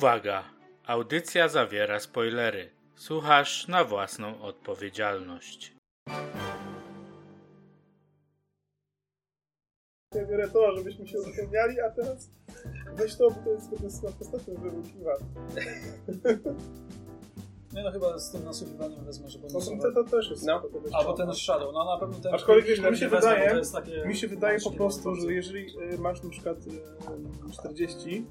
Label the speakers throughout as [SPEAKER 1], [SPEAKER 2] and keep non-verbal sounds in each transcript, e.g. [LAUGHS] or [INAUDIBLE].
[SPEAKER 1] Uwaga! Audycja zawiera spoilery. Słuchasz na własną odpowiedzialność.
[SPEAKER 2] Ja biorę to, żebyśmy się zapomniali, a teraz weź to, bo to jest zgodne z ostatnim wyróżniwa.
[SPEAKER 3] Nie no, chyba z tym nasłuchiwaniem wezmę, że
[SPEAKER 2] No to, to, to też jest.
[SPEAKER 4] No.
[SPEAKER 2] to też
[SPEAKER 3] A, bo ten Shadow, no na pewno ten...
[SPEAKER 2] Aczkolwiek
[SPEAKER 3] który
[SPEAKER 2] mi się
[SPEAKER 3] nie wezmę,
[SPEAKER 2] wydaje-
[SPEAKER 3] bo to jest takie-
[SPEAKER 2] Mi się wydaje po
[SPEAKER 3] Właśnie,
[SPEAKER 2] prostu,
[SPEAKER 3] no,
[SPEAKER 2] że jeżeli y, masz na przykład y, 40,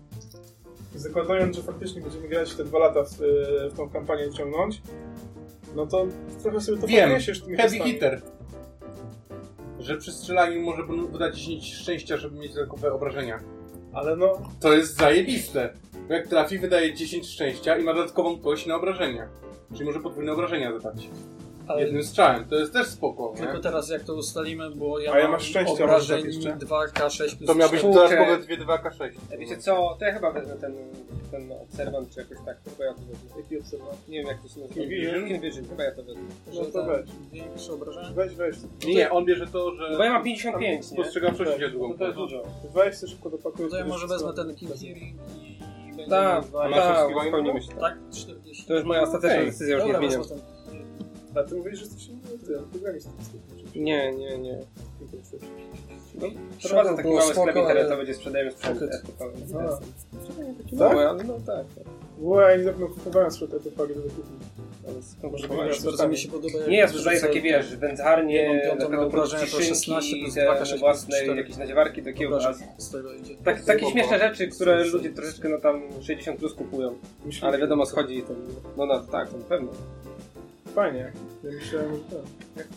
[SPEAKER 2] zakładając, że faktycznie będziemy grać te dwa lata w, y, w tą kampanię ciągnąć, no to trochę sobie to
[SPEAKER 4] Wiem.
[SPEAKER 2] podniesiesz tymi
[SPEAKER 4] Heavy
[SPEAKER 2] testami.
[SPEAKER 4] hitter. Że przy strzelaniu może bu- wydać 10 szczęścia, żeby mieć zakupę obrażenia.
[SPEAKER 2] Ale no,
[SPEAKER 4] To jest zajebiste. Bo jak trafi, wydaje 10 szczęścia i ma dodatkową kość na obrażenia. Czyli może podwójne obrażenia zadać.
[SPEAKER 3] Ale
[SPEAKER 4] Jednym strzałem. To jest też spoko,
[SPEAKER 3] tylko
[SPEAKER 4] nie?
[SPEAKER 3] teraz jak to ustalimy, bo ja
[SPEAKER 2] A ja
[SPEAKER 3] mam
[SPEAKER 2] masz szczęście, a masz
[SPEAKER 3] obrażeń
[SPEAKER 2] jeszcze.
[SPEAKER 3] 2K6 plus
[SPEAKER 4] To miałbyś
[SPEAKER 3] cztery.
[SPEAKER 4] dodatkowe 2 2K6.
[SPEAKER 5] A Wiecie co, to ja chyba wezmę ten, ten obserwant czy jakoś tak, to chyba ja to wezmę. Jaki obserwant? Nie wiem jak to się nazywa.
[SPEAKER 4] Invision?
[SPEAKER 5] Invision, chyba ja to wezmę.
[SPEAKER 3] Że
[SPEAKER 2] no to
[SPEAKER 3] tam
[SPEAKER 2] weź.
[SPEAKER 3] Większe obrażenia?
[SPEAKER 2] Weź, weź.
[SPEAKER 4] Nie, nie, on bierze to,
[SPEAKER 5] Bo ja
[SPEAKER 4] że
[SPEAKER 5] mam 55, nie?
[SPEAKER 4] spostrzegawczość
[SPEAKER 2] Tak,
[SPEAKER 4] idzie długą.
[SPEAKER 2] No to jest dużo. Weź to szybko dopakuj.
[SPEAKER 3] No to ja
[SPEAKER 2] to
[SPEAKER 3] może
[SPEAKER 2] jest
[SPEAKER 3] wezmę
[SPEAKER 2] wszystko.
[SPEAKER 3] ten King Hearing i... będziemy
[SPEAKER 5] Tak,
[SPEAKER 3] dwa-
[SPEAKER 4] A masz
[SPEAKER 5] tak,
[SPEAKER 4] rozkiwanie?
[SPEAKER 5] spełnimy się.
[SPEAKER 3] Tak, 40.
[SPEAKER 5] To już moja ostateczna
[SPEAKER 4] Okej.
[SPEAKER 5] decyzja, już
[SPEAKER 3] No Dobra, no
[SPEAKER 5] nie
[SPEAKER 3] wezmę
[SPEAKER 5] zmieniam.
[SPEAKER 3] ten...
[SPEAKER 2] A ty mówisz, że jesteś tym programistą.
[SPEAKER 5] Nie, nie, nie. No,
[SPEAKER 3] Shadow
[SPEAKER 5] prowadzę taki
[SPEAKER 3] było
[SPEAKER 5] mały sklep
[SPEAKER 3] spoko, ale-
[SPEAKER 5] internetowy, gdzie sprzedajemy sprzęt.
[SPEAKER 3] Okej.
[SPEAKER 5] RPP.
[SPEAKER 2] No.
[SPEAKER 5] No,
[SPEAKER 2] Tak?
[SPEAKER 5] ja- no tak,
[SPEAKER 2] Bo ja niedawno kupowałem sobie te pagi do wykupienia.
[SPEAKER 5] ale
[SPEAKER 3] Może
[SPEAKER 5] skomplikowane
[SPEAKER 3] bardzo
[SPEAKER 5] czasami.
[SPEAKER 3] mi się podoba... jak
[SPEAKER 5] Nie, ja sprzedaję
[SPEAKER 3] wrzucę
[SPEAKER 5] takie, wiesz,
[SPEAKER 3] jedną
[SPEAKER 5] wędzarnie,
[SPEAKER 3] piątą mam
[SPEAKER 5] na przykład
[SPEAKER 3] wrażenie, to 16
[SPEAKER 5] szynki,
[SPEAKER 3] plus dwa,
[SPEAKER 5] te
[SPEAKER 3] K6 plus
[SPEAKER 5] własne
[SPEAKER 3] cztery.
[SPEAKER 5] jakieś nadziewarki do kiełbas.
[SPEAKER 3] obrażeń Z tego idzie.
[SPEAKER 5] Tak, takie śmieszne rzeczy, które ludzie troszeczkę no tam 60 plus kupują.
[SPEAKER 2] Myślę,
[SPEAKER 5] Ale wiadomo, schodzi to. No, no tak, to na pewno.
[SPEAKER 2] Fajnie. Ja myślałem, że tak.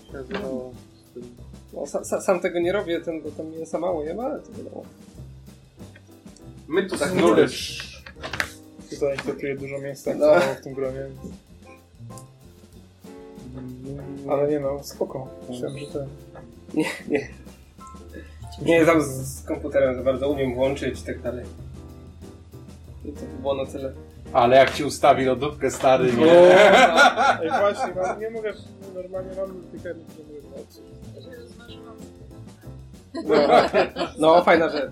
[SPEAKER 5] No, sa, sa, sam tego nie robię, ten, bo tam mięsa mało jem, ale to wiadomo.
[SPEAKER 4] My tu tak nuresz.
[SPEAKER 2] Tutaj interpretuje dużo miejsca
[SPEAKER 5] No.
[SPEAKER 2] no. w tym gronie. Ale nie no, spoko. Myślałem, że tak.
[SPEAKER 5] [LAUGHS]
[SPEAKER 2] ten.
[SPEAKER 5] Nie znam z, z komputerem za bardzo, umiem włączyć i tak dalej. I to by było na tyle.
[SPEAKER 4] Ale jak ci ustawi lodówkę, stary, nie?
[SPEAKER 2] Ej, właśnie, mam, nie mogę, normalnie mam piekarnik, nie mogę patrzeć.
[SPEAKER 5] No, [LAUGHS] fajna rzecz.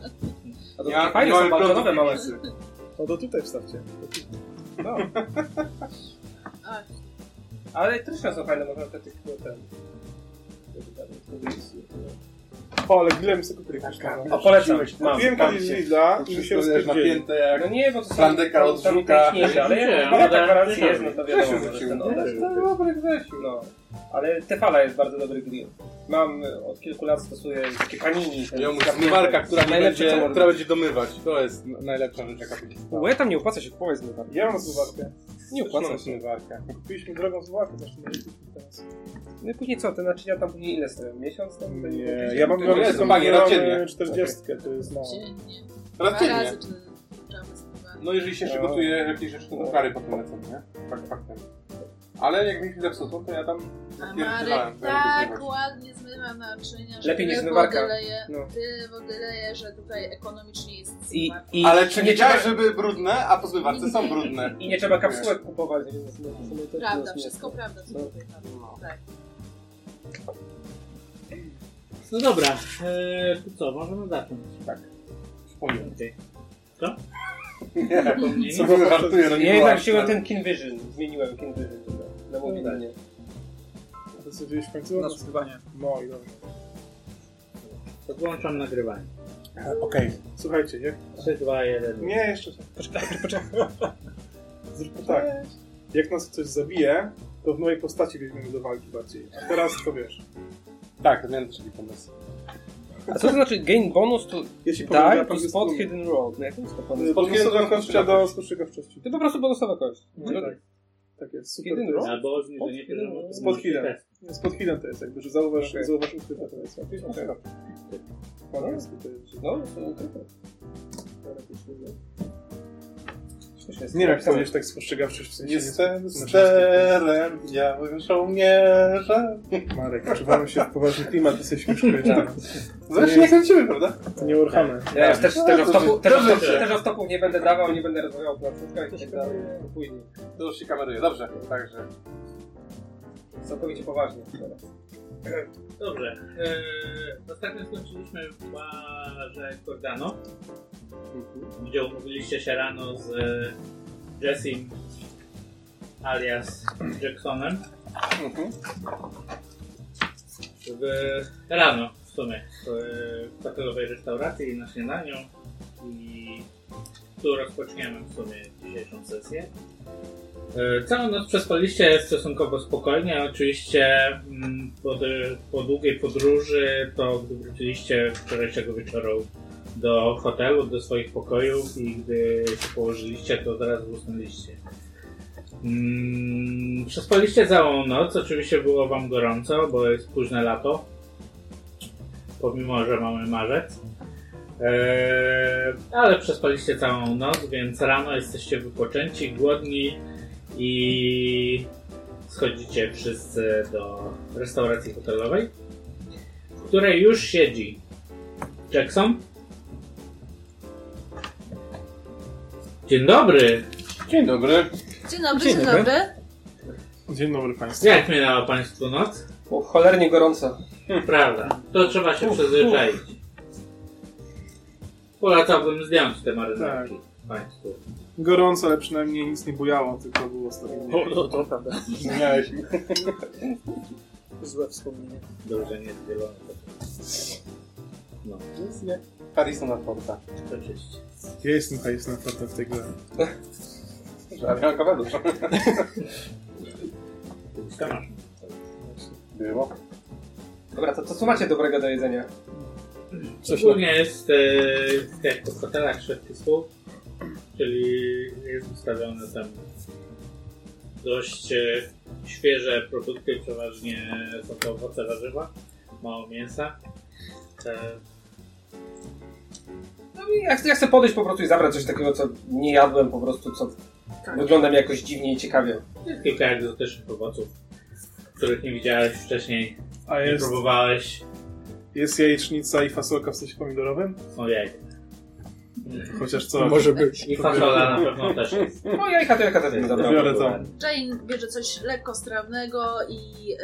[SPEAKER 5] A to takie fajne są balkonowe małe.
[SPEAKER 2] No to tutaj wstawcie. To tu.
[SPEAKER 5] No. Ale też są fajne, można te tych no, ten.
[SPEAKER 2] O, ale ile mi sobie kupili kosztowało.
[SPEAKER 5] O, polecam. Mam.
[SPEAKER 2] Wiem
[SPEAKER 5] mam
[SPEAKER 2] kiedyś z
[SPEAKER 5] się.
[SPEAKER 2] Lidla i mi się rozpierdzieli.
[SPEAKER 4] napięte jak...
[SPEAKER 5] No nie, bo to są
[SPEAKER 4] Plandeka
[SPEAKER 5] tam-
[SPEAKER 4] odrzuca.
[SPEAKER 5] tam piękniejsze, Ale
[SPEAKER 3] Nie,
[SPEAKER 5] jak
[SPEAKER 3] ale-
[SPEAKER 5] ta gwarancja jest, no to
[SPEAKER 4] Grzesiu
[SPEAKER 5] wiadomo, że
[SPEAKER 4] wrzucił.
[SPEAKER 5] ten odejść. No dobry Grzesiu, no. Ale Tefala jest bardzo dobry grill. Mam, y, od kilku lat stosuję takie panini. ten
[SPEAKER 4] Ja mówię,
[SPEAKER 5] skarpetę.
[SPEAKER 4] zmywarka, która, nie
[SPEAKER 5] Najlepsze, co
[SPEAKER 4] będzie,
[SPEAKER 5] może
[SPEAKER 4] która
[SPEAKER 5] być.
[SPEAKER 4] będzie domywać. To jest n- najlepsza rzecz, jaka będzie.
[SPEAKER 5] Bo ja tam nie opłaca się kupować zmywarki.
[SPEAKER 2] Ja mam zmywarkę.
[SPEAKER 5] Nie opłaca
[SPEAKER 4] Mam
[SPEAKER 5] się.
[SPEAKER 4] zmywarkę.
[SPEAKER 2] Kupiliśmy drogą zmywarkę, zresztą nie kupiliśmy teraz.
[SPEAKER 5] No i później co, te naczynia tam później ile stoją? Miesiąc tam?
[SPEAKER 2] Nie, ja mam
[SPEAKER 4] to
[SPEAKER 2] drogą
[SPEAKER 4] nie jest bagnie
[SPEAKER 2] zmywarkę
[SPEAKER 4] nadziennie.
[SPEAKER 2] 40, to jest no, mało.
[SPEAKER 6] Dziennie. Dwa
[SPEAKER 4] Teraz ty nie.
[SPEAKER 6] razy czy trzeba wysłuchać.
[SPEAKER 4] No jeżeli się
[SPEAKER 2] No.
[SPEAKER 4] przygotuje, lepiej rzeczy, to kary potem lecą, nie? Fak- Faktem. Ale jak mi się zepsuto, to ja tam
[SPEAKER 6] A
[SPEAKER 4] zapierdzielałem,
[SPEAKER 6] Marek
[SPEAKER 4] to ja lubię
[SPEAKER 6] tak
[SPEAKER 4] zmywać.
[SPEAKER 6] ładnie zmywa naczynia, że
[SPEAKER 5] Lepiej niż
[SPEAKER 6] tyle
[SPEAKER 5] zmywarka.
[SPEAKER 6] wody leje,
[SPEAKER 5] No.
[SPEAKER 6] tyle wody leje, że tutaj ekonomicznie jest
[SPEAKER 5] I,
[SPEAKER 6] zmywarka.
[SPEAKER 5] i,
[SPEAKER 4] Ale czy
[SPEAKER 5] i nie
[SPEAKER 4] wiedziałeś,
[SPEAKER 5] trzeba-
[SPEAKER 4] że były brudne, a po zmywarce są brudne?
[SPEAKER 5] I nie trzeba kapsułek kupować. więc no, w sumie to
[SPEAKER 6] Prawda,
[SPEAKER 5] jest
[SPEAKER 6] wszystko
[SPEAKER 5] miasto.
[SPEAKER 6] prawda. co
[SPEAKER 5] No.
[SPEAKER 6] tutaj tam.
[SPEAKER 4] No.
[SPEAKER 6] Tak.
[SPEAKER 3] No dobra, eee, to co, możemy zacząć.
[SPEAKER 4] Wspomnę.
[SPEAKER 3] Okej.
[SPEAKER 4] [LAUGHS] Nie,
[SPEAKER 3] Pomniej.
[SPEAKER 4] co były żartuję, no nie
[SPEAKER 5] Ja
[SPEAKER 4] była
[SPEAKER 5] jednak wziąłem
[SPEAKER 4] akcja.
[SPEAKER 5] ten Kinvision. Zmieniłem Kinvision na- na mobilnie.
[SPEAKER 2] To co gdzieś w końcu?
[SPEAKER 3] Na zbywanie.
[SPEAKER 2] No i dobra.
[SPEAKER 3] To włączam nagrywanie.
[SPEAKER 4] Okej.
[SPEAKER 2] Słuchajcie, jak
[SPEAKER 3] 3, 2, 1.
[SPEAKER 2] Nie, jeszcze tak. Zróbmy tak. Jak nas coś zabije, to w nowej postaci weźmiemy do walki bardziej. A teraz to wiesz.
[SPEAKER 4] Tak, miałem taki pomysł.
[SPEAKER 5] A co to znaczy gain bonus to
[SPEAKER 2] Ja ci powiem,
[SPEAKER 5] die
[SPEAKER 2] ja
[SPEAKER 5] plus spot hidden roll? No jak to jest to bonus?
[SPEAKER 2] Podwójna kościa do spostrzegawczości.
[SPEAKER 5] To po prostu bonusowa kość.
[SPEAKER 2] No tak. Tak jest, super.
[SPEAKER 5] Hidden
[SPEAKER 2] to jest.
[SPEAKER 5] roll?
[SPEAKER 3] Albo obniżenie poziomu.
[SPEAKER 2] Spod hidden. Z podhidem to jest jakby, że zauważ,
[SPEAKER 5] Okej.
[SPEAKER 2] zauważ ukryte to jest. Jakieś
[SPEAKER 5] Okej.
[SPEAKER 2] okay. Po angielsku to jest, że
[SPEAKER 5] No, to to-
[SPEAKER 2] no.
[SPEAKER 5] to też jest
[SPEAKER 2] nie wiem, jak
[SPEAKER 5] napisane.
[SPEAKER 2] powiedzieć tak spostrzegawczość w sensie.
[SPEAKER 4] Jestem
[SPEAKER 2] znaczy,
[SPEAKER 4] sterem, białym żołnierzem.
[SPEAKER 2] Marek, czuwamy się w poważny klimat, jesteśmy [LAUGHS] już kobietami.
[SPEAKER 4] Zresztą nie kręcimy, prawda?
[SPEAKER 2] Tak. To nie urchamy.
[SPEAKER 5] Ja już też tego stopu,
[SPEAKER 4] dobrze,
[SPEAKER 5] tego stopu,
[SPEAKER 4] dobrze.
[SPEAKER 5] tego stopu nie będę dawał, nie będę rozmawiał o placówkach i tak dalej. To Później.
[SPEAKER 4] To już się kameruje, dobrze. Także
[SPEAKER 5] Całkowicie poważnie teraz.
[SPEAKER 7] Dobrze. Eee, ostatnio skończyliśmy w barze Cordano, gdzie umówiliście się rano z e, Jessim alias Jacksonem.
[SPEAKER 4] Mhm.
[SPEAKER 7] W, rano w sumie w, e, w hotelowej restauracji na śniadaniu i tu rozpoczniemy w sumie dzisiejszą sesję. E, Całą noc przespaliście stosunkowo spokojnie, oczywiście mm, po, d- po długiej podróży, to gdy wróciliście wczorajszego wieczoru do hotelu, do swoich pokojów i gdy się położyliście, to zaraz usnęliście. Mm, przespaliście całą noc, oczywiście było wam gorąco, bo jest późne lato, pomimo, że mamy marzec. Eee, ale przespaliście całą noc, więc rano jesteście wypoczęci, głodni i schodzicie wszyscy do restauracji hotelowej, w której już siedzi Jackson. Dzień dobry!
[SPEAKER 4] Dzień dobry.
[SPEAKER 8] Dzień dobry,
[SPEAKER 2] Dzień
[SPEAKER 8] dzień,
[SPEAKER 2] dobry.
[SPEAKER 8] dobry.
[SPEAKER 2] Dzień dobry Państwu.
[SPEAKER 7] Jak minęła Państwu noc?
[SPEAKER 5] O, cholernie gorąco.
[SPEAKER 7] Prawda, to trzeba się przyzwyczaić. Polecałbym zdjąć te marynarki Państwu.
[SPEAKER 2] Gorąco, ale przynajmniej nic nie bujało, tylko było stabilnie.
[SPEAKER 3] to prawda.
[SPEAKER 4] Zmieniałeś mi.
[SPEAKER 3] Złe wspomnienie.
[SPEAKER 7] Dobrze, nie zdzielone. No,
[SPEAKER 4] Harrisona Forda.
[SPEAKER 7] oczywiście.
[SPEAKER 2] Ja jestem hajsna farta w tej grze.
[SPEAKER 4] Żadnego kawalu. Było.
[SPEAKER 5] Dobra, to, to co macie dobrego do jedzenia?
[SPEAKER 3] Coś
[SPEAKER 7] Ogólnie jest e, jak to w hotelach szwedzki stół, czyli jest ustawione tam dość e, świeże produkty, przeważnie są to owoce, warzywa, mało mięsa. E,
[SPEAKER 5] No i ja, chcę- ja chcę podejść po prostu i zabrać coś takiego, co nie jadłem po prostu, co
[SPEAKER 4] Tak.
[SPEAKER 5] wygląda mi jakoś dziwnie i ciekawie.
[SPEAKER 7] Jest kilka egzotycznych owoców, których nie widziałeś wcześniej,
[SPEAKER 2] A
[SPEAKER 7] nie
[SPEAKER 2] jest,
[SPEAKER 7] próbowałeś.
[SPEAKER 2] jest jajecznica i fasolka w sosie pomidorowym?
[SPEAKER 7] Są jajka.
[SPEAKER 2] Chociaż co?
[SPEAKER 3] może być.
[SPEAKER 7] I fasola na pewno też jest.
[SPEAKER 4] Hmm.
[SPEAKER 5] No jajka to jajka też nie dobra.
[SPEAKER 2] Biorę to.
[SPEAKER 8] Jane bierze coś lekko strawnego i yy,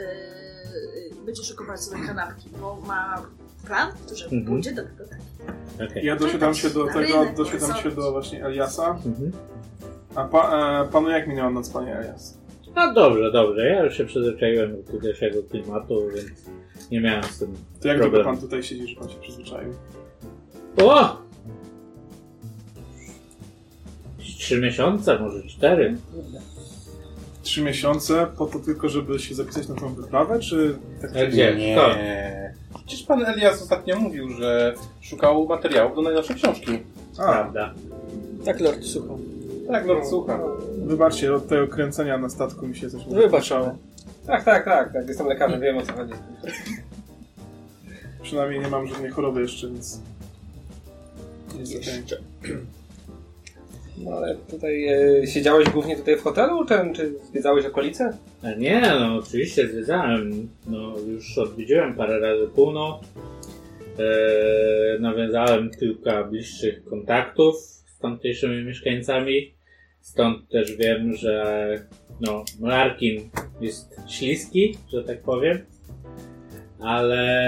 [SPEAKER 8] będzie szykować sobie kanapki, bo ma plan, że
[SPEAKER 7] Mhm.
[SPEAKER 8] pójdzie do tego. tak.
[SPEAKER 7] Okay.
[SPEAKER 2] Ja doszedłem się do tego,
[SPEAKER 8] Rynek,
[SPEAKER 2] doszedłem się
[SPEAKER 8] sąd.
[SPEAKER 2] do właśnie Eliasa.
[SPEAKER 7] Mhm.
[SPEAKER 2] A pa, e, panu jak minęła noc, panie Elias?
[SPEAKER 7] No dobrze, dobrze. Ja już się przyzwyczaiłem do tutejszego klimatu, więc nie miałem z tym
[SPEAKER 2] To jak długo
[SPEAKER 7] Problem.
[SPEAKER 2] pan tutaj siedzi, że pan się przyzwyczaił?
[SPEAKER 7] O! Trzy miesiące, może cztery.
[SPEAKER 2] Trzy miesiące po to tylko, żeby się zapisać na tą wyprawę, czy tak
[SPEAKER 7] A E, gdzie? Kto?
[SPEAKER 4] Nie. Przecież pan Elias ostatnio mówił, że szukał materiałów do najnowszej książki.
[SPEAKER 2] A,
[SPEAKER 7] Prawda.
[SPEAKER 3] Tak, Lord, słucham.
[SPEAKER 4] Tak, Lord Słucha.
[SPEAKER 2] wybaczcie, od tego kręcenia na statku mi się coś
[SPEAKER 3] Wybaczam.
[SPEAKER 5] Tak, tak, tak, tak. Jestem lekarzem, wiem o co chodzi.
[SPEAKER 2] Przynajmniej nie mam żadnej choroby jeszcze, więc... Jest okej.
[SPEAKER 5] No ale tutaj e, siedziałeś głównie tutaj w hotelu, czy, czy zwiedzałeś okolice?
[SPEAKER 7] A nie, no oczywiście zwiedzałem. No już odwiedziłem parę razy Puno. Eee, nawiązałem kilka bliższych kontaktów z tamtejszymi mieszkańcami. Stąd też wiem, że no, Larkin jest śliski, że tak powiem. Ale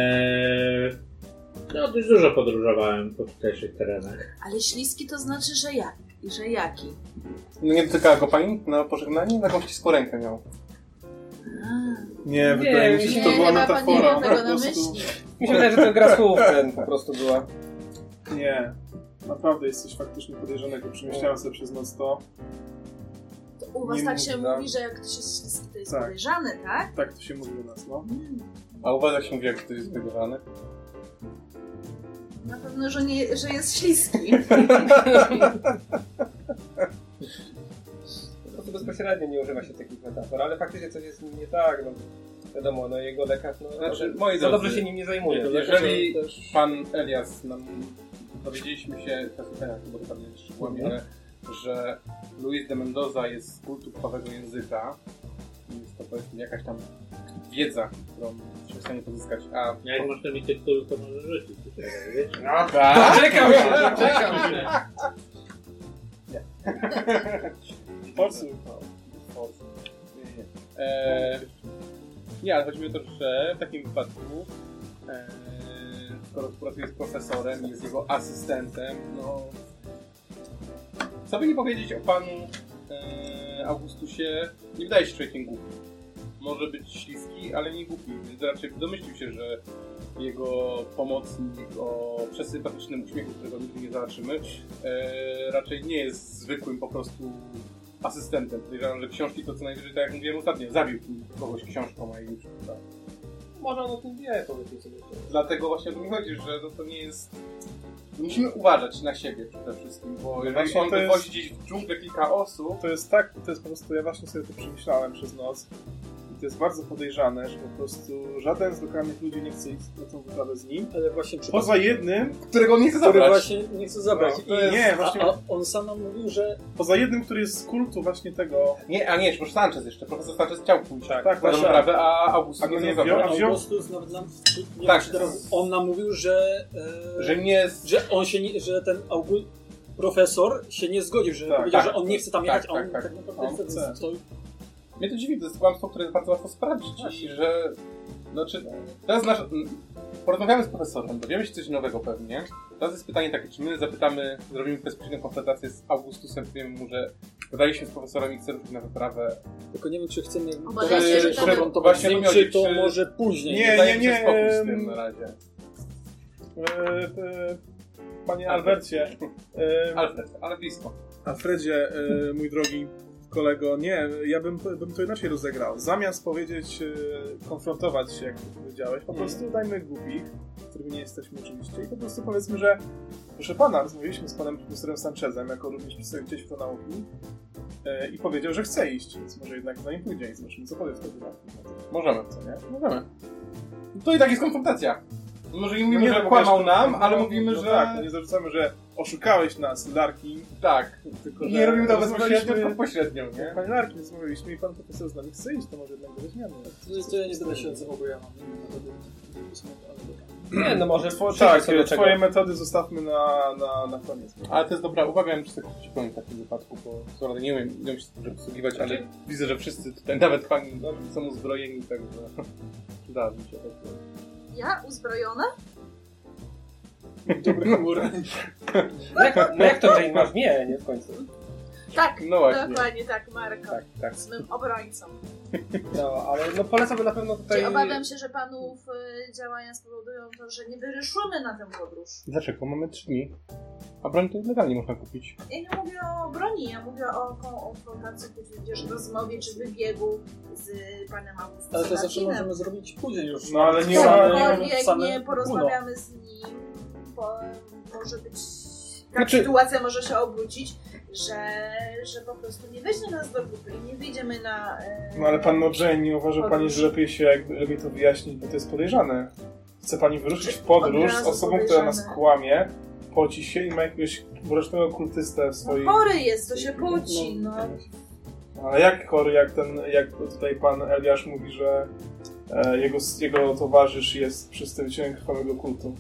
[SPEAKER 7] no, dość dużo podróżowałem po tutejszych terenach.
[SPEAKER 8] Ale śliski to znaczy, że jak? I że jaki?
[SPEAKER 4] No nie dotykała go pani na pożegnanie? Taką ściską rękę miał.
[SPEAKER 2] Nie, wydaje mi się, że to
[SPEAKER 8] nie,
[SPEAKER 2] była
[SPEAKER 8] chyba pan nie
[SPEAKER 2] metafora.
[SPEAKER 8] miał
[SPEAKER 2] po
[SPEAKER 8] tego na
[SPEAKER 2] prostu-
[SPEAKER 8] myśli.
[SPEAKER 5] Mi się wydaje, że to gra słów ten po prostu była.
[SPEAKER 2] Nie. Naprawdę jest coś faktycznie podejrzanego. Przemyślałem sobie przez noc to.
[SPEAKER 8] To u was
[SPEAKER 2] Nie
[SPEAKER 8] tak się
[SPEAKER 2] mówiłam.
[SPEAKER 8] mówi, że jak ktoś jest śliski, to jest
[SPEAKER 2] Tak.
[SPEAKER 8] podejrzany, tak?
[SPEAKER 2] Tak to się mówi u nas, no.
[SPEAKER 8] Mm.
[SPEAKER 4] A uważa się mówi, jak ktoś jest wygrzany.
[SPEAKER 8] Na pewno, że, nie, że jest śliski.
[SPEAKER 5] Po prostu bezpośrednio nie używa się takich metafor, ale faktycznie coś jest nie tak, no wiadomo, no jego lekarz, no
[SPEAKER 4] Znaczy,
[SPEAKER 5] moi
[SPEAKER 4] moi
[SPEAKER 5] za
[SPEAKER 4] drodzy,
[SPEAKER 5] dobrze się nim nie zajmuje.
[SPEAKER 4] tak, Jeżeli pan Elias nam dowiedzieliśmy się, teraz pytania, bo to pewnie jeszcze kłamie, ale że Luis de Mendoza jest z kultu krwawego języka, jest to powiedzmy jakaś tam wiedza, którą jesteśmy w stanie pozyskać, a...
[SPEAKER 7] Jak można mi tych, którzy to może rzucić? wiesz?
[SPEAKER 4] No tak!
[SPEAKER 5] Czekam się!
[SPEAKER 4] Czekam się! No,
[SPEAKER 2] Polscy.
[SPEAKER 4] Eee, E, Nie, ale chodzi mi o to, że w takim wypadku, e, skoro akurat jest profesorem, jest jego asystentem, no... Co by nie powiedzieć o panu e, Augustusie, nie wydaje się człowiekiem głupim. Może być śliski, ale nie głupi, więc raczej domyślił się, że jego pomocnik o przesympatycznym uśmiechu, którego nigdy nie zobaczymy, e, raczej nie jest zwykłym po prostu asystentem. Podejrzewam, że książki to co najwyżej, tak jak mówiłem ostatnio, zabił kogoś książką, a jej nie przeczytał.
[SPEAKER 5] Może on o tym wie, powiedzmy sobie.
[SPEAKER 4] Dlatego właśnie o to mi chodzi, że to, to nie jest... Musimy uważać na siebie przede wszystkim, bo jeżeli
[SPEAKER 2] właśnie
[SPEAKER 4] on
[SPEAKER 2] to jest-
[SPEAKER 4] wywozi gdzieś w dżunglę kilka osób,
[SPEAKER 2] To jest tak, to jest po prostu, ja właśnie sobie to przemyślałem przez noc i to jest bardzo podejrzane, że po prostu żaden z lokalnych ludzi nie chce iść na tą wyprawę z nim.
[SPEAKER 3] Ale właśnie
[SPEAKER 2] Poza jednym,
[SPEAKER 4] którego nie chce
[SPEAKER 3] który
[SPEAKER 4] zabrać.
[SPEAKER 3] właśnie nie chce zabrać.
[SPEAKER 2] No, to jest- nie, właśnie-
[SPEAKER 3] a, a on sam nam mówił, że
[SPEAKER 2] poza jednym, który jest z kultu właśnie tego,
[SPEAKER 4] Nie, a nie, może Sanchez jeszcze, profesor Sanchez chciał pójść.
[SPEAKER 2] Tak,
[SPEAKER 4] na
[SPEAKER 2] właśnie.
[SPEAKER 4] Rozprawę, a August
[SPEAKER 2] A go
[SPEAKER 4] nie
[SPEAKER 2] nie
[SPEAKER 4] chce zabrać.
[SPEAKER 2] wziął? wziął-
[SPEAKER 3] Augustus nawet nam... Nie
[SPEAKER 4] Tak.
[SPEAKER 3] tak. Teraz, on nam mówił, że... E,
[SPEAKER 4] Że nie jest...
[SPEAKER 3] że on się nie, że ten August, profesor się nie zgodził, że
[SPEAKER 2] Tak,
[SPEAKER 3] powiedział,
[SPEAKER 4] tak.
[SPEAKER 3] że on nie chce tam
[SPEAKER 4] Tak,
[SPEAKER 3] jechać, a
[SPEAKER 4] tak,
[SPEAKER 3] on
[SPEAKER 4] tak.
[SPEAKER 3] tak, naprawdę
[SPEAKER 4] On
[SPEAKER 3] chce,
[SPEAKER 4] chce.
[SPEAKER 3] więc to
[SPEAKER 4] Mnie to dziwi, to jest kłamstwo, które jest bardzo łatwo sprawdzić. I że. Znaczy, teraz nasz. m, Porozmawiamy z profesorem, dowiemy się coś nowego pewnie. Teraz jest pytanie takie, czy my zapytamy, zrobimy bezpośrednią konfrontację z Augustusem, powiemy mu, że gadaliśmy z profesorem i chce ruszyć na wyprawę.
[SPEAKER 3] tylko nie wiem, czy chcemy
[SPEAKER 6] Obawiam się, że
[SPEAKER 3] teraz
[SPEAKER 6] to-
[SPEAKER 3] konfrontować
[SPEAKER 4] Właśnie
[SPEAKER 3] z nim,
[SPEAKER 4] to
[SPEAKER 3] czy
[SPEAKER 4] miodzi,
[SPEAKER 3] to
[SPEAKER 4] czy-
[SPEAKER 3] może później.
[SPEAKER 2] Nie,
[SPEAKER 4] Dajemy
[SPEAKER 2] nie,
[SPEAKER 4] się
[SPEAKER 2] nie,
[SPEAKER 4] spokój z
[SPEAKER 2] em,
[SPEAKER 4] tym na razie.
[SPEAKER 2] e, e, panie Albercie, e,
[SPEAKER 4] Alfred, ale blisko.
[SPEAKER 2] Alfredzie, e, mój drogi kolego, nie, ja bym, bym to inaczej rozegrał. Zamiast powiedzieć, e, konfrontować się, jak ty powiedziałeś,
[SPEAKER 4] Mm.
[SPEAKER 2] po prostu dajmy głupich, którymi nie jesteśmy oczywiście, i po prostu powiedzmy, że proszę pana, rozmawialiśmy z panem profesorem Sanchezem, jako również przedstawiciel nauki e, i powiedział, że chce iść, więc może jednak za nim pójdzie i zobaczymy, co powie wtedy na na to.
[SPEAKER 4] Możemy.
[SPEAKER 2] Co nie?
[SPEAKER 4] Możemy. To i tak jest konfrontacja. Może nie mówimy,
[SPEAKER 2] No nie,
[SPEAKER 4] że
[SPEAKER 2] no,
[SPEAKER 4] kłamał
[SPEAKER 2] wiesz,
[SPEAKER 4] nam,
[SPEAKER 2] no,
[SPEAKER 4] ale
[SPEAKER 2] no,
[SPEAKER 4] mówimy,
[SPEAKER 2] no
[SPEAKER 4] że.
[SPEAKER 2] Tak, no nie zarzucamy, że oszukałeś nas, Larkin,
[SPEAKER 4] tak.
[SPEAKER 2] tylko że
[SPEAKER 4] Nie robimy tego bezpośrednio,
[SPEAKER 2] rozmawialiśmy-
[SPEAKER 4] tylko pośrednio, nie?
[SPEAKER 2] Panie Larkin, rozmawialiśmy i pan profesor z nami chce iść, to może jednak do zmiany.
[SPEAKER 4] Tak,
[SPEAKER 3] To, to ja nie zdaję się odzywał, bo ja mam inne metody. ale dobra.
[SPEAKER 5] Nie, no może po,
[SPEAKER 2] Tak,
[SPEAKER 5] sobie
[SPEAKER 2] twoje
[SPEAKER 5] czego.
[SPEAKER 2] metody zostawmy na, na, na koniec.
[SPEAKER 4] Ale to jest dobra uwaga, ja muszę sobie kupić broń w takim wypadku, bo co prawda nie umiem, nie umiem się dobrze obsługiwać, ale
[SPEAKER 2] Znaczy-
[SPEAKER 4] widzę, że wszyscy tutaj, nawet pani, no, są uzbrojeni, także [LAUGHS] da mi się tak.
[SPEAKER 6] Ja uzbrojona?
[SPEAKER 3] Dobry humor.
[SPEAKER 5] No jak, no jak to, że masz mnie, nie w końcu?
[SPEAKER 6] Tak,
[SPEAKER 4] No właśnie.
[SPEAKER 6] dokładnie tak, Marko.
[SPEAKER 4] Tak, tak.
[SPEAKER 6] Z mym obrońcą.
[SPEAKER 5] No, ale no polecam na pewno tutaj...
[SPEAKER 6] Czyli obawiam się, że panów y, działania spowodują to, że nie wyruszymy na tę podróż.
[SPEAKER 4] Dlaczego? Mamy trzy dni. A broń no to legalnie można kupić.
[SPEAKER 6] Ja nie mówię o broni, ja mówię o konfrontacji, tudzież rozmowie czy wybiegu z panem Augustem
[SPEAKER 3] Ale to zawsze
[SPEAKER 6] Martinem.
[SPEAKER 3] możemy zrobić później już.
[SPEAKER 2] No, ale nie
[SPEAKER 6] Tak,
[SPEAKER 2] ma-
[SPEAKER 6] Cokolwiek nie porozmawiamy z nim, bo może być. Tak
[SPEAKER 4] Znaczy-
[SPEAKER 6] sytuacja może się obrócić, że, że po prostu nie weźmie nas do grupy i nie wyjdziemy na. e,
[SPEAKER 2] No ale pan Nobrze, nie uważa pani, że lepiej się jakby lepiej to wyjaśnić, bo to jest podejrzane. Chce pani wyruszyć w podróż z osobą, która nas kłamie, poci się i ma jakiegoś mrocznego kultystę w swojej...
[SPEAKER 6] No, chory jest, to się płci. No.
[SPEAKER 7] tak.
[SPEAKER 2] No, Ale jak chory, jak ten, jak tutaj pan Eliasz mówi, że e, jego, jego towarzysz jest przedstawicielem krwawego kultu,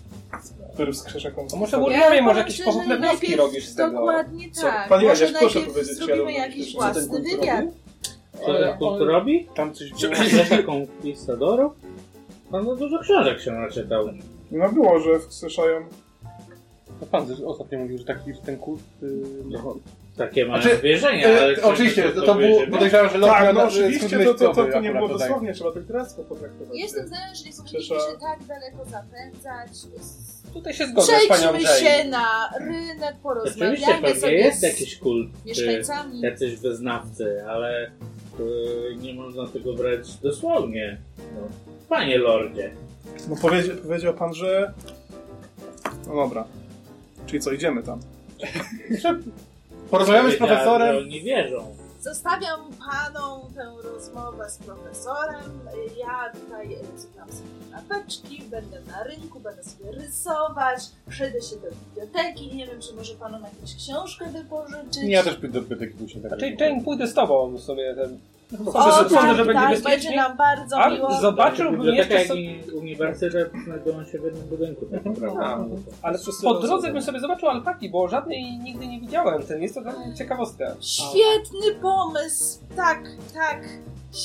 [SPEAKER 2] który wskrzesza
[SPEAKER 5] To
[SPEAKER 2] konflikt.
[SPEAKER 5] może
[SPEAKER 6] Ja
[SPEAKER 5] urwiemy,
[SPEAKER 6] powiem
[SPEAKER 5] może jakieś
[SPEAKER 6] ci,
[SPEAKER 5] pochopne
[SPEAKER 6] że
[SPEAKER 5] wnioski
[SPEAKER 6] najpierw-
[SPEAKER 5] robisz z tego.
[SPEAKER 6] Dokładnie
[SPEAKER 2] Co?
[SPEAKER 6] tak.
[SPEAKER 2] Pani
[SPEAKER 6] może
[SPEAKER 2] Jaś, proszę
[SPEAKER 6] najpierw
[SPEAKER 2] powiedzieć, ja
[SPEAKER 6] zrobimy
[SPEAKER 2] rozumiem,
[SPEAKER 6] jakiś
[SPEAKER 2] że
[SPEAKER 3] ten
[SPEAKER 6] własny
[SPEAKER 3] kult
[SPEAKER 6] wywiad.
[SPEAKER 7] Co
[SPEAKER 6] Ale
[SPEAKER 7] ten kult robi? Tam coś było z Conquistadorów? Pan no dużo książek się naczytał.
[SPEAKER 2] No było, że wskrzeszają...
[SPEAKER 4] No pan też ostatnio mówił, że taki że ten y, kurs...
[SPEAKER 7] No, takie mają
[SPEAKER 4] Znaczy,
[SPEAKER 7] wierzenia, ale... czy
[SPEAKER 4] oczywiście,
[SPEAKER 7] my
[SPEAKER 4] to, to było,
[SPEAKER 7] wierzymy?
[SPEAKER 4] podejrzewam, że
[SPEAKER 2] Tak,
[SPEAKER 4] Lothar-
[SPEAKER 2] no
[SPEAKER 4] y,
[SPEAKER 2] oczywiście, to, to, to, to nie
[SPEAKER 4] akurat
[SPEAKER 2] było
[SPEAKER 4] dodaje.
[SPEAKER 2] dosłownie, trzeba to literacko potraktować.
[SPEAKER 6] Jestem zdania, że nie powinniśmy
[SPEAKER 2] Przecież-
[SPEAKER 6] się tak daleko zapędzać.
[SPEAKER 5] Tutaj się zgodzę z panią
[SPEAKER 6] Przejdźmy
[SPEAKER 5] Jane.
[SPEAKER 6] się na rynek,
[SPEAKER 7] Oczywiście
[SPEAKER 6] porozmawiajmy
[SPEAKER 7] pewnie
[SPEAKER 6] sobie
[SPEAKER 7] jest
[SPEAKER 6] z
[SPEAKER 7] jakiś y, kult, czy
[SPEAKER 6] mieszkańcami.
[SPEAKER 7] jacyś wyznawcy, ale y, nie można tego brać dosłownie. No. Panie lordzie,
[SPEAKER 2] No powiedział, powiedział pan, że... No dobra. Czyli co, idziemy [LAUGHS] tam.
[SPEAKER 4] Porozmawiamy z
[SPEAKER 7] powiedziałem,
[SPEAKER 4] profesorem.
[SPEAKER 7] że Oni wierzą.
[SPEAKER 6] Zostawiam panom tę rozmowę z profesorem. Ja tutaj e, zbieram sobie napeczki, będę na rynku, będę sobie rysować, przejdę się do biblioteki. Nie wiem, czy może panom jakąś książkę wypożyczyć.
[SPEAKER 4] Ja też pójdę do biblioteki później. tak
[SPEAKER 5] Znaczy
[SPEAKER 4] jak
[SPEAKER 5] Jane pójdę z tobą w sumie. Ten...
[SPEAKER 4] No,
[SPEAKER 6] o,
[SPEAKER 5] Sądzę,
[SPEAKER 6] tak,
[SPEAKER 5] sądzę, że
[SPEAKER 6] tak,
[SPEAKER 5] będzie
[SPEAKER 6] będzie,
[SPEAKER 5] bezpiecznie.
[SPEAKER 6] nam bardzo
[SPEAKER 5] A,
[SPEAKER 6] miło.
[SPEAKER 5] zob- Zobaczyłbym
[SPEAKER 7] Biblioteka
[SPEAKER 5] jeszcze
[SPEAKER 7] i uniwersytet znajdują się w jednym budynku, tak naprawdę.
[SPEAKER 5] No. Ale po drodze bym sobie zobaczył alpaki, bo żadnej nigdy nie widziałem. Ten jest to dla mnie ciekawostka.
[SPEAKER 6] Świetny pomysł! Tak, tak.
[SPEAKER 4] No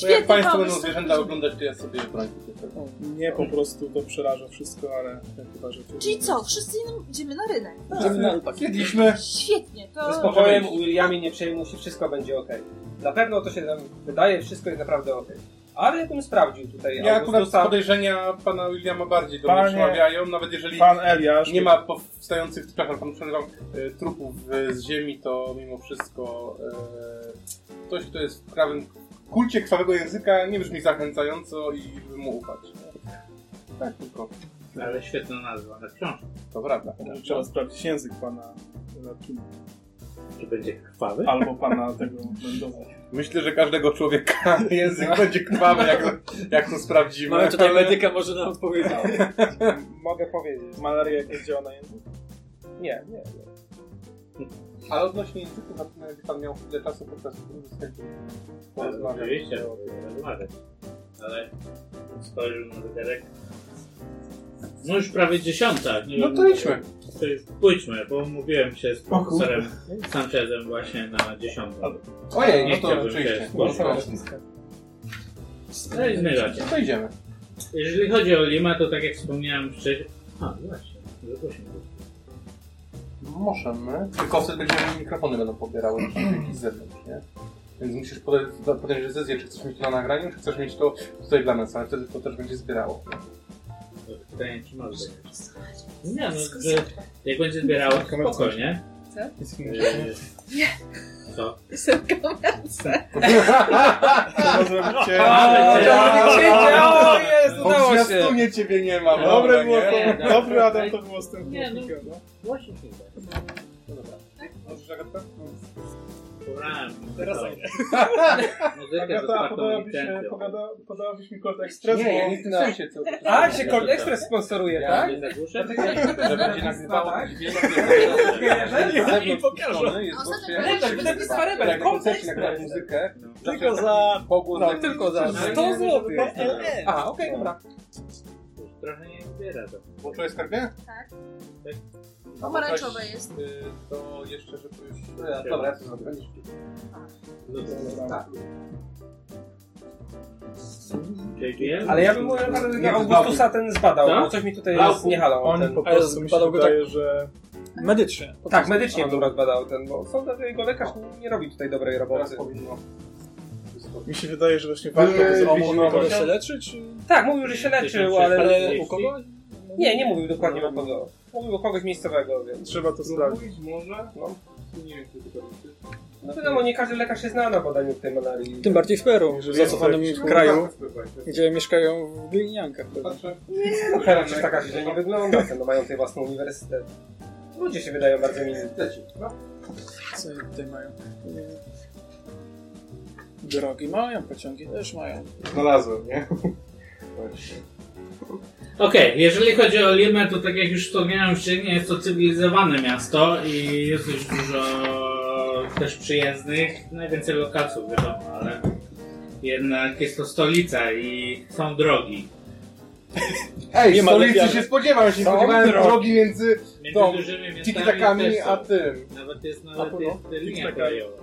[SPEAKER 4] jak
[SPEAKER 8] Świetny
[SPEAKER 4] Państwo będą
[SPEAKER 8] pomysł.
[SPEAKER 4] zwierzęta oglądać, to ja sobie broń kupię.
[SPEAKER 2] Mnie po prostu to przeraża wszystko, ale chyba, że...
[SPEAKER 8] Czyli co, wszyscy idziemy na rynek.
[SPEAKER 3] Idziemy na rypak.
[SPEAKER 4] Jedliśmy.
[SPEAKER 8] Świetnie,
[SPEAKER 5] Ze
[SPEAKER 8] to...
[SPEAKER 5] spokojem, Williamie nie przejmuj się, wszystko będzie ok. Na pewno to się nam wydaje, wszystko jest naprawdę ok. Ale ja bym sprawdził tutaj
[SPEAKER 4] Ja akurat
[SPEAKER 5] Augustusa.
[SPEAKER 4] podejrzenia pana Williama bardziej do mnie
[SPEAKER 2] Panie-
[SPEAKER 4] przemawiają, nawet jeżeli
[SPEAKER 2] Pan Eliasz...
[SPEAKER 4] nie ma powstających, przepraszam, pan przerwał, e, trupów e, z ziemi, to mimo wszystko e, ktoś, kto jest w prawym kulcie krwawego języka nie brzmi zachęcająco i bym mu ufać. Tak tylko,
[SPEAKER 7] Ale świetna nazwa na książkę.
[SPEAKER 4] to prawda.
[SPEAKER 2] Trzeba sprawdzić język pana... Eliasza.
[SPEAKER 7] Czy będzie krwawy?
[SPEAKER 2] Albo pana tego [LAUGHS] Mendoza.
[SPEAKER 4] Myślę, że każdego człowieka [LAUGHS] język będzie krwawy, jak, jak to sprawdzimy.
[SPEAKER 3] Mamy tutaj
[SPEAKER 4] No. ale-
[SPEAKER 3] medyka, może nam odpowiedzieć.
[SPEAKER 5] Mogę powiedzieć.
[SPEAKER 2] Malaria nie działa na język?
[SPEAKER 5] Nie, nie, nie.
[SPEAKER 4] Ale odnośnie języków, na pewno pan miał chwilę czasu podczas Skype'u
[SPEAKER 7] No,
[SPEAKER 4] porozmawiać.
[SPEAKER 7] Oczywiście, rozmawiać. Ale spojrzał na zegarek. No już prawie dziesiąta. Nie
[SPEAKER 4] No
[SPEAKER 7] wiem,
[SPEAKER 4] to idźmy.
[SPEAKER 7] to jest- Pójdźmy, bo umówiłem się z profesorem Sanchezem właśnie na dziesiątą.
[SPEAKER 4] Ojej,
[SPEAKER 7] Nie
[SPEAKER 4] no to
[SPEAKER 7] chciałbym
[SPEAKER 4] oczywiście.
[SPEAKER 7] się
[SPEAKER 4] No to-
[SPEAKER 7] No i zmierzacie.
[SPEAKER 4] To idziemy.
[SPEAKER 7] Jeżeli chodzi o Lima, to tak jak wspomniałem wcześniej... A, właśnie, zaprosiłem go.
[SPEAKER 4] Możemy. Tylko wtedy będziemy mikrofony będą pobierały jakieś z zewnątrz, nie? Więc musisz podjąć, podjąć decyzję, czy chcesz mieć to na nagraniu, czy chcesz mieć to tutaj dla nas, ale wtedy to też będzie zbierało.
[SPEAKER 7] To Pytanie, czy może. Nie, no, że jak będzie zbierało,
[SPEAKER 2] Kamerę
[SPEAKER 7] spokojnie.
[SPEAKER 8] Co?
[SPEAKER 7] Yy, Co?
[SPEAKER 8] Jestem kamerce.
[SPEAKER 2] To zrobicie...
[SPEAKER 7] Ale cię-
[SPEAKER 5] O, jest,
[SPEAKER 4] Bo
[SPEAKER 5] udało
[SPEAKER 4] w
[SPEAKER 5] się!
[SPEAKER 4] zwiastunie ciebie nie ma.
[SPEAKER 2] Dobre było
[SPEAKER 4] nie?
[SPEAKER 2] to. Dobry Adam to było z tym
[SPEAKER 7] Nie, no.
[SPEAKER 2] chłopakiem, no.
[SPEAKER 7] Właśnie się
[SPEAKER 4] Możesz, Agatka?
[SPEAKER 7] Pobrałem.
[SPEAKER 3] Teraz
[SPEAKER 7] muzykę. Muzykę
[SPEAKER 2] Agata,
[SPEAKER 7] z
[SPEAKER 2] podałabyś, e,
[SPEAKER 7] licencją.
[SPEAKER 2] pogoda- podałabyś mi kod ekspres,
[SPEAKER 4] Nie, ja
[SPEAKER 2] bo...
[SPEAKER 4] nie chcę się co...
[SPEAKER 5] A, tak się Cold Express sponsoruje,
[SPEAKER 4] Ja
[SPEAKER 5] tak?
[SPEAKER 7] Nie zagłuszę?
[SPEAKER 4] Że będzie nagrywało...
[SPEAKER 3] I pokażę.
[SPEAKER 5] Wydać, wydać jest parebel,
[SPEAKER 3] Tak,
[SPEAKER 4] Jak
[SPEAKER 5] Cold
[SPEAKER 4] koncercie
[SPEAKER 5] Express!
[SPEAKER 4] nagrywać muzykę,
[SPEAKER 3] Tylko za...
[SPEAKER 4] pogłos...
[SPEAKER 5] No, tylko za
[SPEAKER 4] Ale nie
[SPEAKER 5] 100
[SPEAKER 4] wiem,
[SPEAKER 5] zł.
[SPEAKER 3] PLN.
[SPEAKER 5] Aha, okej, dobra.
[SPEAKER 7] Trochę nie zbiera to.
[SPEAKER 4] Włączyłeś skarbie?
[SPEAKER 8] Pomarańczowe jest.
[SPEAKER 4] Y, To jeszcze, żeby już... No, Dobra, ja to zrobię.
[SPEAKER 5] Tak.
[SPEAKER 7] JBL?
[SPEAKER 5] Ale ja bym mówił,
[SPEAKER 4] No,
[SPEAKER 5] że Augustusa ten zbadał, bo coś mi tutaj jest nie halał.
[SPEAKER 2] On
[SPEAKER 5] Ten...
[SPEAKER 2] po
[SPEAKER 3] Ale
[SPEAKER 2] prostu mi się
[SPEAKER 3] spadał go
[SPEAKER 2] wydaje, że...
[SPEAKER 3] Medycznie.
[SPEAKER 5] Tak, medycznie bym rozbadał ten, bo sądzę, że jego lekarz nie robi tutaj dobrej
[SPEAKER 4] Teraz
[SPEAKER 5] roboty.
[SPEAKER 7] Tak,
[SPEAKER 4] powinno...
[SPEAKER 2] Mi się wydaje, że właśnie warto by
[SPEAKER 3] Kogo
[SPEAKER 4] no
[SPEAKER 2] zaomonować.
[SPEAKER 3] się leczy, czy...
[SPEAKER 5] Tak, mówił, że się leczył, ale...
[SPEAKER 3] Ale u kogo?
[SPEAKER 5] Nie, nie mówił dokładnie o kogo. Mówił o kogoś miejscowego, więc...
[SPEAKER 2] Trzeba to
[SPEAKER 4] Tak.
[SPEAKER 2] sprawdzić.
[SPEAKER 4] może?
[SPEAKER 5] No.
[SPEAKER 4] Nie wiem, czy to tak. robicie.
[SPEAKER 5] No wiadomo, nie każdy lekarz się zna na badaniu tej malarii.
[SPEAKER 3] Tym bardziej w Peru,
[SPEAKER 2] Jeżeli
[SPEAKER 3] zacofanym
[SPEAKER 2] jest-
[SPEAKER 3] w
[SPEAKER 4] Tak.
[SPEAKER 3] kraju,
[SPEAKER 4] Patrzę.
[SPEAKER 3] gdzie mieszkają w gliniankach. pewnie.
[SPEAKER 5] No teraz jest taka że nie wygląda, no mają tutaj własny uniwersytet. Ludzie się wydają bardzo mili.
[SPEAKER 4] Leci. No.
[SPEAKER 3] Co oni tutaj mają? Drogi mają, pociągi też mają.
[SPEAKER 4] Znalazłem, nie?
[SPEAKER 7] Okej, jeżeli chodzi o Limę, to tak jak już wspomniałem wcześniej, jest to cywilizowane miasto i jest już dużo też przyjezdnych, najwięcej lokaców wiadomo, ale jednak jest to stolica i są drogi.
[SPEAKER 4] Ej,
[SPEAKER 3] Nie ma
[SPEAKER 4] stolicy
[SPEAKER 3] lepiany.
[SPEAKER 4] się spodziewałem, się nie
[SPEAKER 5] Są
[SPEAKER 4] spodziewałem
[SPEAKER 5] drogi.
[SPEAKER 4] drogi między
[SPEAKER 7] Między
[SPEAKER 4] Tą
[SPEAKER 7] dużymi miastami
[SPEAKER 4] tiki-takami
[SPEAKER 7] też są.
[SPEAKER 4] a tym.
[SPEAKER 7] Nawet jest,
[SPEAKER 3] A
[SPEAKER 7] nawet
[SPEAKER 3] po-
[SPEAKER 7] jest linia kolejowa.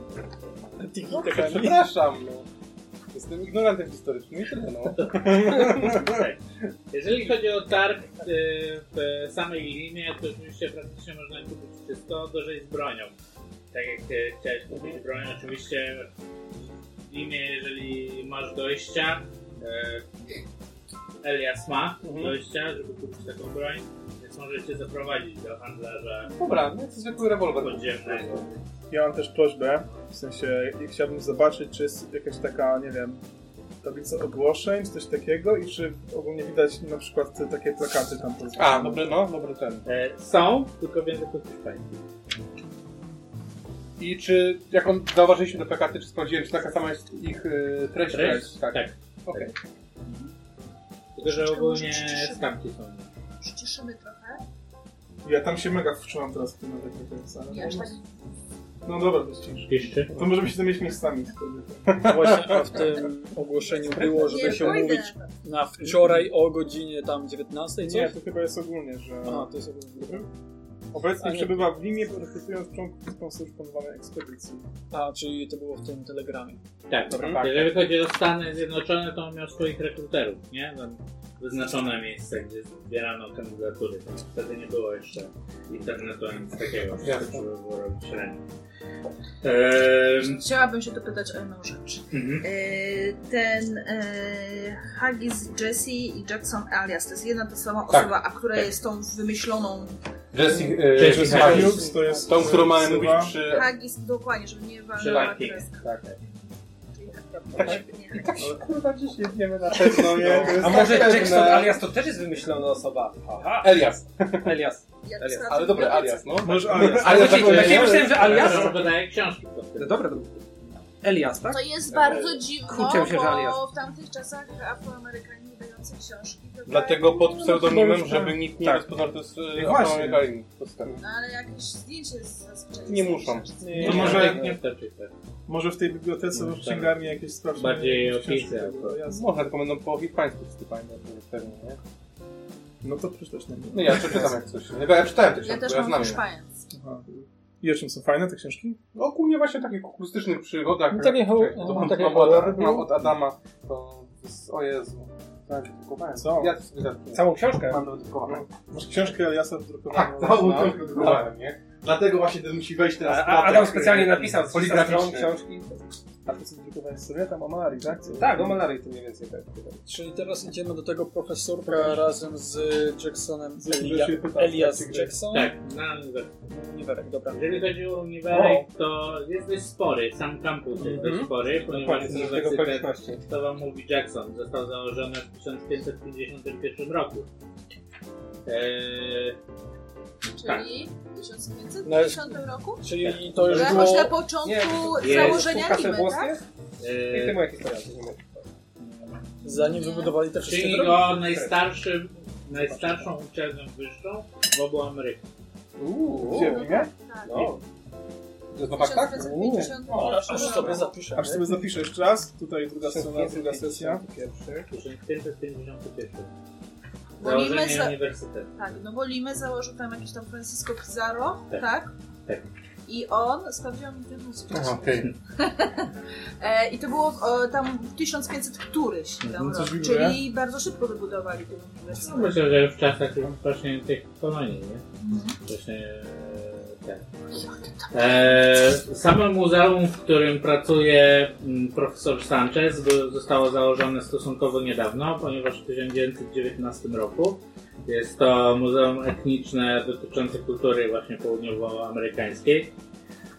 [SPEAKER 4] Przepraszam, no. Jestem ignorantem historycznym i tyle, no.
[SPEAKER 7] Tak. Jeżeli chodzi o targ e, w samej linie, to oczywiście praktycznie można kupić wszystko, gorzej z bronią. Tak jak e, chciałeś kupić broń, oczywiście w limie, jeżeli masz dojścia, e, Elias ma
[SPEAKER 4] Mhm.
[SPEAKER 7] dojścia, żeby kupić taką broń, więc możecie zaprowadzić do handlarza
[SPEAKER 4] Dobra, no to zwykły rewolwer.
[SPEAKER 7] podziemnego.
[SPEAKER 2] Ja mam też prośbę, w sensie ja chciałbym zobaczyć, czy jest jakaś taka, nie wiem, tablica ogłoszeń, czy coś takiego i czy ogólnie widać na przykład te takie plakaty tam po
[SPEAKER 4] A, dobry, no, dobry ten.
[SPEAKER 7] E, Są, tylko w języku hiszpańskim.
[SPEAKER 4] I czy, jak on, zauważyliśmy te plakaty, czy sprawdziłem, czy taka sama jest ich y, treść?
[SPEAKER 7] Treść?
[SPEAKER 4] Tak.
[SPEAKER 7] Tak.
[SPEAKER 4] Okej.
[SPEAKER 7] Tylko, że ogólnie
[SPEAKER 4] E,
[SPEAKER 7] stawki są.
[SPEAKER 8] Przyciszymy trochę.
[SPEAKER 2] Ja tam się mega wczułam teraz w tym nawet nie końca. ale-
[SPEAKER 8] Nie, aż tak.
[SPEAKER 2] No dobra, to jest ciężko.
[SPEAKER 7] Jeszcze?
[SPEAKER 2] To możemy się zamienić miejscami wtedy.
[SPEAKER 3] No Właśnie a w tym ogłoszeniu było, żeby
[SPEAKER 8] Nie,
[SPEAKER 3] się
[SPEAKER 8] pójdę.
[SPEAKER 3] umówić na wczoraj o godzinie tam 19,
[SPEAKER 2] Nie,
[SPEAKER 3] coś?
[SPEAKER 2] to chyba jest ogólnie, że...
[SPEAKER 3] A, to jest ogólnie.
[SPEAKER 2] Obecnie
[SPEAKER 3] A nie.
[SPEAKER 2] przebywa w Limie, praktykując członkowską służbę planowanej ekspedycji.
[SPEAKER 3] A, czyli to było w tym telegramie.
[SPEAKER 7] Tak,
[SPEAKER 4] Dobra,
[SPEAKER 7] tak.
[SPEAKER 4] tak.
[SPEAKER 7] Jeżeli chodzi o Stany Zjednoczone, to on miał swoich rekruterów, nie? Tam wyznaczone miejsce, gdzie zbierano kandydatury. Tam wtedy nie było jeszcze internetu ani nic takiego. Trzeba było robić ręcznie. Ehm,
[SPEAKER 6] Chciałabym się dopytać o jedną rzecz.
[SPEAKER 7] mhm.
[SPEAKER 6] Yy, ten yy, Haggis Jesse i Jackson alias to jest jedna ta sama
[SPEAKER 4] Tak.
[SPEAKER 6] osoba, a która
[SPEAKER 4] Tak.
[SPEAKER 6] jest tą wymyśloną
[SPEAKER 4] Jessica,
[SPEAKER 7] Jessica
[SPEAKER 4] Jessica
[SPEAKER 7] Hughes.
[SPEAKER 4] Hughes,
[SPEAKER 2] to jest...
[SPEAKER 4] e, tą, którą mamy
[SPEAKER 2] Sywa.
[SPEAKER 4] mówić przy...
[SPEAKER 6] Haggis, dokładnie, żeby nie walnęła
[SPEAKER 7] Szlaki.
[SPEAKER 6] kreska.
[SPEAKER 4] Tak.
[SPEAKER 6] Czyli tak, nie,
[SPEAKER 4] Tak się kurwa gdzieś jedziemy na pewno, nie?
[SPEAKER 5] A może Jackson alias to też jest wymyślona osoba? Aha,
[SPEAKER 4] Elias,
[SPEAKER 5] alias.
[SPEAKER 6] jak
[SPEAKER 4] Elias,
[SPEAKER 6] stracił
[SPEAKER 4] ale dobra,
[SPEAKER 6] pracę.
[SPEAKER 4] alias, no.
[SPEAKER 2] Może alias.
[SPEAKER 5] Ale
[SPEAKER 4] tak
[SPEAKER 5] właśnie,
[SPEAKER 4] powiem,
[SPEAKER 5] ja myślałem, że alias...
[SPEAKER 7] Ale on wydaje książki. po tym.
[SPEAKER 5] No dobra, dobra. Elias, tak?
[SPEAKER 6] To jest bardzo dziwne,
[SPEAKER 5] Kurczę, myślę, że alias.
[SPEAKER 6] bo w tamtych czasach Afroamerykanie wydający książki wydawali-
[SPEAKER 4] Dlatego pod pseudonimem,
[SPEAKER 2] Tak.
[SPEAKER 4] żeby nikt nie
[SPEAKER 2] Tak.
[SPEAKER 4] rozpoznał, to jest e,
[SPEAKER 2] No właśnie.
[SPEAKER 4] Afroamerykanin. To jest tak.
[SPEAKER 6] No, Ale jakieś zdjęcie jest zazwyczaj.
[SPEAKER 4] Nie muszą.
[SPEAKER 2] To
[SPEAKER 7] Nie,
[SPEAKER 2] No może-
[SPEAKER 7] tak Nie wtoczy tak.
[SPEAKER 2] Może w tej bibliotece lub
[SPEAKER 7] tak.
[SPEAKER 2] księgarni jakieś sprawdzone
[SPEAKER 7] Bardziej
[SPEAKER 2] książki
[SPEAKER 7] opisy,
[SPEAKER 2] będą,
[SPEAKER 7] to-
[SPEAKER 2] jasne.
[SPEAKER 4] Można tylko będą po hiszpańsku wstypanie, pewnie, nie?
[SPEAKER 2] No to przeczytać na mnie.
[SPEAKER 4] No ja przeczytam jak coś. Nie, bo ja czytałem te
[SPEAKER 6] Ja
[SPEAKER 4] książki,
[SPEAKER 6] też
[SPEAKER 4] bo ja znam
[SPEAKER 6] mam
[SPEAKER 4] je.
[SPEAKER 6] szpając.
[SPEAKER 2] Aha. I o czym są fajne te książki?
[SPEAKER 4] No ogólnie właśnie takie kulturystycznych przygodach.
[SPEAKER 3] No takie ho-
[SPEAKER 4] Czekaj, to mam
[SPEAKER 3] takie
[SPEAKER 4] mam od,
[SPEAKER 3] horror.
[SPEAKER 4] mam od Adama, to z, o Jezu. Tak, kupowałem.
[SPEAKER 2] Co?
[SPEAKER 4] Ja to sobie zapisałem.
[SPEAKER 5] Całą książkę?
[SPEAKER 4] Mam wydrukowaną.
[SPEAKER 2] Masz książkę Eliasa wydrukowaną.
[SPEAKER 4] Tak, całą
[SPEAKER 2] No.
[SPEAKER 4] książkę wydrukowałem, nie? Dlatego właśnie ten musi wejść teraz.
[SPEAKER 5] A-
[SPEAKER 4] w
[SPEAKER 5] A
[SPEAKER 4] plotek,
[SPEAKER 5] Adam
[SPEAKER 4] e,
[SPEAKER 5] specjalnie napisał z stron
[SPEAKER 4] poligraficzny.
[SPEAKER 5] książki.
[SPEAKER 2] A ty co wydrukowałeś sobie? Tam o Malarii, tak? Co?
[SPEAKER 5] Tak, o Malarii to mniej więcej tak.
[SPEAKER 3] Czyli teraz idziemy do tego profesorka razem z Jacksonem.
[SPEAKER 2] Że się pyta,
[SPEAKER 3] Elias
[SPEAKER 2] jak się
[SPEAKER 3] Jackson.
[SPEAKER 7] Tak, na uniwersytecie.
[SPEAKER 3] Niwerek, dobra.
[SPEAKER 7] Jeżeli chodzi o Mhm. No uniwersytet, to jest dość spory, sam kampus jest dość spory, ponieważ
[SPEAKER 4] Dokładnie, z tego
[SPEAKER 7] uniwersytet,
[SPEAKER 4] okoliczności.
[SPEAKER 7] to wam mówi Jackson, został założony w 1551 roku. Eee,
[SPEAKER 4] Tak.
[SPEAKER 6] Czyli w
[SPEAKER 4] No,
[SPEAKER 6] 1550 roku?
[SPEAKER 3] Czyli to już
[SPEAKER 8] Tak.
[SPEAKER 6] To jakoś
[SPEAKER 3] było...
[SPEAKER 6] na początku
[SPEAKER 7] Nie, to-
[SPEAKER 6] założenia Limy, tak?
[SPEAKER 5] Nie
[SPEAKER 7] eee,
[SPEAKER 5] wiem, jakie historia.
[SPEAKER 3] Zanim wybudowali te wszystkie
[SPEAKER 7] czyli no-
[SPEAKER 3] drogi.
[SPEAKER 7] go najstarszym, najstarszą uczelnią wyższą w obu Amerykach.
[SPEAKER 4] Uuu.
[SPEAKER 2] Gdzie, w Limie?
[SPEAKER 6] Tak.
[SPEAKER 4] No. To zobacz, tak?
[SPEAKER 6] 1550
[SPEAKER 3] O,
[SPEAKER 6] roku.
[SPEAKER 3] No, Aż sobie zapiszę.
[SPEAKER 2] Aż sobie zapiszę jeszcze raz. Tutaj druga strona, druga sesja.
[SPEAKER 5] Pierwszy.
[SPEAKER 7] 1551.
[SPEAKER 6] Bo Limę
[SPEAKER 7] Założenie
[SPEAKER 6] za-
[SPEAKER 7] uniwersytetu.
[SPEAKER 6] Tak, no bo Limę założył tam jakiś tam Francisco Pizarro,
[SPEAKER 7] Tak.
[SPEAKER 6] tak?
[SPEAKER 7] Tak.
[SPEAKER 6] I on, sprawdziłam internet.
[SPEAKER 4] Aha, Okej.
[SPEAKER 6] E, I to było w- o, tam w 1500 któryś tam
[SPEAKER 2] Mhm, coś
[SPEAKER 6] rok,
[SPEAKER 2] widzę.
[SPEAKER 6] czyli bardzo szybko wybudowali ten
[SPEAKER 7] No,
[SPEAKER 6] uniwersytet.
[SPEAKER 7] myślę, że w czasach już właśnie tych kolonii, nie? Właśnie e, tak. E, samo muzeum, w którym pracuje mm, profesor Sanchez, by- zostało założone stosunkowo niedawno, ponieważ w 1919 roku. Jest to muzeum etniczne dotyczące kultury właśnie południowoamerykańskiej.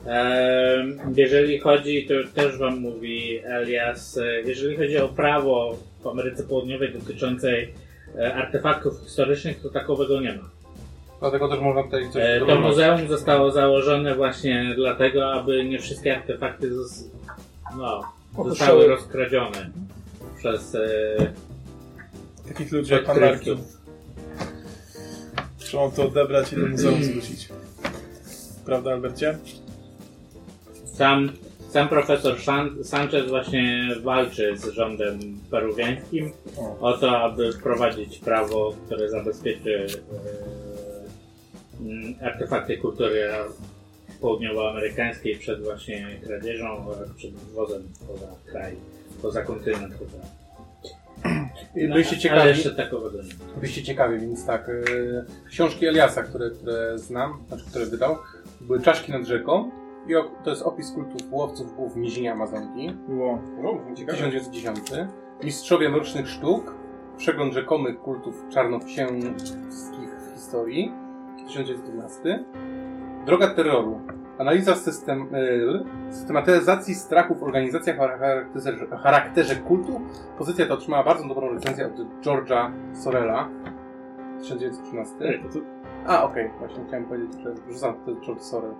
[SPEAKER 7] Em, Jeżeli chodzi, to już też Wam mówi Elias, e, jeżeli chodzi o prawo w Ameryce Południowej dotyczącej e, artefaktów historycznych, to takowego nie ma.
[SPEAKER 4] Dlatego też można tutaj coś
[SPEAKER 7] E, To
[SPEAKER 4] zrobić.
[SPEAKER 7] muzeum zostało założone właśnie dlatego, aby nie wszystkie artefakty zos- no, zostały
[SPEAKER 3] Opuszczały.
[SPEAKER 7] rozkradzione przez e,
[SPEAKER 2] Takich ludzi jak pan
[SPEAKER 7] odkrywców.
[SPEAKER 2] Larkin. Trzeba to odebrać i do muzeum zwrócić. Prawda, Albercie?
[SPEAKER 7] Sam, sam profesor San- Sanchez właśnie walczy z rządem peruwiańskim o to, aby wprowadzić prawo, które zabezpieczy e, mm, artefakty kultury południowoamerykańskiej przed właśnie kradzieżą oraz przed wywozem poza kraj, poza kontynent. Poza...
[SPEAKER 4] I Byliście
[SPEAKER 7] Ale
[SPEAKER 4] ciekawi,
[SPEAKER 7] jeszcze takowego nie.
[SPEAKER 4] byliście ciekawi, więc tak. e, Książki Eliasa, które, które znam, znaczy które wydał, były Czaszki nad rzeką. I o, to jest opis kultów łowców głów w nizinie Amazonki.
[SPEAKER 2] Było.
[SPEAKER 4] No, 1910. Mistrzowie mrocznych sztuk. Przegląd rzekomych kultów czarnoksięskich w historii. 1912. Droga terroru. Analiza system, y, systematyzacji strachu w organizacjach o charakterze, charakterze kultu. Pozycja ta otrzymała bardzo dobrą recenzję od George'a Sorela. 1913.
[SPEAKER 2] To, to,
[SPEAKER 4] A, okej, właśnie chciałem powiedzieć, że rzucam to George Sorel.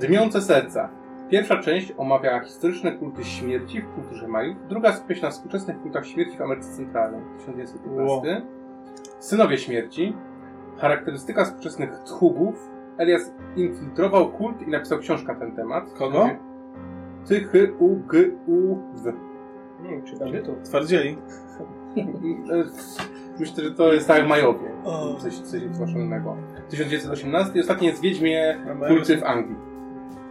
[SPEAKER 4] Dymiące serca. Pierwsza część omawia historyczne kulty śmierci w kulturze Majów, druga skupia się na współczesnych kultach śmierci w Ameryce Centralnej 1915. Synowie śmierci. Charakterystyka współczesnych tchubów. Elias infiltrował kult i napisał książkę na ten temat.
[SPEAKER 2] Kogo?
[SPEAKER 4] Tychy u g u w.
[SPEAKER 2] twardzieli.
[SPEAKER 4] E, Myślę, że to jest tak jak Majowie.
[SPEAKER 2] O.
[SPEAKER 4] Coś, coś zgłoszonego. 1918 i ostatnie jest Wiedźmie
[SPEAKER 2] A Majowie-
[SPEAKER 4] Kulty w Anglii.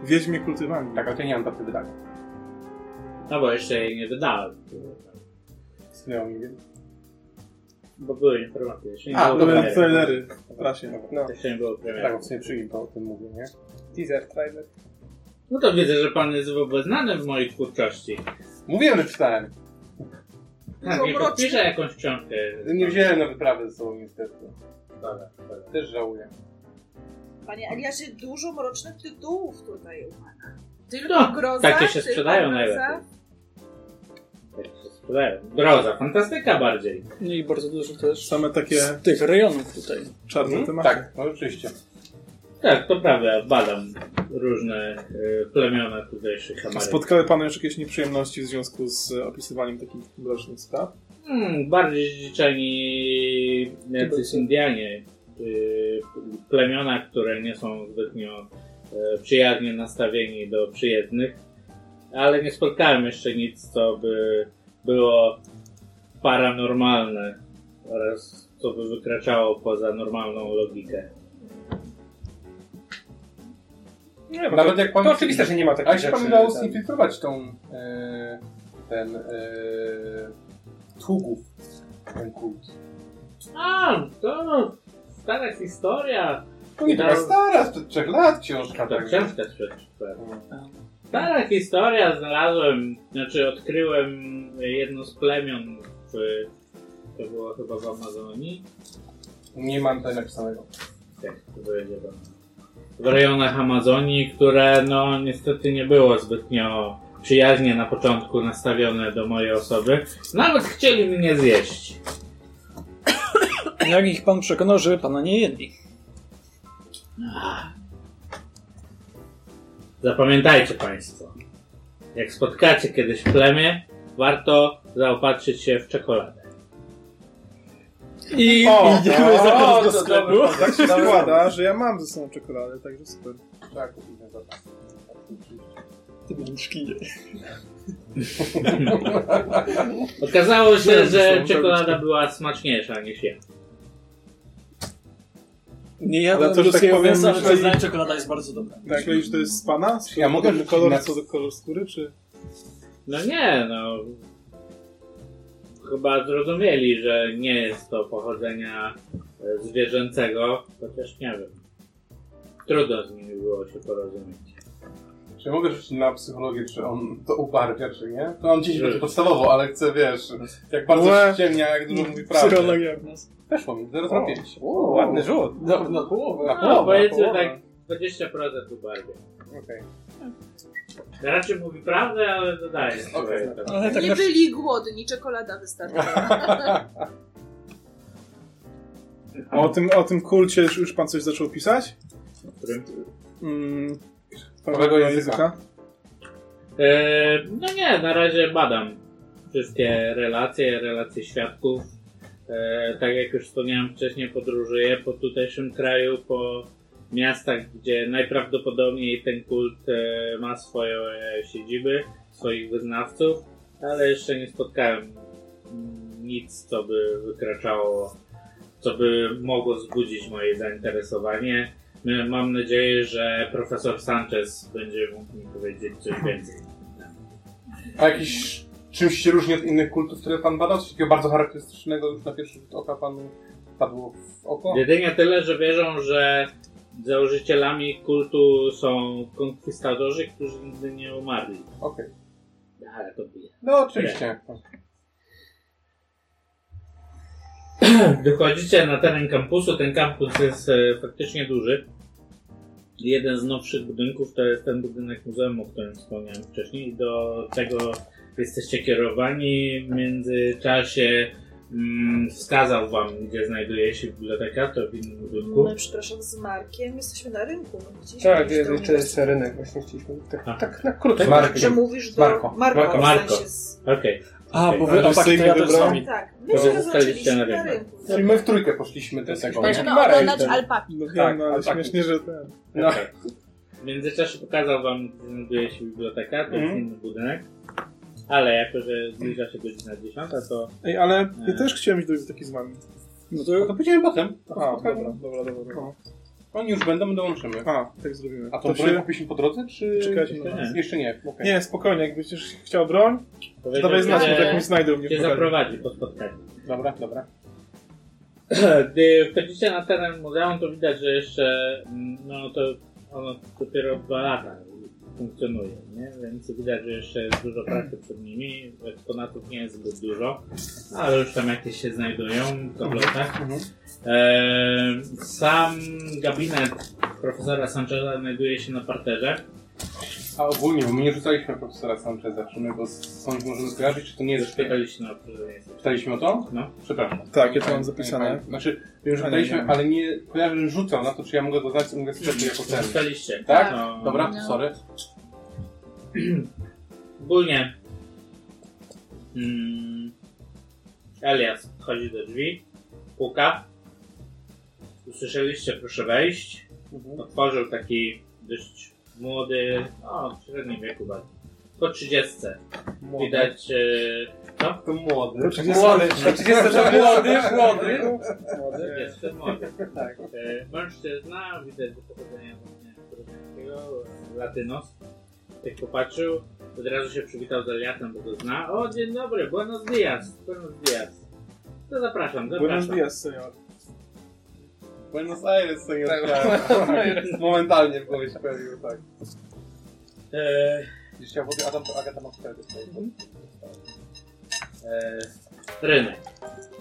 [SPEAKER 2] Wiedźmie kultywami.
[SPEAKER 4] Tak, ale to ja nie mam daty wydania.
[SPEAKER 7] No bo jeszcze jej nie wydałem.
[SPEAKER 4] Istnieją mi, więc...
[SPEAKER 7] Bo były informacje. Jeszcze nie
[SPEAKER 4] A,
[SPEAKER 7] było
[SPEAKER 2] To
[SPEAKER 7] premiery.
[SPEAKER 2] były trailery w prasie.
[SPEAKER 4] No.
[SPEAKER 7] Jeszcze nie było premiery.
[SPEAKER 4] Tak, w sumie przyjmij to, o tym mówię, nie?
[SPEAKER 5] Teaser, trailer.
[SPEAKER 7] No to widzę, że pan jest obeznany w mojej twórczości.
[SPEAKER 4] Mówiłem, że czytałem.
[SPEAKER 7] Tak, nie podpiszę jakąś książkę.
[SPEAKER 4] Nie wziąłem na wyprawę ze sobą niestety.
[SPEAKER 7] Dobra, dobra.
[SPEAKER 4] Też żałuję.
[SPEAKER 8] Panie Eliasie, dużo mrocznych tytułów tutaj u pana. Tylko
[SPEAKER 3] Tak,
[SPEAKER 7] No,
[SPEAKER 8] groza,
[SPEAKER 7] takie się
[SPEAKER 8] tylko
[SPEAKER 7] sprzedają
[SPEAKER 8] groza.
[SPEAKER 7] najlepiej. Tak się sprzedają. Groza, fantastyka bardziej.
[SPEAKER 3] No i bardzo dużo też
[SPEAKER 2] Same takie
[SPEAKER 3] z tych rejonów tutaj.
[SPEAKER 2] czarne
[SPEAKER 4] Mhm.
[SPEAKER 2] tematy.
[SPEAKER 4] Tak, no oczywiście.
[SPEAKER 7] Tak, to prawda, badam różne y, plemiona tutejszych
[SPEAKER 2] A
[SPEAKER 7] Ameryk.
[SPEAKER 2] Spotkały Pana już jakieś nieprzyjemności w związku z e, opisywaniem takich mrocznych spraw?
[SPEAKER 7] Hmm, bardziej zdziczeni jacyś Indianie. y, Plemiona, które nie są zbytnio y, przyjaznie nastawieni do przyjezdnych. Ale nie spotkałem jeszcze nic, co by było paranormalne oraz co by wykraczało poza normalną logikę.
[SPEAKER 5] Nie,
[SPEAKER 4] Nawet jak pan...
[SPEAKER 5] Tak, To oczywiste, że nie ma takich
[SPEAKER 4] Ale się
[SPEAKER 5] rzeczy. tak.
[SPEAKER 4] pan udało
[SPEAKER 5] tam.
[SPEAKER 4] zinfiltrować tą... E, ten... E, tługów. Ten kult.
[SPEAKER 7] A, to stara historia.
[SPEAKER 4] To
[SPEAKER 5] No.
[SPEAKER 4] nie taka stara, sprzed trzech lat książka.
[SPEAKER 7] To
[SPEAKER 4] tak.
[SPEAKER 7] książka przeczytałem. Stara historia, znalazłem, znaczy odkryłem jedno z plemion w, to było chyba w Amazonii,
[SPEAKER 4] Nie mam tutaj napisanego.
[SPEAKER 7] jak to będzie tam, w rejonach Amazonii, które no niestety nie było zbytnio przyjaźnie na początku nastawione do mojej osoby. Nawet chcieli mnie zjeść.
[SPEAKER 3] Jak ich pan przekonał, żeby pana nie jedli?
[SPEAKER 7] Zapamiętajcie Państwo, jak spotkacie kiedyś plemię, warto zaopatrzyć się w czekoladę.
[SPEAKER 3] I
[SPEAKER 2] O,
[SPEAKER 3] idziemy
[SPEAKER 4] o,
[SPEAKER 3] za
[SPEAKER 4] to
[SPEAKER 3] pan do
[SPEAKER 4] dobry
[SPEAKER 3] sklepu.
[SPEAKER 2] Tak się składa, że ja mam ze sobą czekoladę, także super.
[SPEAKER 4] Trzeba
[SPEAKER 5] Tak.
[SPEAKER 4] kupić na zapas.
[SPEAKER 3] Ty będziesz kinie.
[SPEAKER 7] Okazało się,
[SPEAKER 2] Byłem ze
[SPEAKER 7] że
[SPEAKER 2] sobą,
[SPEAKER 7] czekolada była smaczniejsza niż ja.
[SPEAKER 3] Nie
[SPEAKER 2] Ale
[SPEAKER 3] jadłem
[SPEAKER 2] to, że tak
[SPEAKER 3] ludzkiego
[SPEAKER 2] powiem,
[SPEAKER 3] mięsa, ale
[SPEAKER 2] myślę,
[SPEAKER 3] przyznaję, czekolada jest bardzo dobra.
[SPEAKER 2] Tak, myślisz, że to jest z Pana? Z
[SPEAKER 4] Ja mogę rzucić
[SPEAKER 2] kolor,
[SPEAKER 4] na-
[SPEAKER 2] co do kolor skóry, czy...
[SPEAKER 7] No nie, no. Chyba zrozumieli, że nie jest to pochodzenia e, zwierzęcego, chociaż nie wiem. Trudno z nimi było się porozumieć.
[SPEAKER 4] Czy mogę rzucić na psychologię, czy on to ubarwia, czy nie? To on dziś
[SPEAKER 7] Nie.
[SPEAKER 4] będzie podstawowo, ale chcę, wiesz, jak bardzo
[SPEAKER 2] Łe.
[SPEAKER 4] ściemnia, jak dużo mówi prawdy.
[SPEAKER 3] Psychologia w nas.
[SPEAKER 4] Weszło mi, 0,5.
[SPEAKER 5] O, ładny rzut.
[SPEAKER 3] No, na połowę.
[SPEAKER 4] Na
[SPEAKER 7] No,
[SPEAKER 4] połowę, na
[SPEAKER 7] powiedzmy
[SPEAKER 4] połowę.
[SPEAKER 7] tak 20% ubarwia.
[SPEAKER 4] Okej.
[SPEAKER 7] Raczej mówi prawdę, ale dodaje swoje. tam.
[SPEAKER 3] Ale tak
[SPEAKER 8] Nie
[SPEAKER 3] na...
[SPEAKER 8] byli głodni, czekolada wystarczyła.
[SPEAKER 2] A o tym, o tym kulcie już, już Pan coś zaczął pisać?
[SPEAKER 7] Którym?
[SPEAKER 2] Mm,
[SPEAKER 4] Nowego języka.
[SPEAKER 7] E, no nie, na razie badam wszystkie relacje, relacje świadków. E, tak jak już wspomniałem wcześniej, podróżuję po tutejszym kraju, po miastach, gdzie najprawdopodobniej ten kult e, ma swoje e, siedziby, swoich wyznawców, ale jeszcze nie spotkałem mm, nic, co by wykraczało, co by mogło wzbudzić moje zainteresowanie. My- Mam nadzieję, że profesor Sanchez będzie mógł mi powiedzieć coś więcej.
[SPEAKER 4] A jakiś czymś się różni od innych kultów, które pan badał? Coś takiego bardzo charakterystycznego już na pierwszy rzut oka panu padło w oko?
[SPEAKER 7] Jedynie tyle, że wierzą, że założycielami kultu są konkwistadorzy, którzy nigdy nie umarli.
[SPEAKER 4] Okej.
[SPEAKER 7] Ale to bije.
[SPEAKER 4] No oczywiście.
[SPEAKER 7] Wychodzicie na teren kampusu. Ten kampus jest e, faktycznie duży. Jeden z nowszych budynków to jest ten budynek muzeum, o którym wspomniałem wcześniej. I Do tego jesteście kierowani. W międzyczasie mm, wskazał wam, gdzie znajduje się biblioteka, to w innym budynku.
[SPEAKER 8] My, No, przepraszam, z Markiem jesteśmy na rynku. No, widzieliśmy
[SPEAKER 5] Tak,
[SPEAKER 8] już
[SPEAKER 5] jest
[SPEAKER 8] tą-
[SPEAKER 5] jeszcze jest rynek, właśnie chcieliśmy. Tak,
[SPEAKER 7] A.
[SPEAKER 5] tak na krótko.
[SPEAKER 4] Mark.
[SPEAKER 8] Że mówisz do
[SPEAKER 4] Marko.
[SPEAKER 8] Marko. Marko.
[SPEAKER 4] Marko.
[SPEAKER 7] Marko.
[SPEAKER 8] W sensie z...
[SPEAKER 7] Okej.
[SPEAKER 3] A, bo
[SPEAKER 2] Ale
[SPEAKER 3] wy, a tak, to
[SPEAKER 2] syjmy
[SPEAKER 3] ja też z
[SPEAKER 2] wybrałem.
[SPEAKER 3] wami.
[SPEAKER 8] Tak, my
[SPEAKER 7] To
[SPEAKER 8] się
[SPEAKER 7] zostaliście
[SPEAKER 8] rozłączyliśmy
[SPEAKER 7] na
[SPEAKER 8] na
[SPEAKER 7] rynku.
[SPEAKER 8] rynku.
[SPEAKER 4] Czyli my w trójkę poszliśmy do tego. nie?
[SPEAKER 8] Będziemy oglądać alpaki.
[SPEAKER 2] No wiem,
[SPEAKER 4] Tak,
[SPEAKER 2] no, ale
[SPEAKER 4] tak.
[SPEAKER 2] śmiesznie, że ten.
[SPEAKER 4] No.
[SPEAKER 7] Okej. W międzyczasie pokazał wam, gdzie znajduje się biblioteka, to jest inny budynek. Ale jako, że zbliża się godzina 10, to
[SPEAKER 2] Ej, ale ja
[SPEAKER 7] Nie.
[SPEAKER 2] też chciałem iść do biblioteki z wami.
[SPEAKER 3] No
[SPEAKER 4] No
[SPEAKER 3] to No.
[SPEAKER 4] to pójdziemy potem.
[SPEAKER 2] A,
[SPEAKER 4] Aha,
[SPEAKER 2] dobra, dobra, dobra. dobra.
[SPEAKER 4] Oni już będą, my dołączymy.
[SPEAKER 2] A, tak zrobimy.
[SPEAKER 4] A
[SPEAKER 2] To
[SPEAKER 4] tą broń kupiliśmy po drodze, czy... No,
[SPEAKER 2] Czekajcie na
[SPEAKER 7] Nie.
[SPEAKER 2] nas.
[SPEAKER 4] Jeszcze nie, okej.
[SPEAKER 2] Nie, spokojnie, jakbyś chciał broń, to
[SPEAKER 7] powiedział,
[SPEAKER 2] dawaj znać,
[SPEAKER 7] że
[SPEAKER 2] bo tak mi znajdą mnie
[SPEAKER 7] cię
[SPEAKER 2] w pokoju.
[SPEAKER 7] zaprowadzi po spotkaniu.
[SPEAKER 4] Dobra, dobra.
[SPEAKER 7] Gdy wchodzicie na teren muzeum, to widać, że jeszcze, mm, no to ono dopiero dwa lata funkcjonuje, nie? Więc widać, że jeszcze jest dużo pracy przed nimi, eksponatów nie jest zbyt dużo, ale już tam jakieś się znajdują w tabletach. Eee, sam gabinet profesora Sancheza znajduje się na parterze.
[SPEAKER 4] A ogólnie, bo my nie rzucaliśmy profesora Sancheza, czy my go sąd możemy skojarzyć, czy to nie jest...
[SPEAKER 7] Zapytaliście na przykład.
[SPEAKER 4] Pytaliśmy o to?
[SPEAKER 7] No.
[SPEAKER 4] Przepraszam.
[SPEAKER 2] Tak, ja to mam
[SPEAKER 4] Panie- panie-
[SPEAKER 2] zapisane.
[SPEAKER 4] panie- Znaczy, już
[SPEAKER 2] Ale nie
[SPEAKER 4] pytaliśmy,
[SPEAKER 2] wiem.
[SPEAKER 4] ale nie kojarzę, że rzucał na to, czy ja mogę go znać i mogę sprzedać jako cel.
[SPEAKER 7] Zapytaliście.
[SPEAKER 4] Tak?
[SPEAKER 7] No,
[SPEAKER 4] Dobra,
[SPEAKER 6] No.
[SPEAKER 4] sorry.
[SPEAKER 7] Ogólnie mm, Elias wchodzi do drzwi, puka. Usłyszeliście, proszę wejść. Otworzył taki dość młody, no w średnim wieku bardziej. Po 30. Widać, e,
[SPEAKER 4] To młody.
[SPEAKER 5] Młody, to 30 to młody, młody.
[SPEAKER 7] Jestem młody. E, Mężczyzna, widać do pochodzenia właśnie koreańskiego, e, latynos. Jak popatrzył, od razu się przywitał z Eliasem, bo go zna. O, dzień dobry, buenos dias, buenos dias. To zapraszam,
[SPEAKER 2] Buenos
[SPEAKER 7] zapraszam.
[SPEAKER 2] dias, senior.
[SPEAKER 4] Buenos Aires, to jest tak. [LAUGHS] Momentalnie w głowie się pojawiło, tak.
[SPEAKER 7] E,
[SPEAKER 4] Gdzieś ja wody, Adam, Agata ma wtedy swoje.
[SPEAKER 7] e, rynek.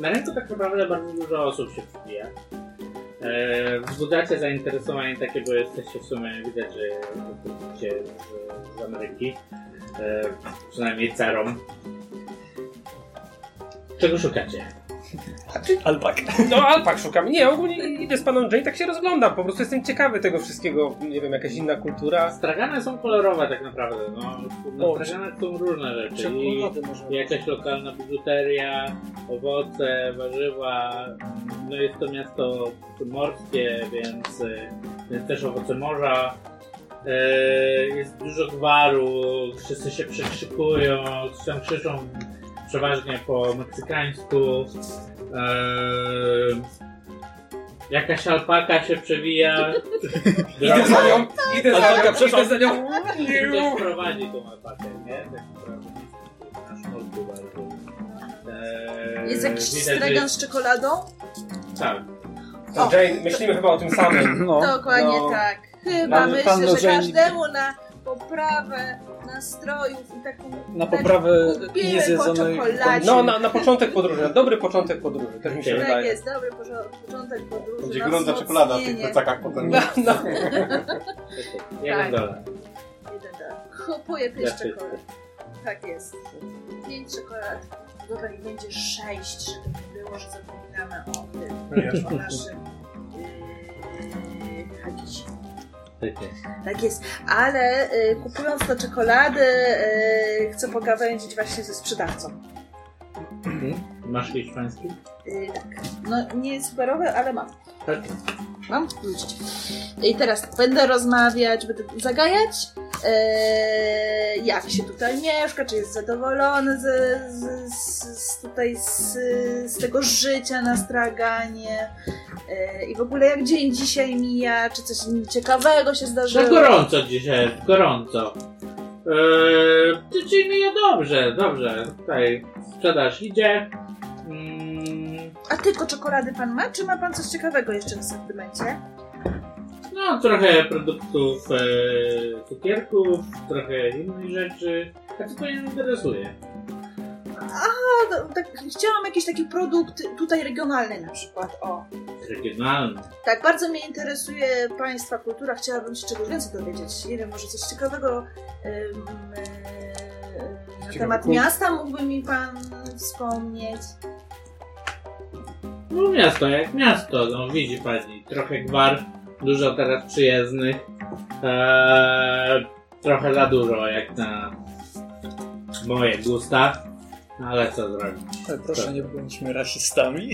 [SPEAKER 7] Na rynku tak naprawdę bardzo dużo osób się przybija. E, wzbudzacie zainteresowanie takie, bo jesteście w sumie, widać, że jesteście z, z Ameryki. E, przynajmniej cerą. Czego szukacie?
[SPEAKER 5] Alpak. No, alpak szukam. Nie, ogólnie idę z panem Jane, tak się rozglądam. Po prostu jestem ciekawy tego wszystkiego. Nie wiem, jakaś inna kultura.
[SPEAKER 7] Stragane są kolorowe tak naprawdę. No,
[SPEAKER 3] O,
[SPEAKER 7] na straganach są różne rzeczy. I
[SPEAKER 3] czekolady może.
[SPEAKER 7] jakaś lokalna biżuteria, owoce, warzywa. No jest to miasto morskie, więc, y, więc też owoce morza. E, Jest dużo gwaru, wszyscy się przekrzykują, coś tam krzyczą przeważnie po meksykańsku. E, Jakaś alpaka się przewija.
[SPEAKER 5] Idę za nią, idę za nią, idę za nią.
[SPEAKER 7] Ktoś prowadzi tą alpakę, nie? Tak naprawdę. Na sznurku bardzo. Eee,
[SPEAKER 6] Jest jakiś
[SPEAKER 7] widać, że
[SPEAKER 6] stragan
[SPEAKER 7] jest-
[SPEAKER 6] z czekoladą?
[SPEAKER 7] Tak.
[SPEAKER 5] To Jane, myślimy chyba o tym samym.
[SPEAKER 3] No.
[SPEAKER 6] Dokładnie
[SPEAKER 2] no.
[SPEAKER 6] tak. Chyba
[SPEAKER 3] Mamy pan
[SPEAKER 6] myślę, że
[SPEAKER 3] Rodzenik.
[SPEAKER 6] każdemu na poprawę nastrojów i taką...
[SPEAKER 3] Na poprawę
[SPEAKER 6] tak kupiłem
[SPEAKER 3] niezjedzonej...
[SPEAKER 6] po czekoladzie.
[SPEAKER 5] No, na, na początek podróży, na dobry początek podróży, też mi się
[SPEAKER 7] Tak
[SPEAKER 6] Tak
[SPEAKER 5] wydaje.
[SPEAKER 6] jest, dobry porzo- początek podróży.
[SPEAKER 4] Będzie
[SPEAKER 6] na
[SPEAKER 4] gorąca czekolada w tych
[SPEAKER 6] wzmocnienie.
[SPEAKER 4] plecakach potem.
[SPEAKER 5] No, no.
[SPEAKER 7] Czekaj, Jeden
[SPEAKER 6] Tak.
[SPEAKER 7] dolar.
[SPEAKER 6] Jeden dolar. Kupuję
[SPEAKER 7] Dla
[SPEAKER 6] tak. pięć czekolad.
[SPEAKER 7] wszystkich.
[SPEAKER 6] Tak jest. Pięć czekolad. Dobra, i będzie sześć, żeby nie było, że zapominamy o tym, o naszym y, yy, hakisie.
[SPEAKER 7] Tak jest.
[SPEAKER 6] Tak jest, ale y, kupując te czekolady y, chcę pogawędzić właśnie ze sprzedawcą.
[SPEAKER 7] Masz hiszpański?
[SPEAKER 6] Y, tak, no nie superowe, ale mam.
[SPEAKER 7] Tak.
[SPEAKER 6] Mam? Widzicie. I teraz będę rozmawiać, będę zagajać, e, jak się tutaj mieszka, czy jest zadowolony z, z, z, z tutaj z, z tego życia na straganie e, i w ogóle jak dzień dzisiaj mija, czy coś ciekawego się
[SPEAKER 7] Za
[SPEAKER 6] zdarzyło.
[SPEAKER 7] No gorąco dzisiaj, jest, gorąco. Eee, Tydzień mija dobrze, dobrze. Tutaj sprzedaż idzie. Mm,
[SPEAKER 6] A tylko czekolady pan ma, czy ma pan coś ciekawego jeszcze w asortymencie?
[SPEAKER 7] No, trochę produktów e, cukierków, trochę innych rzeczy. A co to nie interesuje?
[SPEAKER 6] A, no, tak, chciałam jakiś taki produkt tutaj regionalny na przykład, o.
[SPEAKER 7] Regionalne.
[SPEAKER 6] Tak, bardzo mnie interesuje Państwa kultura, chciałabym się czegoś więcej dowiedzieć. Nie wiem, może coś ciekawego em, e, na temat miasta mógłby mi Pan wspomnieć.
[SPEAKER 7] No miasto jak miasto, no widzi pani, trochę gwar, dużo teraz przyjezdnych, eee, trochę za dużo jak na moje gusta, ale co zrobić.
[SPEAKER 3] Ale Proszę, nie bądźmy rasistami.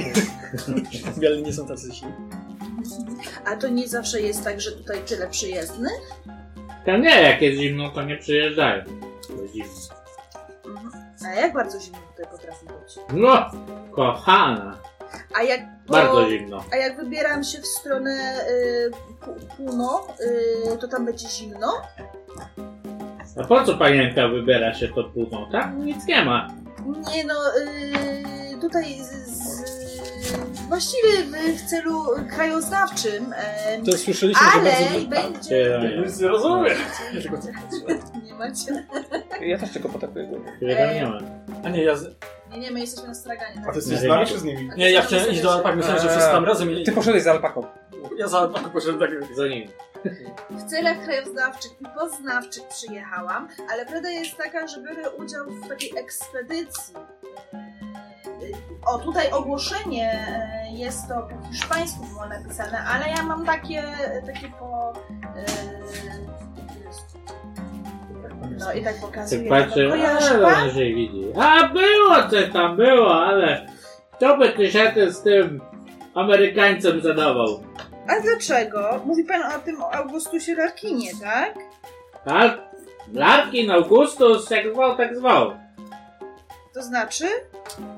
[SPEAKER 3] Biali nie są tacy źli.
[SPEAKER 6] A to nie zawsze jest tak, że tutaj tyle przyjezdnych?
[SPEAKER 7] Tam nie, jak jest zimno to nie przyjeżdżają, bo zimno.
[SPEAKER 6] Mhm. A jak bardzo zimno tutaj potrafi być?
[SPEAKER 7] No, kochana,
[SPEAKER 6] A jak, po,
[SPEAKER 7] bardzo zimno.
[SPEAKER 6] a jak wybieram się w stronę y, pu- Puno, y, to tam będzie zimno?
[SPEAKER 7] A po co panienka wybiera się pod budą, tak? Nic nie ma.
[SPEAKER 6] Nie no, y, tutaj z, z, właściwie w, w celu krajoznawczym, em,
[SPEAKER 3] To słyszeliśmy, że bardzo
[SPEAKER 6] ale
[SPEAKER 3] dużo...
[SPEAKER 6] będzie...
[SPEAKER 7] Rozumiem.
[SPEAKER 6] Nie macie. [LAUGHS]
[SPEAKER 5] Ja też tylko potakuję.
[SPEAKER 7] nie ma.
[SPEAKER 3] A nie, ja... z-
[SPEAKER 6] Nie, nie, my jesteśmy na straganie.
[SPEAKER 2] A
[SPEAKER 6] Tak?
[SPEAKER 2] ty jesteś z nami Eee, czy z nimi?
[SPEAKER 3] Nie, ja chciałem iść do alpak, myślałem, że wszyscy tam razem mieli...
[SPEAKER 5] Ty poszedłeś za alpaką.
[SPEAKER 3] Ja za alpaku poszedłem tak...
[SPEAKER 7] Za nim.
[SPEAKER 6] W celach krajoznawczych i poznawczych przyjechałam, ale prawda jest taka, że biorę udział w takiej ekspedycji. Yy, O, tutaj ogłoszenie yy, jest to po hiszpańsku było napisane, ale ja mam takie, takie po... e, yy, No i tak
[SPEAKER 7] Ty
[SPEAKER 6] pokazuję.
[SPEAKER 7] patrzy,
[SPEAKER 6] Kojarzysz
[SPEAKER 7] ale on się widzi. A było co tam było, ale to by ty się ty z tym Amerykańcem zadawał.
[SPEAKER 6] A dlaczego? Mówi pan o tym Augustusie Larkinie, tak?
[SPEAKER 7] Tak? Larkin, Augustus, jak zwał, tak zwał.
[SPEAKER 6] To znaczy?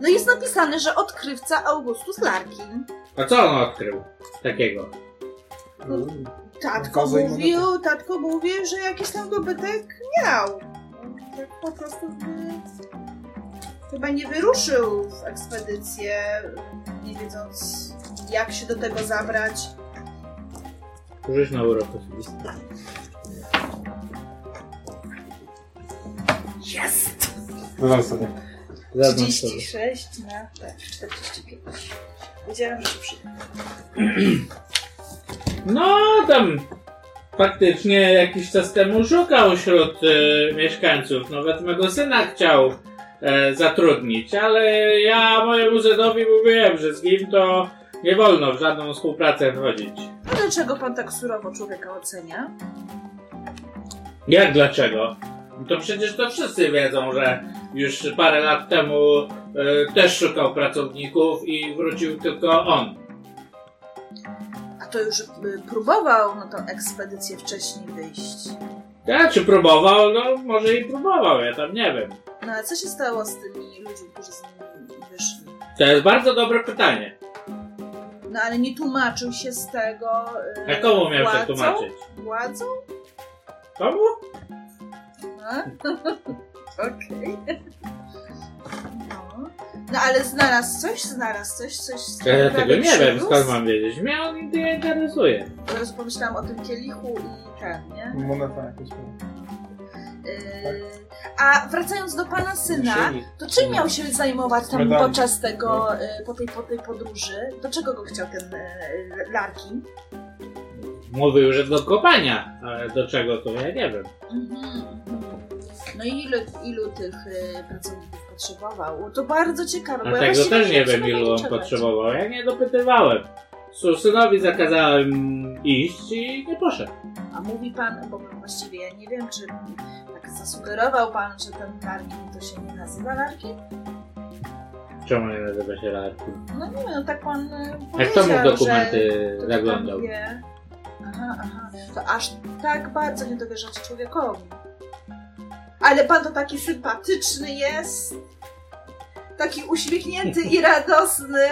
[SPEAKER 6] No jest napisane, że odkrywca Augustus Larkin.
[SPEAKER 7] A co on odkrył takiego?
[SPEAKER 6] Tatko
[SPEAKER 2] Wazę i
[SPEAKER 6] mówił, tatko mówił, że jakiś tam dobytek miał. Tak po prostu by... chyba nie wyruszył w ekspedycję, nie wiedząc jak się do tego zabrać.
[SPEAKER 7] Rzuć na urok oczywiście.
[SPEAKER 6] Jest!
[SPEAKER 4] Dodam sobie.
[SPEAKER 7] Zadam sobie.
[SPEAKER 6] 36 na tak, 45. Wiedziałam, że się przyda.
[SPEAKER 7] No tam faktycznie jakiś czas temu szukał wśród e, mieszkańców. Nawet mego syna chciał e, zatrudnić, ale ja mojemu Zedowi mówiłem, że z nim to nie wolno w żadną współpracę wchodzić.
[SPEAKER 6] A dlaczego pan tak surowo człowieka ocenia?
[SPEAKER 7] Jak dlaczego? To przecież to wszyscy wiedzą, że już parę lat temu e, też szukał pracowników i wrócił tylko on.
[SPEAKER 6] A to już y, próbował na tą ekspedycję wcześniej wyjść.
[SPEAKER 7] Ja czy próbował? No może i próbował, ja tam nie wiem.
[SPEAKER 6] No ale co się stało z tymi ludźmi, którzy z nim wyszli?
[SPEAKER 7] To jest bardzo dobre pytanie.
[SPEAKER 6] No ale nie tłumaczył się z tego.
[SPEAKER 7] A
[SPEAKER 6] Yy,
[SPEAKER 7] komu miał się
[SPEAKER 6] Władzą?
[SPEAKER 7] tłumaczyć?
[SPEAKER 6] Władzą?
[SPEAKER 7] Komu?
[SPEAKER 6] No. [LAUGHS] Okej. No. no ale znalazł coś, znalazł coś, coś. z
[SPEAKER 7] Ja,
[SPEAKER 6] tego
[SPEAKER 7] tego nie wiem,
[SPEAKER 6] przyrósł.
[SPEAKER 7] skąd mam wiedzieć. Mnie on nie interesuje.
[SPEAKER 6] Po prostu pomyślałam o tym kielichu i ten, nie?
[SPEAKER 2] Moneta jakaś. była.
[SPEAKER 6] Yy, a wracając do pana syna, to czym miał się zajmować tam
[SPEAKER 2] Medami.
[SPEAKER 6] podczas tego,
[SPEAKER 2] No.
[SPEAKER 6] yy, po, tej, po tej podróży? Do czego go chciał ten yy, Larkin?
[SPEAKER 7] Mówił, że do kopania, ale do czego to ja nie wiem.
[SPEAKER 6] Mhm. No i ilu, ilu tych y, pracowników potrzebował? To bardzo ciekawe.
[SPEAKER 7] A
[SPEAKER 6] bo ja
[SPEAKER 7] No tego
[SPEAKER 6] właściwie
[SPEAKER 7] też nie wiem,
[SPEAKER 6] przynajmniej
[SPEAKER 7] ilu on
[SPEAKER 6] czegoś.
[SPEAKER 7] potrzebował. Ja nie dopytywałem. Su- Synowi zakazałem iść i nie poszedł.
[SPEAKER 6] A mówi pan, bo właściwie ja nie wiem, czy tak zasugerował pan, że ten Larkin to się nie nazywa Larkin?
[SPEAKER 7] Czemu nie nazywa się Larkin?
[SPEAKER 6] No nie wiem, no tak pan y,
[SPEAKER 7] A
[SPEAKER 6] powiedział,
[SPEAKER 7] kto mu
[SPEAKER 6] że...
[SPEAKER 7] dokumenty
[SPEAKER 6] to pan
[SPEAKER 7] zaglądał?
[SPEAKER 6] wie. Aha, aha. To aż tak bardzo nie dowierzacie człowiekowi. Ale pan to taki sympatyczny jest. Taki uśmiechnięty i radosny.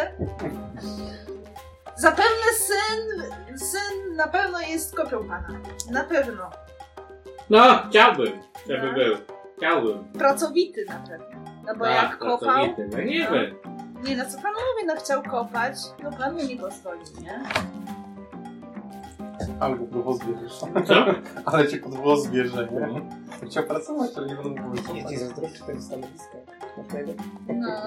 [SPEAKER 6] Zapewne syn, syn na pewno jest kopią pana. Na pewno.
[SPEAKER 7] No, chciałbym, żeby
[SPEAKER 6] No.
[SPEAKER 7] był. Chciałbym.
[SPEAKER 6] Pracowity na pewno. No bo
[SPEAKER 7] Tak,
[SPEAKER 6] jak kopał,
[SPEAKER 7] pracowity. No nie
[SPEAKER 6] No.
[SPEAKER 7] wiem.
[SPEAKER 6] nie no co panu mówię, no chciał kopać, no pan mu nie pozwoli, nie?
[SPEAKER 4] Albo podwoz bierzesz.
[SPEAKER 7] Co?
[SPEAKER 4] Ale cię podwoz bierze, nie? Chciał pracować, ale nie będę tak. mógł
[SPEAKER 5] Ja
[SPEAKER 4] wycofać.
[SPEAKER 5] ci zazdroszczę tego stanowiska. Masz najlepsze.
[SPEAKER 6] No.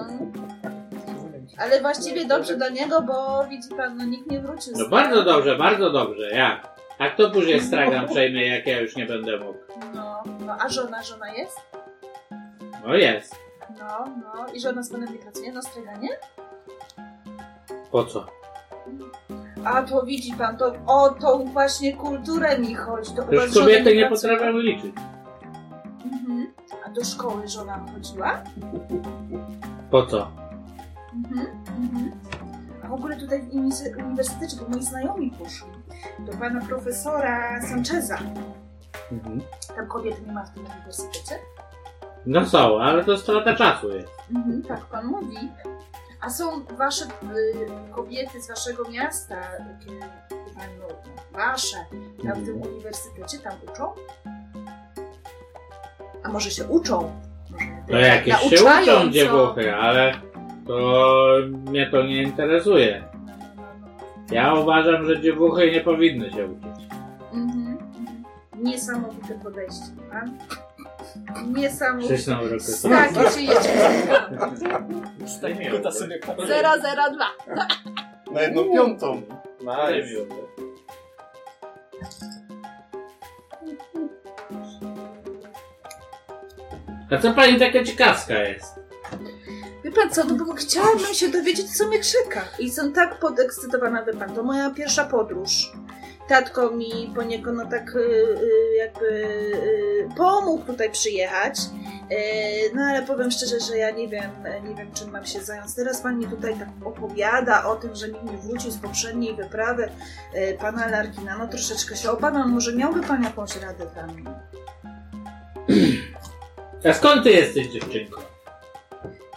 [SPEAKER 6] Ale właściwie dobrze do niego, bo widzi pan, no nikt nie wrócił.
[SPEAKER 7] No bardzo dobrze, bardzo dobrze. Jak? A kto później
[SPEAKER 6] [LAUGHS]
[SPEAKER 7] stragam przejmie, jak ja już nie będę mógł?
[SPEAKER 6] No, no, a żona, żona jest?
[SPEAKER 7] No jest.
[SPEAKER 6] No, no. I żona z panem nie pracuje na stryganie?
[SPEAKER 7] Po co?
[SPEAKER 6] A to widzi pan, to o tą właśnie kulturę mi chodzi. To chyba
[SPEAKER 7] Już
[SPEAKER 6] żona
[SPEAKER 7] kobiety nie
[SPEAKER 6] pracuje.
[SPEAKER 7] potrafią liczyć.
[SPEAKER 6] Mhm. A do szkoły żona chodziła?
[SPEAKER 7] Po co?
[SPEAKER 6] Mhm. Mhm. A w ogóle tutaj w uni- uniwersytecie, bo moi znajomi poszli do pana
[SPEAKER 7] Mhm.
[SPEAKER 6] profesora Sancheza. Tam kobiety nie ma w tym uniwersytecie?
[SPEAKER 7] No są, ale to strata czasu jest.
[SPEAKER 6] Mhm, tak pan mówi. A są wasze y, kobiety z waszego miasta, takie, no, wasze, tam w tym uniwersytecie, tam uczą? A może się uczą? Może
[SPEAKER 7] No jakieś się
[SPEAKER 6] nauczają,
[SPEAKER 7] uczą
[SPEAKER 6] co?
[SPEAKER 7] dziewuchy, ale to mnie to nie interesuje.
[SPEAKER 6] Tak.
[SPEAKER 7] Ja uważam, że dziewuchy nie powinny się uczyć.
[SPEAKER 6] Mhm, mhm. Niesamowite podejście, pan. Niesamowite.
[SPEAKER 7] Przyznam, że to jest...
[SPEAKER 6] Tak, się jeszcze
[SPEAKER 7] Nie
[SPEAKER 3] Kuta sobie kłada.
[SPEAKER 6] 002.
[SPEAKER 9] Na jedną piątą.
[SPEAKER 4] Nice.
[SPEAKER 7] A co pani taka ciekawska jest?
[SPEAKER 6] Wie pan co, no bo chciałabym się dowiedzieć, co mnie czeka. I jestem tak podekscytowana, wie pan, to moja pierwsza podróż. Tatko mi poniekąd no, tak y, y, jakby y, pomógł tutaj przyjechać. Y, No ale powiem szczerze, że ja nie wiem, e, nie wiem czym mam się zająć. Teraz pan mi tutaj tak opowiada o tym, że nikt nie wrócił z poprzedniej wyprawy y, pana Larkina. No troszeczkę się obawiam, może miałby pan jakąś radę dla mnie.
[SPEAKER 7] A skąd ty jesteś dziewczynko?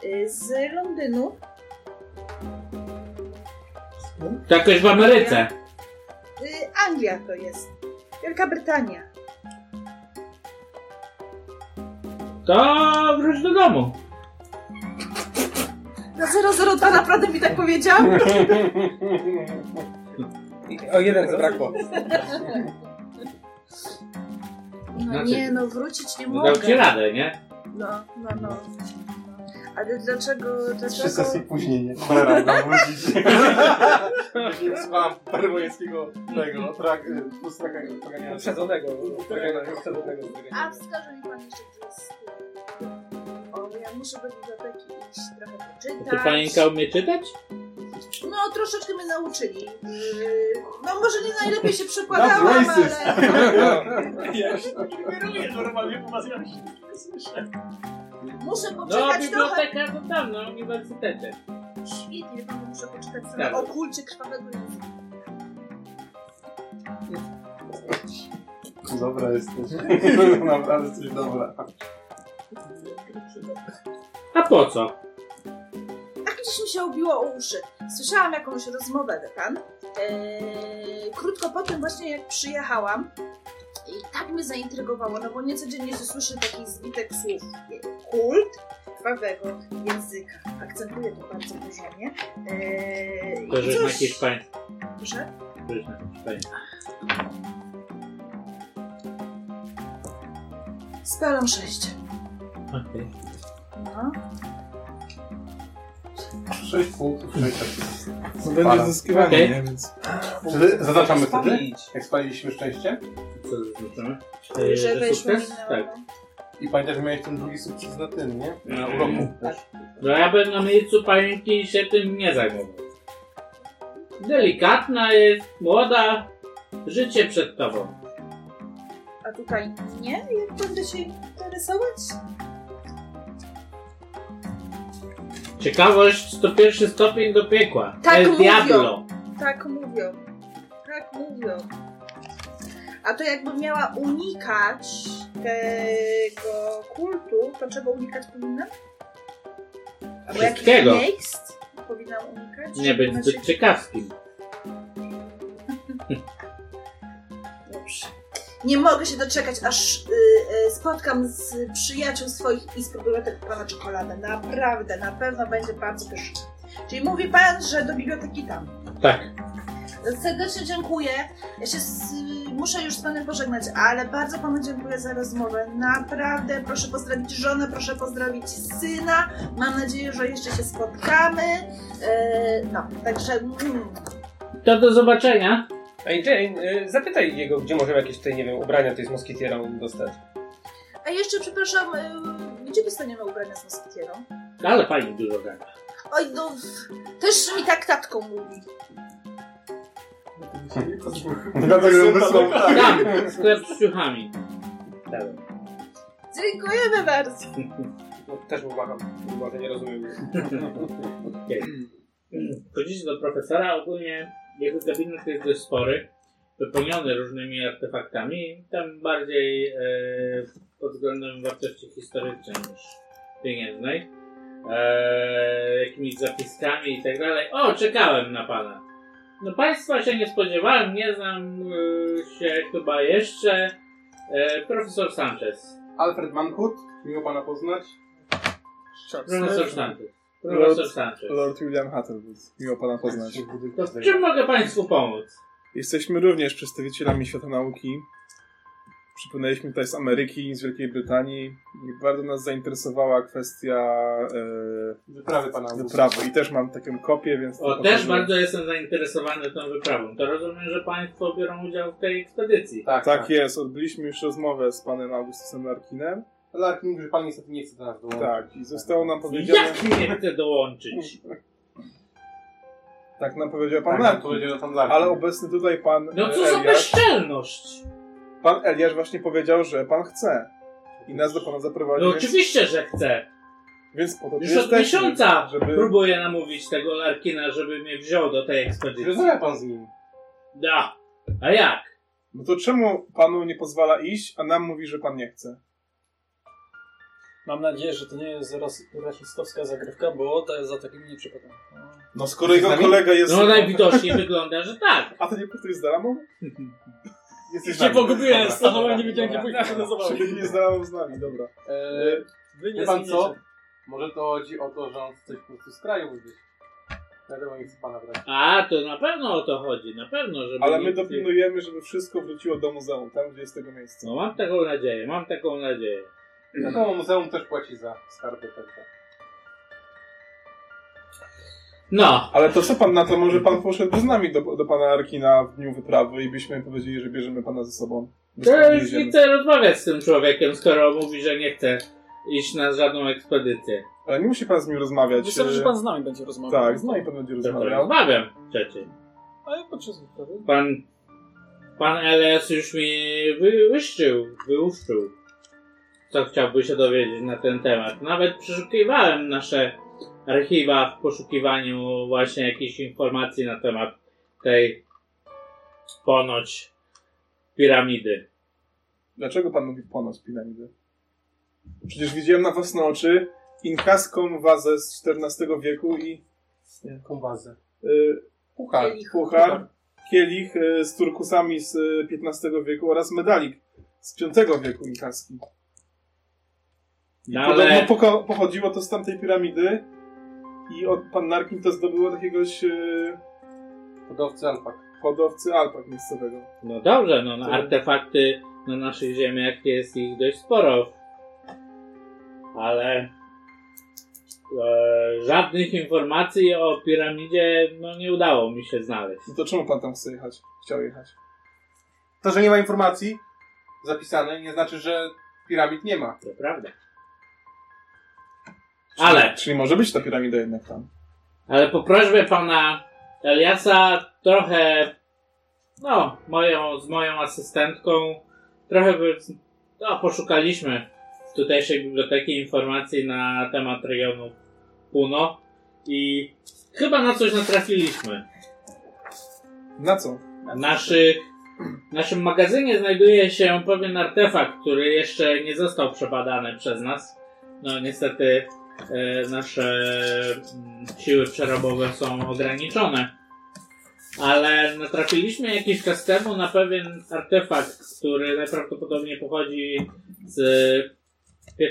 [SPEAKER 6] Y, Z Londynu
[SPEAKER 7] To jakoś w Ameryce.
[SPEAKER 6] Y, Anglia to jest. Wielka Brytania.
[SPEAKER 7] To wróć do domu.
[SPEAKER 6] Na 002 naprawdę mi tak powiedział?
[SPEAKER 5] O jeden zabrakło.
[SPEAKER 6] No
[SPEAKER 7] Znaczy-
[SPEAKER 6] nie, no wrócić nie
[SPEAKER 7] No Dał ci
[SPEAKER 6] mogę.
[SPEAKER 7] radę, nie?
[SPEAKER 6] No, no, no. Ale dlaczego,
[SPEAKER 9] Trzy
[SPEAKER 6] dlaczego?
[SPEAKER 9] sesje później, nie? Cholera, mam [LAUGHS] wrócić. Później słucham perłońskiego tego, trak, y, lustraka, traganiana.
[SPEAKER 5] Uprzedzonego.
[SPEAKER 9] Uprzedzonego.
[SPEAKER 5] Uprzedzonego.
[SPEAKER 6] A wskaże mi pan jeszcze, gdzie jest... y, O, ja muszę do biblioteki iść trochę
[SPEAKER 7] A Ty
[SPEAKER 6] poczytać.
[SPEAKER 7] panienka umie czytać?
[SPEAKER 6] No, troszeczkę mnie nauczyli. Yy, No, może nie najlepiej się
[SPEAKER 9] That's
[SPEAKER 6] przykładałam,
[SPEAKER 9] racist.
[SPEAKER 6] ale...
[SPEAKER 2] Ja już tak ingeruję normalnie, bo was ja już nie słyszę.
[SPEAKER 6] Muszę
[SPEAKER 7] No,
[SPEAKER 6] poczytać trochę.
[SPEAKER 7] biblioteka to tam, na uniwersytecie.
[SPEAKER 6] Świetnie, pan muszę poczytać
[SPEAKER 7] Tak.
[SPEAKER 6] sobie o kulcie krwawego języka.
[SPEAKER 9] Dobra
[SPEAKER 4] [LAUGHS]
[SPEAKER 9] jesteś. Naprawdę jesteś dobra.
[SPEAKER 7] A po co?
[SPEAKER 6] Tak gdzieś mi się ubiło o uszy. Słyszałam jakąś rozmowę, dekan. Eee, krótko po tym właśnie jak przyjechałam i tak mnie zaintrygowało, no bo niecodziennie się słyszy taki zbitek słów. Kult krwawego języka. Akcentuję to bardzo poziomie. Eee,
[SPEAKER 7] To,
[SPEAKER 6] i
[SPEAKER 7] że na
[SPEAKER 6] coś-
[SPEAKER 7] hiszpańskie.
[SPEAKER 6] Proszę?
[SPEAKER 7] To, że na hiszpańskie.
[SPEAKER 6] Spelą 6.
[SPEAKER 7] Okej.
[SPEAKER 6] No.
[SPEAKER 9] Sześć punktów, sześć punktów.
[SPEAKER 3] No będzie zyskiwanie,
[SPEAKER 7] Okej.
[SPEAKER 3] nie? Więc...
[SPEAKER 9] Czy zaznaczamy wtedy? Jak spaliliśmy szczęście?
[SPEAKER 7] Co zaznaczamy?
[SPEAKER 6] Że
[SPEAKER 7] Yy,
[SPEAKER 6] wejść
[SPEAKER 7] sukces?
[SPEAKER 6] powinnam,
[SPEAKER 7] Tak.
[SPEAKER 6] no.
[SPEAKER 9] I pamiętasz, że miałeś ten drugi sukces na tym, nie? Yy,
[SPEAKER 7] Na
[SPEAKER 9] uroku.
[SPEAKER 7] No ja bym na miejscu panienki się tym nie zajmował. Delikatna jest, młoda, życie przed tobą.
[SPEAKER 6] A tutaj nie? Jak będę się interesować?
[SPEAKER 7] Ciekawość to pierwszy stopień do piekła.
[SPEAKER 6] Tak
[SPEAKER 7] El
[SPEAKER 6] mówią.
[SPEAKER 7] Diablo.
[SPEAKER 6] Tak mówią. Tak mówią. A to jakbym miała unikać tego kultu, to czego unikać powinnam? Albo jakichś
[SPEAKER 7] Wszystkiego.
[SPEAKER 6] miejsc powinnam unikać?
[SPEAKER 7] Nie być
[SPEAKER 6] Znaczy-
[SPEAKER 7] zbyt ciekawskim.
[SPEAKER 6] Dobrze. Nie mogę się doczekać, aż y, y, spotkam z przyjaciół swoich i spróbuję tego pana czekoladę. Naprawdę, na pewno będzie bardzo pyszny. Czyli mówi pan, że do biblioteki tam.
[SPEAKER 7] Tak.
[SPEAKER 6] Serdecznie dziękuję. Ja się z, muszę już z panem pożegnać, ale bardzo panu dziękuję za rozmowę. Naprawdę proszę pozdrowić żonę, proszę pozdrowić syna. Mam nadzieję, że jeszcze się spotkamy. E, no, także mm,
[SPEAKER 7] To do zobaczenia.
[SPEAKER 5] Ej, Jane, y, zapytaj jego, gdzie możemy jakieś tutaj, nie wiem, ubrania tej z moskitierą dostać.
[SPEAKER 6] A jeszcze przepraszam, y, gdzie dostaniemy ubrania z moskitierą?
[SPEAKER 7] Ale pani dużo gada.
[SPEAKER 6] Oj, no, też mi tak tatką mówi.
[SPEAKER 9] Dlatego ją wysłał.
[SPEAKER 7] Tam, sklep Tak, z ciuchami.
[SPEAKER 6] Dziękujemy bardzo.
[SPEAKER 5] No, też uwagam, może nie rozumiem.
[SPEAKER 7] Chodzicie do profesora, ogólnie jego gabinet jest dość spory. wypełniony różnymi artefaktami, tam bardziej e, pod względem wartości historycznej niż pieniężnej, e, jakimiś zapiskami i tak dalej. O, czekałem na pana. No państwa się nie spodziewałem, nie znam e, się chyba jeszcze. E, profesor Sanchez.
[SPEAKER 4] Alfred Manhut, miło pana poznać.
[SPEAKER 7] Profesor Sanchez. Profesor Sanchez.
[SPEAKER 2] Lord William Hattlewood. Miło pana poznać.
[SPEAKER 7] To w czym mogę państwu pomóc?
[SPEAKER 2] Jesteśmy również przedstawicielami świata nauki. Przypłynęliśmy tutaj z Ameryki, z Wielkiej Brytanii. I bardzo nas zainteresowała kwestia e,
[SPEAKER 4] Wyprawy pana Augusta.
[SPEAKER 2] wyprawy. I też mam taką kopię, więc... to
[SPEAKER 7] O, też
[SPEAKER 2] pokażę.
[SPEAKER 7] bardzo jestem zainteresowany tą wyprawą. To rozumiem, że państwo biorą udział w tej ekspedycji.
[SPEAKER 4] Tak,
[SPEAKER 2] Tak jest, odbyliśmy już rozmowę z panem Augustusem Larkinem.
[SPEAKER 4] Lark mówi, że pan niestety nie chce do nas
[SPEAKER 7] No.
[SPEAKER 4] dołączyć.
[SPEAKER 2] Tak, i zostało nam powiedziane...
[SPEAKER 7] Jak nie chcę dołączyć?
[SPEAKER 2] Tak nam powiedział pan
[SPEAKER 4] Pan
[SPEAKER 2] Larkin.
[SPEAKER 4] Lark powiedział, że tam Lark.
[SPEAKER 2] Ale obecny tutaj pan
[SPEAKER 7] No
[SPEAKER 2] e,
[SPEAKER 7] co za
[SPEAKER 2] Eliasz,
[SPEAKER 7] bezczelność! No
[SPEAKER 2] pan Eliasz właśnie powiedział, że pan chce. I nas do pana zaprowadził,
[SPEAKER 7] No
[SPEAKER 2] więc,
[SPEAKER 7] oczywiście, że chcę.
[SPEAKER 2] więc po to tu
[SPEAKER 7] Już od
[SPEAKER 2] jesteśmy,
[SPEAKER 7] miesiąca
[SPEAKER 2] żeby...
[SPEAKER 7] próbuję namówić tego Larkina, żeby mnie wziął do tej ekspedycji.
[SPEAKER 4] Rozumie pan z nim.
[SPEAKER 7] Da. A jak?
[SPEAKER 2] No to czemu panu nie pozwala iść, a nam mówi, że pan nie chce?
[SPEAKER 3] Mam nadzieję, że to nie jest ras- rasistowska zagrywka, bo ta, za takim nie przypadam.
[SPEAKER 2] No skoro jego kolega jest...
[SPEAKER 7] No najwidoczniej wygląda, że
[SPEAKER 2] [LAUGHS]
[SPEAKER 7] tak.
[SPEAKER 2] A ty nie pracujesz z
[SPEAKER 7] [LAUGHS]
[SPEAKER 2] Dalamą? Jesteś
[SPEAKER 3] Się
[SPEAKER 2] z nami. [LAUGHS]
[SPEAKER 3] pogubiłem,
[SPEAKER 7] Tak.
[SPEAKER 2] Dobra.
[SPEAKER 3] stanąłem, nie wiedziałem, gdzie
[SPEAKER 2] Dobra.
[SPEAKER 3] pójdę, nazywałem.
[SPEAKER 2] Czyli nie z Dalamą z nami, dobra.
[SPEAKER 7] No
[SPEAKER 4] Eee,
[SPEAKER 3] Wy
[SPEAKER 4] wie pan co? Może to chodzi o to, że on chce coś po prostu z kraju gdzieś. Wiadomo, nie chce pana brać.
[SPEAKER 7] A, to na pewno o to chodzi, na pewno, żeby...
[SPEAKER 2] Ale my
[SPEAKER 7] nikt-
[SPEAKER 2] dopilnujemy, żeby wszystko wróciło do muzeum, tam gdzie jest tego miejsca.
[SPEAKER 7] No mam taką nadzieję, mam taką nadzieję.
[SPEAKER 4] Wiadomo, muzeum też płaci za skarby. tak, Także.
[SPEAKER 7] No,
[SPEAKER 2] Ale to co pan na to? Może pan poszedłby z nami do, do pana Arkina w dniu wyprawy i byśmy powiedzieli, że bierzemy pana ze sobą. Bez
[SPEAKER 7] To
[SPEAKER 2] pana
[SPEAKER 7] już
[SPEAKER 2] jedziemy.
[SPEAKER 7] nie chcę rozmawiać z tym człowiekiem, skoro mówi, że nie chce iść na żadną ekspedycję.
[SPEAKER 2] Ale nie musi pan z nim rozmawiać.
[SPEAKER 3] Wystarczy, że
[SPEAKER 2] e,
[SPEAKER 3] pan z nami będzie rozmawiał.
[SPEAKER 2] Tak, z nami pan będzie
[SPEAKER 7] To
[SPEAKER 2] rozmawiał.
[SPEAKER 7] rozmawiam przecież.
[SPEAKER 3] Ale podczas wyprawy.
[SPEAKER 7] Pan, pan LS już mi wy, wyszczył, wyłuszczył, co chciałby się dowiedzieć na ten temat. Nawet przeszukiwałem nasze archiwa w poszukiwaniu właśnie jakichś informacji na temat tej ponoć piramidy.
[SPEAKER 2] Dlaczego pan mówi ponos piramidy? Przecież widziałem na własne oczy inkaską wazę z XIV wieku i
[SPEAKER 4] Jaką bazę?
[SPEAKER 2] y,
[SPEAKER 4] Puchar.
[SPEAKER 2] puchar, kielich y, z turkusami z y, XV wieku oraz medalik z V wieku inkaski.
[SPEAKER 7] No
[SPEAKER 2] Podobno
[SPEAKER 7] ale
[SPEAKER 2] poko- pochodziło to z tamtej piramidy i od pan Narkin to zdobyło od jakiegoś y,
[SPEAKER 4] Hodowcy alpak.
[SPEAKER 2] hodowcy alpak miejscowego.
[SPEAKER 7] No dobrze, no, no artefakty na naszych ziemiach jest ich dość sporo. Ale e, żadnych informacji o piramidzie no, nie udało mi się znaleźć.
[SPEAKER 2] No to czemu pan tam chce jechać? Chciał jechać.
[SPEAKER 4] To, że nie ma informacji zapisanej, nie znaczy, że piramid nie ma.
[SPEAKER 7] To prawda. Ale,
[SPEAKER 2] Czyli może być ta piramida jednak tam.
[SPEAKER 7] ale po prośbie pana Eliasa trochę, no, moją, z moją asystentką trochę by, no, poszukaliśmy w tutejszej biblioteki informacji na temat regionu Puno i chyba na coś natrafiliśmy.
[SPEAKER 2] Na co?
[SPEAKER 7] Naszy, w naszym magazynie znajduje się pewien artefakt, który jeszcze nie został przebadany przez nas. No niestety e, nasze mm, siły przerobowe są ograniczone. Ale natrafiliśmy jakiś czas temu na pewien artefakt, który najprawdopodobniej pochodzi z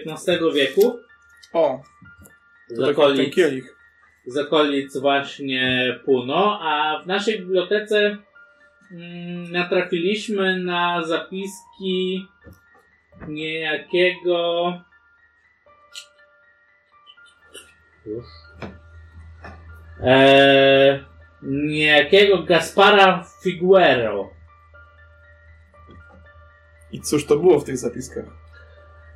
[SPEAKER 7] XV wieku.
[SPEAKER 2] O,
[SPEAKER 7] Z
[SPEAKER 2] to tak jak ten
[SPEAKER 7] okolic
[SPEAKER 2] kielich.
[SPEAKER 7] z okolic właśnie Puno, a w naszej bibliotece mm, natrafiliśmy na zapiski niejakiego e, niejakiego Gaspara Figuero.
[SPEAKER 2] I cóż to było w tych zapiskach?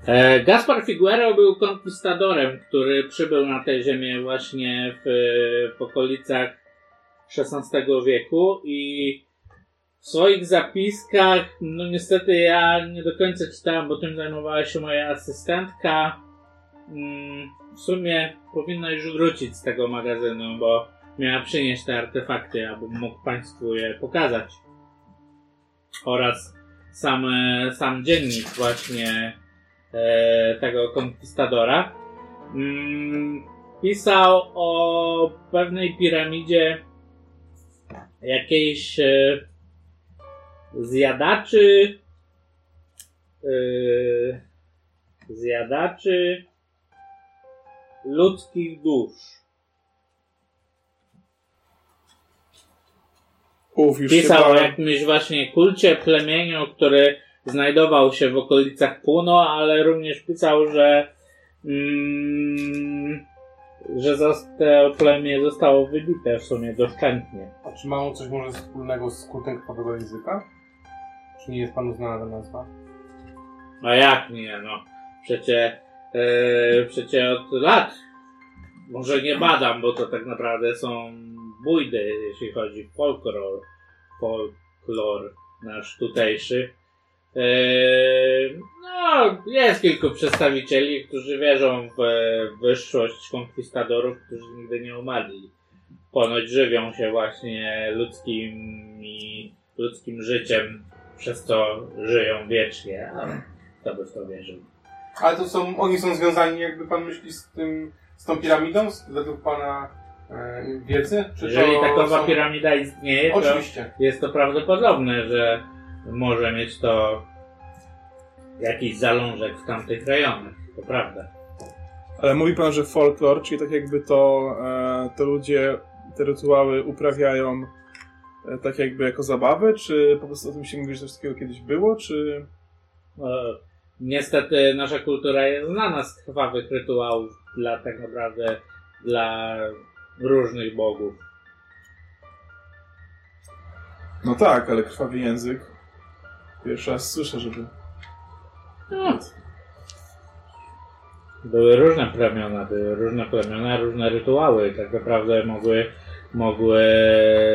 [SPEAKER 7] E, Gaspar Figuero był konkwistadorem, który przybył na tę ziemię właśnie w, e, w okolicach XVI wieku i w swoich zapiskach, no niestety ja nie do końca czytałem, bo tym zajmowała się moja asystentka. Mm, W sumie powinna już wrócić z tego magazynu, bo miała przynieść te artefakty, abym mógł Państwu je pokazać. oraz sam, e, sam dziennik właśnie e, tego konkwistadora mm, pisał o pewnej piramidzie jakiejś e, zjadaczy e, zjadaczy ludzkich dusz.
[SPEAKER 2] Uf, już
[SPEAKER 7] Pisał
[SPEAKER 2] się
[SPEAKER 7] o
[SPEAKER 2] bałem.
[SPEAKER 7] jakimś właśnie kulcie, plemieniu, który znajdował się w okolicach Puno, ale również pisał, że mm, że zas- te plemię zostało wybite w sumie doszczętnie.
[SPEAKER 4] A czy ma on coś może wspólnego z kultem krwawego języka? Czy nie jest panu znana ta nazwa?
[SPEAKER 7] A jak nie, no. Przecie, e, przecie od lat może nie badam, bo to tak naprawdę są bójdy, jeśli chodzi o folklor, folklor nasz tutejszy. E, no, jest kilku przedstawicieli, którzy wierzą w e, wyższość konkwistadorów, którzy nigdy nie umarli. Ponoć żywią się właśnie ludzkimi, ludzkim życiem, przez co żyją wiecznie. A kto by w to wierzył?
[SPEAKER 4] Ale to są, oni są związani, jakby pan myśli, z tym, z tą piramidą, z, według pana e, wiedzy? Czy
[SPEAKER 7] Jeżeli
[SPEAKER 4] to
[SPEAKER 7] takowa
[SPEAKER 4] są-
[SPEAKER 7] piramida istnieje, to
[SPEAKER 4] Oczywiście.
[SPEAKER 7] jest to prawdopodobne, że może mieć to jakiś zalążek w tamtych rejonach. To prawda.
[SPEAKER 2] Ale mówi pan, że folklor, czyli tak jakby to, e, to ludzie te rytuały uprawiają e, tak jakby jako zabawę, czy po prostu o tym się mówi, że coś takiego kiedyś było, czy...
[SPEAKER 7] E, Niestety nasza kultura jest znana z krwawych rytuałów dla tak naprawdę dla różnych bogów.
[SPEAKER 2] No tak, ale krwawy język. Pierwszy raz słyszę, żeby...
[SPEAKER 7] Były różne plemiona, były różne plemiona, różne rytuały. Tak naprawdę mogły, mogły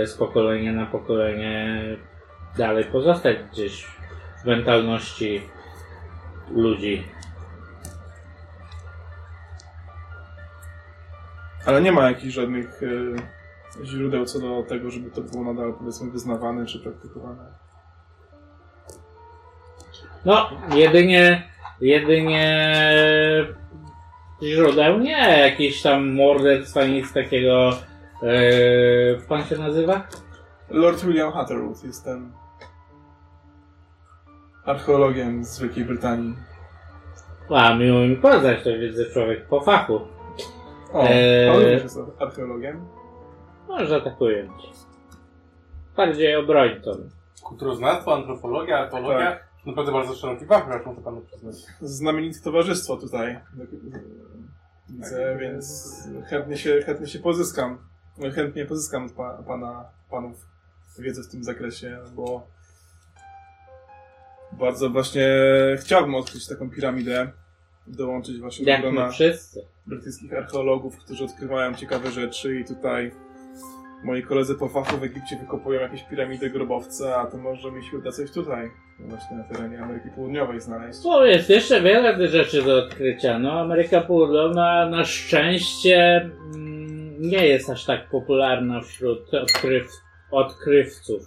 [SPEAKER 7] z pokolenia na pokolenie dalej pozostać gdzieś w mentalności ludzi.
[SPEAKER 2] Ale nie ma jakichś żadnych e, źródeł co do tego, żeby to było nadal powiedzmy wyznawane czy praktykowane.
[SPEAKER 7] No, jedynie, jedynie źródeł nie, jakieś tam morderstwa, nic takiego. Eee, pan się nazywa?
[SPEAKER 2] Lord William Hatterwood, jestem archeologiem z Wielkiej Brytanii.
[SPEAKER 7] A, miło mi poznać, to widzę człowiek po fachu.
[SPEAKER 2] O,
[SPEAKER 7] Eee.
[SPEAKER 2] pan również jest archeologiem.
[SPEAKER 7] Może atakuję cię. Bardziej obrońcą.
[SPEAKER 4] Kulturoznawstwo, antropologia,
[SPEAKER 7] Tak.
[SPEAKER 4] archeologia. Naprawdę bardzo szeroki wachlarz, muszę panu przyznać.
[SPEAKER 2] znamienite towarzystwo tutaj. Widzę, więc chętnie się, chętnie się pozyskam. Chętnie pozyskam od pa, pana, panów wiedzę w tym zakresie, bo bardzo właśnie chciałbym odkryć taką piramidę, dołączyć właśnie do
[SPEAKER 7] Jak my
[SPEAKER 2] grona
[SPEAKER 7] wszyscy.
[SPEAKER 2] brytyjskich archeologów, którzy odkrywają ciekawe rzeczy i tutaj moi koledzy po fachu w Egipcie wykopują jakieś piramidy, grobowce, a to może mi się uda coś tutaj, właśnie na terenie Ameryki Południowej znaleźć.
[SPEAKER 7] Tu jest jeszcze wiele tych rzeczy do odkrycia. No, Ameryka Południowa na szczęście mm, nie jest aż tak popularna wśród odkryw odkrywców.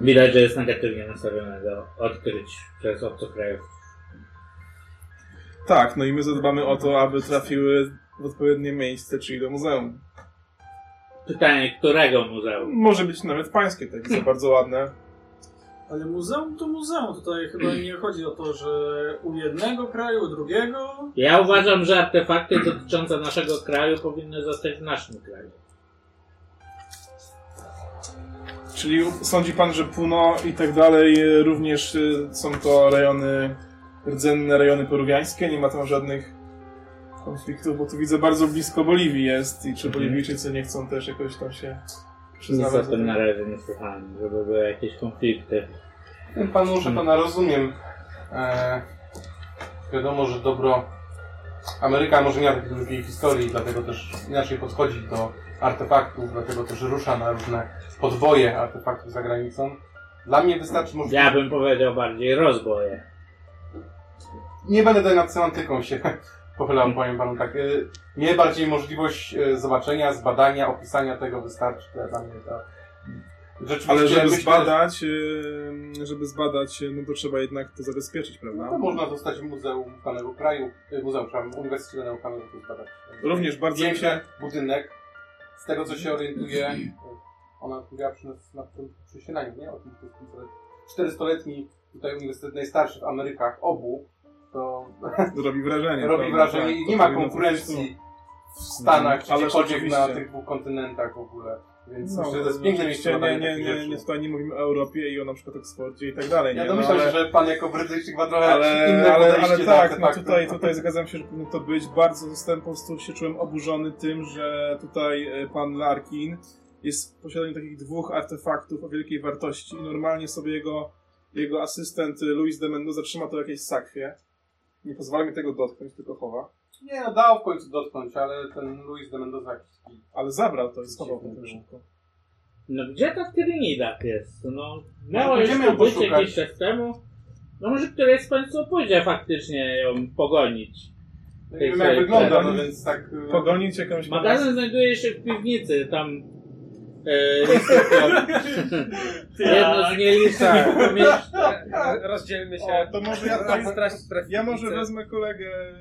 [SPEAKER 7] Widać, że jest negatywnie nastawiona do odkryć przez obcokrajów.
[SPEAKER 2] Tak, no i my zadbamy o to, aby trafiły w odpowiednie miejsce, czyli do muzeum.
[SPEAKER 7] Pytanie, którego muzeum?
[SPEAKER 2] Może być nawet pańskie, takie są bardzo ładne.
[SPEAKER 3] Ale muzeum to muzeum. Tutaj chyba nie chodzi o to, że u jednego kraju, u drugiego.
[SPEAKER 7] Ja uważam, że artefakty dotyczące naszego kraju powinny zostać w naszym kraju.
[SPEAKER 2] Czyli sądzi pan, że Puno i tak dalej e, również e, są to rejony rdzenne, rejony peruwiańskie, nie ma tam żadnych konfliktów, bo tu widzę bardzo blisko Boliwii jest i czy
[SPEAKER 7] Mhm.
[SPEAKER 2] Boliwijczycy nie chcą też jakoś tam się
[SPEAKER 7] Nic
[SPEAKER 2] przyznawać. tak.
[SPEAKER 7] o
[SPEAKER 2] do
[SPEAKER 7] tym
[SPEAKER 2] tego?
[SPEAKER 7] na razie nie słuchałem, żeby były jakieś konflikty.
[SPEAKER 4] Powiem panu,
[SPEAKER 7] Mhm.
[SPEAKER 4] że pana rozumiem. E, wiadomo, że dobro. Ameryka może nie ma takiej długiej historii, dlatego też inaczej podchodzi do artefaktów, dlatego też rusza na różne podwoje artefaktów za granicą. Dla mnie wystarczy może.
[SPEAKER 7] Ja bym powiedział bardziej rozboje.
[SPEAKER 4] Nie będę tutaj nad semantyką się [LAUGHS] pochylał, powiem panu tak. E, mnie y, bardziej możliwość e, zobaczenia, zbadania, opisania tego wystarczy. To Dla mnie to Rzeczywiście
[SPEAKER 2] Ale żeby
[SPEAKER 4] jakbyś-
[SPEAKER 2] zbadać, e, żeby zbadać, e, no to trzeba jednak to zabezpieczyć,
[SPEAKER 4] No to
[SPEAKER 2] prawda?
[SPEAKER 4] można zostać w Muzeum Danego Kraju, e, Muzeum, przepraszam, Uniwersytetu Danego Kraju, żeby to zbadać.
[SPEAKER 2] Również bardzo mi się...
[SPEAKER 4] Zdjęcie, budynek, z tego co się orientuję, e, ona mówiła przy nas na tym przy śniadaniu, nie? O tym, że to jest 400-letni tutaj uniwersytet najstarszy w Amerykach, obu, to
[SPEAKER 2] robi wrażenie.
[SPEAKER 4] robi
[SPEAKER 2] prawda?
[SPEAKER 4] wrażenie
[SPEAKER 2] Tak,
[SPEAKER 4] i
[SPEAKER 2] to
[SPEAKER 4] nie ma
[SPEAKER 2] powinno być, no.
[SPEAKER 4] konkurencji w Stanach,
[SPEAKER 2] ale
[SPEAKER 4] gdziekolwiek na
[SPEAKER 2] rzeczywiście.
[SPEAKER 4] tych dwóch kontynentach w ogóle. Więc
[SPEAKER 2] No,
[SPEAKER 4] myślę, że to jest piękne
[SPEAKER 2] oczywiście
[SPEAKER 4] miejsce na
[SPEAKER 2] nie,
[SPEAKER 4] badanie
[SPEAKER 2] nie,
[SPEAKER 4] takich
[SPEAKER 2] nie,
[SPEAKER 4] rzeczy.
[SPEAKER 2] nie, tutaj nie mówimy o Europie i o na przykład Oksfordzie i tak dalej.
[SPEAKER 4] tak Ja
[SPEAKER 2] nie? No,
[SPEAKER 4] domyślam
[SPEAKER 2] ale-
[SPEAKER 4] się, że pan jako Brytyjczyk ma trochę
[SPEAKER 2] ale,
[SPEAKER 4] inne
[SPEAKER 2] ale,
[SPEAKER 4] podejście
[SPEAKER 2] ale
[SPEAKER 4] do
[SPEAKER 2] tak, no
[SPEAKER 4] artefaktów.
[SPEAKER 2] tutaj, tutaj zgadzam się, że powinno to być. Bardzo zostałem po prostu się czułem oburzony tym, że tutaj e, pan Larkin jest w posiadaniu takich dwóch artefaktów o wielkiej wartości i normalnie sobie jego, jego asystent e, Luis de Mendoza trzyma to w jakiejś sakwie. Nie pozwala mi tego dotknąć, tylko chowa.
[SPEAKER 4] [LAUGHS] Nie, no dał w końcu dotknąć, ale ten Luis de Mendoza jakiś taki
[SPEAKER 2] Ale zabrał to i schował potem szybko.
[SPEAKER 7] No gdzie ta Tyrinidad jest? No,
[SPEAKER 4] No,
[SPEAKER 7] miała już
[SPEAKER 4] będziemy ją
[SPEAKER 7] tu być
[SPEAKER 4] poszukać.
[SPEAKER 7] jakiś czas temu. No może któreś z Państwa pójdzie faktycznie ją pogonić.
[SPEAKER 4] Nie
[SPEAKER 7] Tej
[SPEAKER 4] wiem jak
[SPEAKER 7] tej
[SPEAKER 4] wygląda, no
[SPEAKER 2] tej-
[SPEAKER 4] więc tak... y,
[SPEAKER 2] Pogonić jakąś
[SPEAKER 7] Magazyn znajduje się w piwnicy, tam e, instruktor. Jedno z nielicznych pomieszczeń.
[SPEAKER 5] Rozdzielmy się.
[SPEAKER 2] O, to może ja tutaj
[SPEAKER 5] stracić
[SPEAKER 2] Ja może wezmę kolegę.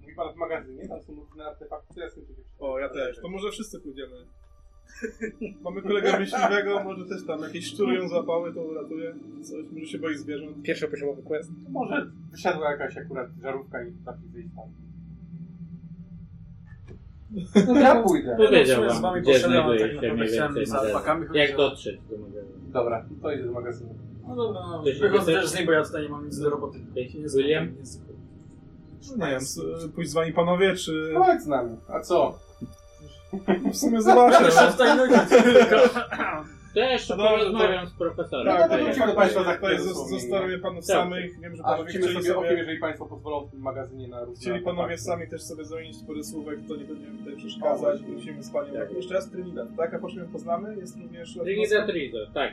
[SPEAKER 4] Mówi pan w magazynie, tam są różne artefakty, ja sobie czegoś-
[SPEAKER 2] O, ja też. To może wszyscy pójdziemy. Mamy kolegę myśliwego, może też tam jakieś szczury ją złapały, to uratuje. Coś, może się boi zwierząt.
[SPEAKER 5] Pierwszy poziomowy quest.
[SPEAKER 4] Może wysiadła jakaś akurat żarówka i trafi wyjść
[SPEAKER 2] [LAUGHS]
[SPEAKER 4] tam. No ja pójdę.
[SPEAKER 7] Powiedział
[SPEAKER 3] No, w sumie z
[SPEAKER 7] wam,
[SPEAKER 3] wami
[SPEAKER 7] gdzie
[SPEAKER 3] poszedłem, ale
[SPEAKER 7] znajduje
[SPEAKER 3] tak
[SPEAKER 7] się mniej
[SPEAKER 3] naprawdę chciałem
[SPEAKER 7] więcej
[SPEAKER 3] za
[SPEAKER 7] magazyn.
[SPEAKER 3] alpakami chodzić.
[SPEAKER 7] Jak dotrzeć do magazynu?
[SPEAKER 4] Dobra, no to idę do magazynu.
[SPEAKER 3] No dobra, no,
[SPEAKER 7] Ktoś
[SPEAKER 3] wychodzę
[SPEAKER 7] chce-
[SPEAKER 3] też z niego, ja tutaj nie mam nic do roboty.
[SPEAKER 7] William?
[SPEAKER 2] No Nie wiem, s- pójść z wami panowie, czy...
[SPEAKER 4] Chodź z nami. A co?
[SPEAKER 2] W sumie zobaczę. Tak,
[SPEAKER 3] no tak.
[SPEAKER 7] To ja jeszcze
[SPEAKER 2] No dobrze,
[SPEAKER 7] porozmawiam z profesorem.
[SPEAKER 4] Tak,
[SPEAKER 7] to
[SPEAKER 4] to
[SPEAKER 7] ja.
[SPEAKER 4] wrócimy do państwa za
[SPEAKER 2] tutaj
[SPEAKER 4] chwilę.
[SPEAKER 2] zos- zostawię panów
[SPEAKER 7] Tak.
[SPEAKER 2] samych. Wiem, że
[SPEAKER 4] A
[SPEAKER 2] panowie
[SPEAKER 4] rzucimy
[SPEAKER 2] chcieli
[SPEAKER 4] sobie okiem,
[SPEAKER 2] sobie...
[SPEAKER 4] jeżeli państwo pozwolą w tym magazynie na różne
[SPEAKER 2] Chcieli panowie
[SPEAKER 4] artefakty.
[SPEAKER 2] sami też sobie zamienić parę słówek, to nie będziemy tutaj przeszkadzać. Wrócimy z panią. Jeszcze raz Trinidad, tak? A po czym ją poznamy? Jest również...
[SPEAKER 7] Trinidad Rizzo, tak.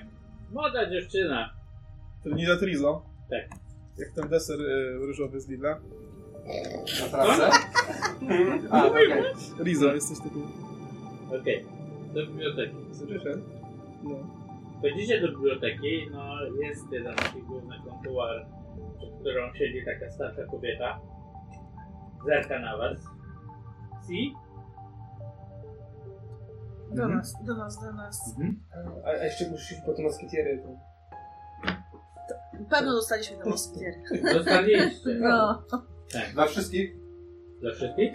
[SPEAKER 7] Młoda dziewczyna.
[SPEAKER 2] Trinidad Rizzo.
[SPEAKER 7] Tak.
[SPEAKER 2] Jak ten deser y, różowy z Lidla.
[SPEAKER 4] Naprawdę? A, no okej.
[SPEAKER 2] Rizzo, jesteś taki...
[SPEAKER 7] Okej, do biblioteki.
[SPEAKER 2] Słyszysz? [LAUGHS] No.
[SPEAKER 7] Wchodzicie do biblioteki, no jest tam taki główny kontuar, przed którą siedzi taka starsza kobieta. Zerka na was. Si?
[SPEAKER 6] Do nas, do nas, do nas.
[SPEAKER 5] A, a jeszcze musisz iść po te moskitiery.
[SPEAKER 6] Pewno dostaliśmy do moskier.
[SPEAKER 7] Dostaliście.
[SPEAKER 6] No.
[SPEAKER 4] Dla wszystkich?
[SPEAKER 7] Dla wszystkich?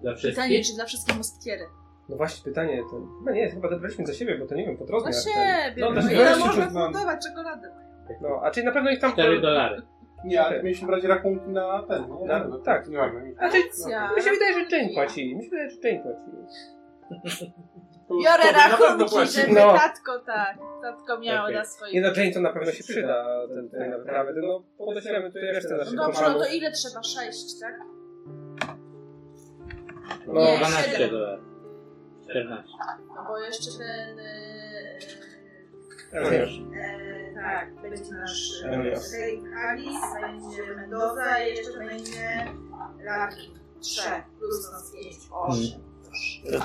[SPEAKER 7] Dla
[SPEAKER 6] Pytanie,
[SPEAKER 7] wszystkich?
[SPEAKER 6] czy dla wszystkich moskiery?
[SPEAKER 5] No właśnie, pytanie to... No nie, chyba dobraliśmy za siebie, bo to nie wiem, pod
[SPEAKER 6] Dla
[SPEAKER 5] rozmiar. ten.
[SPEAKER 6] siebie.
[SPEAKER 5] No,
[SPEAKER 6] No,
[SPEAKER 5] dla
[SPEAKER 6] no,
[SPEAKER 5] siebie.
[SPEAKER 6] ile
[SPEAKER 2] Weźcie
[SPEAKER 6] można
[SPEAKER 2] to znam.
[SPEAKER 6] fundować czekoladę?
[SPEAKER 5] No, a czyli na pewno ich tam...
[SPEAKER 7] 4 dolary.
[SPEAKER 4] Nie, ale mieliśmy brać rachunki na ten, nie?
[SPEAKER 5] Na-
[SPEAKER 4] No,
[SPEAKER 5] tak.
[SPEAKER 4] Nie mamy.
[SPEAKER 6] Racja.
[SPEAKER 5] Mi się wydaje, że Jane płaci. Mi się wydaje, że Jane płaci.
[SPEAKER 6] Biorę rachunki, żeby
[SPEAKER 5] No.
[SPEAKER 6] tatko tak. Tatko miało
[SPEAKER 7] Okej.
[SPEAKER 6] na
[SPEAKER 5] Nie
[SPEAKER 6] swoim.
[SPEAKER 5] no, Jane to na pewno się przyda, ten, ten naprawdę. No, podesłamy tutaj resztę naszych
[SPEAKER 6] No dobrze, no
[SPEAKER 5] kompanów.
[SPEAKER 6] to ile trzeba? Sześć, tak?
[SPEAKER 5] No,
[SPEAKER 6] Nie,
[SPEAKER 7] 12
[SPEAKER 6] siedem.
[SPEAKER 7] dolarów. 14.
[SPEAKER 6] No bo jeszcze ten... e,
[SPEAKER 5] Wiesz,
[SPEAKER 6] e, tak, będzie nasz
[SPEAKER 2] Elias.
[SPEAKER 6] Alice, będzie Mendoza i jeszcze będzie Larkin. Trzech, plus nas pięć, osiem.
[SPEAKER 5] Hmm.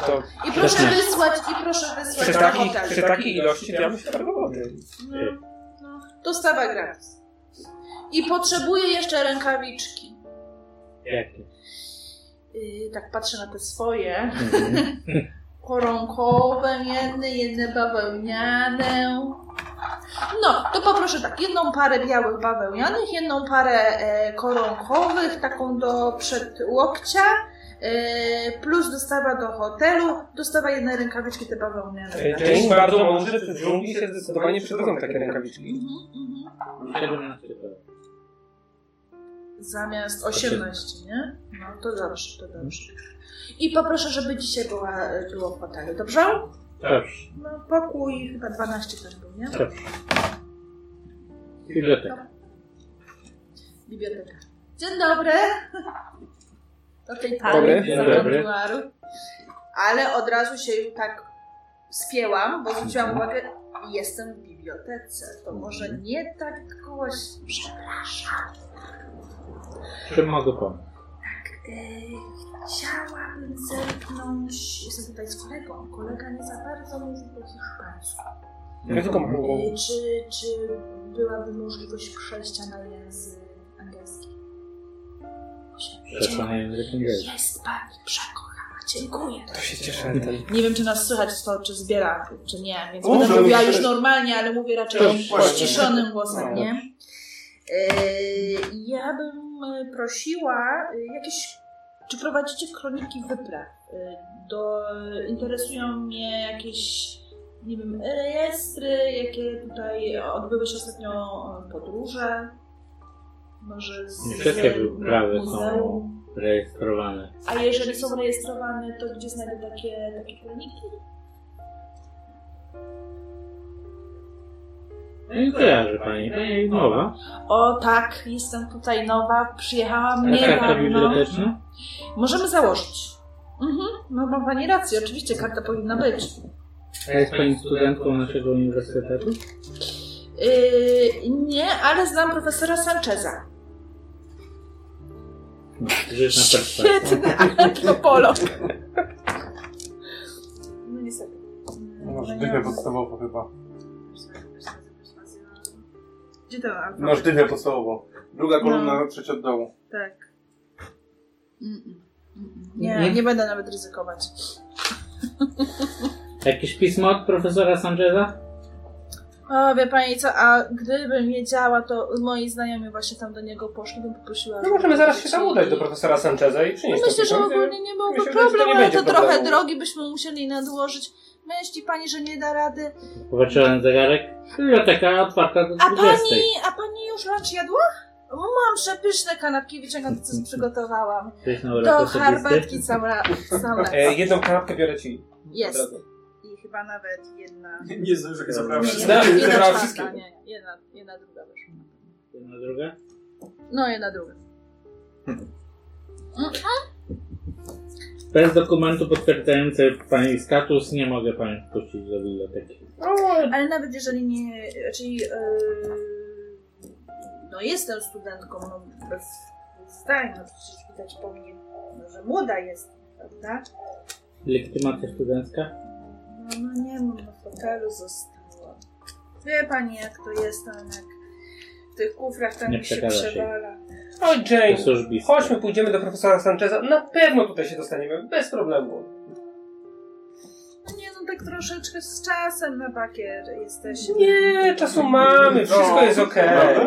[SPEAKER 5] to
[SPEAKER 6] I proszę wysłać, i proszę wysłać
[SPEAKER 5] przy,
[SPEAKER 6] na
[SPEAKER 5] taki,
[SPEAKER 6] hotel.
[SPEAKER 5] przy takiej ilości to ja bym się targował.
[SPEAKER 6] No, no. Dostawa gratis. I potrzebuję jeszcze rękawiczki.
[SPEAKER 7] Jakie?
[SPEAKER 6] Yy, tak patrzę na te swoje. [LAUGHS] Koronkowe jedne, jedne bawełniane. No, to poproszę tak, jedną parę białych bawełnianych, jedną parę e, koronkowych, taką do przed łokcia, e, plus dostawa do hotelu, dostawa jednej rękawiczki te bawełniane.
[SPEAKER 5] Jane bardzo mądrze przy dżungli się zdecydowanie przydadzą takie rękawiczki.
[SPEAKER 6] Mhm, mhm.
[SPEAKER 7] 17 dolarów.
[SPEAKER 6] Zamiast 18, nie? No to dobrze, to dobrze. I poproszę, żeby dzisiaj była, było w hotelu, dobrze?
[SPEAKER 7] Dobrze.
[SPEAKER 6] No, pokój chyba 12 też był, nie?
[SPEAKER 7] Biblioteka.
[SPEAKER 6] Biblioteka. Dzień dobry. Do tej
[SPEAKER 5] Dobry.
[SPEAKER 6] pary
[SPEAKER 5] Dzień
[SPEAKER 6] z
[SPEAKER 7] dobry.
[SPEAKER 6] kontuaru. Ale od razu się już tak spięłam, bo zwróciłam uwagę, jestem w bibliotece. To może nie tak kogoś...
[SPEAKER 7] Czym mogę pomóc?
[SPEAKER 6] Yy, chciałabym zerknąć. Jestem tutaj z kolegą. Kolega nie za bardzo mówi po hiszpańsku.
[SPEAKER 5] Ja tylko mam
[SPEAKER 6] Y, Czy, czy byłaby możliwość przejścia na język angielski?
[SPEAKER 7] Przeszła na język angielski.
[SPEAKER 6] Jest pani przekochana. Dziękuję.
[SPEAKER 5] To się cieszę. Ten...
[SPEAKER 8] Nie wiem, czy nas słychać to, czy zbiera, czy nie, więc
[SPEAKER 9] O,
[SPEAKER 8] będę
[SPEAKER 9] że- tak.
[SPEAKER 8] mówiła już normalnie, ale mówię raczej ściszonym głosem,
[SPEAKER 9] No.
[SPEAKER 8] nie?
[SPEAKER 6] Y, Ja bym y, prosiła y, jakieś. Czy prowadzicie kroniki wypraw? Y, Do, interesują mnie jakieś, nie wiem, rejestry, jakie tutaj odbyły się ostatnio e, podróże. Może z
[SPEAKER 7] Nie wszystkie
[SPEAKER 6] z
[SPEAKER 7] wyprawy są-
[SPEAKER 6] muzeum.
[SPEAKER 7] Rejestrowane.
[SPEAKER 6] A jeżeli są rejestrowane, to gdzie znajdę takie, takie kroniki?
[SPEAKER 7] Ja nie No kojarzę pani. Pani jest nowa.
[SPEAKER 8] O tak, jestem tutaj nowa, przyjechałam
[SPEAKER 7] Ale karta
[SPEAKER 8] niedawno.
[SPEAKER 7] biblioteczna?
[SPEAKER 8] Możemy założyć. Mhm, no ma Pani rację, oczywiście karta powinna być.
[SPEAKER 7] A jest pani studentką naszego uniwersytetu?
[SPEAKER 8] Yy, nie, ale znam profesora Sancheza. [LAUGHS]
[SPEAKER 7] No, żyć na perspektywę.
[SPEAKER 8] Świetny antropolog. No niestety.
[SPEAKER 9] No,
[SPEAKER 8] No,
[SPEAKER 4] no,
[SPEAKER 9] Możliwe podstawowo chyba.
[SPEAKER 6] Gdzie to mam?
[SPEAKER 9] Możliwe podstawowo.
[SPEAKER 6] No.
[SPEAKER 9] Druga kolumna, trzecia od dołu.
[SPEAKER 6] Tak. Mm-mm. Mm-mm. Nie, nie będę nawet ryzykować.
[SPEAKER 7] Jakieś pismo od profesora Sancheza?
[SPEAKER 8] O, wie Pani co, a gdybym wiedziała, to moi znajomi właśnie tam do niego poszli, bym poprosiła...
[SPEAKER 5] No możemy zaraz się tam udać do profesora Sancheza i przynieść
[SPEAKER 8] No Myślę,
[SPEAKER 5] to
[SPEAKER 8] że
[SPEAKER 5] pismo.
[SPEAKER 8] ogólnie nie byłby
[SPEAKER 5] Myślę, że to
[SPEAKER 8] problemu,
[SPEAKER 5] nie
[SPEAKER 8] ale
[SPEAKER 5] będzie
[SPEAKER 8] to trochę
[SPEAKER 5] problemu.
[SPEAKER 8] drogi byśmy musieli nadłożyć. Myśli Pani, że nie da rady?
[SPEAKER 7] Popatrzyłem na zegarek. Biblioteka otwarta do
[SPEAKER 8] A
[SPEAKER 7] 20.
[SPEAKER 8] pani, a pani już lunch jadła? Mam przepyszne kanapki wyciągnięte, co przygotowałam.
[SPEAKER 7] To jest na
[SPEAKER 8] Do
[SPEAKER 7] urok osobisty.
[SPEAKER 8] herbatki sam ra- sam raz.
[SPEAKER 5] E, jedną kanapkę biorę ci.
[SPEAKER 8] Jest.
[SPEAKER 5] Od razu.
[SPEAKER 8] I chyba nawet jedna...
[SPEAKER 3] Nie znam, że zabrałem
[SPEAKER 8] Nie,
[SPEAKER 3] wszystkie.
[SPEAKER 8] jedna, jedna,
[SPEAKER 5] zabrała
[SPEAKER 8] czwarta,
[SPEAKER 5] wszystkie.
[SPEAKER 8] nie, nie, jedna, jedna druga wyszła.
[SPEAKER 7] Jedna druga.
[SPEAKER 8] No, jedna druga.
[SPEAKER 7] Bez dokumentu potwierdzający pani status nie mogę pani wpuścić do biblioteki.
[SPEAKER 6] Ale nawet jeżeli nie, czyli yy, no jestem studentką, no bez zdań, no przecież widać po mnie, no, że młoda jestem, prawda?
[SPEAKER 7] Legitymacja studencka?
[SPEAKER 6] No, no nie mam, na fotelu została. Wie pani jak to jest tam, jak w tych kufrach tam
[SPEAKER 7] Nie
[SPEAKER 6] jak się
[SPEAKER 7] przekada się.
[SPEAKER 6] przewala.
[SPEAKER 5] O
[SPEAKER 7] To
[SPEAKER 5] Jane,
[SPEAKER 7] służbista.
[SPEAKER 5] chodźmy pójdziemy do profesora Sancheza. Na pewno tutaj się dostaniemy, bez problemu.
[SPEAKER 6] No nie no, tak troszeczkę z czasem na bakier jesteś.
[SPEAKER 5] Nie, czasu
[SPEAKER 4] No.
[SPEAKER 5] mamy, wszystko jest okej.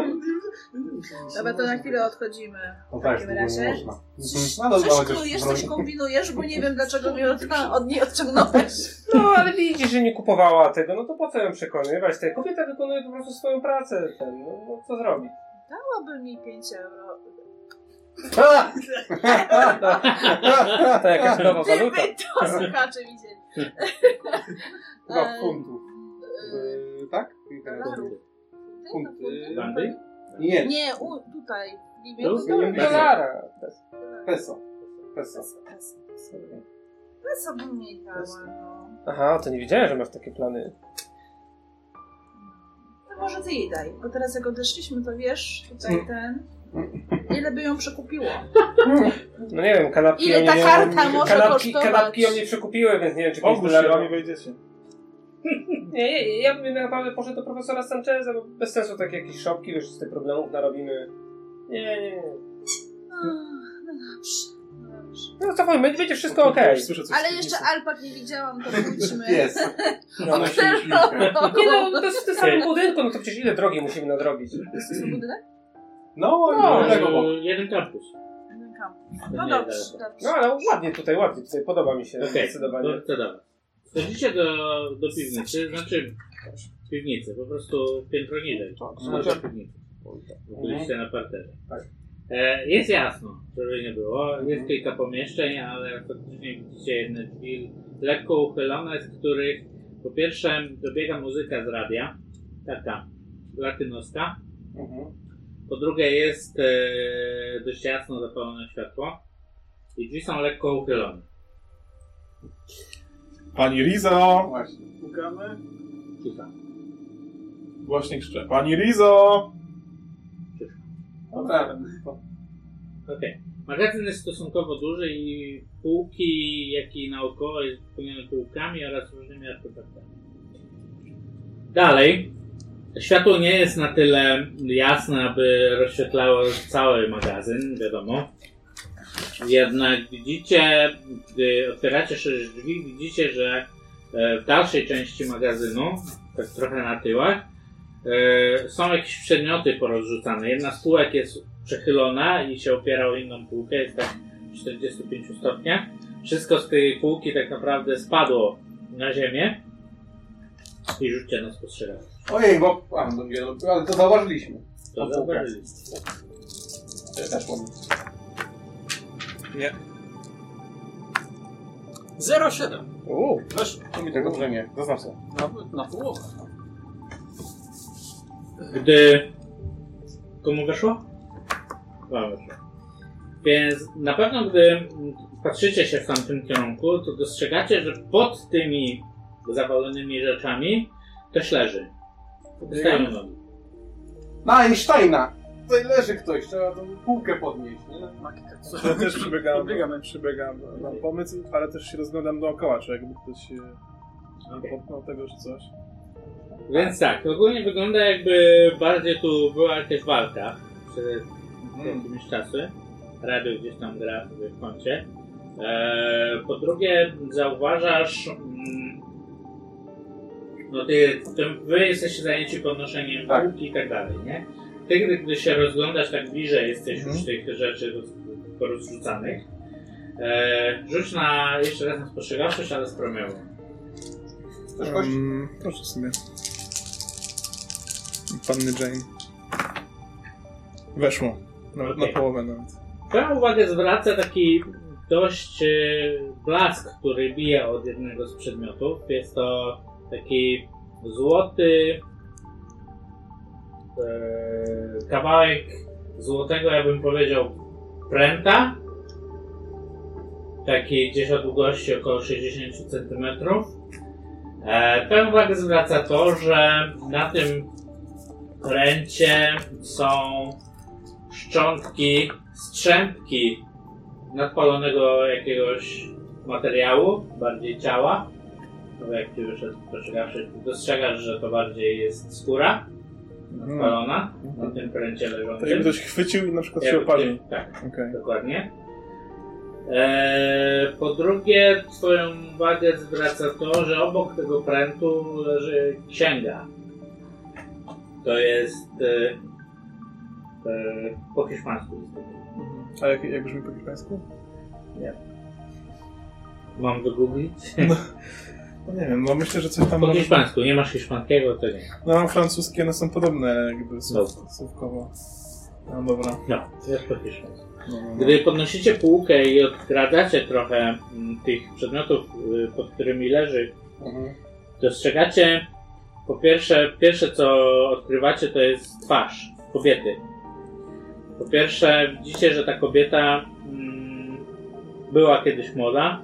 [SPEAKER 6] Dobra, to na chwilę odchodzimy.
[SPEAKER 9] No
[SPEAKER 6] W
[SPEAKER 9] tak,
[SPEAKER 6] takim
[SPEAKER 9] długo nie
[SPEAKER 6] razie.
[SPEAKER 4] Mhm.
[SPEAKER 9] można.
[SPEAKER 8] Coś,
[SPEAKER 9] No dobra,
[SPEAKER 8] coś
[SPEAKER 9] chociaż
[SPEAKER 8] knujesz,
[SPEAKER 9] broń.
[SPEAKER 8] coś kombinujesz, bo nie wiem
[SPEAKER 9] [LAUGHS]
[SPEAKER 8] dlaczego mnie od, od niej odciągnąłeś.
[SPEAKER 5] No, ale widzisz, że nie kupowała tego, no to po co ją przekonywać? Ta kobieta wykonuje po prostu swoją pracę. Ten, no, no co zrobić?
[SPEAKER 8] Dałoby mi 5 euro.
[SPEAKER 4] [LAUGHS]
[SPEAKER 5] To jakaś
[SPEAKER 4] No,
[SPEAKER 5] nowa waluta.
[SPEAKER 8] Gdyby to słuchacze widzieli.
[SPEAKER 9] Chyba
[SPEAKER 8] E,
[SPEAKER 9] w funtów.
[SPEAKER 8] e,
[SPEAKER 6] y-
[SPEAKER 4] Y,
[SPEAKER 9] Yy, tak?
[SPEAKER 8] dolarów.
[SPEAKER 9] Funt,
[SPEAKER 8] Funty?
[SPEAKER 9] y,
[SPEAKER 7] Bandy?
[SPEAKER 9] Nie,
[SPEAKER 8] Nie, u, tutaj. w Libie
[SPEAKER 7] Tu?
[SPEAKER 8] to
[SPEAKER 5] No,
[SPEAKER 8] dolar.
[SPEAKER 9] nie wiem,
[SPEAKER 5] Dolara.
[SPEAKER 9] peso. Peso.
[SPEAKER 8] Ja sobie nie dała, no.
[SPEAKER 5] Aha, to nie wiedziałem, że masz takie plany.
[SPEAKER 8] To może ty jej daj, bo teraz jak odeszliśmy, to wiesz, tutaj ten... Ile by ją przekupiło?
[SPEAKER 5] No nie wiem, kanapki...
[SPEAKER 8] Ile
[SPEAKER 5] oni
[SPEAKER 8] ta
[SPEAKER 5] nie-
[SPEAKER 8] karta może
[SPEAKER 5] kanapki,
[SPEAKER 8] kosztować?
[SPEAKER 5] kanapki o mnie przekupiły, więc nie wiem, czy pięć
[SPEAKER 2] Ogóż się,
[SPEAKER 5] dolarów.
[SPEAKER 2] a nie wejdziecie.
[SPEAKER 5] Nie, nie, ja bym naprawdę poszedł do profesora Sancheza, bo bez sensu takie jakieś szopki, wiesz, z tych problemów narobimy. Nie, nie, nie.
[SPEAKER 8] Ach, No dobrze, no dobrze.
[SPEAKER 5] No cofajmy, będzie wszystko okej.
[SPEAKER 2] Słyszę coś
[SPEAKER 8] Ale
[SPEAKER 2] w
[SPEAKER 8] jeszcze
[SPEAKER 2] piwnicy.
[SPEAKER 8] alpak nie widziałam, to pójdźmy. [LAUGHS]
[SPEAKER 9] Jest.
[SPEAKER 5] No,
[SPEAKER 9] Ona się piłkę.
[SPEAKER 5] Nie no, to jest w tym samym budynku, no to przecież ile drogi musimy nadrobić?
[SPEAKER 8] budynek?
[SPEAKER 9] No,
[SPEAKER 5] No,
[SPEAKER 9] no, tego boku.
[SPEAKER 7] Yy, Jeden kampus.
[SPEAKER 8] Ten kampus.
[SPEAKER 7] Nie,
[SPEAKER 8] No dobrze,
[SPEAKER 7] daleko.
[SPEAKER 5] No
[SPEAKER 8] dobrze.
[SPEAKER 5] ale ładnie tutaj, ładnie tutaj, podoba mi się
[SPEAKER 7] Okej,
[SPEAKER 5] zdecydowanie.
[SPEAKER 7] No, to, to dobra. Wchodzicie do, do piwnicy, znaczy piwnicy, po prostu piętro niżej. Znaczy piwnicy. Byliście na parterze. E, jest jasno, żeby nie było. Jest kilka pomieszczeń, ale faktycznie widzicie jedne drzwi lekko uchylone, z których po pierwsze dobiega muzyka z radia, taka latynoska. Po drugie jest e, dość jasno zapalone światło i drzwi są lekko uchylone.
[SPEAKER 2] Pani Rizo!
[SPEAKER 9] Właśnie.
[SPEAKER 3] Pukamy.
[SPEAKER 7] Cicha.
[SPEAKER 2] Głośnik krzyczę. Pani Rizo!
[SPEAKER 9] No tak.
[SPEAKER 1] Okej. Magazyn jest stosunkowo duży i półki, jak i naokoło jest wypełnione półkami oraz różnymi artefaktami. Dalej. Światło nie jest na tyle jasne, aby rozświetlało cały magazyn, wiadomo. Jednak widzicie, gdy otwieracie szerzej drzwi, widzicie, że e, w dalszej części magazynu, tak trochę na tyłach, e, są jakieś przedmioty porozrzucane. Jedna z półek jest przechylona i się opiera o inną półkę, jest tak 45 stopniach. Wszystko z tej półki tak naprawdę spadło na ziemię i rzućcie na spostrzegawczość.
[SPEAKER 4] Ojej, bo... A, no, nie, no, ale to zauważyliśmy.
[SPEAKER 1] To
[SPEAKER 4] Na półkę.
[SPEAKER 1] zauważyliście.
[SPEAKER 4] Ja też mam.
[SPEAKER 5] 0,7.
[SPEAKER 4] Uuu,
[SPEAKER 5] Weszło.
[SPEAKER 4] to mi tego dobrze nie. Zaznacz sobie.
[SPEAKER 5] Nawet na połowę.
[SPEAKER 1] Gdy... Komu weszło? Wam weszło. Więc na pewno gdy patrzycie się w tamtym kierunku, to dostrzegacie, że pod tymi zawalonymi rzeczami też leży. Stają nogi.
[SPEAKER 4] Na Einsteina! Tutaj leży ktoś, trzeba tą półkę podnieść, nie?
[SPEAKER 2] Ja też przybiegam,
[SPEAKER 5] Odbiegamy.
[SPEAKER 2] przybiegam na pomysł, ale też się rozglądam dookoła, czy jakby ktoś e,
[SPEAKER 1] Okej.
[SPEAKER 2] popchnął tego czy coś.
[SPEAKER 1] Więc tak, ogólnie wygląda jakby bardziej tu była jakaś walka przed jakimiś czasy. Radio gdzieś tam gra sobie w kącie. Eee, po drugie, zauważasz. mm, No ty, ty, wy jesteście zajęci podnoszeniem
[SPEAKER 4] Tak.
[SPEAKER 1] półki i tak dalej, nie? Ty, gdy, gdy się rozglądasz tak bliżej, jesteś już tych rzeczy roz- porozrzucanych. Eee, rzuć na jeszcze raz na spostrzegawczość, ale z promieniem.
[SPEAKER 4] Też kość?
[SPEAKER 2] Um, proszę sobie. Panny Jane. Weszło. Nawet
[SPEAKER 1] Okej.
[SPEAKER 2] na połowę nawet.
[SPEAKER 1] Twoją uwagę zwraca taki dość e, blask, który bije od jednego z przedmiotów. Jest to taki złoty e, kawałek złotego, ja bym powiedział, pręta. Taki gdzieś o długości około 60 cm. E, twoją uwagę zwraca to, że na tym pręcie są szczątki, strzępki nadpalonego jakiegoś materiału, bardziej ciała. No bo jak ty już dostrzegawszy, dostrzegasz, że to bardziej jest skóra nadpalona na tym pręcie
[SPEAKER 2] To jakby
[SPEAKER 1] leżącym.
[SPEAKER 2] ktoś chwycił i na przykład się
[SPEAKER 1] Jakby
[SPEAKER 2] opalił.
[SPEAKER 1] ktoś- Tak,
[SPEAKER 2] Okej.
[SPEAKER 1] dokładnie. Eee, po drugie, twoją uwagę zwraca to, że obok tego prętu leży księga. To jest e, e, po hiszpańsku. jest to.
[SPEAKER 2] A jak, jak brzmi po hiszpańsku?
[SPEAKER 1] Mam wygooglić?
[SPEAKER 2] [LAUGHS] No nie wiem, no myślę, że coś tam...
[SPEAKER 1] Po
[SPEAKER 2] Mam,
[SPEAKER 1] hiszpańsku, nie masz hiszpańskiego, to nie.
[SPEAKER 2] no mam francuskie, one są podobne jakby słów,
[SPEAKER 1] Dobra.
[SPEAKER 2] słówkowo. No dobra.
[SPEAKER 1] No, jest po hiszpańsku.
[SPEAKER 2] No, no, no.
[SPEAKER 1] Gdy podnosicie półkę i odkradzacie trochę mm, tych przedmiotów, y, pod którymi leży,
[SPEAKER 4] Mhm.
[SPEAKER 1] dostrzegacie, po pierwsze, pierwsze co odkrywacie to jest twarz kobiety. Po pierwsze widzicie, że ta kobieta mm, była kiedyś młoda,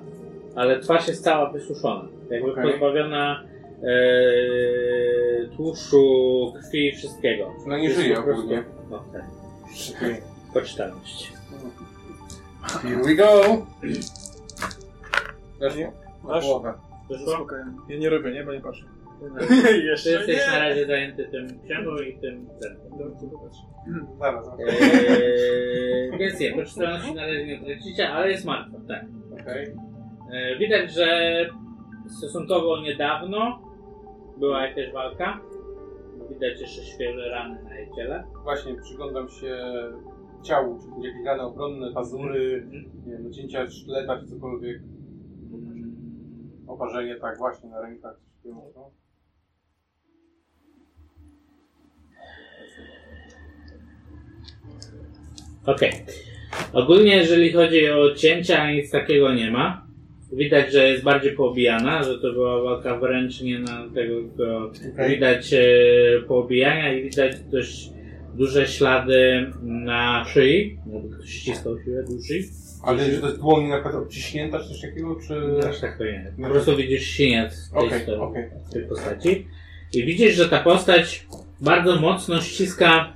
[SPEAKER 1] ale twarz jest cała wysuszona. Jakby
[SPEAKER 4] Okej.
[SPEAKER 1] pozbawiona e, tłuszczu, krwi i wszystkiego.
[SPEAKER 4] No nie
[SPEAKER 1] Jest
[SPEAKER 4] żyje
[SPEAKER 1] po prostu-
[SPEAKER 4] ogólnie.
[SPEAKER 1] No, tak.
[SPEAKER 4] Okej.
[SPEAKER 1] Poczytalność.
[SPEAKER 4] Here we go! Weszło? Na
[SPEAKER 5] Weszło.
[SPEAKER 4] połowę.
[SPEAKER 2] Spokojnie. Ja nie robię, nie? Bo nie patrzę.
[SPEAKER 1] Ty
[SPEAKER 5] Jeszcze
[SPEAKER 1] jesteś na
[SPEAKER 5] nie.
[SPEAKER 1] razie zajęty tym księgą i tym ten.
[SPEAKER 4] Zaraz.
[SPEAKER 1] Eee, więc nie, poczytalności na razie nie tracicie, ale jest martwa, tak.
[SPEAKER 4] Okej.
[SPEAKER 1] E, Widać, że stosunkowo niedawno była jakaś walka. Widać jeszcze świeże rany na jej ciele.
[SPEAKER 4] Właśnie, przyglądam się ciału, czy będzie jakieś rany obronne, pazury,
[SPEAKER 1] Mhm.
[SPEAKER 4] nie wiem, cięcia sztyleta, czy cokolwiek. Oparzenie, tak, właśnie, na rękach. No.
[SPEAKER 1] Okej. Ogólnie, jeżeli chodzi o cięcia, nic takiego nie ma. Widać, że jest bardziej poobijana, że to była walka wręcz nie na tego, tylko widać e, poobijania i widać dość duże ślady na szyi. Jakby ktoś ściskał siłę do szyi.
[SPEAKER 4] Ale że to jest dłoń na przykład obciśnięta, czy coś takiego, czy...
[SPEAKER 1] Aż tak to nie. Po prostu widzisz siniec w tej,
[SPEAKER 4] Okej,
[SPEAKER 1] stoi-
[SPEAKER 4] okej.
[SPEAKER 1] w tej postaci. I widzisz, że ta postać bardzo mocno ściska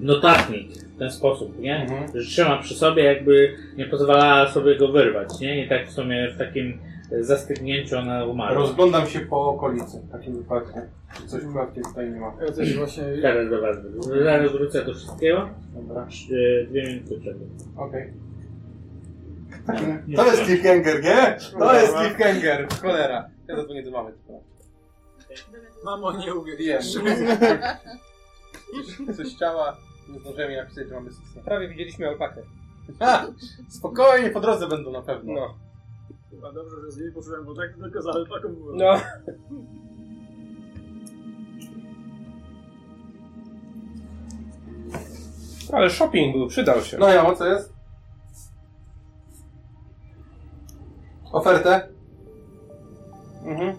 [SPEAKER 1] notatnik w ten sposób, nie?
[SPEAKER 4] Mhm.
[SPEAKER 1] Że trzyma przy sobie, jakby nie pozwalała sobie go wyrwać, nie? I tak w sumie w takim e, zastygnięciu ona umarła.
[SPEAKER 2] Rozglądam się po okolicy w takim wypadku. Czy coś przypadkiem tutaj nie ma.
[SPEAKER 3] Ja też właśnie
[SPEAKER 1] Teraz do was wrócę. Zaraz wrócę do wszystkiego. E, Dwie minuty przed.
[SPEAKER 2] Okej.
[SPEAKER 4] To jest cliffhanger, nie?
[SPEAKER 2] To jest cliffhanger, cholera. Ja zadzwonię do mamy. tylko.
[SPEAKER 3] mamo nie
[SPEAKER 2] Wiem.
[SPEAKER 3] uwierzysz.
[SPEAKER 2] Coś chciała, nie zdążyłem jej napisać, że mamy sesję.
[SPEAKER 5] Prawie widzieliśmy alpakę.
[SPEAKER 2] Ha! Spokojnie, po drodze będą na pewno.
[SPEAKER 5] No.
[SPEAKER 3] Chyba dobrze, że z niej poczułem, bo tak tylko za alpaką było.
[SPEAKER 5] No. Ale shopping był, przydał się.
[SPEAKER 4] No ja, co jest? Ofertę?
[SPEAKER 5] Mhm.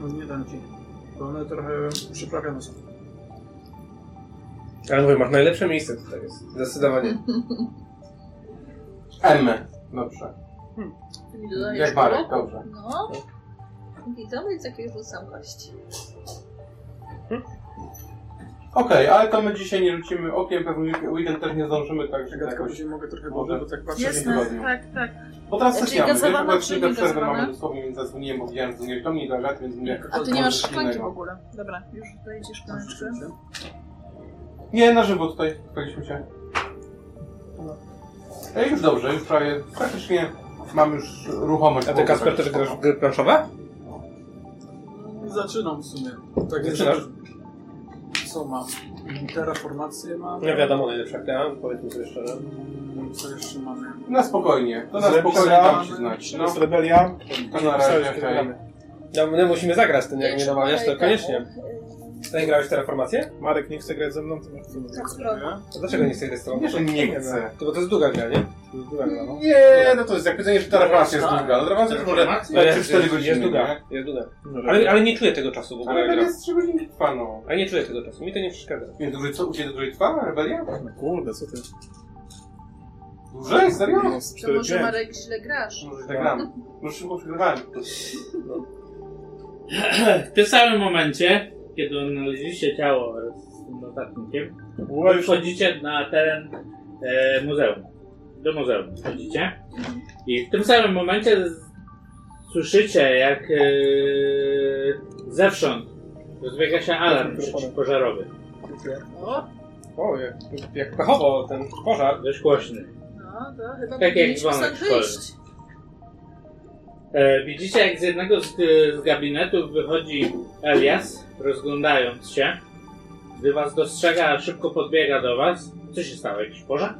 [SPEAKER 3] No nie dam ci. Bo one trochę przyprawione są.
[SPEAKER 5] Ale mówię, masz najlepsze miejsce tutaj jest. Zdecydowanie.
[SPEAKER 4] M. Dobrze.
[SPEAKER 6] Mi dodajesz
[SPEAKER 4] Jak Marek,
[SPEAKER 6] roku?
[SPEAKER 4] dobrze.
[SPEAKER 6] No. Widzę, więc jakieś rzucam kości.
[SPEAKER 4] Okej, ale to my dzisiaj nie rzucimy okiem, pewnie weekend też nie zdążymy, także
[SPEAKER 3] Czekaj, tylko
[SPEAKER 4] jakoś...
[SPEAKER 3] później mogę trochę
[SPEAKER 4] Może.
[SPEAKER 3] może, bo tak patrzę.
[SPEAKER 4] Jest.
[SPEAKER 6] Jasne,
[SPEAKER 4] tygodniu.
[SPEAKER 6] tak, tak.
[SPEAKER 4] Bo teraz
[SPEAKER 6] Czyli
[SPEAKER 4] też nie mamy,
[SPEAKER 6] gazowana,
[SPEAKER 4] chyba
[SPEAKER 6] czy
[SPEAKER 4] chwilkę
[SPEAKER 6] nie
[SPEAKER 4] przerwy
[SPEAKER 6] gazowana?
[SPEAKER 4] mamy dosłownie, więc zadzwoniłem, bo widziałem, że nie do mnie, do Agaty, więc mnie...
[SPEAKER 6] A tu nie masz
[SPEAKER 4] coś
[SPEAKER 6] szklanki w
[SPEAKER 4] innego.
[SPEAKER 6] ogóle. Dobra, już dojedziesz szklaneczkę.
[SPEAKER 4] Nie, na żywo tutaj spotkaliśmy się. No. Ej, już dobrze, już prawie praktycznie mam już ruchomość.
[SPEAKER 5] A
[SPEAKER 4] w
[SPEAKER 5] ty
[SPEAKER 4] głowie,
[SPEAKER 3] tak.
[SPEAKER 5] Kasper
[SPEAKER 4] także
[SPEAKER 5] też grasz w
[SPEAKER 4] spoko.
[SPEAKER 5] gry planszowe?
[SPEAKER 3] Zaczynam w sumie. Tak jest.
[SPEAKER 5] Zaczynasz?
[SPEAKER 3] Co mam? Terraformację mam.
[SPEAKER 5] Nie No wiadomo, najlepsza gra, powiedzmy sobie szczerze.
[SPEAKER 3] Mm, Co jeszcze mamy?
[SPEAKER 4] Na spokojnie, to na
[SPEAKER 2] Zrepsa,
[SPEAKER 4] spokojnie dam ci znać. No,
[SPEAKER 2] To jest rebelia.
[SPEAKER 4] To na razie, okej.
[SPEAKER 5] No, my musimy zagrać ten, jak nie
[SPEAKER 6] Jeszcze
[SPEAKER 5] namawiasz, to
[SPEAKER 6] kolejka.
[SPEAKER 5] koniecznie. Ty grałeś Terraformację?
[SPEAKER 2] Marek nie chce grać ze mną, to masz trudno.
[SPEAKER 6] Tak, sprawdzę.
[SPEAKER 5] A dlaczego nie chcesz grać z tobą?
[SPEAKER 4] Nie, że nie chcę.
[SPEAKER 5] To bo to jest długa gra, nie? To jest długa gra, no.
[SPEAKER 4] Nie, no to jest jak powiedzenie, że ta relacja jest długa. No relacja jest może 3-4 godziny.
[SPEAKER 5] Jest długa,
[SPEAKER 4] nie?
[SPEAKER 5] jest długa. Ale, ale nie czuję tego czasu w
[SPEAKER 4] Ale
[SPEAKER 5] ogóle.
[SPEAKER 4] rebelia
[SPEAKER 5] gra.
[SPEAKER 4] jest 3 godziny trwa, no.
[SPEAKER 5] Ale nie czuję tego czasu, mi to nie przeszkadza.
[SPEAKER 4] Nie, dłużej, co? U Ciebie dłużej trwa rebelia?
[SPEAKER 10] No kurde, co ty?
[SPEAKER 4] Dłużej? Serio?
[SPEAKER 10] No, z
[SPEAKER 6] To może
[SPEAKER 10] 4-5.
[SPEAKER 6] Marek źle grasz.
[SPEAKER 4] Może tak gram. Może szybko przegrywałem.
[SPEAKER 1] Tak, W tym samym momencie, kiedy odnaleźliście ciało wraz z tym notatnikiem, Wy wchodzicie na teren e, muzeum. Do muzeum wchodzicie. I w tym samym momencie z- słyszycie, jak e, zewsząd rozbiega się alarm przeciwpożarowy.
[SPEAKER 6] O,
[SPEAKER 5] O, jak, jak pechowo ten pożar.
[SPEAKER 1] Dość głośny.
[SPEAKER 6] no to chyba
[SPEAKER 1] Tak jak
[SPEAKER 6] powinniśmy
[SPEAKER 1] dzwonek
[SPEAKER 6] stąd
[SPEAKER 1] w szkole.
[SPEAKER 6] wyjść.
[SPEAKER 1] E, widzicie, jak z jednego z, e, z gabinetów wychodzi Elias, rozglądając się. Gdy was dostrzega, szybko podbiega do was. Co się stało? Jakiś pożar?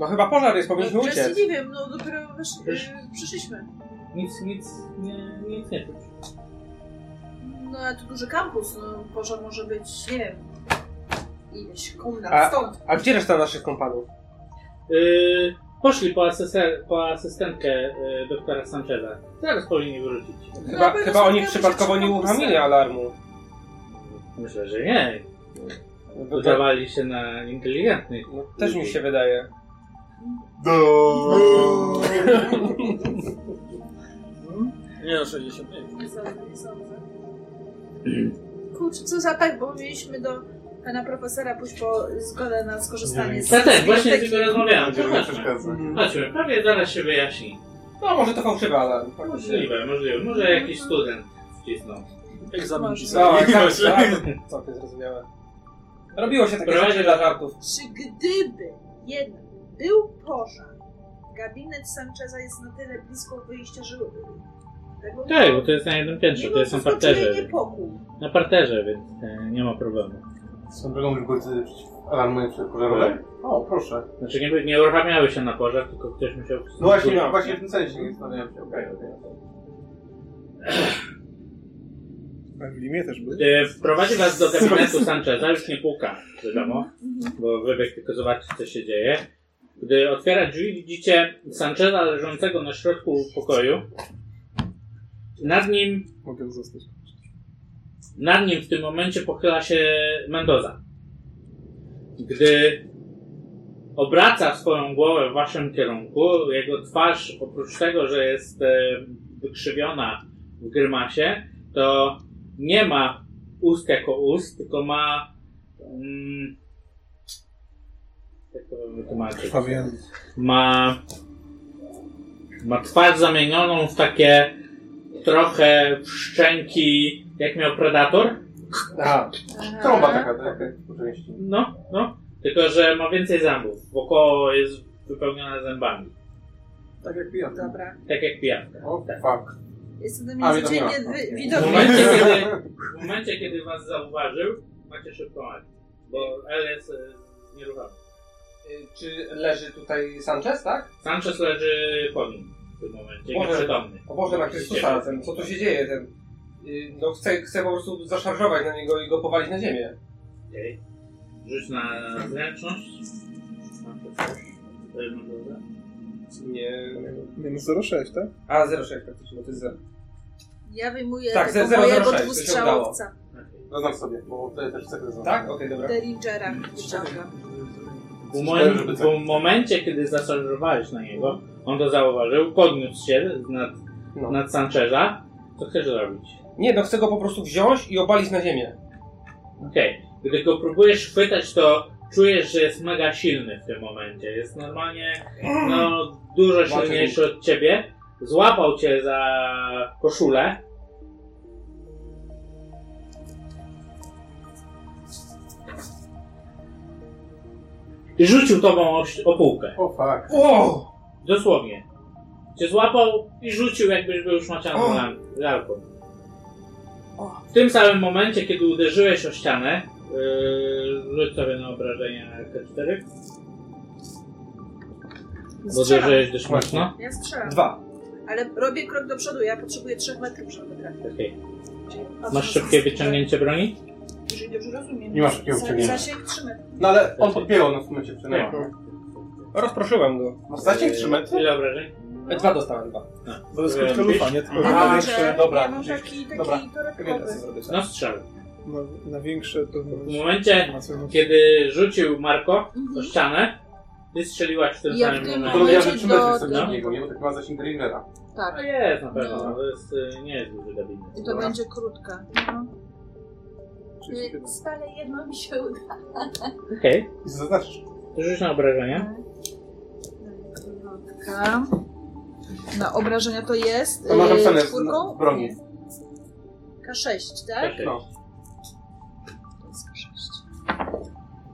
[SPEAKER 5] No chyba pożar jest, powinniśmy
[SPEAKER 6] No, Jesse,
[SPEAKER 5] uciec.
[SPEAKER 6] nie wiem, no dopiero wesz-
[SPEAKER 1] Wiesz?
[SPEAKER 6] y, przyszliśmy.
[SPEAKER 1] Nic, nic, nie, nic nie czuć.
[SPEAKER 6] No a tu duży kampus, no może może być, nie wiem, ileś
[SPEAKER 5] A-
[SPEAKER 6] komnat stąd.
[SPEAKER 5] A gdzie reszta naszych kompanów?
[SPEAKER 1] Yy, poszli po, asyse- po asystentkę yy, doktora Sancheza. Zaraz powinni wrócić.
[SPEAKER 6] No,
[SPEAKER 5] Chyba,
[SPEAKER 6] bo
[SPEAKER 5] chyba oni
[SPEAKER 6] ja zastanawiam się,
[SPEAKER 5] przypadkowo
[SPEAKER 6] czy
[SPEAKER 5] nie
[SPEAKER 6] kampusy-
[SPEAKER 5] uruchomili alarmu.
[SPEAKER 1] Myślę, że nie.
[SPEAKER 4] No
[SPEAKER 1] Udawali się na inteligentnych.
[SPEAKER 5] No, też mi się wydaje.
[SPEAKER 10] No.
[SPEAKER 3] Nie, no 65.
[SPEAKER 6] Nie sądzę, nie sądzę. Kurczę, co za tak, bo mieliśmy do pana profesora pójść po zgodę na skorzystanie z
[SPEAKER 1] Ja też, właśnie z
[SPEAKER 6] biblioteki.
[SPEAKER 1] tego rozmawiałem.
[SPEAKER 4] Będziemy
[SPEAKER 1] Zobaczmy.
[SPEAKER 4] przeszkadzać.
[SPEAKER 1] Chodźmy, prawie zaraz się wyjaśni.
[SPEAKER 5] No może to fałszywy alarm.
[SPEAKER 1] Możliwe, możliwe. Może jakiś student wcisnął.
[SPEAKER 3] Egzamin
[SPEAKER 6] Może.
[SPEAKER 5] No,
[SPEAKER 3] pisałem.
[SPEAKER 5] tak, tak, całkiem zrozumiałe. Robiło się takie
[SPEAKER 1] Prowadzi-
[SPEAKER 5] rzeczy dla żartów.
[SPEAKER 1] Tak.
[SPEAKER 6] Czy gdyby jednak był pożar, gabinet Sancheza jest na tyle blisko wyjścia, że... Tego,
[SPEAKER 1] Tak, bo to jest na jednym piętrze, to znaczy,
[SPEAKER 6] Mimo
[SPEAKER 1] jest na
[SPEAKER 6] wszystko czuję
[SPEAKER 1] parterze.
[SPEAKER 6] niepokój.
[SPEAKER 1] Na parterze, więc e, nie ma problemu.
[SPEAKER 4] Są drogą już godziny alarmuję pożarowe. O, proszę.
[SPEAKER 1] Znaczy nie, nie uruchamiały się na pożar, tylko ktoś musiał...
[SPEAKER 4] No właśnie, właśnie w tym sensie nie zastanawiam się. Okej, okej.
[SPEAKER 10] A w Limie też były.
[SPEAKER 1] E, Wprowadzi was do gabinetu Sancheza, już nie puka, wiadomo, bo wybiegł tylko zobaczyć, co się dzieje. Gdy otwiera drzwi, widzicie Sancheza leżącego na środku pokoju. Nad nim,
[SPEAKER 10] Mogę zostać.
[SPEAKER 1] nad nim w tym momencie pochyla się Mendoza. Gdy obraca swoją głowę w waszym kierunku, jego twarz, oprócz tego, że jest e, wykrzywiona w grymasie, to nie ma ust jako ust, tylko ma Mm, jak to wytłumaczyć?
[SPEAKER 2] Krwawiony.
[SPEAKER 1] Ma, ma twarz zamienioną w takie trochę szczęki, jak miał Predator.
[SPEAKER 5] Aha, trąba taka, tak? Po części.
[SPEAKER 1] No, no. Tylko, że ma więcej zębów. Wokoło jest wypełnione zębami.
[SPEAKER 3] Tak jak pijam.
[SPEAKER 6] Dobra.
[SPEAKER 1] Tak jak pijawka.
[SPEAKER 5] O,
[SPEAKER 1] Tak.
[SPEAKER 5] fuck.
[SPEAKER 6] Jestem na
[SPEAKER 5] A, wiadomo,
[SPEAKER 6] międzydziennie
[SPEAKER 5] no.
[SPEAKER 6] wy-
[SPEAKER 1] W
[SPEAKER 6] widoczny.
[SPEAKER 1] momencie, kiedy, w momencie, kiedy was zauważył, macie szybką akcję. Bo L jest e, nieruchomy.
[SPEAKER 5] Y, Czy leży tutaj Sanchez, tak?
[SPEAKER 1] Sanchez leży po nim w tym momencie,
[SPEAKER 5] Boże.
[SPEAKER 1] nieprzytomny.
[SPEAKER 5] O Boże, na Chrystusa, ten, co tu się dzieje? Ten, y, no chcę, chcę po prostu zaszarżować na niego i go powalić na ziemię.
[SPEAKER 1] Okej. Rzuć na zręczność. Mam to coś. To jedno dobre.
[SPEAKER 5] Nie...
[SPEAKER 2] Minus 06, tak?
[SPEAKER 5] A, 06 praktycznie, bo to jest 0.
[SPEAKER 6] Ja wyjmuję
[SPEAKER 5] Tak,
[SPEAKER 6] tego
[SPEAKER 5] 006,
[SPEAKER 6] mojego
[SPEAKER 5] to się
[SPEAKER 6] dwustrzałowca.
[SPEAKER 4] Zaznacz sobie, bo to ja też chcę zaznaczyć.
[SPEAKER 5] Tak? Okej, dobra.
[SPEAKER 6] Derringera wyciągam.
[SPEAKER 1] W, moim,
[SPEAKER 4] tak-
[SPEAKER 1] w momencie, kiedy zaszarżowałeś na niego, on to zauważył, podniósł się nad,
[SPEAKER 5] No.
[SPEAKER 1] nad Sancheza. Co chcesz zrobić?
[SPEAKER 5] Nie, no chcę go po prostu wziąć i obalić na ziemię.
[SPEAKER 1] Okej. Gdy go próbujesz chwytać, to czujesz, że jest mega silny w tym momencie. Jest normalnie no, dużo silniejszy od ciebie. Złapał cię za koszulę. I rzucił tobą o, ś- o półkę.
[SPEAKER 4] O fuck.
[SPEAKER 5] O!
[SPEAKER 1] Dosłownie. Cię złapał i rzucił, jakbyś był już macianą lam- lalką. W tym samym momencie, kiedy uderzyłeś o ścianę, yy, rzuć sobie na obrażenia K4. Bo
[SPEAKER 6] Strzelam.
[SPEAKER 1] uderzyłeś dość mocno.
[SPEAKER 6] Ja strzelam.
[SPEAKER 5] Dwa.
[SPEAKER 6] Ale robię krok do przodu, ja potrzebuję 3 metrów, żeby trafić.
[SPEAKER 1] Okej.
[SPEAKER 6] Czyli
[SPEAKER 1] Masz szybkie wyciągnięcie broni?
[SPEAKER 6] Jeżeli dobrze rozumiem.
[SPEAKER 4] Nie masz szybkiego
[SPEAKER 6] Za-
[SPEAKER 4] wyciągnięcia.
[SPEAKER 6] Zasięg 3 metrów.
[SPEAKER 4] No ale
[SPEAKER 1] Znaczy-
[SPEAKER 4] on podpiewał nas w momencie przynajmniej.
[SPEAKER 5] Rozproszyłem go.
[SPEAKER 4] Masz zasięg 3 metry?
[SPEAKER 1] Ile obrażeń?
[SPEAKER 5] E, Dwa dostałem, dwa.
[SPEAKER 2] Bo to jest krótka lufa, nie? Tylko
[SPEAKER 4] Aha.
[SPEAKER 2] na
[SPEAKER 4] A,
[SPEAKER 6] Dobrze,
[SPEAKER 2] większe,
[SPEAKER 4] dobra,
[SPEAKER 6] ja mam
[SPEAKER 4] gdzieś-
[SPEAKER 6] taki, taki
[SPEAKER 4] dobra.
[SPEAKER 6] torebkowy.
[SPEAKER 1] No strzel.
[SPEAKER 2] na, na większe to...
[SPEAKER 1] W momencie, kiedy rzucił Marko o ścianę, ty strzeliłaś w tym
[SPEAKER 6] Ja
[SPEAKER 1] samym
[SPEAKER 6] w tym
[SPEAKER 4] To
[SPEAKER 1] momencie.
[SPEAKER 4] ja
[SPEAKER 6] Leci
[SPEAKER 4] że 3 metry
[SPEAKER 6] do-
[SPEAKER 4] jestem
[SPEAKER 1] do-
[SPEAKER 4] od niego, nie? Bo tak ma zasięg Rangera.
[SPEAKER 1] No
[SPEAKER 6] Tak.
[SPEAKER 1] jest na pewno,
[SPEAKER 6] No.
[SPEAKER 1] no. to jest, y, nie jest duży gabinet.
[SPEAKER 6] I to
[SPEAKER 1] Dobra.
[SPEAKER 6] będzie krótka. No. Więc Stale jedno mi się uda.
[SPEAKER 1] Okej.
[SPEAKER 4] I zaznaczysz.
[SPEAKER 6] Y,
[SPEAKER 1] To Rzuć na obrażenia.
[SPEAKER 6] Krótka. Na obrażenia to jest.
[SPEAKER 4] To może
[SPEAKER 6] yy,
[SPEAKER 4] wstanę
[SPEAKER 6] czwórką?
[SPEAKER 4] w broni.
[SPEAKER 6] K6, tak?
[SPEAKER 1] Okej.
[SPEAKER 4] No.
[SPEAKER 6] To jest K6.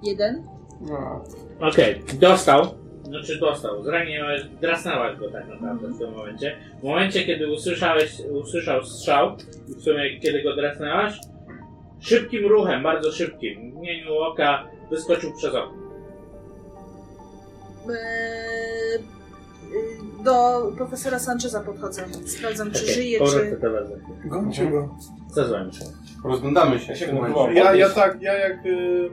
[SPEAKER 6] Jeden.
[SPEAKER 4] No.
[SPEAKER 1] Okej, dostał. Znaczy dostał, zraniłeś, drasnęłaś go tak naprawdę w tym momencie. W momencie, kiedy usłyszałeś, usłyszał strzał, i w sumie kiedy go drasnęłaś, szybkim ruchem, bardzo szybkim, w mgnieniu oka wyskoczył przez okno.
[SPEAKER 6] Eee, y, Do profesora Sancheza podchodzę. Sprawdzam, czy
[SPEAKER 1] Okej,
[SPEAKER 6] żyje,
[SPEAKER 1] powrót
[SPEAKER 6] czy.
[SPEAKER 1] do was.
[SPEAKER 2] Gącie go.
[SPEAKER 1] Zadzwoń się.
[SPEAKER 4] Rozglądamy się.
[SPEAKER 5] Ja się
[SPEAKER 4] w tym momencie.
[SPEAKER 5] próbowałem.
[SPEAKER 2] Ja, ja tak, ja jak y,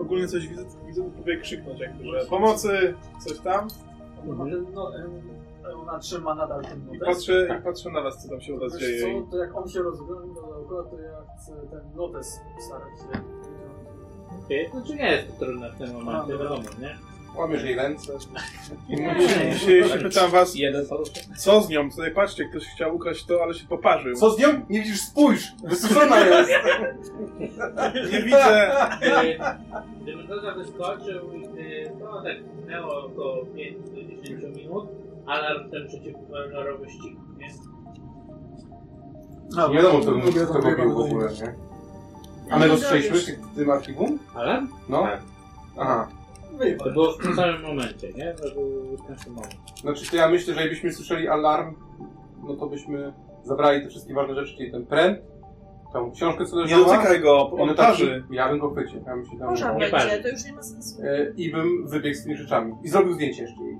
[SPEAKER 2] ogólnie coś widzę, to widzę, to próbuję krzyknąć jakby, że pomocy, coś tam.
[SPEAKER 3] No, em, ona trzyma nadal ten
[SPEAKER 2] I
[SPEAKER 3] notes.
[SPEAKER 2] patrzę, i patrzę na was, co tam się u was
[SPEAKER 3] Wiesz
[SPEAKER 2] dzieje. I...
[SPEAKER 3] co, to jak on się rozgląda dookoła, to ja chcę ten notes starać się wyciągnąć.
[SPEAKER 1] Okej, znaczy nie jest to trudne w tym momencie,
[SPEAKER 3] A, no
[SPEAKER 1] wiadomo, nie?
[SPEAKER 4] Łamiesz jej ręce.
[SPEAKER 2] I mówię- się, się pytam was,
[SPEAKER 5] Jeden paluszek.
[SPEAKER 2] co z nią? Tutaj patrzcie, ktoś chciał ukraść to, ale się poparzył.
[SPEAKER 4] Co z nią? Nie widzisz, spójrz! Wysuszona jest!
[SPEAKER 2] Nie widzę.
[SPEAKER 1] Gdy- Gdy Mendoza wyskoczył i gdy to tak minęło około 5 do 10 minut, alarm ten przeciwpożarowy ścigł, nie?
[SPEAKER 4] Nie wiadomo, co bym kto go bił w ogóle, nie? A my
[SPEAKER 6] Nie
[SPEAKER 4] go strzeliśmy
[SPEAKER 6] dowiesz.
[SPEAKER 4] w tym archiwum?
[SPEAKER 1] Alarm?
[SPEAKER 4] No.
[SPEAKER 1] Tak.
[SPEAKER 4] Aha.
[SPEAKER 1] To było w tym samym momencie, nie? To był ten sam moment.
[SPEAKER 4] Znaczy, to ja myślę, że jakbyśmy słyszeli alarm, no to byśmy zabrali te wszystkie ważne rzeczy, czyli ten pręt, tą książkę, co
[SPEAKER 2] Nie
[SPEAKER 4] leżała.
[SPEAKER 2] dotykaj go,
[SPEAKER 4] I
[SPEAKER 2] on
[SPEAKER 4] notatki.
[SPEAKER 2] parzy.
[SPEAKER 4] Ja bym go chwycił. Ja bym się tam...
[SPEAKER 6] Może
[SPEAKER 1] Nie
[SPEAKER 6] będzie,
[SPEAKER 1] pali.
[SPEAKER 6] to już nie ma sensu.
[SPEAKER 4] E, I bym wybiegł z tymi rzeczami. I zrobił zdjęcie jeszcze jej.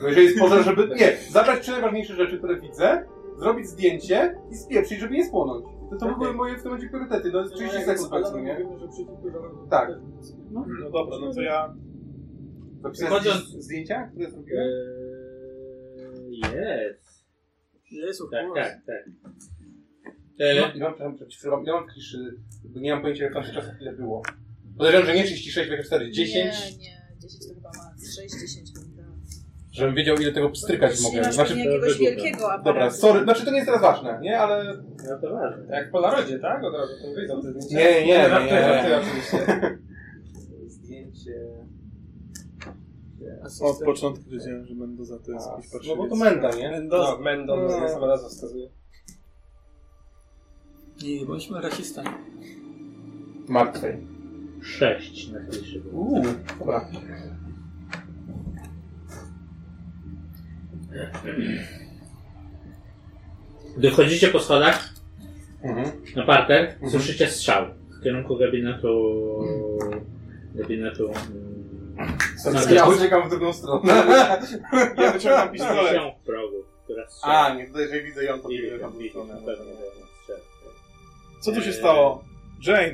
[SPEAKER 4] Bo jeżeli jest poza, żeby... [LAUGHS] Nie, zabrać trzy najważniejsze rzeczy, które widzę, zrobić zdjęcie i spieprzyć, żeby nie spłonąć. To, to by były moje w tym momencie priorytety. No, 30 sekund powiedzmy, nie?
[SPEAKER 3] Mówimy, że przeciwpożarowy
[SPEAKER 4] Tak.
[SPEAKER 3] też nic. No,
[SPEAKER 2] No dobra, no to ja...
[SPEAKER 4] Zapisać
[SPEAKER 1] Wchodząc-
[SPEAKER 4] zdjęcia, które zrobiłem?
[SPEAKER 1] Eee, Jest.
[SPEAKER 3] Jezu,
[SPEAKER 1] Tak,
[SPEAKER 3] kurwa.
[SPEAKER 1] tak, tak. Eee,
[SPEAKER 4] E, Ja mam, przepraszam, przepraszam, ja mam kliszy, bo nie mam pojęcia, jak tam się czasach ile było. Podejrzewam, że nie 36, tylko 4, 10.
[SPEAKER 6] Nie, nie, 10 to chyba ma. 6, 10 chyba.
[SPEAKER 4] Żebym wiedział, ile tego pstrykać
[SPEAKER 11] Jeśli
[SPEAKER 4] mogę.
[SPEAKER 11] masz
[SPEAKER 4] Znaczy,
[SPEAKER 11] pewnie jakiegoś
[SPEAKER 1] wygubę.
[SPEAKER 11] wielkiego aparatu.
[SPEAKER 4] dobra, sorry, znaczy to nie jest teraz ważne, nie? Ale...
[SPEAKER 1] No to ważne.
[SPEAKER 5] Jak po narodzie, tak? Od razu to wyjdą te zdjęcia.
[SPEAKER 4] Nie, nie, nie,
[SPEAKER 5] Żartuję, żartuję
[SPEAKER 4] nie.
[SPEAKER 5] oczywiście.
[SPEAKER 4] Zdjęcie...
[SPEAKER 2] Od początku wiedziałem, że będę za to jest jakiś
[SPEAKER 4] No bo to
[SPEAKER 2] parszywiec.
[SPEAKER 4] menda, nie?
[SPEAKER 5] Mendoza. No, Mendoza,
[SPEAKER 4] No.
[SPEAKER 5] no. sama nazwa wskazuje.
[SPEAKER 3] Nie, bądźmy rasistami.
[SPEAKER 4] Martwej.
[SPEAKER 1] 6 na pierwszy był.
[SPEAKER 4] Uuu, dobra.
[SPEAKER 1] Gdy wchodzicie po schodach
[SPEAKER 4] Mhm.
[SPEAKER 1] na parter, słyszycie strzał w kierunku gabinetu.
[SPEAKER 6] Mhm.
[SPEAKER 1] gabinetu. mm,
[SPEAKER 4] Ja uciekam w drugą stronę.
[SPEAKER 2] Ja wyciągam pistolet.
[SPEAKER 1] się w progu, która strzela.
[SPEAKER 4] A, nie, tutaj, że widzę ją, to
[SPEAKER 1] I
[SPEAKER 4] biegnę w drugą
[SPEAKER 1] widzisz,
[SPEAKER 4] stronę.
[SPEAKER 1] na pewno strzela.
[SPEAKER 2] Co tu się stało? Jane!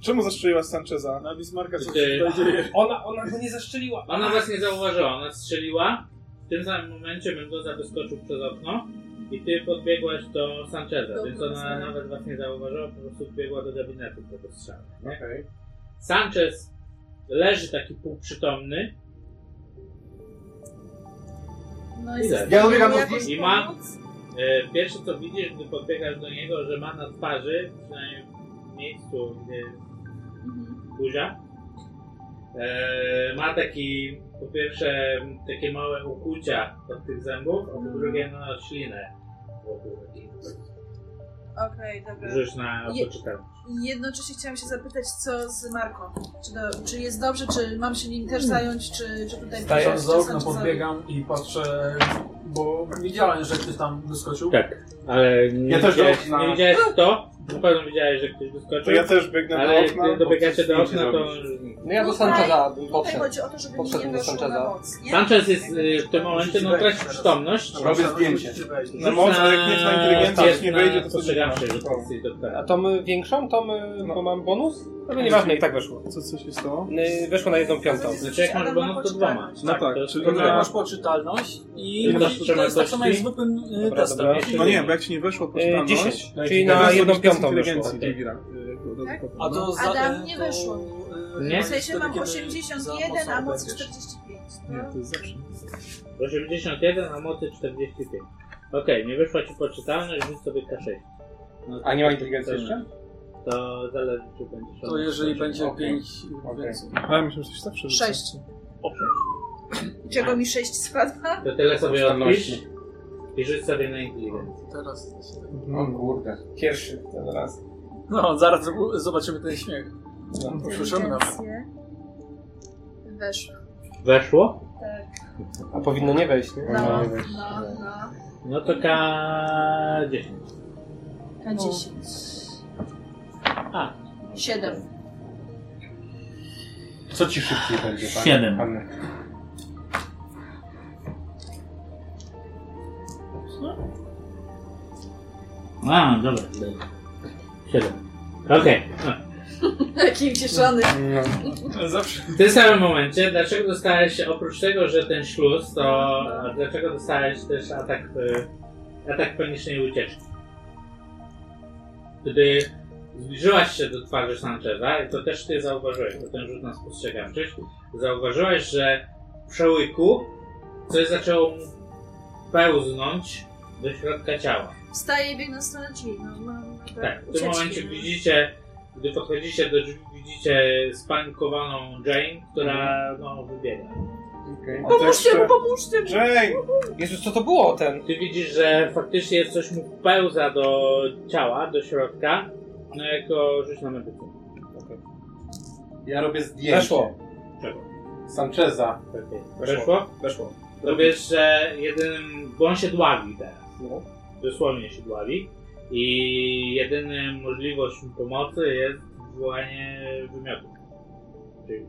[SPEAKER 2] Czemu zastrzeliłaś Sancheza?
[SPEAKER 3] Na Bismarka coś
[SPEAKER 1] Ty-
[SPEAKER 3] tutaj dzieje.
[SPEAKER 5] Ona, ona go nie zaszczeliła.
[SPEAKER 1] Ona was nie zauważyła, ona strzeliła. W tym samym momencie Mendoza wyskoczył przez okno i ty podbiegłaś do Sancheza,
[SPEAKER 6] Do
[SPEAKER 1] więc ona
[SPEAKER 6] Mendoza.
[SPEAKER 1] nawet was nie zauważyła, po prostu biegła do gabinetu po strzału. nie?
[SPEAKER 4] Okej.
[SPEAKER 1] Sanchez leży taki półprzytomny
[SPEAKER 6] No
[SPEAKER 1] Ile?
[SPEAKER 6] jesteś
[SPEAKER 4] Ja
[SPEAKER 6] w
[SPEAKER 4] dobiegam
[SPEAKER 6] stanie
[SPEAKER 4] do
[SPEAKER 6] mu
[SPEAKER 4] drzwi.
[SPEAKER 6] jakoś
[SPEAKER 1] I ma-
[SPEAKER 6] pomóc?
[SPEAKER 1] E, Pierwsze co widzisz, gdy podbiegasz do niego, że ma na twarzy, przynajmniej w miejscu, gdzie jest
[SPEAKER 6] Mhm.
[SPEAKER 1] buzia, e, ma taki, po pierwsze, takie małe ukłucia od tych zębów, a po drugie, no, ślinę wokół taki.
[SPEAKER 6] Okej, dobra.
[SPEAKER 1] Rzuć na
[SPEAKER 6] Je-
[SPEAKER 1] poczytanie.
[SPEAKER 6] I jednocześnie chciałam się zapytać, co z Marką? Czy, do, czy jest dobrze, czy mam się nim też zająć, czy, czy tutaj...
[SPEAKER 4] Tak
[SPEAKER 3] Staję
[SPEAKER 6] przyjrzeć
[SPEAKER 3] za
[SPEAKER 6] się
[SPEAKER 3] okno,
[SPEAKER 6] Sanchezowi?
[SPEAKER 3] podbiegam i patrzę, bo widziałem, że ktoś tam wyskoczył.
[SPEAKER 1] Tak, ale nie,
[SPEAKER 4] Ja też
[SPEAKER 1] widziałeś,
[SPEAKER 4] do okna.
[SPEAKER 1] nie widziałeś kto, na pewno widziałeś, że ktoś wyskoczył,
[SPEAKER 2] To ja też biegnę
[SPEAKER 1] ale
[SPEAKER 2] do okna.
[SPEAKER 1] gdy dobiegacie do
[SPEAKER 4] Nic nie
[SPEAKER 1] okna, to...
[SPEAKER 12] No ja do
[SPEAKER 6] Tutaj-
[SPEAKER 12] Sancheza
[SPEAKER 6] Tutaj
[SPEAKER 12] podszedł.
[SPEAKER 6] chodzi o to, żeby mi
[SPEAKER 12] Podszedł
[SPEAKER 6] nie
[SPEAKER 12] do
[SPEAKER 6] doszło
[SPEAKER 12] Sancheza.
[SPEAKER 6] na moc, nie?
[SPEAKER 1] Sanchez jest e, w tym momencie, no, traci przytomność.
[SPEAKER 4] Robię zdjęcie.
[SPEAKER 3] Musicie wejść.
[SPEAKER 2] Na mocno, jak nie na inteligencję, jak nie wejdzie, to sobie
[SPEAKER 1] Postrzegam się, że to jest doktora.
[SPEAKER 5] A to my większą, to my, bo mam bonus? No bo nieważne, i tak weszło.
[SPEAKER 2] Co, co się stało?
[SPEAKER 5] Yy, Weszło na jedną piątą.
[SPEAKER 1] Znaczy jak masz
[SPEAKER 6] Adam ma
[SPEAKER 1] bonus, to dwoma.
[SPEAKER 6] poczytalność.
[SPEAKER 2] No tak,
[SPEAKER 1] to jest
[SPEAKER 2] czyli
[SPEAKER 1] to
[SPEAKER 3] Dobra,
[SPEAKER 1] dwa.
[SPEAKER 3] masz poczytalność i
[SPEAKER 1] Ile masz
[SPEAKER 3] to jest tak
[SPEAKER 1] czytelności?
[SPEAKER 3] samo jak zwykłym y,
[SPEAKER 5] Dobra,
[SPEAKER 3] testem.
[SPEAKER 5] dobra.
[SPEAKER 3] Jeśli-
[SPEAKER 2] No nie, bo jak ci nie weszło
[SPEAKER 5] Yy,
[SPEAKER 2] poczytalność...
[SPEAKER 5] 10,
[SPEAKER 2] to
[SPEAKER 5] czyli
[SPEAKER 2] teraz
[SPEAKER 5] na
[SPEAKER 2] robisz
[SPEAKER 5] jedną
[SPEAKER 2] test
[SPEAKER 5] piątą weszło.
[SPEAKER 2] inteligencji, drugi raz, yy, od razu
[SPEAKER 6] Tak?
[SPEAKER 2] potem,
[SPEAKER 3] A to
[SPEAKER 2] no.
[SPEAKER 3] za,
[SPEAKER 6] Adam,
[SPEAKER 3] y,
[SPEAKER 6] nie
[SPEAKER 3] to,
[SPEAKER 6] wyszło.
[SPEAKER 3] y,
[SPEAKER 1] Nie?
[SPEAKER 6] W sensie
[SPEAKER 3] wtedy,
[SPEAKER 6] mam
[SPEAKER 3] kiedy za
[SPEAKER 6] 81,
[SPEAKER 3] mocno
[SPEAKER 6] a moc
[SPEAKER 3] będziesz.
[SPEAKER 6] 45.
[SPEAKER 2] Nie,
[SPEAKER 6] No.
[SPEAKER 2] to jest zawsze.
[SPEAKER 1] 81, a mocy 45. Okej, nie wyszła ci poczytalność, rzuć sobie K6. No,
[SPEAKER 4] A nie ma inteligencji jeszcze?
[SPEAKER 1] To zależy, czy będziesz...
[SPEAKER 3] To jeżeli będzie
[SPEAKER 4] Okej.
[SPEAKER 3] 5
[SPEAKER 4] Okej.
[SPEAKER 3] więcej.
[SPEAKER 2] Ale myślę, że coś zawsze rzucę.
[SPEAKER 6] 6. Czego mi 6 spada?
[SPEAKER 1] To tyle sobie odpisz
[SPEAKER 4] Poczytalności.
[SPEAKER 1] i rzuć sobie na inteligencję.
[SPEAKER 3] Teraz.
[SPEAKER 4] O kurde.
[SPEAKER 5] Pierwszy ten raz.
[SPEAKER 3] No, zaraz u- zobaczymy ten śmiech.
[SPEAKER 4] No.
[SPEAKER 3] Usłyszymy nawet.
[SPEAKER 6] Inteligencję. Weszło.
[SPEAKER 1] Weszło?
[SPEAKER 6] Tak.
[SPEAKER 5] A powinno nie wejść, nie?
[SPEAKER 6] No, no, no.
[SPEAKER 1] No to K10.
[SPEAKER 3] No.
[SPEAKER 6] K10.
[SPEAKER 1] A.
[SPEAKER 6] [LAUGHS] 7.
[SPEAKER 4] Co ci szybciej będzie, pan?
[SPEAKER 1] Siedem.
[SPEAKER 4] Pan-
[SPEAKER 1] A, dobra. 7. Okej.
[SPEAKER 6] Taki ucieszony.
[SPEAKER 4] No.
[SPEAKER 1] W tym samym momencie, dlaczego dostałeś, oprócz tego, że ten śluz, to a dlaczego dostałeś też atak, e, atak panicznej ucieczki? Gdy zbliżyłaś się do twarzy Sancheza, i to też ty zauważyłeś, bo ten rzut na spostrzegawczość, zauważyłeś, że w przełyku coś zaczęło mu pełznąć do środka ciała.
[SPEAKER 6] Wstaję i biegnę w stronę drzwi. No, mam
[SPEAKER 1] Tak, w
[SPEAKER 6] ucieczki,
[SPEAKER 1] tym momencie
[SPEAKER 6] no.
[SPEAKER 1] widzicie, gdy podchodzicie do drzwi, widzicie spanikowaną Jane, która no, wybiega.
[SPEAKER 4] Okej.
[SPEAKER 6] Pomóżcie mu, pomóżcie mu!
[SPEAKER 2] Jane!
[SPEAKER 5] Jezus, co to było ten?
[SPEAKER 1] Ty widzisz, że faktycznie coś mu pełza do ciała, do środka. No jako rzuć na medycynę.
[SPEAKER 4] Ja robię zdjęcie.
[SPEAKER 5] Weszło.
[SPEAKER 1] Czego?
[SPEAKER 4] Sancheza.
[SPEAKER 1] Okej. Weszło?
[SPEAKER 5] Weszło.
[SPEAKER 1] To wiesz, że jedynym... Bo on się dławi teraz. Dosłownie się dławi. I jedyną możliwość mu pomocy jest wywołanie wymiotu. Czyli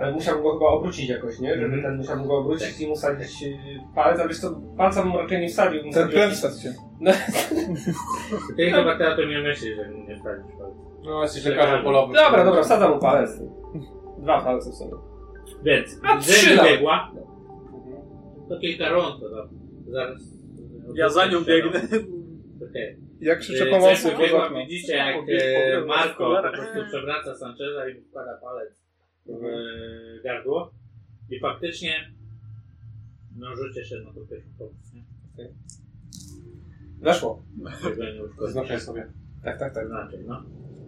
[SPEAKER 5] Ale musiał go chyba obrócić jakoś, nie? Żeby
[SPEAKER 1] Mhm.
[SPEAKER 5] ten musiał go obrócić i mu wsadzić yy, palec, a wiesz co, palca mu raczej nie wsadził. mu wsadził jakiś-
[SPEAKER 2] cię.
[SPEAKER 1] ty chyba teraz o nie myślisz, że mu nie wsadzisz palca.
[SPEAKER 4] No, jesteś lekarzem polowym.
[SPEAKER 5] Dobra, dobra, wsadza mu palec. Dwa palce w sumie.
[SPEAKER 1] Więc,
[SPEAKER 5] A trzy
[SPEAKER 1] Jane
[SPEAKER 5] nawet.
[SPEAKER 1] biegła. To kilka rund, to no, zaraz...
[SPEAKER 3] Ja za nią biegnę.
[SPEAKER 1] Okej.
[SPEAKER 2] Ja krzyczę
[SPEAKER 1] Yy,
[SPEAKER 2] pomocy
[SPEAKER 1] Cech
[SPEAKER 2] poza
[SPEAKER 1] biegła,
[SPEAKER 2] okno.
[SPEAKER 1] Widzicie, jak e, Marko po
[SPEAKER 6] Mm.
[SPEAKER 1] prostu przewraca Sancheza i wkłada palec w e, gardło. I faktycznie
[SPEAKER 7] No rzućcie się na to pierwszy pomysł, nie?
[SPEAKER 4] Weszło.
[SPEAKER 7] Żeby nie uszkodzić.
[SPEAKER 4] Zaznaczaj sobie.
[SPEAKER 5] Tak, tak, tak.
[SPEAKER 7] Znaczy, no.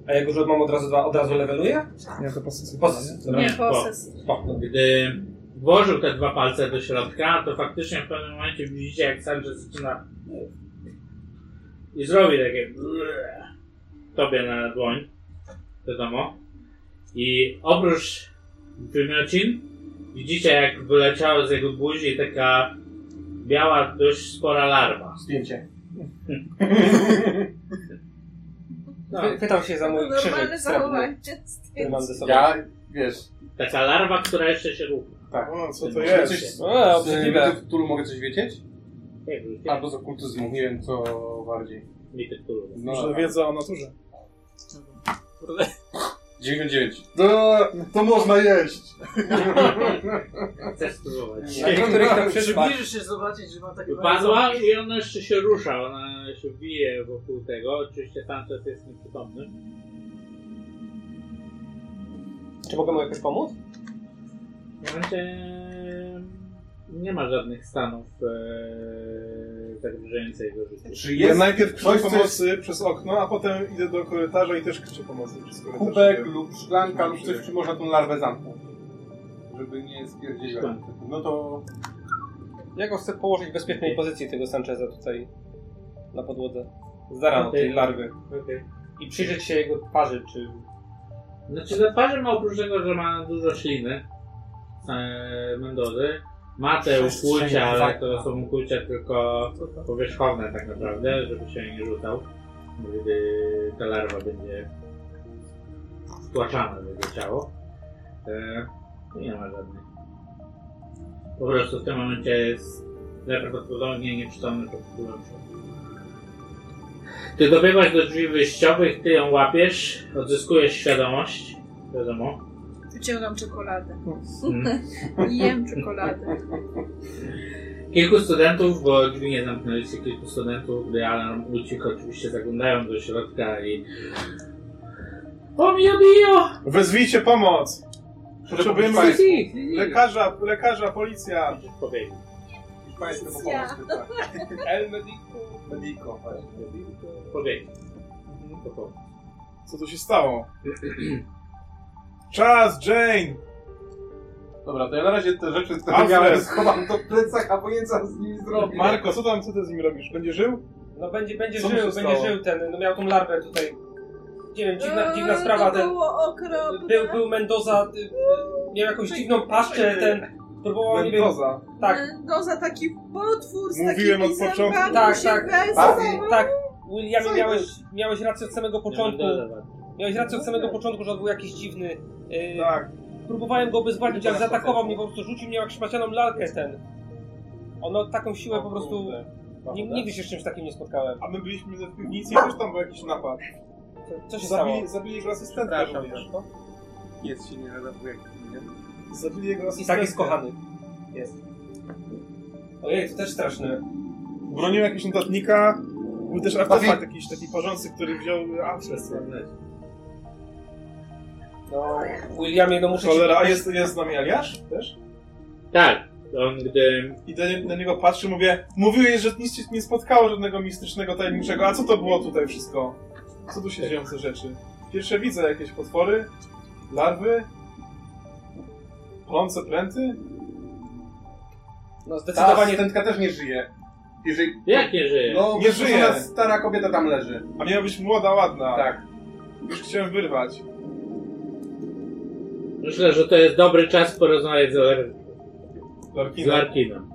[SPEAKER 5] A jak już mam od razu dwa, od razu leveluję?
[SPEAKER 2] Ja to posycę.
[SPEAKER 5] Pozycję. Dobra.
[SPEAKER 7] Nie,
[SPEAKER 6] Nie, poses.
[SPEAKER 5] O, no.
[SPEAKER 7] Gdy włożył te dwa palce do środka, to faktycznie w pewnym momencie widzicie, jak Sanchez zaczyna No. i zrobi takie tobie na dłoń, wiadomo. I oprócz wymiocin widzicie, jak wyleciała z jego buzi taka biała, dość spora larwa.
[SPEAKER 4] Zdjęcie.
[SPEAKER 7] No,
[SPEAKER 5] Py- Pytał się za mój
[SPEAKER 6] Normalne
[SPEAKER 5] krzyżyk srebrny,
[SPEAKER 6] zachowanie.
[SPEAKER 5] który mam ze sobą.
[SPEAKER 4] Ja, wiesz,
[SPEAKER 7] taka larwa, która jeszcze się rucha.
[SPEAKER 4] tak.
[SPEAKER 2] O, co to
[SPEAKER 7] Coś-
[SPEAKER 2] jest?
[SPEAKER 5] O,
[SPEAKER 4] Z
[SPEAKER 5] No, obrzydliwe.
[SPEAKER 4] tytułu mogę coś wiedzieć?
[SPEAKER 7] Jak widzicie,
[SPEAKER 4] Albo z okultyzmu, nie wiem co bardziej.
[SPEAKER 7] mi tak te królowe.
[SPEAKER 4] No,
[SPEAKER 2] Może
[SPEAKER 4] dobra.
[SPEAKER 2] wiedza o naturze.
[SPEAKER 4] 99. No, to można jeść!
[SPEAKER 7] Chcesz spróbować.
[SPEAKER 5] Na których tam przyszła.
[SPEAKER 3] Przybliżysz się zobaczyć, że ma takie...
[SPEAKER 7] Wypadła i ona jeszcze się rusza, ona się bije wokół tego. Oczywiście Sanchez jest nieprzytomny.
[SPEAKER 5] Czy mogę mu jakoś pomóc?
[SPEAKER 7] W tym momencie nie ma żadnych stanów e, zagrożających jego życiu.
[SPEAKER 4] Czy
[SPEAKER 2] Ja
[SPEAKER 4] jest
[SPEAKER 2] najpierw
[SPEAKER 4] coś,
[SPEAKER 2] krzyczę
[SPEAKER 4] co
[SPEAKER 2] pomocy przez okno, a potem idę do korytarza i też krzyczę pomocy przez korytarz.
[SPEAKER 4] kubek lub szklanka lub coś, czy można tą larwę zamknąć? Żeby nie spierdziła.
[SPEAKER 7] Szklanka.
[SPEAKER 4] No to
[SPEAKER 5] Ja go chcę położyć w bezpiecznej pozycji tego Sancheza tutaj na podłodze. Z rano tej larwy.
[SPEAKER 7] Okay.
[SPEAKER 5] I przyjrzeć się jego twarzy, czy...
[SPEAKER 7] Znaczy na twarzy ma oprócz tego, że ma dużo śliny e, Mendozy. Ma te ukłucia, ale to są ukłucia tylko powierzchowne tak naprawdę, żeby się nie rzucał, gdy ta larwa będzie wtłaczana w jego ciało. E, nie ma żadnych. Po prostu w tym momencie jest najprawdopodobniej nieprzytomny pod wpływem szoku. Ty dobiegasz do drzwi wyjściowych, ty ją łapiesz, odzyskujesz świadomość, wiadomo.
[SPEAKER 6] Wyciągam czekoladę.
[SPEAKER 7] Mm.
[SPEAKER 6] Jem czekoladę.
[SPEAKER 7] Kilku studentów, bo drzwi nie zamknęli się, kilku studentów, gdy alarm uciekł, oczywiście zaglądają do środka i... O mio dio!
[SPEAKER 2] Wezwijcie pomoc! Potrzebujemy
[SPEAKER 4] Proszę państwa,
[SPEAKER 2] lekarza, lekarza, policja!
[SPEAKER 7] Powiedzieli.
[SPEAKER 4] proszę państwa, po pomoc, tak. [LAUGHS] El Medico. Medico, tak. właśnie.
[SPEAKER 7] Powiedzieli. Po prostu.
[SPEAKER 2] Co tu się stało? Czas, Jane!
[SPEAKER 4] Dobra, to ja na razie te rzeczy, które
[SPEAKER 2] Alfred.
[SPEAKER 4] miałem, schowam do plecach, a pojęcia z nimi zrobię.
[SPEAKER 2] Marko, co tam, co ty z nim robisz? Będzie żył?
[SPEAKER 5] No będzie, będzie
[SPEAKER 4] Co mu
[SPEAKER 5] żył,
[SPEAKER 4] się
[SPEAKER 5] będzie
[SPEAKER 4] stało?
[SPEAKER 5] żył ten, no miał tą larwę tutaj. Nie wiem, dziwna,
[SPEAKER 6] Eee,
[SPEAKER 5] dziwna sprawa,
[SPEAKER 6] To
[SPEAKER 5] ten...
[SPEAKER 6] było okropne.
[SPEAKER 5] Był, był Mendoza, y, y, miał jakąś dziwną paszczę, ten... Próbował, nie wiem...
[SPEAKER 2] Mendoza.
[SPEAKER 5] Tak,
[SPEAKER 6] Mendoza, E, no, taki potwór z
[SPEAKER 2] Mówiłem
[SPEAKER 6] takimi
[SPEAKER 2] od początku.
[SPEAKER 6] zębami
[SPEAKER 5] Tak,
[SPEAKER 6] się
[SPEAKER 5] tak.
[SPEAKER 6] wesał.
[SPEAKER 4] Tak.
[SPEAKER 5] tak. Williamie, miałeś, miałeś rację od samego początku.
[SPEAKER 7] Nie będę dawać.
[SPEAKER 5] Miałeś rację od samego początku, że on był jakiś dziwny. y,
[SPEAKER 2] Tak.
[SPEAKER 5] Próbowałem go obezwładnić, ale zaatakował mnie, po prostu rzucił mnie jak szmacianą lalkę ten. Ono taką siłę po prostu... Nie, nigdy się z czymś takim nie spotkałem.
[SPEAKER 2] no, A my byliśmy w piwnicy i też tam był jakiś napad.
[SPEAKER 5] Co, co się
[SPEAKER 2] Zabili,
[SPEAKER 5] stało?
[SPEAKER 2] zabili jego asystenta
[SPEAKER 4] Przepraszam,
[SPEAKER 2] również.
[SPEAKER 4] no. Jest się nie redaguje. nie?
[SPEAKER 2] Zabili jego
[SPEAKER 5] I
[SPEAKER 2] asystenta.
[SPEAKER 5] tak jest kochany. Jest. Ojej, to też straszne.
[SPEAKER 2] Bronił jakiegoś notatnika. Był też artefakt
[SPEAKER 4] Papi-
[SPEAKER 2] jakiś taki porzący, który wziął Amstres.
[SPEAKER 5] No, Williamie, no muszę
[SPEAKER 2] Cholera, a
[SPEAKER 5] ci...
[SPEAKER 2] jest, jest z nami Aliasz też?
[SPEAKER 7] Tak, on gdy...
[SPEAKER 2] I do, do niego patrzy, mówię, mówiłeś, że nic cię nie spotkało żadnego mistycznego, tajemniczego, a co to było tutaj wszystko? Co tu
[SPEAKER 7] Tak.
[SPEAKER 2] się dzieją za rzeczy? Pierwsze widzę jakieś potwory, larwy, plące pręty.
[SPEAKER 5] No
[SPEAKER 4] Zdecydowanie
[SPEAKER 5] zdecydowanie ten...
[SPEAKER 4] tętka też nie żyje. Jeżeli...
[SPEAKER 7] Jak nie żyje?
[SPEAKER 4] No,
[SPEAKER 2] Nie
[SPEAKER 4] nie
[SPEAKER 2] żyje.
[SPEAKER 4] żyje. stara kobieta tam leży.
[SPEAKER 2] A miała być młoda, ładna.
[SPEAKER 4] Tak.
[SPEAKER 2] Już chciałem wyrwać.
[SPEAKER 7] Myślę, że to jest dobry czas porozmawiać z, Lar- z
[SPEAKER 2] Larkina.
[SPEAKER 7] Larkinem.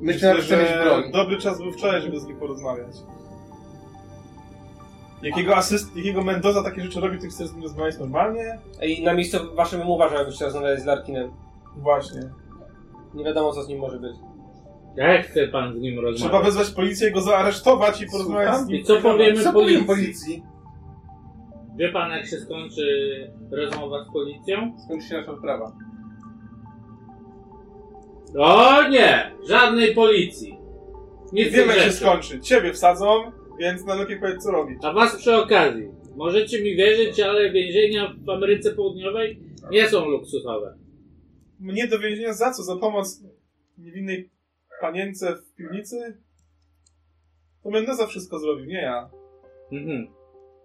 [SPEAKER 4] Myślę, że chce mieć broń.
[SPEAKER 2] dobry czas był wczoraj, żeby z nim porozmawiać. Jakiego asyst, jakiego Mendoza takie rzeczy robi, ty chcesz z nim rozmawiać normalnie?
[SPEAKER 5] I na miejscu waszym bym uważał, jakbyś chciał rozmawiać z Larkinem.
[SPEAKER 2] Właśnie.
[SPEAKER 5] Nie wiadomo, co z nim może być.
[SPEAKER 7] Jak chce pan z nim
[SPEAKER 2] Trzeba
[SPEAKER 7] rozmawiać?
[SPEAKER 2] wezwać policję, go zaaresztować i porozmawiać
[SPEAKER 4] Słucham?
[SPEAKER 2] z nim.
[SPEAKER 7] I co powiemy
[SPEAKER 4] Co powiem
[SPEAKER 7] policji?
[SPEAKER 4] policji?
[SPEAKER 7] Wie pan jak się skończy rozmowa z policją?
[SPEAKER 4] Skończy się nasza odprawa.
[SPEAKER 7] O nie! Żadnej policji.
[SPEAKER 2] Nie
[SPEAKER 7] Nic
[SPEAKER 2] wiem, jak się
[SPEAKER 7] rzeczy.
[SPEAKER 2] skończy. Ciebie wsadzą, więc najlepiej powiedz, co robić.
[SPEAKER 7] A was przy okazji. Możecie mi wierzyć, ale więzienia w Ameryce Południowej nie są luksusowe.
[SPEAKER 2] Mnie do więzienia za co? Za pomoc niewinnej panience w piwnicy? To Mendoza wszystko zrobił, nie ja.
[SPEAKER 7] Mhm.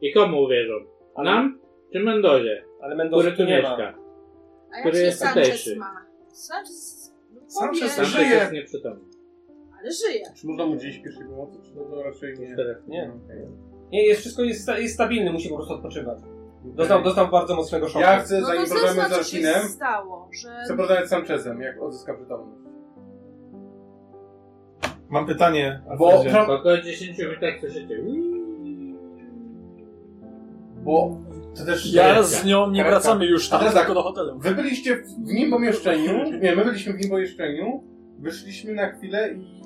[SPEAKER 7] I komu uwierzą? Nam czy Mendozie,
[SPEAKER 5] Ale
[SPEAKER 7] który
[SPEAKER 5] Mendoza
[SPEAKER 7] tu
[SPEAKER 5] tu nie ma.
[SPEAKER 7] mieszka?
[SPEAKER 6] A jak
[SPEAKER 7] Który
[SPEAKER 6] się
[SPEAKER 7] jest
[SPEAKER 6] Sanchez
[SPEAKER 7] tutejszy?
[SPEAKER 6] ma? Sanchez...
[SPEAKER 2] Sanchez
[SPEAKER 6] powie,
[SPEAKER 7] Tam
[SPEAKER 2] żyje.
[SPEAKER 7] też jest nieprzytomny.
[SPEAKER 6] Ale żyje.
[SPEAKER 4] Czy można mu dziś pierwszej pomocy, czy no raczej nie?
[SPEAKER 7] Teraz
[SPEAKER 5] Nie. Nie, jest, wszystko jest, sta- jest stabilny, musi po prostu odpoczywać. Dostał, dostał bardzo mocnego szoku.
[SPEAKER 4] Ja chcę,
[SPEAKER 6] No to
[SPEAKER 4] zanim
[SPEAKER 6] co
[SPEAKER 4] porozmawiamy z
[SPEAKER 6] znaczy się
[SPEAKER 4] Arcinem,
[SPEAKER 6] stało, że...
[SPEAKER 4] chcę porozmawiać z Sanchezem, jak odzyska przytomność.
[SPEAKER 2] Mam pytanie,
[SPEAKER 4] Bo,
[SPEAKER 2] Alfredzie.
[SPEAKER 4] pra-
[SPEAKER 7] Około 10 minut tak słyszycie.
[SPEAKER 4] bo to też...
[SPEAKER 3] Ja z nią nie
[SPEAKER 4] Karetka.
[SPEAKER 3] wracamy już
[SPEAKER 4] A
[SPEAKER 3] tam,
[SPEAKER 4] teraz
[SPEAKER 3] tylko
[SPEAKER 4] tak.
[SPEAKER 3] do hotelu.
[SPEAKER 4] Wy byliście w w nim pomieszczeniu, nie, my byliśmy w nim pomieszczeniu, wyszliśmy na chwilę i...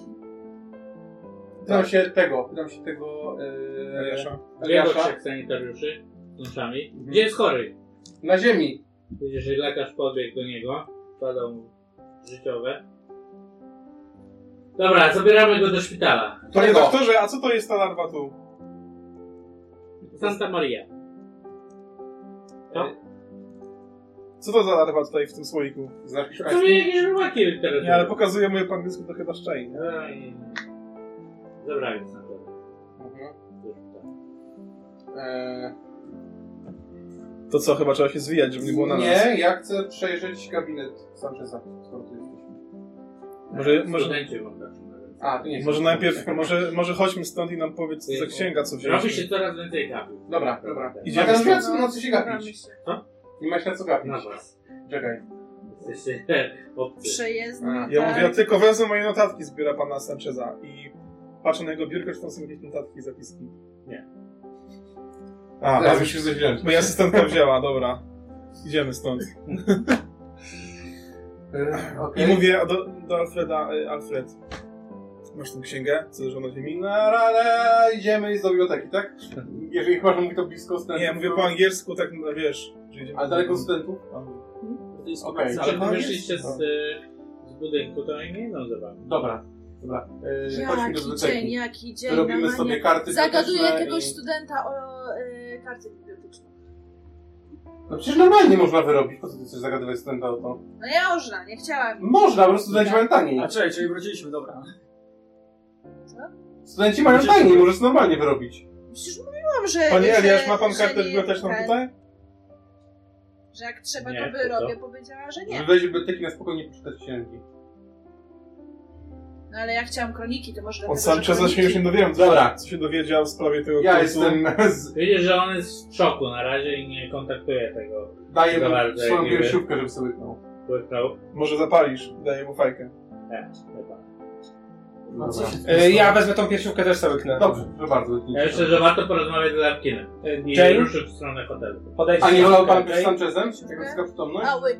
[SPEAKER 2] Tak.
[SPEAKER 4] Pytam się tego, pytam się tego... Yy,
[SPEAKER 2] Eliasza.
[SPEAKER 7] Biegło
[SPEAKER 4] Eliasza.
[SPEAKER 7] trzech sanitariuszy z noszami. Gdzie jest chory?
[SPEAKER 4] Na ziemi.
[SPEAKER 7] Widzisz, że lekarz podbiegł do niego. Badał mu życiowe. Dobra, zabieramy go do szpitala.
[SPEAKER 2] Panie
[SPEAKER 4] Tego.
[SPEAKER 2] doktorze, a co to jest ta larwa tu?
[SPEAKER 7] Santa Maria.
[SPEAKER 2] Co to za larwa tutaj w tym słoiku?
[SPEAKER 4] Znasz
[SPEAKER 7] To mnie No jakieś rybaki teraz.
[SPEAKER 2] Nie, ale pokazuje moje po angielsku to chyba szczęście. nie?
[SPEAKER 7] Ej. Zabrali Santa Maria.
[SPEAKER 4] Mhm.
[SPEAKER 7] do szpitala.
[SPEAKER 4] Eee,
[SPEAKER 2] To co, chyba trzeba się zwijać, żeby nie było na nas.
[SPEAKER 4] E, nie, ja chcę przejrzeć gabinet Sancheza, skoro tu jesteśmy.
[SPEAKER 2] Może, może,
[SPEAKER 7] Studenci wam patrzą na ręce.
[SPEAKER 4] A, tu nie jest.
[SPEAKER 2] może najpierw, może, może chodźmy stąd i nam powiedz, co za księga, co
[SPEAKER 7] Robi się
[SPEAKER 2] wzięliśmy.
[SPEAKER 7] coraz więcej kawy.
[SPEAKER 4] Dobra, dobra.
[SPEAKER 2] Idziemy
[SPEAKER 4] Idziemy na,
[SPEAKER 2] stąd.
[SPEAKER 4] co- na co się gapić? Nie masz na co gapić.
[SPEAKER 7] Na was.
[SPEAKER 4] Czekaj.
[SPEAKER 7] Jesteście [LAUGHS] obcy.
[SPEAKER 13] Przejezdny.
[SPEAKER 4] A,
[SPEAKER 2] Ja
[SPEAKER 13] tak.
[SPEAKER 2] mówię, ja tylko wezmę moje notatki z biura pana Sancheza i patrzę na jego biurko, czy tam są jakieś notatki, zapiski.
[SPEAKER 7] Nie.
[SPEAKER 2] A,
[SPEAKER 4] Zaraz
[SPEAKER 2] bo-
[SPEAKER 4] już się zeźle.
[SPEAKER 2] moja asystentka wzięła, dobra. Idziemy stąd.
[SPEAKER 4] E,
[SPEAKER 2] I mówię do, do Alfreda, y, Alfred, masz tą księgę, co leży na ziemi?
[SPEAKER 4] Na rana idziemy do biblioteki, tak? Jeżeli chyba, że mówi to blisko studentów.
[SPEAKER 2] Nie, mówię
[SPEAKER 4] to-
[SPEAKER 2] po angielsku, tak no, wiesz. że idziemy-
[SPEAKER 4] Ale daleko od studentów? Okej,
[SPEAKER 7] Ale
[SPEAKER 4] ale
[SPEAKER 7] wyszliście z, y, z budynku, to oni nie idą za wami.
[SPEAKER 4] Dobra, dobra. Yy, chodźmy do
[SPEAKER 13] Jaki dzień,
[SPEAKER 4] biblioteki.
[SPEAKER 13] jaki dzień.
[SPEAKER 4] Robimy
[SPEAKER 13] normalnie.
[SPEAKER 4] sobie karty
[SPEAKER 6] Zagaduję
[SPEAKER 4] biblioteczne
[SPEAKER 6] jakiegoś
[SPEAKER 4] i-
[SPEAKER 6] studenta o y, karcie bibliotecznej.
[SPEAKER 4] No przecież normalnie można wyrobić, po co ty chcesz zagadywać studenta o to?
[SPEAKER 6] No nie można, nie chciałam.
[SPEAKER 4] Można, po prostu studenci mają taniej.
[SPEAKER 3] A czekaj, czyli wróciliśmy, dobra.
[SPEAKER 4] Studenci mają taniej, możesz normalnie wyrobić.
[SPEAKER 6] Przecież mówiłam, że...
[SPEAKER 2] Panie
[SPEAKER 6] że,
[SPEAKER 2] Eliasz, ma pan
[SPEAKER 6] że
[SPEAKER 2] kartę
[SPEAKER 6] nie-
[SPEAKER 2] biblioteczną
[SPEAKER 6] ten,
[SPEAKER 2] tutaj?
[SPEAKER 6] Że jak trzeba,
[SPEAKER 7] Nie,
[SPEAKER 6] to
[SPEAKER 7] to co?
[SPEAKER 6] wyrobię. Powiedziała, że
[SPEAKER 4] Żeby
[SPEAKER 6] nie.
[SPEAKER 4] wejść do biblioteki na spokojnie poczytać księgi.
[SPEAKER 6] No ale ja chciałam kroniki, to może
[SPEAKER 2] Od
[SPEAKER 6] dlatego, że
[SPEAKER 2] Sancheza
[SPEAKER 7] Znaczy,
[SPEAKER 2] się już nie dowiedziałem, co,
[SPEAKER 4] Dobra.
[SPEAKER 2] co się dowiedział w sprawie tego
[SPEAKER 4] Ja
[SPEAKER 2] kursu.
[SPEAKER 4] jestem [LAUGHS] z...
[SPEAKER 7] Widzisz, że on jest w szoku na razie i nie kontaktuje tego
[SPEAKER 4] Daję
[SPEAKER 7] Dobra,
[SPEAKER 4] mu swoją
[SPEAKER 7] niby.
[SPEAKER 4] piersiówkę, żeby sobie no. wyknął.
[SPEAKER 7] łyknął.
[SPEAKER 2] Może zapalisz, daję mu fajkę.
[SPEAKER 7] E, chyba.
[SPEAKER 4] No co się-
[SPEAKER 5] E, Ja wezmę tą piersiówkę, też sobie knę.
[SPEAKER 4] Dobrze, proszę bardzo.
[SPEAKER 7] Ja myślę, że warto porozmawiać z Larkinem i
[SPEAKER 5] Jane?
[SPEAKER 7] ruszyć w stronę hotelu.
[SPEAKER 5] Podejdź
[SPEAKER 4] A nie wolał pan być z
[SPEAKER 5] okej?
[SPEAKER 4] Sanchezem? Taka taka przytomność?
[SPEAKER 6] A łyk.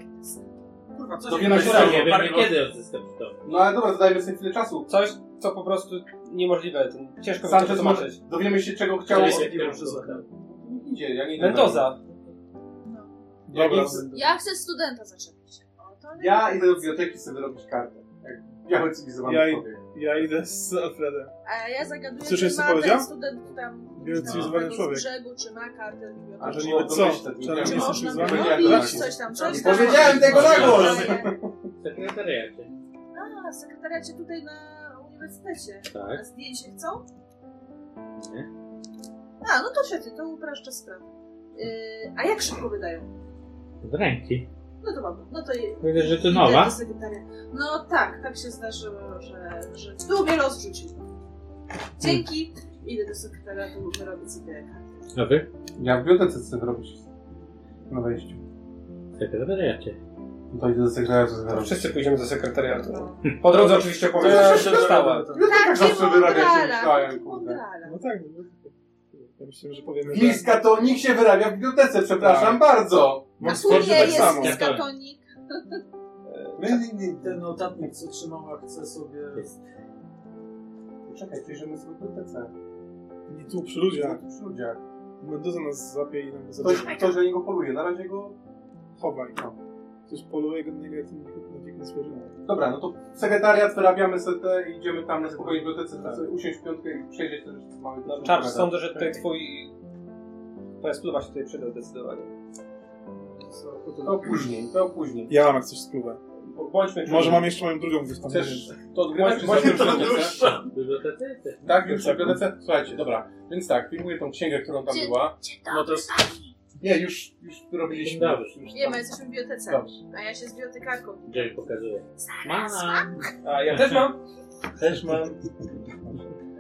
[SPEAKER 3] Kurwa, co
[SPEAKER 4] To
[SPEAKER 3] się
[SPEAKER 4] wiemy,
[SPEAKER 3] wydarzyło?
[SPEAKER 5] No,
[SPEAKER 4] że
[SPEAKER 7] Nie wiem
[SPEAKER 3] Parę-
[SPEAKER 7] nie kiedy odzyskać to.
[SPEAKER 4] No ale dobra, zadajmy sobie chwilę czasu.
[SPEAKER 5] Coś, co po prostu niemożliwe. Ciężko mi to
[SPEAKER 4] Sanchez może...
[SPEAKER 5] zobaczyć.
[SPEAKER 4] Dowiemy się czego chciał...
[SPEAKER 7] Chciałbym
[SPEAKER 3] się-
[SPEAKER 4] Idzie, ja nie idę.
[SPEAKER 5] Mendoza.
[SPEAKER 4] Ja, nie
[SPEAKER 2] Dobra.
[SPEAKER 4] chcę-
[SPEAKER 6] Ja chcę studenta zaczepić. O, to nie-
[SPEAKER 4] ja idę do biblioteki sobie robić kartę. Jak biały cywilizowany
[SPEAKER 2] Ja
[SPEAKER 4] ja
[SPEAKER 2] i-
[SPEAKER 4] człowiek.
[SPEAKER 2] Ja idę z Alfredem.
[SPEAKER 6] A ja zagaduję,
[SPEAKER 2] Słyszysz,
[SPEAKER 6] czy
[SPEAKER 2] co
[SPEAKER 6] ma
[SPEAKER 2] powiedział?
[SPEAKER 6] ten student tam no,
[SPEAKER 2] Cywilizowany
[SPEAKER 6] z
[SPEAKER 2] człowiek.
[SPEAKER 6] brzegu, czy ma kartę
[SPEAKER 4] A
[SPEAKER 6] biblioteczną.
[SPEAKER 4] że
[SPEAKER 2] że
[SPEAKER 4] nie
[SPEAKER 2] nie co?
[SPEAKER 4] odmyślę,
[SPEAKER 2] Trzeba
[SPEAKER 4] nie tak.
[SPEAKER 6] Czy
[SPEAKER 2] będzie
[SPEAKER 4] wiem.
[SPEAKER 6] można
[SPEAKER 2] Cywilizowany?
[SPEAKER 6] robić no, coś tam, coś tam.
[SPEAKER 4] Powiedziałem tego na głos!
[SPEAKER 7] W sekretariacie.
[SPEAKER 6] A, w sekretariacie tutaj na uniwersytecie.
[SPEAKER 7] Tak.
[SPEAKER 6] A zdjęcie chcą? A, no to świetnie, to upraszcza sprawę. Yy, a jak szybko wydają?
[SPEAKER 7] Z ręki.
[SPEAKER 6] No to dobra, no to je-
[SPEAKER 7] Widzę, że ty
[SPEAKER 6] idę do
[SPEAKER 7] nowa.
[SPEAKER 6] sekretariatu. No tak, tak się zdarzyło, że, że tu mnie los rzucił. Dzięki, idę do sekretariatu, wyrobię sobie kartę.
[SPEAKER 7] A wy?
[SPEAKER 4] Ja w bibliotece chcę zrobić na wejściu.
[SPEAKER 7] W sekretariacie.
[SPEAKER 4] To idę do sekretariatu
[SPEAKER 5] To
[SPEAKER 4] zrobić.
[SPEAKER 5] wszyscy pójdziemy do sekretariatu.
[SPEAKER 6] No.
[SPEAKER 5] Po drodze oczywiście powiem, co się stało.
[SPEAKER 4] W
[SPEAKER 6] Tak,
[SPEAKER 4] bibliotekach tak zawsze wyrabia się myślałem, kurde.
[SPEAKER 6] mądrala.
[SPEAKER 2] No tak. no. Ja myślę, że powiemy, że...
[SPEAKER 4] Bliska to nikt się wyrabia w bibliotece, przepraszam bardzo.
[SPEAKER 6] Na
[SPEAKER 2] Mam
[SPEAKER 6] kurwie
[SPEAKER 2] stwierdzić tak
[SPEAKER 6] jest
[SPEAKER 2] samo.
[SPEAKER 6] skatonik.
[SPEAKER 3] Ten notatnik, co trzymała, chce sobie...
[SPEAKER 4] Czekaj, przejrzymy sobie bibliotece.
[SPEAKER 2] I tu, przy
[SPEAKER 3] Tak.
[SPEAKER 2] ludziach.
[SPEAKER 4] Tu Przy ludziach.
[SPEAKER 2] Meduza nas złapie i nam go
[SPEAKER 4] Ktoś,
[SPEAKER 2] zabierze.
[SPEAKER 4] ktoś na niego poluje, na razie go...
[SPEAKER 2] Chowaj.
[SPEAKER 4] No.
[SPEAKER 2] Ktoś poluje go na niego, jak ten nikt- nikt nie zwierzęta.
[SPEAKER 4] Dobra, no to sekretariat wyrabiamy setę i idziemy tam na spokojnie w bibliotece, tak. usiąść w piątkę i przejrzeć te rzeczy, co mamy. do
[SPEAKER 5] Czarz,
[SPEAKER 4] przeczytania.
[SPEAKER 5] No, sądzę, że tutaj twój... Twoja spluwa się tutaj przyda zdecydowanie.
[SPEAKER 4] To później, to później.
[SPEAKER 2] Ja mam jak coś spróbę.
[SPEAKER 5] Bądźmy
[SPEAKER 2] Może mam jeszcze moją drugą gdzieś tam.
[SPEAKER 4] Chcesz
[SPEAKER 2] nie wiem.
[SPEAKER 4] to odgrywać? czy
[SPEAKER 3] Właśnie
[SPEAKER 4] zrobić
[SPEAKER 3] to
[SPEAKER 4] bibliotece?
[SPEAKER 3] dłuższa.
[SPEAKER 7] Bibliotece? Też.
[SPEAKER 4] Tak, już bibliotece. Słuchajcie, dobra. Więc tak, filmuję tą księgę, którą tam
[SPEAKER 8] Dzień-
[SPEAKER 4] była.
[SPEAKER 3] No to jest
[SPEAKER 4] Nie, już, już robiliśmy.
[SPEAKER 7] Dobrze.
[SPEAKER 4] Już, już
[SPEAKER 6] Nie, my
[SPEAKER 4] tam.
[SPEAKER 6] jesteśmy bibliotece.
[SPEAKER 4] Dobrze.
[SPEAKER 6] A ja się z bibliotekarką.
[SPEAKER 7] Jerry pokazuje. Mam!
[SPEAKER 4] [LAUGHS]
[SPEAKER 5] A ja też mam.
[SPEAKER 7] Też mam.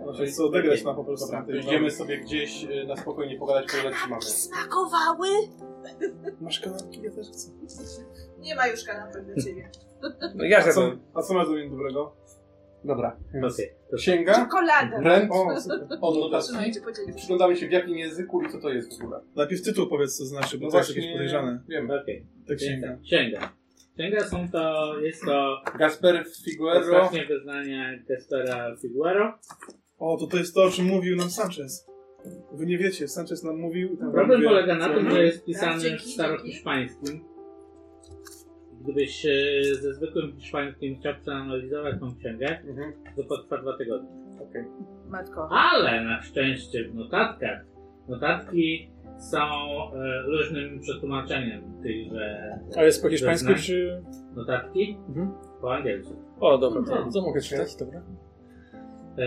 [SPEAKER 2] Muszę co odegrać na po prostu.
[SPEAKER 4] Dobra,
[SPEAKER 2] na
[SPEAKER 4] to
[SPEAKER 2] tej
[SPEAKER 4] idziemy sobie gdzieś y, na spokojnie pogadać, pogadać czy mamy.
[SPEAKER 8] Smakowały?
[SPEAKER 2] mapie. Masz kanapki, ja też chcę.
[SPEAKER 6] Nie ma już kanapy dla ciebie.
[SPEAKER 5] No ja
[SPEAKER 2] A co,
[SPEAKER 5] zjadłem.
[SPEAKER 2] a co masz do mnie dobrego?
[SPEAKER 4] Dobra.
[SPEAKER 7] Okej. to tak.
[SPEAKER 4] Księga,
[SPEAKER 6] Czekolada.
[SPEAKER 4] ręk,
[SPEAKER 6] Trzymaj,
[SPEAKER 4] odnotatki.
[SPEAKER 6] gdzie podzielić.
[SPEAKER 4] Przyglądamy się w jakim języku i co to jest w ogóle. No
[SPEAKER 2] Najpierw tytuł powiedz co znaczy, bo tak to jest jakieś podejrzane.
[SPEAKER 4] Wiem.
[SPEAKER 7] Okej.
[SPEAKER 2] Ta księga.
[SPEAKER 7] Księga. Księga. Księga są to, jest to
[SPEAKER 4] Gasper Figuero.
[SPEAKER 7] ostatnie wyznanie Gaspera Figuero.
[SPEAKER 2] O, to to jest to, o czym mówił nam Sanchez. Wy nie wiecie, Sanchez nam mówił... Tam
[SPEAKER 7] Problem
[SPEAKER 2] mówię,
[SPEAKER 7] polega na tym, że jest
[SPEAKER 6] Tak,
[SPEAKER 7] pisany w
[SPEAKER 6] dzięki,
[SPEAKER 7] starohiszpańskim. Gdybyś e, ze zwykłym hiszpańskim chciał przeanalizować tą księgę,
[SPEAKER 4] Mhm.
[SPEAKER 7] to potrwa dwa tygodnie.
[SPEAKER 6] Matko.
[SPEAKER 7] Ale na szczęście w notatkach, notatki są e, luźnym przetłumaczeniem tychże
[SPEAKER 14] A jest po hiszpańsku
[SPEAKER 7] Zeznań.
[SPEAKER 14] czy...
[SPEAKER 7] notatki po angielsku.
[SPEAKER 14] O,
[SPEAKER 7] No
[SPEAKER 14] dobra, to, to mogę czytać, dobra.
[SPEAKER 7] E,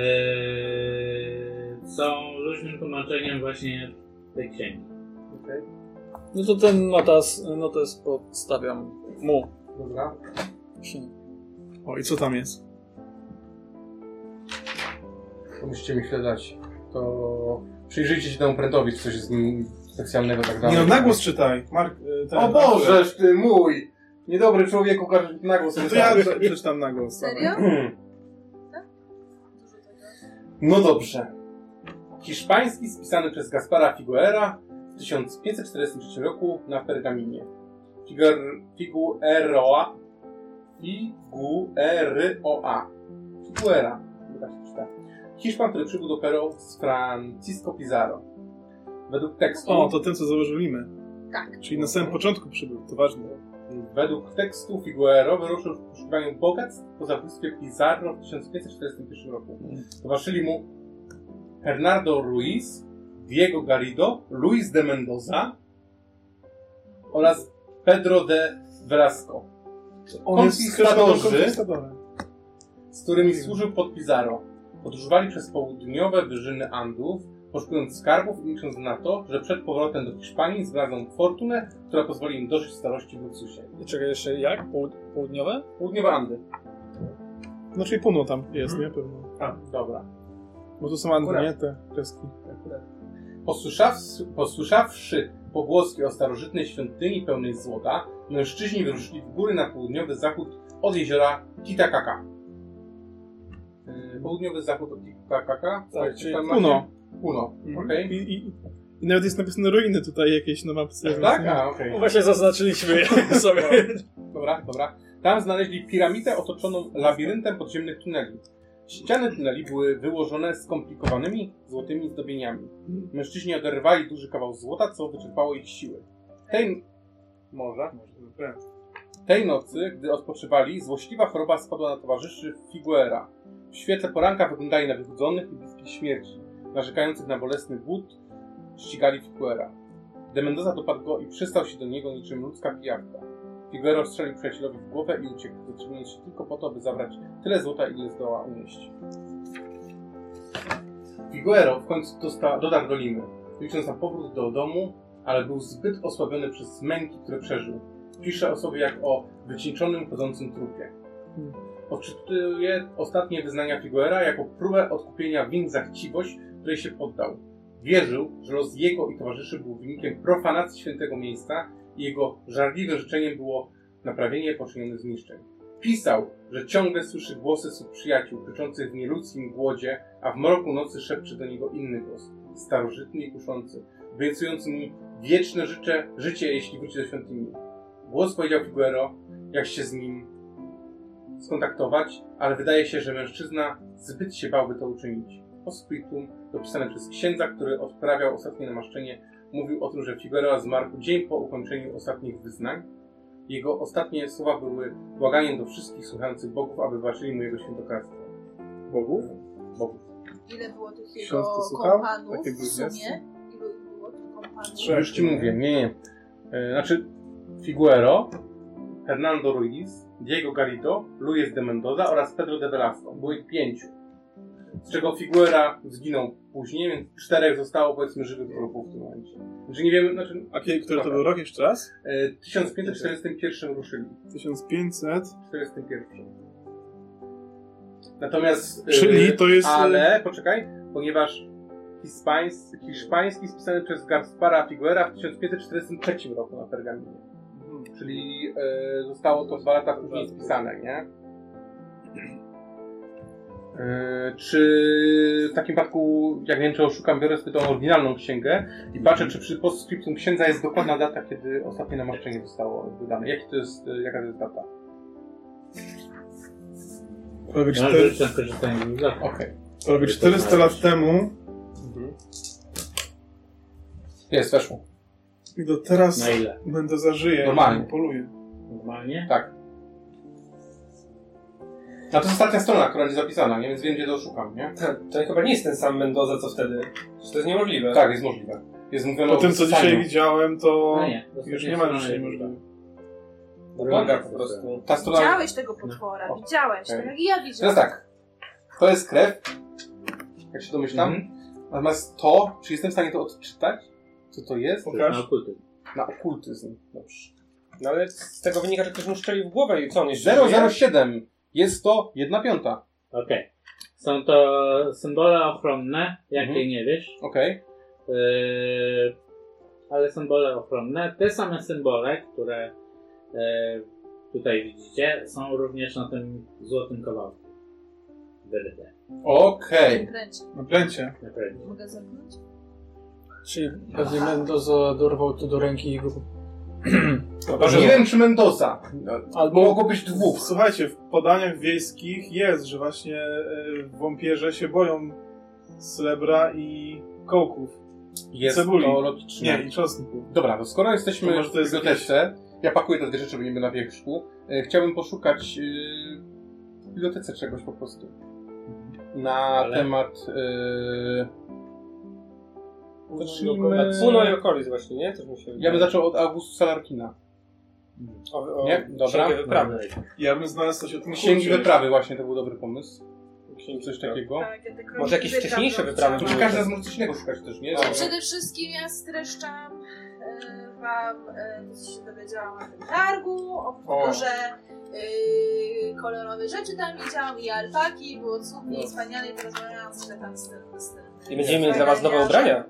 [SPEAKER 7] są luźnym tłumaczeniem właśnie tej księgi.
[SPEAKER 14] No to ten notas, notes podstawiam mu.
[SPEAKER 4] Dobra.
[SPEAKER 14] Przy-
[SPEAKER 2] O, i co tam jest?
[SPEAKER 4] To musicie mi chwilę dać. To przyjrzyjcie się temu prętowi, czy coś jest z nim specjalnego tak dalej.
[SPEAKER 2] Nie no, na głos czytaj. Mark, y, ten,
[SPEAKER 4] O Bożeż ty mój! Niedobry człowieku, każ na głos.
[SPEAKER 2] No To ja przeczytam na głos. tak. [CLEARS THROAT]
[SPEAKER 6] Serio? Tak?
[SPEAKER 4] No dobrze. Hiszpański spisany przez Gaspara Figuera w 1543 roku na pergaminie. Figur, figueroa. Figueroa. Figuera. chyba się czyta. Hiszpan, który przybył do Peru z Francisco Pizarro. Według tekstu...
[SPEAKER 2] O, to ten, co założył Limę.
[SPEAKER 6] Tak.
[SPEAKER 2] Czyli na samym początku przybył, to ważne.
[SPEAKER 4] Według tekstu Figuero wyruszył w poszukiwaniu bogactw po zabójstwie Pizarro w 1541 roku. Towarzyszyli mu Hernando Ruiz, Diego Garrido, Luis de Mendoza oraz Pedro de Velasco,
[SPEAKER 2] On jest
[SPEAKER 4] Konquistadorzy.
[SPEAKER 2] konkwistadorem.
[SPEAKER 4] z którymi służył pod Pizarro. Podróżowali przez południowe wyżyny Andów, poszukując skarbów i licząc na to, że przed powrotem do Hiszpanii znajdą fortunę, która pozwoli im dożyć starości w luksusie.
[SPEAKER 14] Czekaj, jeszcze jak? Połud- południowe?
[SPEAKER 4] Południowe Andy.
[SPEAKER 2] No czyli Puno tam jest, nie? Pewno.
[SPEAKER 4] A, dobra.
[SPEAKER 2] Bo to są Andy,
[SPEAKER 4] Akurat.
[SPEAKER 2] nie? Te kreski.
[SPEAKER 4] Posłyszawszy, posłyszawszy pogłoski o starożytnej świątyni pełnej złota, mężczyźni wyruszyli w góry na południowy zachód od jeziora Kitakaka. Yy, Południowy zachód od Kitakaka? Tak, Mhm.
[SPEAKER 2] czyli Puno.
[SPEAKER 4] Puno, okej.
[SPEAKER 2] I, i, I nawet jest napisane ruiny tutaj jakieś na mapce.
[SPEAKER 4] Tak? A, okej.
[SPEAKER 14] No Właśnie zaznaczyliśmy je [LAUGHS] sobie.
[SPEAKER 4] Dobra, dobra. Tam znaleźli piramidę otoczoną labiryntem podziemnych tuneli. Ściany tuneli były wyłożone skomplikowanymi złotymi zdobieniami. Mężczyźni oderwali duży kawał złota, co wyczerpało ich siły. Tej... Może? Tej nocy, gdy odpoczywali, złośliwa choroba spadła na towarzyszy Figuera. W świetle poranka wyglądali na wychudzonych i bliskich śmierci. Narzekających na bolesny głód, ścigali Figuera. De Mendoza dopadł go i przystał się do niego niczym ludzka pijawka. Figuero strzelił przyjacielowi w głowę i uciekł, zatrzymując się tylko po to, by zabrać tyle złota, ile zdoła unieść. Figuero w końcu dosta- dotarł do Limy, licząc na powrót do domu, ale był zbyt osłabiony przez męki, które przeżył. Pisze o sobie jak o wycieńczonym, chodzącym trupie. Odczytuje ostatnie wyznania Figuera jako próbę odkupienia win za chciwość, której się poddał. Wierzył, że los jego i towarzyszy był wynikiem profanacji świętego miejsca i jego żarliwym życzeniem było naprawienie poczynionych zniszczeń. Pisał, że ciągle słyszy głosy swych przyjaciół, krzyczących w nieludzkim głodzie, a w mroku nocy szepcze do niego inny głos, starożytny i kuszący, obiecujący mu wieczne życie, życie, jeśli wróci do świątyni. Głos powiedział Figuero, jak się z nim skontaktować, ale wydaje się, że mężczyzna zbyt się bałby to uczynić. Hospitum, dopisane przez księdza, który odprawiał ostatnie namaszczenie mówił o tym, że Figueroa zmarł dzień po ukończeniu ostatnich wyznań. Jego ostatnie słowa były błaganiem do wszystkich słuchających bogów, aby wybaczyli mu jego świętokradztwo. Bogów? Bogów.
[SPEAKER 6] Ile było tych
[SPEAKER 2] Ksiądz
[SPEAKER 6] jego
[SPEAKER 2] to słuchał?
[SPEAKER 6] kompanów
[SPEAKER 2] Takie
[SPEAKER 6] w sumie?
[SPEAKER 2] bluźniasty?
[SPEAKER 6] Ilu ich było tych kompanów?
[SPEAKER 2] Trzech.
[SPEAKER 4] Już ci mówię, nie, nie. E, Znaczy, Figuero, Hernando Ruiz, Diego Garrido, Luis de Mendoza oraz Pedro de Velasco. Było ich pięciu. Z czego Figuera zginął później, więc czterech zostało powiedzmy żywych trupów w tym momencie. Znaczy nie wiemy, znaczy...
[SPEAKER 2] A kiedy, który to był rok jeszcze raz?
[SPEAKER 4] E, W 1541 ruszyli.
[SPEAKER 2] 1500.
[SPEAKER 4] 41. Natomiast... e,
[SPEAKER 2] Czyli to jest, e,
[SPEAKER 4] Ale, poczekaj, ponieważ hiszpański, hiszpański spisany przez Gaspara Figuera w 1543 roku na pergaminie. Czyli e, zostało to dwa lata później spisane, nie? E, czy w takim przypadku, jak nie wiem, czy oszukam, biorę sobie tą oryginalną księgę i patrzę, czy przy postscriptum księdza jest dokładna data, kiedy ostatnie namaszczenie zostało wydane. Jaki to jest, e, jaka to jest data?
[SPEAKER 2] Prawie
[SPEAKER 7] No,
[SPEAKER 2] cztery-
[SPEAKER 7] ale ten korzystanie był za
[SPEAKER 4] Okej.
[SPEAKER 2] prawie 400 lat temu.
[SPEAKER 4] Jest, weszło.
[SPEAKER 2] I do teraz
[SPEAKER 7] Na ile?
[SPEAKER 2] będę zażyje.
[SPEAKER 4] Normalnie.
[SPEAKER 2] Poluję.
[SPEAKER 7] Normalnie?
[SPEAKER 4] Tak. A to jest ostatnia strona, która jest zapisana, nie? więc wiem, gdzie to szukam, nie?
[SPEAKER 5] To chyba nie jest ten sam Mendoza, co wtedy. Czy to jest niemożliwe?
[SPEAKER 4] Tak, jest możliwe. Jest mówione
[SPEAKER 2] Po tym, co
[SPEAKER 4] wstaniu.
[SPEAKER 2] dzisiaj widziałem, to
[SPEAKER 7] No nie,
[SPEAKER 2] już nie ma już niemożliwe.
[SPEAKER 5] Boga po prostu.
[SPEAKER 4] Ta strona...
[SPEAKER 6] Widziałeś tego potwora,
[SPEAKER 4] No.
[SPEAKER 6] widziałeś,
[SPEAKER 4] Okej.
[SPEAKER 6] tak jak ja
[SPEAKER 4] Teraz
[SPEAKER 6] widziałam.
[SPEAKER 4] tak. To jest krew, jak się domyślam.
[SPEAKER 5] Mhm.
[SPEAKER 7] Mhm.
[SPEAKER 4] Natomiast to, czy jestem w stanie to odczytać? Co to jest?
[SPEAKER 2] Pokaż.
[SPEAKER 4] Na okultyzm. Dobrze.
[SPEAKER 5] No ale z tego wynika, że ktoś mu strzelił w głowę i co on jeszcze żyje?
[SPEAKER 4] 007. Jest to jedna piąta.
[SPEAKER 7] Okej. Są to symbole ochronne, jakie
[SPEAKER 4] Mhm.
[SPEAKER 7] nie wiesz.
[SPEAKER 4] Okej.
[SPEAKER 7] Yy, ale symbole ochronne. Te same symbole, które yy, tutaj widzicie, są również na tym złotym kawałku. tak, Wyryte.
[SPEAKER 4] Okej.
[SPEAKER 6] Kręć.
[SPEAKER 2] Na pręcie.
[SPEAKER 7] Na pewno.
[SPEAKER 6] Mogę zerknąć?
[SPEAKER 3] Czyli pewnie Mendoza dorwał to do ręki i go...
[SPEAKER 4] Nie wiem, czy Mendoza. Albo mogło być dwóch.
[SPEAKER 2] Słuchajcie, w podaniach wiejskich jest, że właśnie e, wampierze się boją srebra i kołków.
[SPEAKER 4] Jest
[SPEAKER 2] Cebuli.
[SPEAKER 4] to logiczne.
[SPEAKER 2] Nie, i czosnku.
[SPEAKER 4] Dobra, to skoro jesteśmy
[SPEAKER 2] To może to jest
[SPEAKER 4] w bibliotece, ja pakuję te dwie rzeczy, bo nie będę na wierzchu. E, chciałbym poszukać e, w bibliotece czegoś po prostu.
[SPEAKER 2] Mhm.
[SPEAKER 4] Na
[SPEAKER 7] Ale-
[SPEAKER 4] temat... E,
[SPEAKER 5] Na
[SPEAKER 4] Zaczniemy...
[SPEAKER 5] Puno i okolic właśnie, nie? Coś mi się
[SPEAKER 4] Ja bym zaczął od Augustusa Larkina.
[SPEAKER 5] o, o,
[SPEAKER 4] Nie? Dobra.
[SPEAKER 5] księgę wyprawy.
[SPEAKER 2] Ja bym znalazł coś o tym
[SPEAKER 4] Księgi
[SPEAKER 2] kurcie.
[SPEAKER 4] wyprawy właśnie, to był dobry pomysł.
[SPEAKER 9] No.
[SPEAKER 5] Księgi
[SPEAKER 4] Coś takiego.
[SPEAKER 6] Tak, ja te no, kroniki
[SPEAKER 5] Może jakieś
[SPEAKER 6] wybrałam,
[SPEAKER 5] wcześniejsze
[SPEAKER 6] bo
[SPEAKER 5] wyprawy
[SPEAKER 4] Znaczy
[SPEAKER 6] chciałam.
[SPEAKER 4] każdy raz może coś innego szukać też, nie?
[SPEAKER 6] Przede wszystkim ja streszczam e, Wam e, to, co się dowiedziałam na tym targu, o że e, kolorowe rzeczy tam widziałam i alpaki, było cudnie i wspaniale i porozmawiałam z tam z tym. z tym-
[SPEAKER 5] I będziemy mieli dla was nowe ubrania.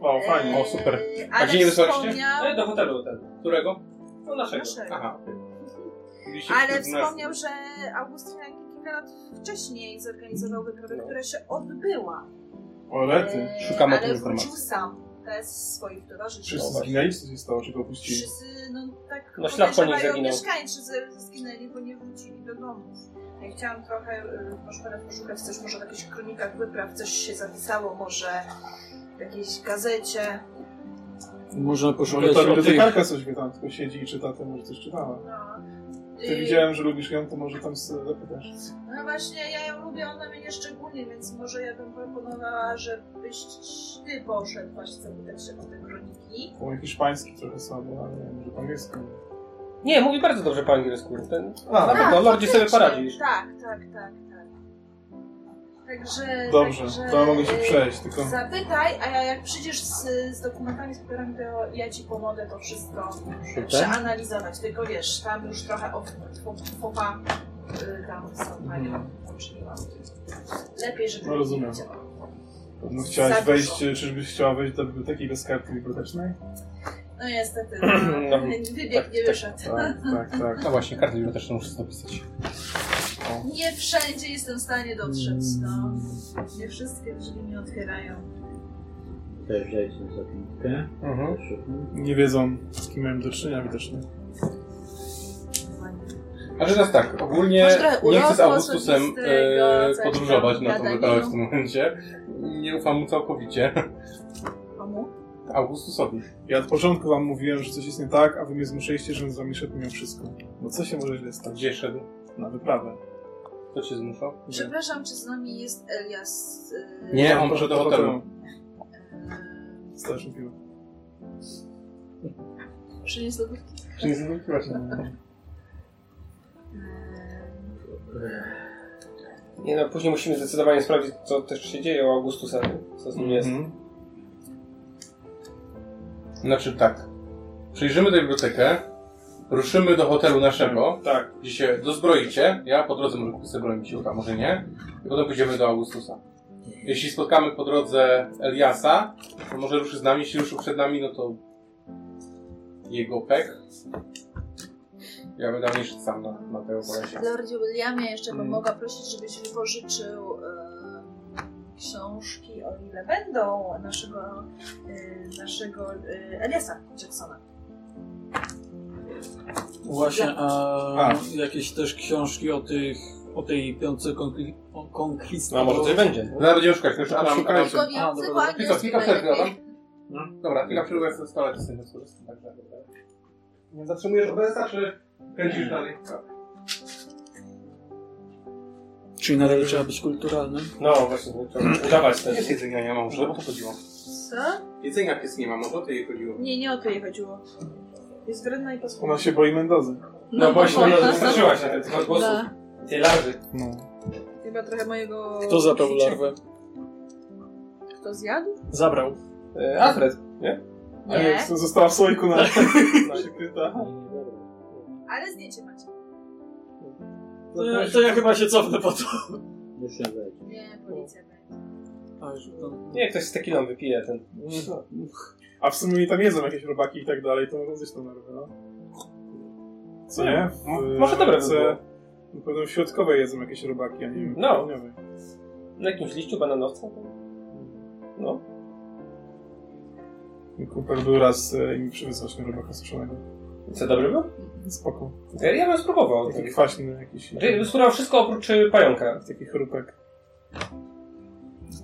[SPEAKER 2] O, fajnie.
[SPEAKER 6] E,
[SPEAKER 4] O, super. A
[SPEAKER 6] Ale
[SPEAKER 4] gdzie nie wysłaliście?
[SPEAKER 6] wspomniał...
[SPEAKER 5] No i do hotelu ten.
[SPEAKER 4] Którego?
[SPEAKER 5] No naszego.
[SPEAKER 6] Naszego.
[SPEAKER 4] Aha. Widzieliście
[SPEAKER 6] Ale
[SPEAKER 4] wśród nas-
[SPEAKER 6] wspomniał, że Augustyn kilka lat wcześniej zorganizował wyprawę, która się odbyła.
[SPEAKER 2] O, lety.
[SPEAKER 6] E,
[SPEAKER 4] Szukamy tej
[SPEAKER 6] Ale wrócił
[SPEAKER 4] informacji.
[SPEAKER 6] sam, bez swoich towarzyszy.
[SPEAKER 2] Wszyscy zginęli, co się stało, czego opuścili?
[SPEAKER 6] Wszyscy, no tak,
[SPEAKER 5] No, ślad po nich
[SPEAKER 6] podejrzewają
[SPEAKER 5] zaginął.
[SPEAKER 6] mieszkańcy, że zginęli, bo nie wrócili do domów. Ja chciałam trochę, y, może teraz poszukać coś, może w jakichś kronikach wypraw coś się zapisało, może w jakiejś gazecie.
[SPEAKER 3] Można
[SPEAKER 2] Może
[SPEAKER 3] poszukać
[SPEAKER 2] ta
[SPEAKER 3] o tych...
[SPEAKER 2] bibliotekarka coś wie tam, tylko siedzi i czyta, to może coś czytała.
[SPEAKER 6] No,
[SPEAKER 2] Ty
[SPEAKER 6] Y,
[SPEAKER 2] widziałem, że lubisz ją, to może tam sobie zapytasz.
[SPEAKER 6] no właśnie, ja ją lubię, ona mnie szczególnie, więc może ja bym proponowała, żebyś ty poszedł właśnie zapytać się o te kroniki.
[SPEAKER 2] Mój hiszpański trochę słabo, ale nie wiem, może po angielsku.
[SPEAKER 5] Nie, mówi bardzo dobrze po angielsku. Ten...
[SPEAKER 2] A,
[SPEAKER 9] no
[SPEAKER 5] Na pewno, Lordzie sobie
[SPEAKER 6] faktycznie.
[SPEAKER 5] poradzisz.
[SPEAKER 6] Tak, tak, tak, tak. Także...
[SPEAKER 2] Dobrze,
[SPEAKER 6] także,
[SPEAKER 2] to ja mogę się
[SPEAKER 6] y,
[SPEAKER 2] przejść, tylko...
[SPEAKER 6] Zapytaj, a ja jak przyjdziesz z, z dokumentami, z papierami, to ja ci pomogę to wszystko
[SPEAKER 7] Super.
[SPEAKER 6] przeanalizować. Tylko wiesz, tam już trochę popa y, tam są panią uczyniłam. Lepiej, żeby
[SPEAKER 2] No, rozumiem.
[SPEAKER 6] nie wiedziała.
[SPEAKER 2] No, chciałaś
[SPEAKER 6] Za dużo.
[SPEAKER 2] wejść, e, czyżbyś chciała wejść do biblioteki bez karty bibliotecznej? [CLEARS THROAT]
[SPEAKER 6] No niestety, no,
[SPEAKER 5] No,
[SPEAKER 6] wybieg nie wyszedł.
[SPEAKER 2] Tak, tak, tak.
[SPEAKER 4] No właśnie, kartę biblioteczną muszę dopisać.
[SPEAKER 2] no.
[SPEAKER 6] Nie wszędzie jestem w stanie dotrzeć, no.
[SPEAKER 2] Mm.
[SPEAKER 6] Nie wszystkie drzwi mi otwierają.
[SPEAKER 7] Też wzięliśmy zapinkę.
[SPEAKER 2] Mhm. Nie wiedzą, z kim miałem do czynienia widocznie.
[SPEAKER 4] A że teraz tak, ogólnie
[SPEAKER 6] Masz trochę
[SPEAKER 4] nie chcę z
[SPEAKER 6] urlopu
[SPEAKER 4] Augustusem
[SPEAKER 6] osobistego,
[SPEAKER 4] e,
[SPEAKER 6] coś tam,
[SPEAKER 4] podróżować na tą
[SPEAKER 6] gadaniną.
[SPEAKER 4] wyprawę w tym momencie. Nie ufam mu całkowicie.
[SPEAKER 6] Komu?
[SPEAKER 4] Augustusowi.
[SPEAKER 2] Ja od początku wam mówiłem, że coś jest nie tak, a wy mnie zmuszyliście, żebym z wami szedł mimo wszystko. No co się może źle stać?
[SPEAKER 4] Gdzie szedł?
[SPEAKER 2] Na wyprawę.
[SPEAKER 4] Kto cię zmuszał?
[SPEAKER 6] Przepraszam, czy z nami jest Elias? y,
[SPEAKER 4] Nie, on poszedł do hotelu.
[SPEAKER 6] y,
[SPEAKER 2] Starszy pił.
[SPEAKER 6] Przyniósł lodówki?
[SPEAKER 4] Czy nie zwróciłaś
[SPEAKER 5] Nie no, później musimy zdecydowanie sprawdzić, co też się dzieje u Augustusa, co
[SPEAKER 4] Mhm.
[SPEAKER 5] z nim jest.
[SPEAKER 9] Mhm. Znaczy tak. Przyjrzymy tę bibliotekę, ruszymy do hotelu naszego,
[SPEAKER 2] Tak.
[SPEAKER 9] gdzie się dozbroicie. Ja po drodze może kupię sobie broń ciucha, może nie. I potem pójdziemy do Augustusa. Jeśli spotkamy po drodze Eliasa, to może ruszy z nami. Jeśli ruszył przed nami, no to jego pek. Ja będę mniejszy sam na, na tego polesie.
[SPEAKER 6] Lordzie Williamie, jeszcze bym mogła prosić, żebyś wypożyczył e, książki, o ile będą, naszego, e, naszego e, Eliasa Jacksona.
[SPEAKER 14] Właśnie, a,
[SPEAKER 9] A.
[SPEAKER 14] jakieś też książki o tych, o tej piątce konkli- o
[SPEAKER 5] No, a
[SPEAKER 14] Conquistador.
[SPEAKER 5] może coś będzie.
[SPEAKER 9] Zaraz będziemy szukać. Już Adam, Adam,
[SPEAKER 6] Tylko więcej po
[SPEAKER 9] Kilka,
[SPEAKER 6] angielsku
[SPEAKER 9] kilka przerwy, Adam.
[SPEAKER 6] najlepiej.
[SPEAKER 9] Dobra, kilka przerwy, ja sobie stolę z tym skorzystam. Także, dobra. Zatrzymujesz obecna, czy kręcisz dalej?
[SPEAKER 14] Czyli nadal trzeba być kulturalnym.
[SPEAKER 5] No właśnie, to udawać też.
[SPEAKER 9] Jest jedzenia nie ma może, o to chodziło.
[SPEAKER 6] Co?
[SPEAKER 9] Jedzenia pies nie ma może, o to jej chodziło.
[SPEAKER 6] Nie, nie o to jej chodziło. Jest wredna i
[SPEAKER 2] Ona
[SPEAKER 6] posłuchaj.
[SPEAKER 2] się boi Mendozy.
[SPEAKER 6] No Tak.
[SPEAKER 5] właśnie, no,
[SPEAKER 6] no,
[SPEAKER 5] zastraszyła się tych głosów,
[SPEAKER 6] Da.
[SPEAKER 5] tej larwy.
[SPEAKER 6] Chyba trochę mojego...
[SPEAKER 14] Kto zabrał
[SPEAKER 6] ćwiczenia.
[SPEAKER 14] larwę?
[SPEAKER 6] Kto zjadł?
[SPEAKER 14] Zabrał.
[SPEAKER 5] E, Alfred,
[SPEAKER 6] Nie.
[SPEAKER 2] Została w słoiku
[SPEAKER 5] [LAUGHS]
[SPEAKER 2] na przykryta.
[SPEAKER 6] Ale zdjęcie macie.
[SPEAKER 14] To No ja, to ja chyba się cofnę po to.
[SPEAKER 6] Nie, policja będzie.
[SPEAKER 5] nie, ktoś z tekiną wypije ten.
[SPEAKER 2] A w sumie tam jedzą jakieś robaki i tak dalej, to mogą zjeść tą nerwę, no. Co nie? W,
[SPEAKER 5] Może dobre by
[SPEAKER 2] Ameryce
[SPEAKER 5] było.
[SPEAKER 2] Na pewno w środkowej jedzą jakieś robaki, a nie wiem.
[SPEAKER 5] No.
[SPEAKER 2] południowej.
[SPEAKER 5] Na jakimś No, liściu bananowca? No.
[SPEAKER 2] Mój Kumpel był raz e, i mi przywiózł właśnie robaka suszonego.
[SPEAKER 5] I Co, dobry był?
[SPEAKER 2] Spoko.
[SPEAKER 5] Ja, ja bym spróbował.
[SPEAKER 2] Taki kwaśny jakiś.
[SPEAKER 5] Znaczy, Spróbował wszystko oprócz y, pająka.
[SPEAKER 2] Taki chrupek.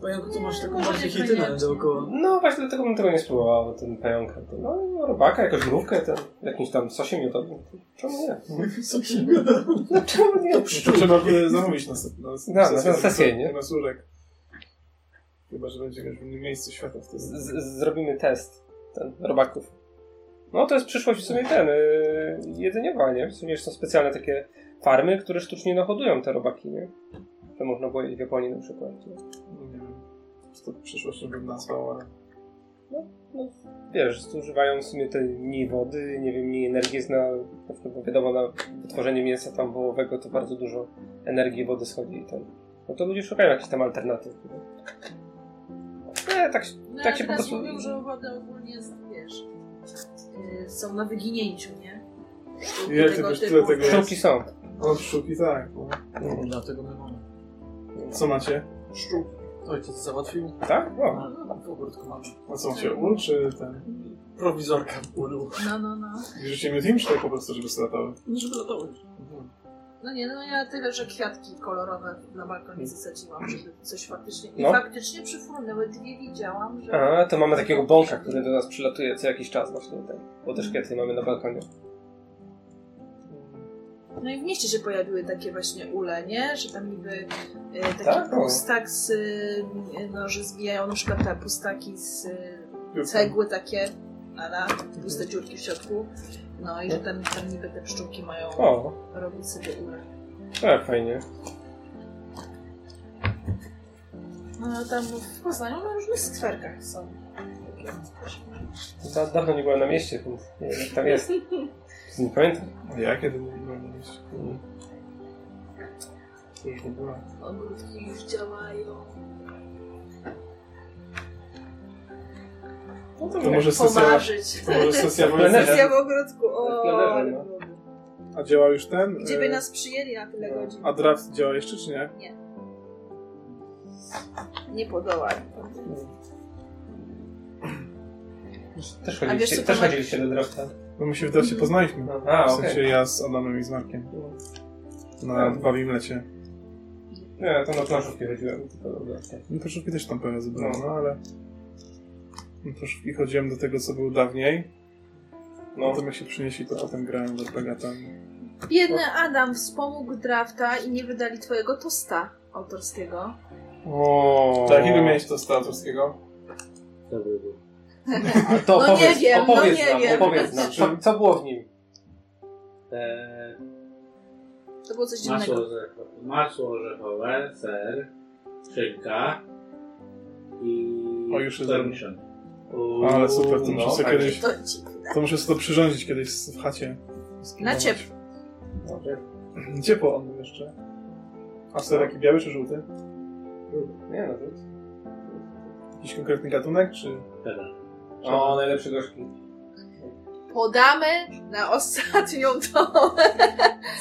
[SPEAKER 14] Panienku, to masz taką
[SPEAKER 6] Może
[SPEAKER 14] bardziej
[SPEAKER 6] niekoniecznie.
[SPEAKER 14] hitinę dookoła.
[SPEAKER 5] No właśnie dlatego bym tego nie spróbował, bo ten pająk, to, no robaka, jakąś mrówkę, ten, jakimś tam sosie miodowym. Czemu nie?
[SPEAKER 14] [LAUGHS]
[SPEAKER 3] No,
[SPEAKER 14] Co się gada?
[SPEAKER 5] No czemu nie?
[SPEAKER 2] To trzeba by zamówić na, se- na,
[SPEAKER 5] na sesję, nie?
[SPEAKER 2] Na surek. Chyba, że będzie gdzieś w innym miejscu świata wtedy.
[SPEAKER 5] Z, z, zrobimy test ten, robaków. No to jest przyszłość w sumie ten, yy, jedzeniowa, nie? W sumie są specjalne takie farmy, które sztucznie nahodują te robaki, nie? To można było jeść w Japonii na przykład. nie?
[SPEAKER 2] No, nie wiem. Czy to przyszłością bym nazwał, ale...
[SPEAKER 5] Wiesz, zużywają w sumie te mniej wody, nie wiem, mniej energii jest na, na przykład, bo wiadomo, na wytworzenie mięsa tam wołowego to bardzo dużo energii i wody schodzi i ten. No to ludzie szukają jakichś tam alternatyw. Nie, tak,
[SPEAKER 6] No,
[SPEAKER 5] Tak
[SPEAKER 6] tak
[SPEAKER 5] się
[SPEAKER 6] się
[SPEAKER 5] po
[SPEAKER 6] teraz
[SPEAKER 5] prostu-
[SPEAKER 6] mówią, że wody ogólnie jest, wiesz, yy, są na wyginięciu, nie? Sztuki
[SPEAKER 2] Ile ty byś tyle tego
[SPEAKER 5] sztuki są.
[SPEAKER 2] O, szczuki tak. No.
[SPEAKER 14] Dlatego my mamy.
[SPEAKER 2] Co macie? Szczuk.
[SPEAKER 14] Ojciec załatwił.
[SPEAKER 5] Tak? No.
[SPEAKER 14] W ogórku mamy.
[SPEAKER 2] A co macie? Ul czy ten?
[SPEAKER 14] Prowizorka w ulu.
[SPEAKER 6] No, no, no.
[SPEAKER 2] Bierzecie mi czy tak po prostu, żeby sobie latały?
[SPEAKER 14] Żeby latały.
[SPEAKER 6] No nie, no ja tyle, że kwiatki kolorowe na balkonie zasadziłam, żeby coś faktycznie... I
[SPEAKER 5] Hmm. No.
[SPEAKER 6] faktycznie przyfrunęły dwie widziałam, że...
[SPEAKER 5] A, to mamy takiego bąka, który do nas przylatuje co jakiś czas właśnie ten. Bo też kwiaty mamy na balkonie.
[SPEAKER 6] No i w mieście się pojawiły takie właśnie ule, nie? Że tam niby e, taki
[SPEAKER 5] Tak, no.
[SPEAKER 6] pustak z... E, no, że zbijają na przykład te pustaki z e, cegły takie, ala, puste dziurki w środku. No i że tam, tam niby te pszczółki mają
[SPEAKER 5] O,
[SPEAKER 6] robić sobie ule.
[SPEAKER 5] tak fajnie.
[SPEAKER 6] No tam w Poznaniu na różnych skwerkach są. takie.
[SPEAKER 5] Da, dawno nie byłem na mieście, więc nie wiem jak tam
[SPEAKER 2] [LAUGHS]
[SPEAKER 5] jest. Nie pamiętam. Mm.
[SPEAKER 2] A ja kiedy nie byłem na mieście? To już nie była.
[SPEAKER 6] Ogródki już działają.
[SPEAKER 5] No to
[SPEAKER 2] To może sesja,
[SPEAKER 6] Pomarzyć.
[SPEAKER 2] to może
[SPEAKER 6] [LAUGHS]
[SPEAKER 2] sesja
[SPEAKER 5] Plener.
[SPEAKER 2] wojenna.
[SPEAKER 6] Ja w ogródku, o,
[SPEAKER 5] Plenerze,
[SPEAKER 6] ale
[SPEAKER 5] no.
[SPEAKER 6] byłoby.
[SPEAKER 2] A działa już ten?
[SPEAKER 6] Gdzie
[SPEAKER 2] e,
[SPEAKER 6] by nas przyjęli na tyle godzin?
[SPEAKER 2] A draft działa jeszcze czy nie?
[SPEAKER 6] Nie podołali.
[SPEAKER 5] Też
[SPEAKER 6] A wiesz,
[SPEAKER 5] chodziliście,
[SPEAKER 6] co
[SPEAKER 5] też
[SPEAKER 6] to ma-
[SPEAKER 5] chodziliście do drafta.
[SPEAKER 2] No my się w drafcie poznaliśmy. W
[SPEAKER 5] A, okej. No.
[SPEAKER 2] sensie ja z Adamem i z Markiem. Na bawim lecie.
[SPEAKER 5] Nie, No, to na planszówki chodziłem. tylko do drafta.
[SPEAKER 2] No troszeczkę też tam pewnie zebrałem, no ale... No, troszeczkę chodziłem do tego, co było dawniej. No.
[SPEAKER 5] No.
[SPEAKER 2] Potem jak się przynieśli, to potem grałem w RPG tam.
[SPEAKER 6] Biedny Adam wspomógł drafta i nie wydali twojego tosta autorskiego.
[SPEAKER 2] O. Tak, ile miałeś to statorskiego?
[SPEAKER 5] A to
[SPEAKER 6] No nie
[SPEAKER 5] opowiedz,
[SPEAKER 6] wiem, no
[SPEAKER 5] opowiedz
[SPEAKER 6] nie
[SPEAKER 5] nam,
[SPEAKER 6] wiem.
[SPEAKER 5] opowiedz nam, co, co było w nim.
[SPEAKER 7] Eee,
[SPEAKER 6] To było coś
[SPEAKER 7] Masło
[SPEAKER 6] dziwnego.
[SPEAKER 7] orzechowe, masło orzechowe ser, szynka i
[SPEAKER 2] O, już jest
[SPEAKER 7] korniszon.
[SPEAKER 2] No, Ale super, to muszę sobie
[SPEAKER 4] tak.
[SPEAKER 2] kiedyś.
[SPEAKER 6] To,
[SPEAKER 2] To muszę sobie to przyrządzić kiedyś w chacie.
[SPEAKER 6] na ciepło.
[SPEAKER 2] [LAUGHS] Ciepło on był jeszcze. A ser jaki biały czy żółty?
[SPEAKER 15] Nie no, to
[SPEAKER 2] Jakiś konkretny gatunek, czy.
[SPEAKER 15] O, najlepsze gorzki.
[SPEAKER 6] Podamy na ostatnią tą,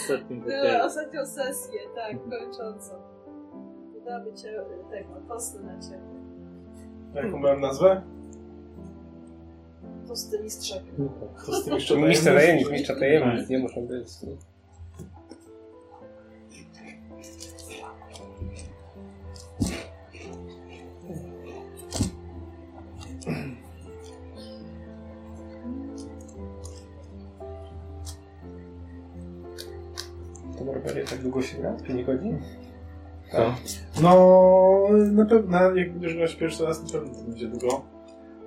[SPEAKER 7] Ostatnim
[SPEAKER 6] na
[SPEAKER 7] koktajlem.
[SPEAKER 6] ostatnią sesję, tak, kończącą. Podamy cię tego, tosty na ciepło. Hmm.
[SPEAKER 2] Jaką miałem nazwę?
[SPEAKER 6] Tosty mistrzek.
[SPEAKER 2] To z tym jeszcze tajemnic?
[SPEAKER 5] Mistrz tajemnic, mistrz tajemnic, nie muszą być. no. To Barbarie tak długo się gra? 5 godzin?
[SPEAKER 2] No, na pewno, jak już grałeś pierwszy raz, na pewno to będzie długo.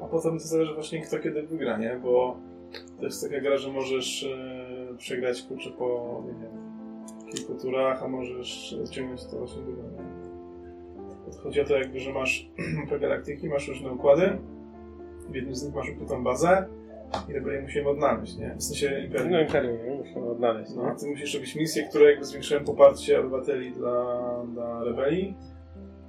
[SPEAKER 2] A potem to zależy właśnie kto kiedy wygra, nie? Bo to jest taka gra, że możesz e, przegrać kurczę po, nie wiem, kilku turach, a możesz ciągnąć to właśnie długo, nie? Chodzi o to jakby, że masz [CLEARS THROAT] mapę galaktyki, masz różne układy, w jednym z nich masz ukrytą bazę i tego je musimy odnaleźć, nie? W sensie imperium.
[SPEAKER 5] No imperium, nie? Muszę odnaleźć.
[SPEAKER 2] No,
[SPEAKER 5] No.
[SPEAKER 2] a ty musisz robić misje, które jakby zwiększają poparcie obywateli dla, dla rebelii.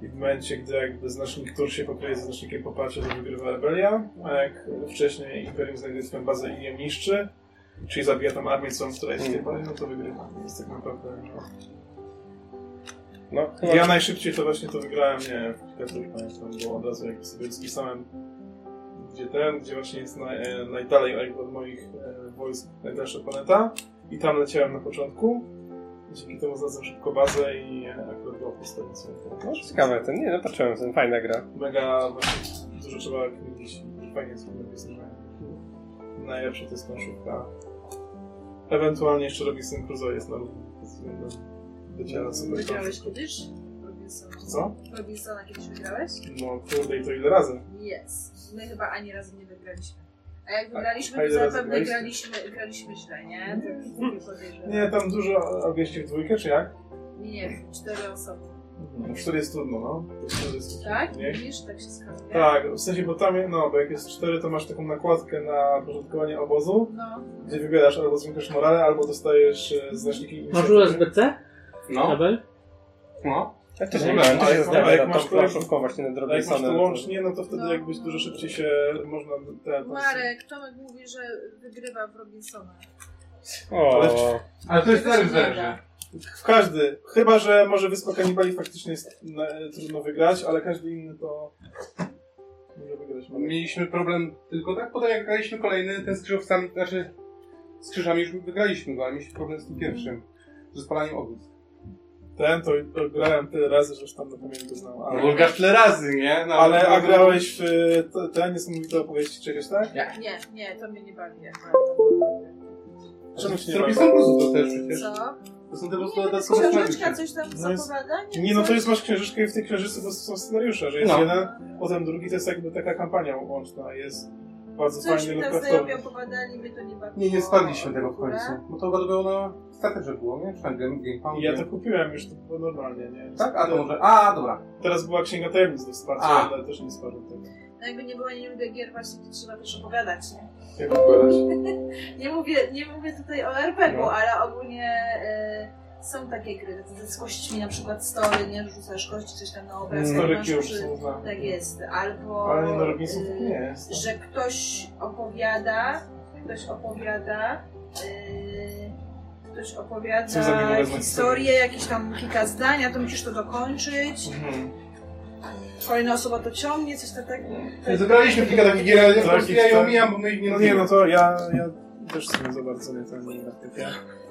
[SPEAKER 2] I w momencie, gdy jakby znacznik tur się pokryje ze znacznikiem poparcia, to wygrywa rebelia. A jak wcześniej Imperium znajduje swoją bazę i ją niszczy, czyli zabija tam armię, co w której jest tej bazie, no to wygrywa. Więc tak naprawdę... No.
[SPEAKER 5] No, chyba-
[SPEAKER 2] Ja najszybciej to właśnie to wygrałem, nie wiem, w kilka tur pamiętam, bo od razu jak sobie spisałem gdzie ten, gdzie właśnie jest naj, e, najdalej jakby od moich e, wojsk najdalsza planeta. I tam leciałem na początku. Dzięki temu znalazłem szybko bazę i e, akurat była po stolicy.
[SPEAKER 5] no ciekawe, ten, nie, no patrzyłem, ten fajna gra.
[SPEAKER 2] Mega właśnie dużo trzeba kiedyś fajnie jest wyznaczenie. Najlepsza to jest planszówka. Ewentualnie jeszcze Robinson Crusoe jest na równi pod względem wyciera super
[SPEAKER 6] Wygrałeś kiedyś? Robinsona.
[SPEAKER 2] Co?
[SPEAKER 6] Robinsona kiedyś wygrałeś?
[SPEAKER 2] No kurde i to ile razy?
[SPEAKER 6] Yes. My chyba ani razu nie wygraliśmy. A jak
[SPEAKER 2] Tak, A
[SPEAKER 6] wygraliśmy,
[SPEAKER 2] ile
[SPEAKER 6] to
[SPEAKER 2] razy
[SPEAKER 6] zapewne
[SPEAKER 2] graliście?
[SPEAKER 6] graliśmy, graliśmy źle, nie? Tak, To już nie podejrzewam.
[SPEAKER 2] Nie, tam dużo, a wieści w dwójkę czy jak?
[SPEAKER 6] Nie, nie, cztery osoby.
[SPEAKER 2] No, cztery jest trudno, no. To cztery jest
[SPEAKER 6] Tak?
[SPEAKER 2] Nie?
[SPEAKER 6] Widzisz, tak się skazuje.
[SPEAKER 2] Tak, w sensie, bo tam, no, bo jak jest 4, to masz taką nakładkę na porządkowanie obozu,
[SPEAKER 6] No,
[SPEAKER 2] gdzie wybierasz albo zwiększasz morale, albo dostajesz e, znaczniki
[SPEAKER 7] Masz
[SPEAKER 2] inicjatywy.
[SPEAKER 7] USB-C?
[SPEAKER 15] No,
[SPEAKER 7] Kabel?
[SPEAKER 15] no.
[SPEAKER 5] Ja też
[SPEAKER 2] No
[SPEAKER 5] nie
[SPEAKER 2] tak,
[SPEAKER 5] wiem, to
[SPEAKER 2] ale-
[SPEAKER 5] się
[SPEAKER 2] ale
[SPEAKER 5] zdarza,
[SPEAKER 2] jak
[SPEAKER 5] tam
[SPEAKER 2] masz
[SPEAKER 5] masz planszówką właśnie
[SPEAKER 2] A
[SPEAKER 5] na
[SPEAKER 2] jak masz to
[SPEAKER 5] Robinsona.
[SPEAKER 2] łącznie, no to wtedy
[SPEAKER 6] No.
[SPEAKER 2] jakbyś dużo szybciej się można... Te, te,
[SPEAKER 6] Marek, Tomek mówi, że wygrywa w Robinsona.
[SPEAKER 5] O,
[SPEAKER 4] Ale to jest
[SPEAKER 6] Tego się
[SPEAKER 4] zerw
[SPEAKER 6] nie
[SPEAKER 4] zerży.
[SPEAKER 6] da.
[SPEAKER 2] W każdy. Chyba, że może Wyspa Kanibali faktycznie jest na, e, trudno wygrać, ale każdy inny to... Może wygrać. Marek.
[SPEAKER 4] Mieliśmy problem tylko tak, potem jak graliśmy kolejny, ten z krzyżowcami, znaczy z krzyżami już wygraliśmy go, ale mieliśmy problem z tym pierwszym. Ze spalaniem ognisk.
[SPEAKER 2] Ten to, to grałem tyle razy, że już tam na pamięć go znam.
[SPEAKER 4] Ale
[SPEAKER 2] Ale,
[SPEAKER 4] Ulga tyle razy, nie? No,
[SPEAKER 2] ale a grałeś w e, te- te niesamowite opowieści czegoś, tak?
[SPEAKER 6] Nie, nie, to mnie nie bawi. jak
[SPEAKER 2] Czemu się nie
[SPEAKER 4] Zrobi
[SPEAKER 2] bawisz?
[SPEAKER 4] sam to też przecież.
[SPEAKER 6] Co?
[SPEAKER 4] To są te po prostu
[SPEAKER 6] Nie,
[SPEAKER 4] dodatkowe
[SPEAKER 6] no to jest książeczka,
[SPEAKER 4] scenariusze.
[SPEAKER 6] coś tam
[SPEAKER 2] No jest-
[SPEAKER 6] zapowiada?
[SPEAKER 2] Nie, no to jest masz książeczkę i w tej książeczce po prostu są scenariusze, że jest
[SPEAKER 4] No.
[SPEAKER 2] jeden, potem drugi to jest jakby taka kampania łączna, jest bardzo
[SPEAKER 6] Coś
[SPEAKER 2] fajny
[SPEAKER 6] mi tak tam
[SPEAKER 2] Lovecraftowy.
[SPEAKER 6] znajomi opowiadali, mnie to nie bawiło.
[SPEAKER 4] no Nie, nie spadliśmy tego w
[SPEAKER 6] ogóle.
[SPEAKER 4] końcu. Bo to chyba było na starterze było, nie? Czy na Game, game Pound,
[SPEAKER 2] Ja
[SPEAKER 4] nie?
[SPEAKER 2] to kupiłem już, to było normalnie, nie?
[SPEAKER 4] Tak? A to może... A, dobra.
[SPEAKER 2] Teraz była Księga Tajemnic do wsparcia,
[SPEAKER 4] A.
[SPEAKER 2] ale też nie spadłem tego.
[SPEAKER 6] No jakby nie było, nie lubię gier właśnie, gdzie trzeba też opowiadać, nie?
[SPEAKER 2] Jak układać?
[SPEAKER 6] [LAUGHS] Nie mówię, nie mówię tutaj o RPG-u,
[SPEAKER 5] No.
[SPEAKER 6] ale ogólnie y, są takie gry, z- z kośćmi na przykład story, nie? Rzucasz kości, coś tam na obraz,
[SPEAKER 2] Story
[SPEAKER 6] masz
[SPEAKER 2] Cube
[SPEAKER 6] przy-
[SPEAKER 2] są znane.
[SPEAKER 6] Tak jest, albo...
[SPEAKER 2] Mm. Ale nie, no Robinsonów
[SPEAKER 6] y,
[SPEAKER 2] nie jest. no.
[SPEAKER 6] że ktoś opowiada, ktoś opowiada, yy, ktoś
[SPEAKER 2] Co za miło
[SPEAKER 6] opowiada
[SPEAKER 2] wezwać
[SPEAKER 6] historię, jakieś tam kilka zdań, a to musisz to dokończyć.
[SPEAKER 2] Mhm.
[SPEAKER 6] Kolejna osoba to ciągnie, coś tak. tak
[SPEAKER 2] No
[SPEAKER 4] Zagraliśmy kilka takich gier, ale ja po
[SPEAKER 2] Takich,
[SPEAKER 4] prostu ja je
[SPEAKER 2] tak.
[SPEAKER 4] omijam, bo my ich nie
[SPEAKER 2] No nie,
[SPEAKER 4] lubimy.
[SPEAKER 2] no to ja, ja też sobie za bardzo nie ten nie kupię.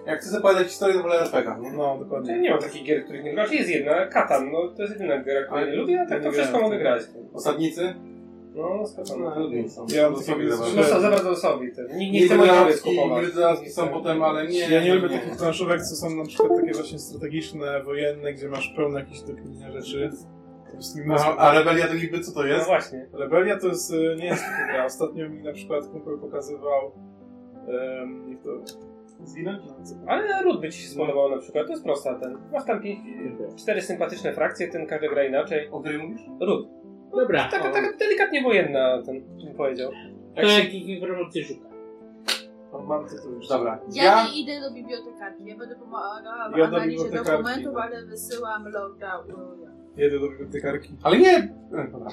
[SPEAKER 4] Jak chcę opowiadać historię, to wolę RPG, nie?
[SPEAKER 2] No,
[SPEAKER 5] Ja
[SPEAKER 2] dokładnie.
[SPEAKER 5] nie mam takich gier, których nie lubię. Znaczy jest jedna, Katan, no to jest jedyna gra, której
[SPEAKER 4] Ale
[SPEAKER 5] nie lubię, a
[SPEAKER 2] ja
[SPEAKER 5] tak
[SPEAKER 2] nie
[SPEAKER 5] to wszystko
[SPEAKER 2] grałem w
[SPEAKER 5] mogę
[SPEAKER 2] to.
[SPEAKER 5] grać.
[SPEAKER 4] Osadnicy?
[SPEAKER 5] No, z Katanem.
[SPEAKER 4] No, lubię są.
[SPEAKER 2] Ja mam
[SPEAKER 4] To
[SPEAKER 2] takie
[SPEAKER 4] sobie
[SPEAKER 2] jest-
[SPEAKER 4] zobaczę.
[SPEAKER 5] No są za bardzo sobie. Nikt nie chce
[SPEAKER 4] Niby
[SPEAKER 5] moich
[SPEAKER 4] laski,
[SPEAKER 5] gry kupować.
[SPEAKER 4] niby laski są potem, ale nie.
[SPEAKER 2] Ja nie lubię takich planszówek, co są na przykład takie właśnie strategiczne, wojenne, gdzie masz pełno jakichś dokładnych rzeczy. Po prostu mi mózg
[SPEAKER 4] A, a rebelia No, to niby co to
[SPEAKER 5] No
[SPEAKER 4] jest?
[SPEAKER 5] właśnie.
[SPEAKER 2] Rebelia to jest, e, nie jest taka gra. Ostatnio mi na przykład kumpel pokazywał, um, jak to Z ile? No, co?
[SPEAKER 5] Ale ród by ci się spodobał na przykład, to jest prosta ten. Masz tam pięć, cztery sympatyczne frakcje, ten każdy gra inaczej.
[SPEAKER 4] O której mówisz?
[SPEAKER 5] Ród.
[SPEAKER 7] Dobra,
[SPEAKER 2] Tak.
[SPEAKER 5] Taka, taka delikatnie wojenna, ten bym powiedział.
[SPEAKER 7] to jak ich informacji szuka.
[SPEAKER 2] Mam tytuł już.
[SPEAKER 4] Dobra.
[SPEAKER 6] Ja, nie idę do bibliotekarki, ja będę pomagała w
[SPEAKER 2] Ja do
[SPEAKER 6] analizie
[SPEAKER 2] bibliotekarki,
[SPEAKER 6] dokumentów,
[SPEAKER 2] no.
[SPEAKER 6] ale wysyłam Lorda Williama.
[SPEAKER 2] Jedę do bibliotekarki.
[SPEAKER 4] Ale nie! e, Dobra.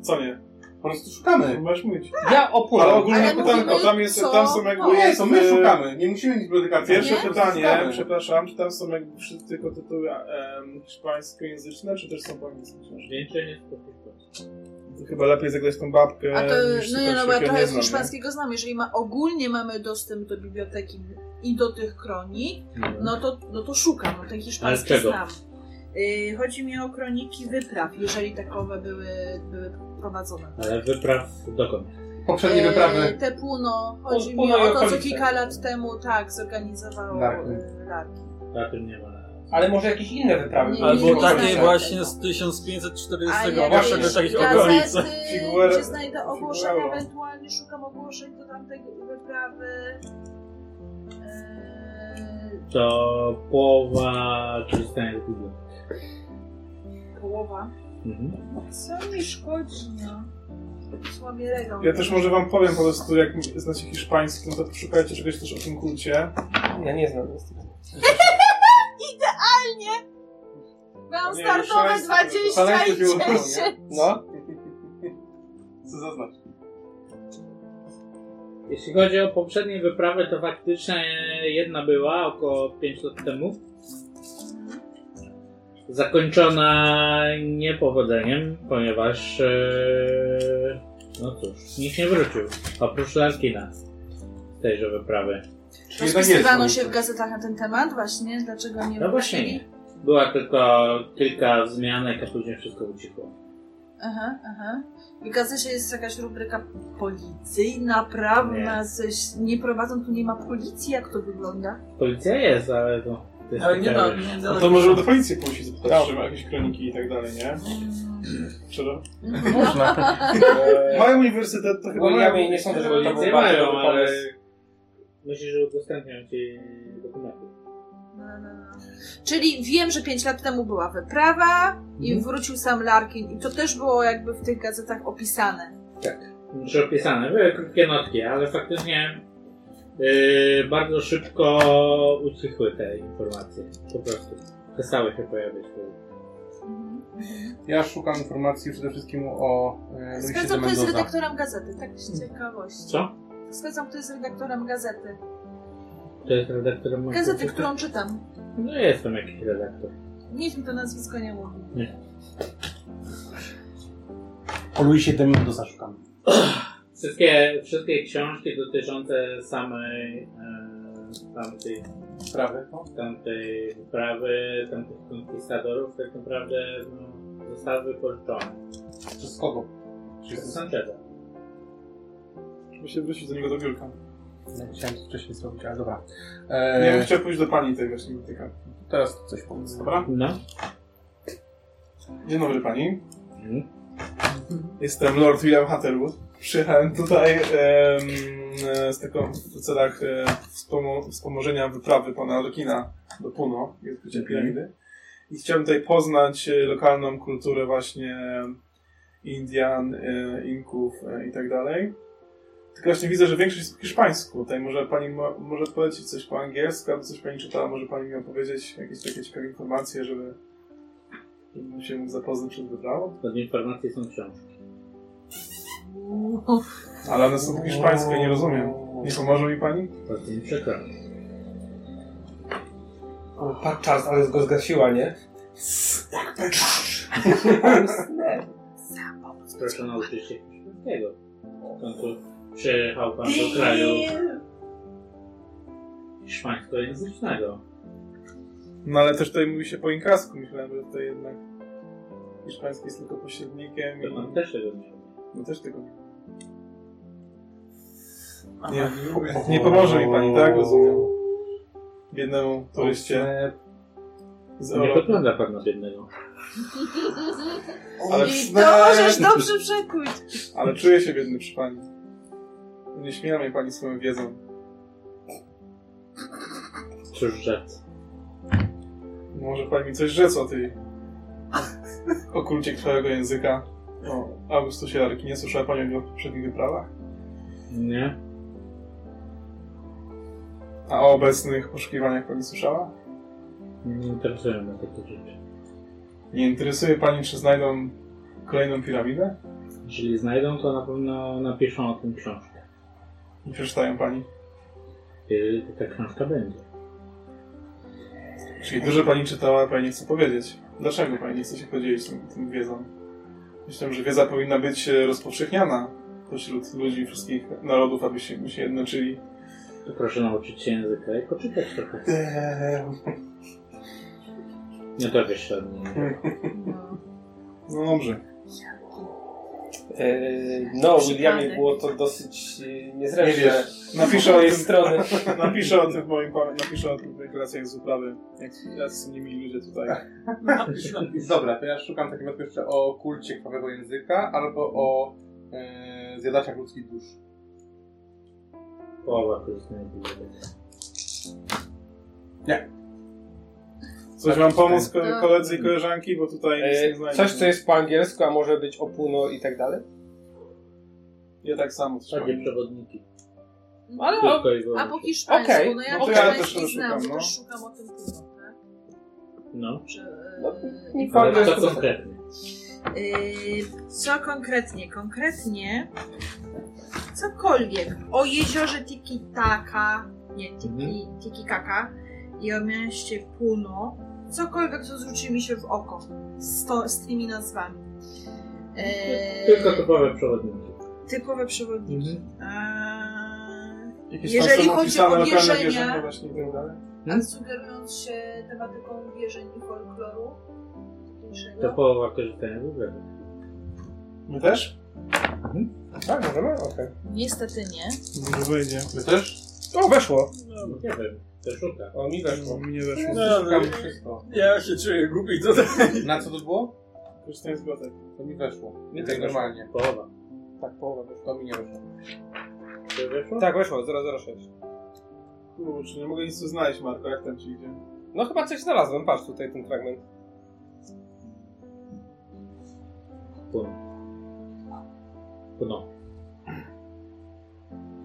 [SPEAKER 2] Co nie?
[SPEAKER 4] Po prostu szukamy.
[SPEAKER 2] Masz mówić.
[SPEAKER 7] Ja
[SPEAKER 2] Ale
[SPEAKER 7] opłacę.
[SPEAKER 2] ogólne
[SPEAKER 6] Ale
[SPEAKER 2] pytanko,
[SPEAKER 6] mówimy,
[SPEAKER 2] tam, jest,
[SPEAKER 6] co?
[SPEAKER 2] tam są
[SPEAKER 6] No
[SPEAKER 2] jakby...
[SPEAKER 4] Nie, to my
[SPEAKER 2] e,
[SPEAKER 4] szukamy. Nie musimy nic bibliotekarki.
[SPEAKER 2] Pierwsze
[SPEAKER 6] Znaczy, Nie?
[SPEAKER 2] pytanie, przepraszam, czy tam są jakby wszyscy tylko tytuły em, hiszpańskojęzyczne, czy też są po angielsku książki?
[SPEAKER 7] Zdjęcie nie spotyka.
[SPEAKER 2] To chyba lepiej zagrać tą babkę
[SPEAKER 6] A to,
[SPEAKER 2] niż
[SPEAKER 6] no
[SPEAKER 2] no,
[SPEAKER 6] nie, no bo ja
[SPEAKER 2] takiego
[SPEAKER 6] trochę
[SPEAKER 2] nie
[SPEAKER 6] z
[SPEAKER 2] znam, nie?
[SPEAKER 6] hiszpańskiego znam. Jeżeli ma, ogólnie mamy dostęp do biblioteki i do tych kronik,
[SPEAKER 2] Mhm.
[SPEAKER 6] no to, no to szukam, no ten hiszpański
[SPEAKER 7] Ale czego?
[SPEAKER 6] znam. Y, chodzi mi o kroniki wypraw, jeżeli takowe były, były prowadzone. tak?
[SPEAKER 7] Ale wypraw dokąd?
[SPEAKER 4] Poprzednie
[SPEAKER 6] Y,
[SPEAKER 4] wyprawy.
[SPEAKER 6] Te Puno, chodzi
[SPEAKER 5] Puno
[SPEAKER 6] mi
[SPEAKER 5] i
[SPEAKER 6] o to, co
[SPEAKER 5] okolice.
[SPEAKER 6] kilka lat temu, tak, zorganizowało
[SPEAKER 2] Tak.
[SPEAKER 4] Larki.
[SPEAKER 6] y, Larki.
[SPEAKER 7] A tym nie ma.
[SPEAKER 5] Ale może jakieś inne wyprawy.
[SPEAKER 6] Nie,
[SPEAKER 3] Albo
[SPEAKER 6] nie
[SPEAKER 3] takie
[SPEAKER 6] znajdę
[SPEAKER 3] właśnie
[SPEAKER 6] tego.
[SPEAKER 3] z
[SPEAKER 6] A
[SPEAKER 3] 1540
[SPEAKER 6] jakieś
[SPEAKER 3] właśnie do takich okolic.
[SPEAKER 6] gazety,
[SPEAKER 2] Figuera-
[SPEAKER 6] gdzie znajdę ogłoszenia,
[SPEAKER 2] Figuero.
[SPEAKER 6] ewentualnie szukam ogłoszeń do tamtej wyprawy. Eee,
[SPEAKER 7] To połowa korzystania z Google.
[SPEAKER 6] Połowa.
[SPEAKER 7] Mhm.
[SPEAKER 6] Co mi szkodzi, no? Słabie regał.
[SPEAKER 2] Ja też może wam powiem po prostu, jak znacie hiszpański, no to szukajcie czegoś też o tym kulcie.
[SPEAKER 5] Ja nie znam niestety.
[SPEAKER 6] Miałam
[SPEAKER 2] Nie,
[SPEAKER 6] startowe
[SPEAKER 2] szaleństwo.
[SPEAKER 6] 20 i
[SPEAKER 4] Szaleństwo się udało, nie?
[SPEAKER 6] 10.
[SPEAKER 5] No,
[SPEAKER 4] Co zaznacz?
[SPEAKER 7] Jeśli chodzi o poprzednie wyprawy, to faktycznie jedna była około 5 lat temu. Zakończona niepowodzeniem, ponieważ e, no cóż, nikt nie wrócił. Oprócz Larkina z tejże wyprawy.
[SPEAKER 4] Czyli jednak jest.
[SPEAKER 6] Rozpisywano
[SPEAKER 4] no.
[SPEAKER 6] się w gazetach na ten temat właśnie, dlaczego nie
[SPEAKER 7] No właśnie
[SPEAKER 6] wrócili.
[SPEAKER 7] nie. Była tylko kilka wzmianek, a później wszystko ucichło.
[SPEAKER 6] Aha, aha. W gazecie jest jakaś rubryka policyjna, prawna, nie. coś. Nie prowadzą, tu nie ma policji, jak to wygląda.
[SPEAKER 7] Policja jest, ale to... to jest
[SPEAKER 3] Ale nie
[SPEAKER 7] taka-
[SPEAKER 3] da, nie
[SPEAKER 2] No
[SPEAKER 3] da.
[SPEAKER 2] to możemy do policji pójść i zapytać, czy ma jakieś kroniki i tak dalej, nie? Czego?
[SPEAKER 3] Można.
[SPEAKER 2] Mają uniwersytet, to chyba
[SPEAKER 5] bo ja
[SPEAKER 2] mają.
[SPEAKER 5] bym Eee. nie sądzę, żeby to
[SPEAKER 7] Policję
[SPEAKER 5] był bardzo
[SPEAKER 7] mają,
[SPEAKER 5] dobry
[SPEAKER 7] ale...
[SPEAKER 5] pomysł.
[SPEAKER 7] Myślisz, że udostępnią ci dokumenty.
[SPEAKER 6] No, no, no. Czyli wiem, że 5 lat temu była wyprawa i
[SPEAKER 7] Mhm.
[SPEAKER 6] wrócił sam Larkin. I to też było jakby w tych gazetach opisane.
[SPEAKER 7] Znaczy opisane, były krótkie notki, ale faktycznie yy, bardzo szybko ucichły te informacje. Po prostu przestały się pojawiać. Mhm.
[SPEAKER 4] Ja szukam informacji przede wszystkim o e, Luisie de
[SPEAKER 6] Sprawdzam, kto jest
[SPEAKER 4] Mendoza.
[SPEAKER 6] redaktorem gazety, tak z ciekawości.
[SPEAKER 7] Co?
[SPEAKER 6] Sprawdzam, kto jest redaktorem gazety.
[SPEAKER 7] To jest redaktor mojego
[SPEAKER 6] Gazety,
[SPEAKER 7] tekstu?
[SPEAKER 6] którą czytam.
[SPEAKER 7] No jest tam jakiś redaktor.
[SPEAKER 6] Niech mi to nazwisko nie mówi.
[SPEAKER 4] O Luisie de Mendoza szukam.
[SPEAKER 7] Wszystkie, wszystkie książki dotyczące samej e, tamtej,
[SPEAKER 4] Sprawy. No.
[SPEAKER 7] tamtej wyprawy, tamtych konkwistadorów tak naprawdę no, zostały wypożyczone.
[SPEAKER 4] Przez kogo?
[SPEAKER 7] Przez Sancheza.
[SPEAKER 2] Muszę się wrócić do niego do biurka.
[SPEAKER 4] No, chciałem to wcześniej zrobić, ale dobra.
[SPEAKER 5] Eee.
[SPEAKER 2] Ja bym
[SPEAKER 4] E,
[SPEAKER 2] chciał pójść do pani tej właśnie bibliotekarki.
[SPEAKER 4] teraz coś powiedz.
[SPEAKER 2] Dobra?
[SPEAKER 7] No.
[SPEAKER 2] Dzień dobry pani.
[SPEAKER 7] Mhm.
[SPEAKER 2] Jestem Lord William Hatterwood. Przyjechałem tutaj em, e, z taką, w celach e, wspomo- wspomożenia wyprawy pana Rekina do Puno i odkrycia piramidy. I chciałem tutaj poznać e, lokalną kulturę właśnie Indian, e, Inków e, i tak dalej. Tylko właśnie widzę, że większość jest po hiszpańsku. Tutaj może pani mo- może polecić coś po angielsku, albo coś pani czytała, może pani mi opowiedzieć jakieś takie ciekawe informacje, żeby żebym się mógł zapoznać przed wyprawą.
[SPEAKER 7] Od informacji są książki.
[SPEAKER 2] Ale one są po hiszpańsku, ja nie rozumiem. Nie pomoże mi pani?
[SPEAKER 7] Bardzo mi przykro.
[SPEAKER 5] Pat czas, ale go zgasiła, nie?
[SPEAKER 7] Proszę nauczyć się hiszpańskiego. W końcu przyjechał pan do kraju hiszpańskojęzycznego.
[SPEAKER 2] No ale też tutaj mówi się po inkasku. Myślałem, że to jednak hiszpański jest tylko pośrednikiem
[SPEAKER 7] To
[SPEAKER 2] i
[SPEAKER 7] pan też tego nie umie.
[SPEAKER 2] no też tego nie Nie, nie pomoże mi pani, tak? Rozumiem. Biednemu turyście z
[SPEAKER 7] Nie
[SPEAKER 2] Europy.
[SPEAKER 7] wygląda pan na biednego.
[SPEAKER 2] Ale,
[SPEAKER 6] I
[SPEAKER 2] ne,
[SPEAKER 6] to możesz dobrze przekuć.
[SPEAKER 2] ale czuję się biedny przy pani. Nie śmiela mnie pani swoją wiedzą.
[SPEAKER 7] Cóż rzec.
[SPEAKER 2] Może pani mi coś rzec o tej okulcie krwawego języka. O Augustusie Larki. Nie słyszała pani o jego poprzednich wyprawach?
[SPEAKER 7] Nie?
[SPEAKER 2] A o obecnych poszukiwaniach pani słyszała?
[SPEAKER 7] Nie interesują mnie takie rzeczy.
[SPEAKER 2] Nie interesuje pani, czy znajdą kolejną piramidę?
[SPEAKER 7] Jeżeli znajdą, to na pewno napiszą o tym książkę.
[SPEAKER 2] Nie przeczytają pani.
[SPEAKER 7] Jeżeli taka książka będzie.
[SPEAKER 2] Czyli dużo pani czytała, a pani nie chce powiedzieć. Dlaczego pani nie chce się podzielić tym, tym wiedzą? Myślę, że wiedza powinna być e, rozpowszechniana pośród ludzi wszystkich narodów, aby się, się jednoczyli.
[SPEAKER 7] To proszę nauczyć się języka i poczytać trochę.
[SPEAKER 2] Eee,
[SPEAKER 7] Nie dowiesz się od niej.
[SPEAKER 2] no dobrze.
[SPEAKER 5] Yy, no, Williamie było to dosyć yy, niezręczne.
[SPEAKER 2] Nie Napiszę o
[SPEAKER 5] tej
[SPEAKER 2] tym,
[SPEAKER 5] strony.
[SPEAKER 2] napiszę o tym w moim pa- napiszę o tym w relacjach z uprawy. Jak jak są nimi ludzie tutaj.
[SPEAKER 4] Dobra, to ja szukam takiego jeszcze o kulcie krwawego języka albo o e, zjadaczach ludzkich dusz.
[SPEAKER 7] Połowa to jest najbliżej.
[SPEAKER 2] Coś wam pomóc
[SPEAKER 6] No.
[SPEAKER 2] ko- koledzy i koleżanki, bo tutaj nic nie
[SPEAKER 5] Yy,
[SPEAKER 2] znajdę.
[SPEAKER 5] coś, co jest po angielsku, a może być opuno i tak dalej.
[SPEAKER 2] Ja tak samo. coś
[SPEAKER 7] Takie
[SPEAKER 2] powiem.
[SPEAKER 7] przewodniki.
[SPEAKER 5] Ale o,
[SPEAKER 7] Tylko i wyłącznie.
[SPEAKER 6] A po hiszpańsku,
[SPEAKER 5] Okej,
[SPEAKER 6] no ja
[SPEAKER 2] no to ja też
[SPEAKER 6] hiszpański
[SPEAKER 2] szukam,
[SPEAKER 6] znam,
[SPEAKER 2] no.
[SPEAKER 6] to też szukam o tym później, tak?
[SPEAKER 7] No.
[SPEAKER 6] Że,
[SPEAKER 5] No,
[SPEAKER 6] e,
[SPEAKER 5] nie po
[SPEAKER 7] Ale co
[SPEAKER 5] angielsku.
[SPEAKER 7] konkretnie?
[SPEAKER 6] Yy, Co konkretnie? Konkretnie cokolwiek o jeziorze Tikitaka, nie, Tiki,
[SPEAKER 7] Mhm.
[SPEAKER 6] Tikikaka i o mieście Puno. Cokolwiek, co zwróci mi się w oko z, to, z tymi nazwami. Yy,
[SPEAKER 7] Tylko typowe przewodniki. Mhm.
[SPEAKER 6] Typowe przewodniki.
[SPEAKER 2] Jakieś
[SPEAKER 6] Jeżeli
[SPEAKER 2] tam są
[SPEAKER 6] chodzi
[SPEAKER 2] opisane
[SPEAKER 6] o
[SPEAKER 2] lokalne
[SPEAKER 6] wierzenia-
[SPEAKER 2] wierzenia właśnie i tak dalej.
[SPEAKER 6] A,
[SPEAKER 7] Mhm.
[SPEAKER 6] a sugerując się tematyką wierzeń i folkloru. mniejszego.
[SPEAKER 7] To połowa korzystania z Google.
[SPEAKER 2] My też?
[SPEAKER 5] Tak, możemy? Okej.
[SPEAKER 6] Niestety nie.
[SPEAKER 2] Może wyjdzie.
[SPEAKER 4] Wy też?
[SPEAKER 5] O, weszło.
[SPEAKER 7] No, nie wiem. To szuka.
[SPEAKER 5] O, mi weszło.
[SPEAKER 2] Mnie weszło.
[SPEAKER 3] No,
[SPEAKER 4] Szukam wszystko.
[SPEAKER 3] Ja się czuję głupi tutaj.
[SPEAKER 4] Na co to było?
[SPEAKER 2] Korzystałem z gotek.
[SPEAKER 4] To mi weszło. Nie
[SPEAKER 7] też
[SPEAKER 4] tak normalnie.
[SPEAKER 7] Połowa.
[SPEAKER 5] Tak, połowa weszła.
[SPEAKER 4] To mi nie weszło.
[SPEAKER 7] Czy weszło?
[SPEAKER 5] Tak, weszło, 006.
[SPEAKER 2] Kurczę, nie mogę nic tu znaleźć, Marko, jak tam ci idzie?
[SPEAKER 5] No chyba coś znalazłem, patrz tutaj ten fragment.
[SPEAKER 7] Płyn. Płynął.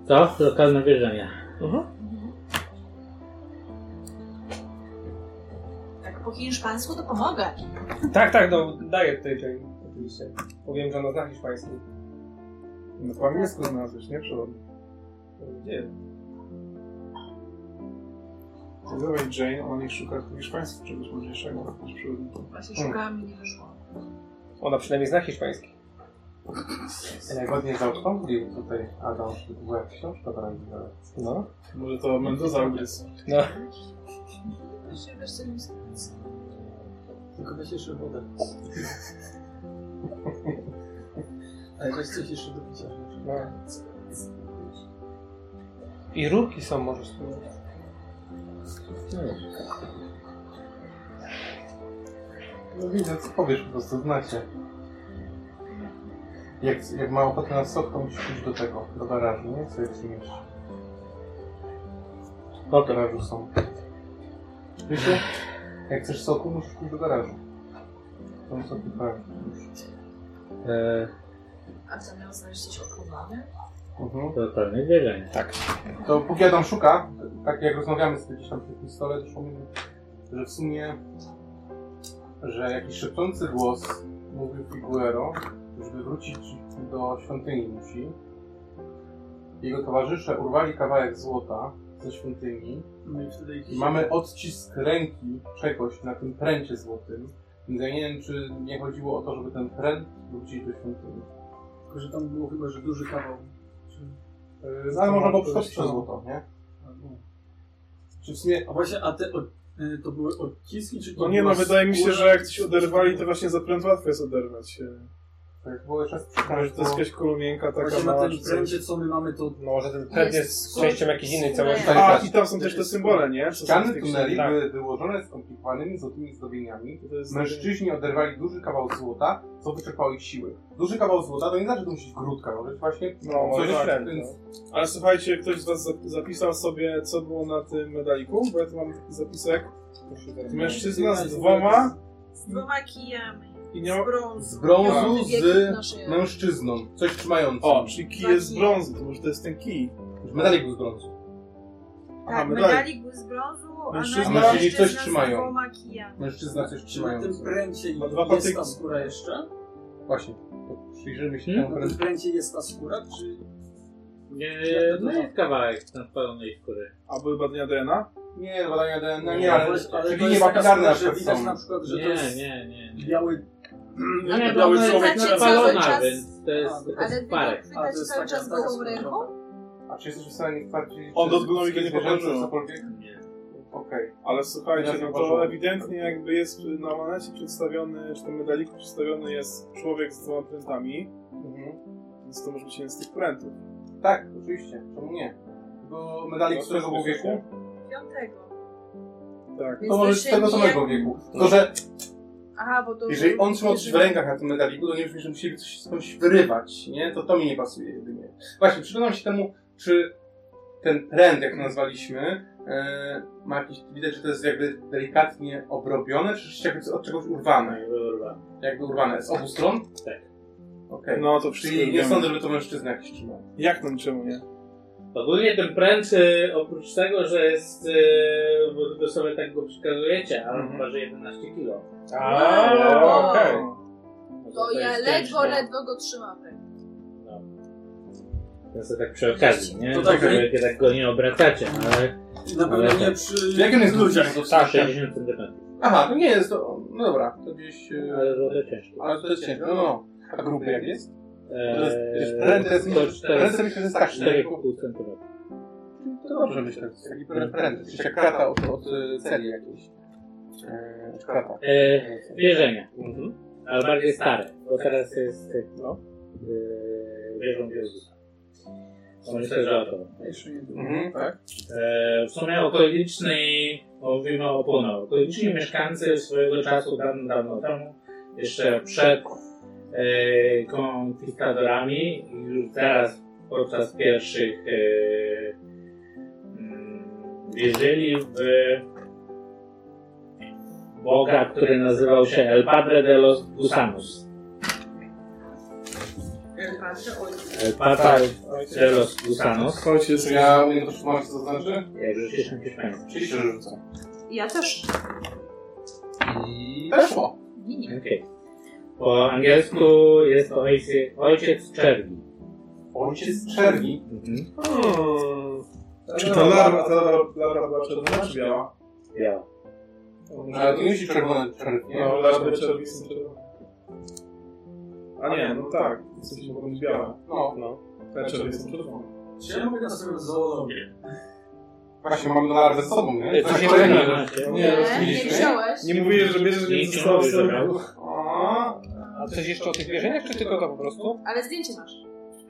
[SPEAKER 7] To No. lokalne wierzenia.
[SPEAKER 6] Mhm. Tak po hiszpańsku to pomogę.
[SPEAKER 5] Tak, tak, no daję tutaj Jane, oczywiście. Powiem, że ona zna hiszpański.
[SPEAKER 2] No po angielsku znalazłeś, nie? Przewodnik.
[SPEAKER 5] Nie.
[SPEAKER 2] Ty Dawaj Jane, ona niech szuka w hiszpańsku czegoś mądrzejszego niż przewodnika.
[SPEAKER 6] Właśnie
[SPEAKER 4] Tak.
[SPEAKER 6] szukałam i nie wyszło.
[SPEAKER 5] Ona przynajmniej zna hiszpański.
[SPEAKER 4] Zgodnie z autonomii tutaj Adam, była książka paralizowana.
[SPEAKER 5] No.
[SPEAKER 2] Może to Mendoza ugryzł.
[SPEAKER 6] Właśnie wiesz, co mi się
[SPEAKER 3] Tylko weź jeszcze wodę. Ale weź coś jeszcze do picia.
[SPEAKER 5] no. I rurki są może spróbować.
[SPEAKER 4] No widzę, co powiesz, po prostu znacie. Jak, jak ma ochotę na sok, to musisz iść do tego, do garażu, nie? Co jest mieć. No, w garażu są. Wiesz, jak chcesz soku, musisz iść do garażu. Tam soki prawie.
[SPEAKER 7] E,
[SPEAKER 6] A co miał znaleźć coś okrowane?
[SPEAKER 4] Mhm.
[SPEAKER 7] to lokalne wierzenia.
[SPEAKER 4] To póki Adam szuka, tak jak rozmawiamy z gdzieś tam przy tym stole, doszło mi, że w sumie, że jakiś szepczący głos mówił Figuero, żeby wrócić do świątyni musi. Jego towarzysze urwali kawałek złota ze świątyni
[SPEAKER 3] No i wtedy
[SPEAKER 4] i mamy odcisk ręki czegoś na tym pręcie złotym. Więc ja nie wiem, czy nie chodziło o to, żeby ten pręt wrócić do świątyni.
[SPEAKER 3] Tylko, że tam było chyba, że duży kawał.
[SPEAKER 4] Yy, Ale można było przeczytać przez złoto, nie? Czy w sumie...
[SPEAKER 3] A właśnie, a te od, y, to były odciski, czy to
[SPEAKER 2] No nie no,
[SPEAKER 3] była
[SPEAKER 2] wydaje mi się,
[SPEAKER 3] skóra?
[SPEAKER 2] że jak coś oderwali, to właśnie za pręd łatwo jest oderwać. e,
[SPEAKER 4] To już było jeszcze
[SPEAKER 16] Może to jest jakaś kulumienka taka
[SPEAKER 3] Właśnie na
[SPEAKER 16] mała czy
[SPEAKER 3] tym
[SPEAKER 16] coś.
[SPEAKER 3] prędzie, co my mamy, to
[SPEAKER 5] Może ten trend jest częścią jakiejś innej całości.
[SPEAKER 4] Tak.
[SPEAKER 2] A, i tam są też te symbole, nie? Co są w
[SPEAKER 4] Ściany
[SPEAKER 2] tych
[SPEAKER 4] tuneli
[SPEAKER 2] księgach.
[SPEAKER 4] były wyłożone skomplikowanymi złotymi zdobieniami.
[SPEAKER 2] To jest-
[SPEAKER 4] Mężczyźni oderwali duży kawał złota, co wyczerpało ich siły. Duży kawał złota to nie znaczy, że to musi być grudka, może być właśnie
[SPEAKER 2] No,
[SPEAKER 4] coś
[SPEAKER 2] może tak,
[SPEAKER 4] więc
[SPEAKER 2] no. Ale słuchajcie, ktoś z was zap- zapisał sobie, co było na tym medaliku, bo ja tu mam taki zapisek. Mężczyzna z dwoma
[SPEAKER 6] Z dwoma kijami.
[SPEAKER 2] i
[SPEAKER 6] Z
[SPEAKER 2] miał...
[SPEAKER 6] brązu.
[SPEAKER 4] z brązu
[SPEAKER 6] Miał
[SPEAKER 4] z
[SPEAKER 6] wielki nasz-
[SPEAKER 4] mężczyzną, coś trzymającym.
[SPEAKER 2] O, czyli kij jest z brązu, to może to jest ten kij.
[SPEAKER 4] Medalik był z brązu.
[SPEAKER 2] Aha,
[SPEAKER 6] Tak, medalik był z brązu, a
[SPEAKER 2] Mężczyzna-
[SPEAKER 6] nasz
[SPEAKER 4] mężczyźni
[SPEAKER 6] mężczyzna
[SPEAKER 4] coś
[SPEAKER 6] z
[SPEAKER 4] trzymają.
[SPEAKER 6] dwoma kijami.
[SPEAKER 4] Mężczyzna coś
[SPEAKER 3] czy na Tak, tym
[SPEAKER 4] trzymający.
[SPEAKER 3] pręcie
[SPEAKER 2] Ma dwa
[SPEAKER 3] jest ta
[SPEAKER 2] patyki.
[SPEAKER 3] skóra jeszcze?
[SPEAKER 4] Właśnie. To Przyjrzyjmy się
[SPEAKER 3] Na
[SPEAKER 4] temu
[SPEAKER 7] Hmm?
[SPEAKER 3] tym
[SPEAKER 4] prędkości.
[SPEAKER 3] pręcie jest ta skóra, czy...
[SPEAKER 7] Nie, no jest kawałek tam pełnej skóry.
[SPEAKER 2] A były badania DNA?
[SPEAKER 4] Nie, badania DNA,
[SPEAKER 7] Nie,
[SPEAKER 4] nie, ale,
[SPEAKER 3] właśnie, ale to
[SPEAKER 4] czyli nie
[SPEAKER 3] jest
[SPEAKER 4] ma
[SPEAKER 3] taka
[SPEAKER 4] pilarne na
[SPEAKER 3] skóra, że
[SPEAKER 4] przykład
[SPEAKER 3] widać
[SPEAKER 4] są.
[SPEAKER 3] na przykład, że to
[SPEAKER 7] Nie,
[SPEAKER 3] jest
[SPEAKER 7] nie, nie. nie.
[SPEAKER 3] biały...
[SPEAKER 7] No nie,
[SPEAKER 6] bo
[SPEAKER 7] bo
[SPEAKER 6] ona
[SPEAKER 7] ona
[SPEAKER 6] jest
[SPEAKER 7] jest
[SPEAKER 6] cały
[SPEAKER 7] napalona,
[SPEAKER 6] czas-
[SPEAKER 7] więc to jest, to
[SPEAKER 6] Ale
[SPEAKER 7] jest parek.
[SPEAKER 3] A,
[SPEAKER 6] widać
[SPEAKER 3] to jest
[SPEAKER 6] cały
[SPEAKER 3] taka-
[SPEAKER 6] czas
[SPEAKER 3] taka
[SPEAKER 6] gołą
[SPEAKER 3] skóra.
[SPEAKER 6] ręką?
[SPEAKER 4] A czy jesteś w stanie sprawdzić?
[SPEAKER 2] On
[SPEAKER 4] czy
[SPEAKER 2] dotknął i go nie
[SPEAKER 4] zwierzęce,
[SPEAKER 2] położył.
[SPEAKER 4] cokolwiek?
[SPEAKER 7] Nie.
[SPEAKER 4] Okej.
[SPEAKER 2] Ale słuchajcie,
[SPEAKER 4] Ja
[SPEAKER 2] no to
[SPEAKER 4] zauważyłem.
[SPEAKER 2] ewidentnie jakby jest na manecie przedstawiony, czy tym medaliku przedstawiony jest człowiek z dwoma prętami,
[SPEAKER 4] Mhm.
[SPEAKER 2] więc to może być jeden z tych prętów.
[SPEAKER 4] Tak, oczywiście. Czemu nie? Bo medalik
[SPEAKER 2] No,
[SPEAKER 4] z którego
[SPEAKER 2] to
[SPEAKER 4] był
[SPEAKER 2] jest
[SPEAKER 4] wieku?
[SPEAKER 6] Piątego.
[SPEAKER 2] Tak.
[SPEAKER 6] Więc
[SPEAKER 4] To może z
[SPEAKER 6] się
[SPEAKER 4] No, tego
[SPEAKER 6] bije-
[SPEAKER 4] samego wieku. Tylko, że
[SPEAKER 6] Aha, bo to
[SPEAKER 4] jeżeli on trzymał coś w rękach na tym medaliku, to nie brzmi, że musieli coś skądś wyrywać, nie? To to mi nie pasuje jedynie. Właśnie, przyglądam się temu, czy ten trend, jak to nazwaliśmy, e, ma jakiś, widać, że to jest jakby delikatnie obrobione, czy rzeczywiście jakby od czegoś urwane?
[SPEAKER 7] Nie, dobra.
[SPEAKER 4] Jakby urwane z obu stron?
[SPEAKER 7] Tak.
[SPEAKER 4] Okej.
[SPEAKER 2] No to wszystko
[SPEAKER 4] Czyli nie
[SPEAKER 2] wiemy.
[SPEAKER 4] sądzę, żeby to mężczyzna jakiś trzymał.
[SPEAKER 2] Jak to niczemu nie?
[SPEAKER 7] Ogólnie ten pręcz, y, oprócz tego, że jest, y, bo wy sobie tak go przekazujecie, ale on
[SPEAKER 4] Mhm.
[SPEAKER 7] waży 11 kg.
[SPEAKER 6] Wow.
[SPEAKER 5] no, okej.
[SPEAKER 6] To no. ja
[SPEAKER 7] jest
[SPEAKER 6] ledwo,
[SPEAKER 7] ciężko.
[SPEAKER 6] ledwo go trzymam. w ręku.
[SPEAKER 7] No. No to tak przy okazji, nie?
[SPEAKER 3] To
[SPEAKER 7] To
[SPEAKER 3] tak,
[SPEAKER 7] tak,
[SPEAKER 3] że-
[SPEAKER 7] jak tak go nie obracacie, no, ale
[SPEAKER 3] Na pewno
[SPEAKER 7] Ale
[SPEAKER 3] nie
[SPEAKER 7] tak.
[SPEAKER 3] przy...
[SPEAKER 4] Jak on jest
[SPEAKER 3] ludziach.
[SPEAKER 4] ludziach?
[SPEAKER 7] 60 cm.
[SPEAKER 4] Aha, to nie jest to. No dobra, to gdzieś. e,
[SPEAKER 7] Ale to ciężko.
[SPEAKER 4] Ale to jest ciężko. No, no. A gruby jak jest?
[SPEAKER 7] Eee,
[SPEAKER 4] Ręce myślę, że jest tak szybko.
[SPEAKER 7] 4,5 cm.
[SPEAKER 4] To dobrze myślę. to jest Taki prędkość. Czyli jak krata od, od e, celi jakiejś. E, od krata.
[SPEAKER 7] Eee, wierzenia,
[SPEAKER 4] Mhm.
[SPEAKER 7] ale bardziej stare, bo teraz jest no. eee, wierzą w Jezusa. To Myślę, że o to.
[SPEAKER 3] no
[SPEAKER 4] Mhm, tak.
[SPEAKER 7] E, W sumie okoliczni, mówimy o Puno, okoliczni mieszkańcy swojego czasu, dawno, dawno temu, jeszcze przed e, konkwistadorami, i już teraz podczas pierwszych e, mm, wierzyli w Boga, który nazywał się El Padre de los Gusanos. El Padre de los Gusanos.
[SPEAKER 2] Chodźcie,
[SPEAKER 4] Czy ja umiem to przetłumaczyć, co to znaczy?
[SPEAKER 7] Jak rzucisz na hiszpański.
[SPEAKER 4] Czyli się rzucę.
[SPEAKER 17] Ja też.
[SPEAKER 4] I weszło.
[SPEAKER 7] Okej. Po angielsku jest to ojciec, ojciec czerni.
[SPEAKER 4] Ojciec czerni.
[SPEAKER 7] Mhm.
[SPEAKER 2] Czy ta larwa, ta larwa, larwa była czerwona czy biała?
[SPEAKER 7] Biała.
[SPEAKER 4] Ale to nie musi czerwony czerw, nie?
[SPEAKER 2] No, larwy czerwone są czerwone. A nie, no tak. W sensie mogą być białe.
[SPEAKER 4] No,
[SPEAKER 2] Te czerwone są czerwone.
[SPEAKER 3] Czy ja mogę na sobie zoologię?
[SPEAKER 4] właśnie mamy larwę z sobą, nie?
[SPEAKER 5] to
[SPEAKER 7] Tak,
[SPEAKER 5] się
[SPEAKER 4] kolejny.
[SPEAKER 5] nie
[SPEAKER 6] Nie, nie
[SPEAKER 4] rozbiliśmy.
[SPEAKER 6] wziąłeś.
[SPEAKER 2] Nie mówię, że bierzesz
[SPEAKER 7] Nie,
[SPEAKER 2] nie
[SPEAKER 7] nie
[SPEAKER 2] ze sobą.
[SPEAKER 7] mówię, że brał.
[SPEAKER 4] A,
[SPEAKER 5] A coś jeszcze o tych wierzeniach, czy tylko to po prostu?
[SPEAKER 6] Ale zdjęcie masz.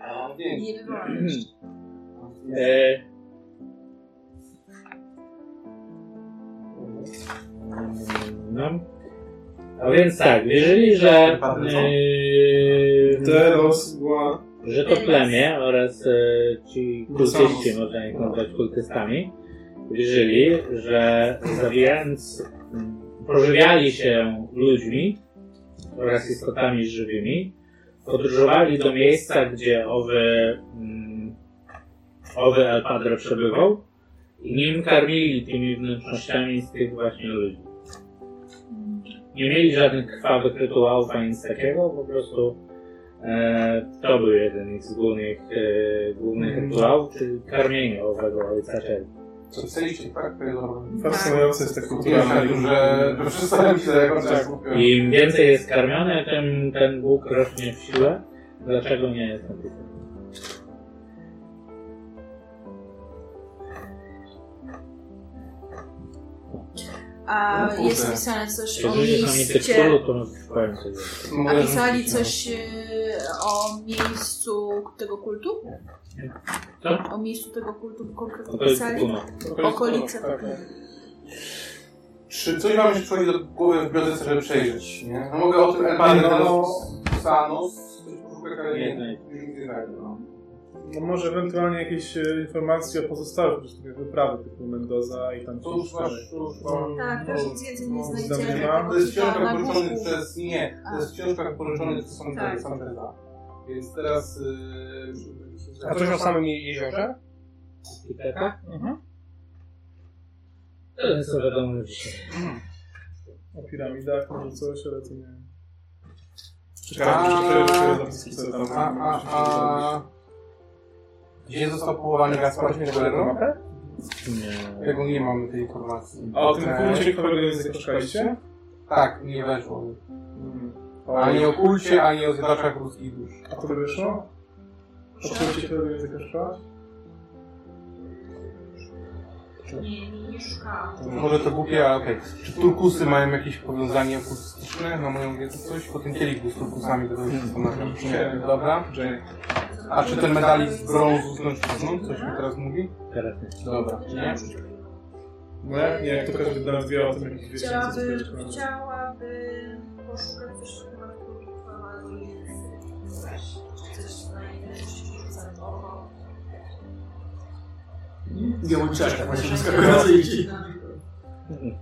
[SPEAKER 4] a, pięć.
[SPEAKER 6] Nie wywołam.
[SPEAKER 7] E, no. A więc tak, wierzyli, że, e,
[SPEAKER 2] Teraz była...
[SPEAKER 7] że to plemię oraz e, ci kultyści, można ich nazwać kultystami, wierzyli, że zabijając, m, pożywiali się ludźmi oraz istotami żywymi, podróżowali do miejsca, gdzie owy, mm, owy El Padre przebywał i nim karmili tymi wnętrznościami z tych właśnie ludzi. Nie mieli żadnych krwawych rytuałów ani nic takiego, po prostu e, to był jeden z głównych, e, głównych rytuałów, czyli karmienie owego ojca czerni.
[SPEAKER 4] Co chcieliście, tak? To jest dobre. Tak.
[SPEAKER 2] Fascynująca jest ta kultura.
[SPEAKER 4] Ja że że przestałem się jak
[SPEAKER 2] Tak.
[SPEAKER 7] Im więcej jest karmiony, tym ten Bóg rośnie w siłę. Dlaczego nie jest napisane?
[SPEAKER 6] A
[SPEAKER 4] No kurde.
[SPEAKER 6] jest pisane coś o
[SPEAKER 7] Jeżeli jest na mnie
[SPEAKER 6] liście.
[SPEAKER 7] teksturu, to powiem coś.
[SPEAKER 4] no.
[SPEAKER 6] A pisali coś e, o miejscu tego kultu?
[SPEAKER 1] Co?
[SPEAKER 6] O miejscu tego kultu
[SPEAKER 7] No
[SPEAKER 6] konkretnie
[SPEAKER 1] To jest
[SPEAKER 6] pisali?
[SPEAKER 1] gówno.
[SPEAKER 6] Okolice.
[SPEAKER 4] Tak, Czy coś wam się przychodzi do głowy w bibliotece, żeby przejrzeć? Nie? No mogę o tym Elbany, Thanos, Thanos,
[SPEAKER 1] Nie,
[SPEAKER 4] nie,
[SPEAKER 1] nie.
[SPEAKER 4] nie znajdę, no.
[SPEAKER 2] No może ewentualnie jakieś e, informacje o pozostałych uczestnikach wyprawy, typu Mendoza i tam
[SPEAKER 4] To już
[SPEAKER 2] dalej.
[SPEAKER 4] masz, No. już mam.
[SPEAKER 6] Tak, też nic więcej nie znajdziemy.
[SPEAKER 2] nie ma.
[SPEAKER 6] bo
[SPEAKER 4] No. To jest
[SPEAKER 6] tam
[SPEAKER 4] książka
[SPEAKER 6] na
[SPEAKER 4] pożyczony
[SPEAKER 6] górku.
[SPEAKER 4] przez... Nie, to jest książka pożyczony przez
[SPEAKER 6] Tak.
[SPEAKER 4] Santeza. Więc teraz... y, Yy,
[SPEAKER 5] A coś o samym je- jeziorze?
[SPEAKER 1] Kiteka? To jest wiadomo już dzisiaj.
[SPEAKER 2] O piramidach, może coś, ale to nie wiem.
[SPEAKER 4] A-
[SPEAKER 2] Czekałem, czy to jest zapiski, co tam
[SPEAKER 4] A, a, a... Gdzie został połowany Gaspar Śmielberno?
[SPEAKER 1] Nie.
[SPEAKER 4] Tego nie mamy tej informacji.
[SPEAKER 2] A o tym
[SPEAKER 4] Okej.
[SPEAKER 2] kulcie, którego języka szukaliście?
[SPEAKER 4] Tak, nie weszło. Hmm.
[SPEAKER 2] Mm.
[SPEAKER 4] Ani o kulcie, ani o zjadaczach ludzkich dusz.
[SPEAKER 2] A to wyszło? O kulcie, którego języka szukałaś?
[SPEAKER 6] Nie, nie, nie szukałam.
[SPEAKER 4] Może to głupie, ale okej. Czy turkusy mają jakieś powiązanie okultystyczne na moją wiedzę? Coś? Po tym kielichu z turkusami to się zastanawiam. Nie, Dobra. A czy ten medalik z brązu z mężczyzną? Coś mi teraz mówi?
[SPEAKER 1] Karetny.
[SPEAKER 4] Dobra. Nie?
[SPEAKER 2] No jak nie, to każdy nas wie o tym jakichś wiecie, co
[SPEAKER 6] Chciałabym,
[SPEAKER 2] jest prawda.
[SPEAKER 6] chciałabym poszukać coś takiego na publikowaniu język. Coś, coś znajdę, coś rzucę w oko.
[SPEAKER 3] Nie mój
[SPEAKER 4] Tak
[SPEAKER 3] czaszka, właśnie wyskakujący iści.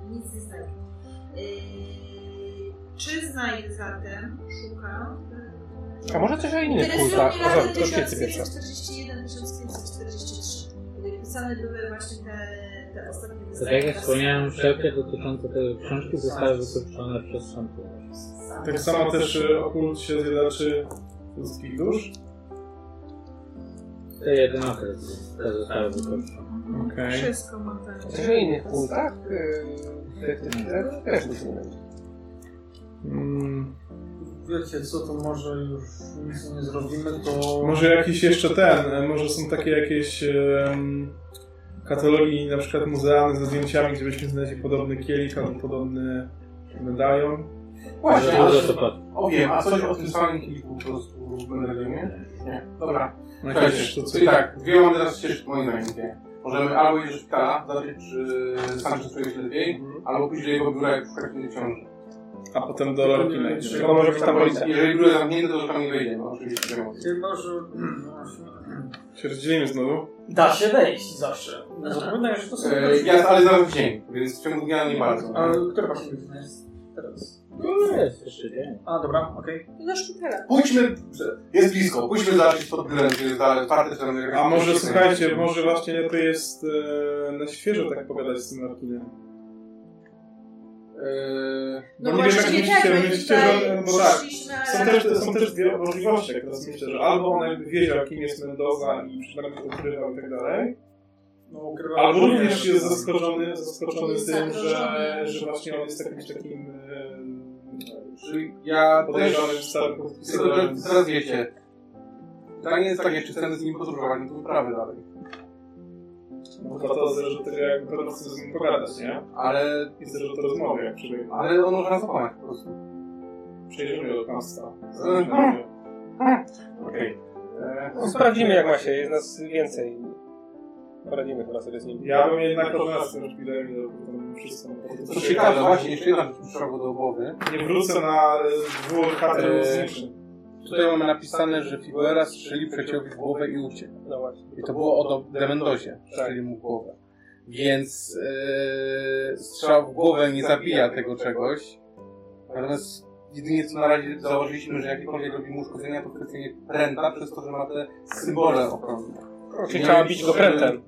[SPEAKER 6] Nic nie znajdę. Yy, czy znajdę zatem? Szukam.
[SPEAKER 5] A może coś o innych
[SPEAKER 6] Interesują
[SPEAKER 5] kultach?
[SPEAKER 6] mnie
[SPEAKER 5] O,
[SPEAKER 6] lata
[SPEAKER 5] to szkielcy pierwsze.
[SPEAKER 6] 1541-1543, kiedy Yy, pisane były właśnie te, te ostatnie
[SPEAKER 1] Tak jak ja wspomniałem, wszelkie dotyczące tej książki zostały wykończone przez sądy.
[SPEAKER 2] Tak samo też e, o kulcie zjadaczy ludzkich dusz?
[SPEAKER 1] Te jedyne okresy, te zostały wykończone.
[SPEAKER 2] Okej.
[SPEAKER 6] Wszystko mam tam.
[SPEAKER 5] Coś o innych kultach? Yy, tych- tych- tych- Też nic nie wiem.
[SPEAKER 2] Mm,
[SPEAKER 3] Wiecie co, to może już nic nie zrobimy, to...
[SPEAKER 2] Może jakiś jeszcze ten, e, może są takie jakieś em, katalogi na przykład muzealne ze zdjęciami, gdzie byśmy znaleźli podobny kielich albo podobny medalion.
[SPEAKER 4] Właśnie, a
[SPEAKER 1] Dużo to padło.
[SPEAKER 4] o wiem, a coś o tym samym kielichu po prostu będę nie? Nie. Dobra.
[SPEAKER 2] No jakieś
[SPEAKER 4] Słuchajcie,
[SPEAKER 2] to
[SPEAKER 4] to
[SPEAKER 2] coś.
[SPEAKER 4] i tak, dwie mamy teraz ścieżki moim zdaniem. dwie. Możemy albo iść do szpitala, zobaczyć czy Sanchez czuje się lepiej,
[SPEAKER 2] Mhm.
[SPEAKER 4] albo pójść do jego biura i szukać tej książki.
[SPEAKER 2] A potem do Loki najdzie.
[SPEAKER 5] Tylko może być tam policja.
[SPEAKER 4] Jeżeli biuro jest zamknięte, to tam nie wejdzie, no oczywiście. wiadomo.
[SPEAKER 3] Chyba, że... No
[SPEAKER 2] Się rozdzielimy znowu.
[SPEAKER 3] Da się wejść zawsze. Zapewne, że to są...
[SPEAKER 4] E, Ja, ale zaraz w dzień, więc w ciągu dnia nie bardzo.
[SPEAKER 3] Ale która godzina jest teraz?
[SPEAKER 1] No jest jeszcze dzień.
[SPEAKER 3] A, dobra, okej.
[SPEAKER 6] Do szpitala.
[SPEAKER 4] Pójdźmy, jest blisko, pójdźmy zobaczyć pod brylem, czy jest dalej otwarte, czy tam
[SPEAKER 2] A może słuchajcie, może właśnie lepiej jest e, na świeżo tak pogadać z tym Larkinem.
[SPEAKER 4] Eee,
[SPEAKER 2] Bo nie wiem, jak myślicie,
[SPEAKER 6] my
[SPEAKER 2] myślicie, że on- bo tak.
[SPEAKER 6] przyszliśmy,
[SPEAKER 2] Są
[SPEAKER 6] ale...
[SPEAKER 2] też, są też dwie możliwości, jak teraz myślę, że albo on jakby wiedział, kim jest Mendoza i przynajmniej ukrywał i tak dalej,
[SPEAKER 3] No, ukrywa-
[SPEAKER 2] Albo również jest zaskoczony, zaskoczony
[SPEAKER 6] Jest
[SPEAKER 2] tym, że,
[SPEAKER 6] zagrożony.
[SPEAKER 2] że właśnie on jest jakimś takim e,
[SPEAKER 4] czyli ja też,
[SPEAKER 2] podejrzanym starym
[SPEAKER 4] tylko że
[SPEAKER 2] podpisem.
[SPEAKER 4] teraz wiecie, pytanie jest takie, czy chcemy z nim podróżować na tą sprawę dalej.
[SPEAKER 2] Bo No, to zależy od tego, jak będą chce z nim pogadać, nie?
[SPEAKER 4] Ale,
[SPEAKER 2] I zależy od rozmowy, jak przyjdzie-
[SPEAKER 4] ale on może nas okłamać po prostu.
[SPEAKER 2] przyjdziemy do miasta.
[SPEAKER 4] Mhm. Okej. E,
[SPEAKER 5] No, Sprawdzimy jak ma się, jest nas więcej. Poradzimy chyba sobie z nim.
[SPEAKER 2] Ja bym jednak od nas już chwilę minął, bo tam wszystko.
[SPEAKER 4] Co ciekawe, właśnie jeszcze jedna rzecz mi przyszła do głowy.
[SPEAKER 2] Nie wrócę na e, dwór kadry
[SPEAKER 4] Eee,
[SPEAKER 2] mocniejszy.
[SPEAKER 4] Tutaj mamy napisane, że Figuera strzelił przeciął w głowę i uciekł.
[SPEAKER 5] No właśnie.
[SPEAKER 4] I to było o Do- Demendosie, strzelił mu w głowę. Więc e, strzał w głowę nie zabija tego czegoś. Natomiast jedynie co na razie założyliśmy, że jakiekolwiek robi mu uszkodzenia, to kwestia pręta, przez to, że ma te symbole ochronne.
[SPEAKER 5] Czyli trzeba bić go prętem.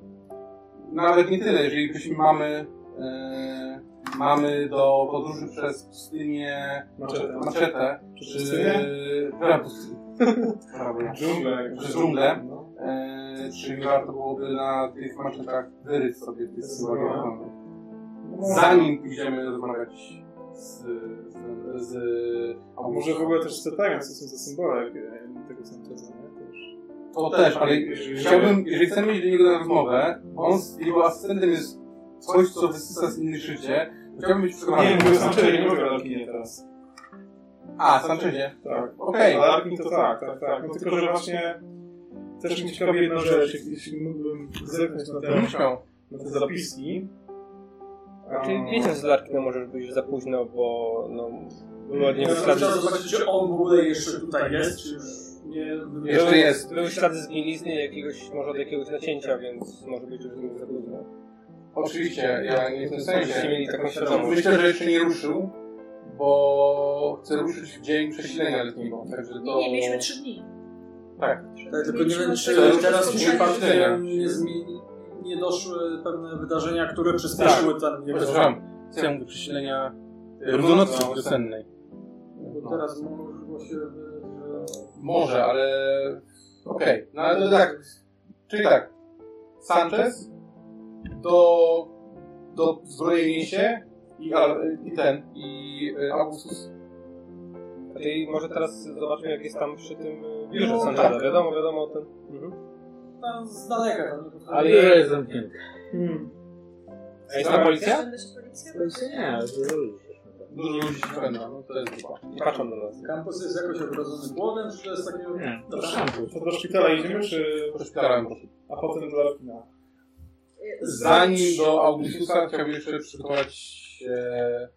[SPEAKER 4] Nawet nie tyle, jeżeli ktoś mamy, e, mamy do podróży przez pustynię znaczy,
[SPEAKER 2] Maczetę.
[SPEAKER 4] maczetę,
[SPEAKER 2] Czy
[SPEAKER 4] czy...
[SPEAKER 2] pustynię?
[SPEAKER 4] Dobra, pustynię. Dobra.
[SPEAKER 2] Dżunglę. jak-
[SPEAKER 4] Przez dżunglę.
[SPEAKER 2] No.
[SPEAKER 4] Eee, czy nie warto byłoby na tych maczetach wyryć sobie te symbole
[SPEAKER 2] No.
[SPEAKER 4] ochrony? Zanim pójdziemy rozmawiać z... z, z
[SPEAKER 2] A może w ogóle też spytania, co są za symbole e, tego Sancheza, nie? Też.
[SPEAKER 4] To też, ale
[SPEAKER 2] Jeżeli-
[SPEAKER 4] chciałbym, jeżeli chcemy mieć do niego na rozmowę, on z jego asystentem jest coś, co wysysa z innych życie, to chciałbym być przekonany.
[SPEAKER 2] Nie, bo jestem czerwień, nie mogę na opinię teraz.
[SPEAKER 4] A, Sanchezie.
[SPEAKER 2] Tak.
[SPEAKER 4] Okej.
[SPEAKER 2] Ale Arkin to tak, tak, tak. No, tylko, że właśnie też mi ciekawi jedna rzecz, jeśli- jeśli mógłbym zerknąć na te, na te zapiski.
[SPEAKER 5] Czyli
[SPEAKER 2] A,
[SPEAKER 5] wiecie, że z Larkina możesz być już za późno, bo no, było od niego
[SPEAKER 3] Ja
[SPEAKER 5] ślady...
[SPEAKER 3] chciałem no, zobaczyć, czy on w ogóle jeszcze tutaj jest, czy już nie...
[SPEAKER 5] Były- Były ślady z bielizny jakiegoś, może od jakiegoś nacięcia, więc może być już z nim za późno.
[SPEAKER 4] Oczywiście, ja nie w tym sensie.
[SPEAKER 5] Żebyście mieli taką świadomość.
[SPEAKER 4] Myślę, że jeszcze nie ruszył, bo chce ruszyć w dzień przesilenia letniego. Także to...
[SPEAKER 6] Nie, mieliśmy trzy dni.
[SPEAKER 4] Tak.
[SPEAKER 3] Tak, tylko nie wiem, czy
[SPEAKER 4] Mieliśmy-
[SPEAKER 3] teraz
[SPEAKER 4] Mieliśmy-
[SPEAKER 3] przypadkiem nie, zmieni, nie doszły pewne wydarzenia, które przyspieszyły ten jego...
[SPEAKER 18] Przepraszam, chcę do przesilenia
[SPEAKER 5] e,
[SPEAKER 18] równonocy wiosennej.
[SPEAKER 3] Bo teraz mogło się... że-
[SPEAKER 4] Może, ale... Okej, no ale to tak. Czyli tak. Sanchez do... do zbrojenie się i, Al- i ten, i y, Augustus.
[SPEAKER 5] I może teraz zobaczmy, jak jest tam przy tym y, biurze
[SPEAKER 3] No,
[SPEAKER 5] Sancheza.
[SPEAKER 3] tak.
[SPEAKER 5] Wiadomo, wiadomo o tym. Mhm.
[SPEAKER 3] Tam No, z daleka. Tam, nie
[SPEAKER 5] Ale
[SPEAKER 3] potrafię-
[SPEAKER 7] Biuro jest zamknięte.
[SPEAKER 5] A jest tam policja?
[SPEAKER 7] Nie, dużo ludzi.
[SPEAKER 4] Dużo ludzi się pędza, no to jest grupa.
[SPEAKER 5] I patrzą na nas.
[SPEAKER 3] Kampus jest jakoś ogrodzony płotem, czy to jest takie...
[SPEAKER 7] Nie,
[SPEAKER 3] to
[SPEAKER 2] To do szpitala idziemy, czy...
[SPEAKER 4] Do szpitala, proszę.
[SPEAKER 2] A potem do Arkina.
[SPEAKER 4] Zanim do Augustusa chciałbym jeszcze przygotować e,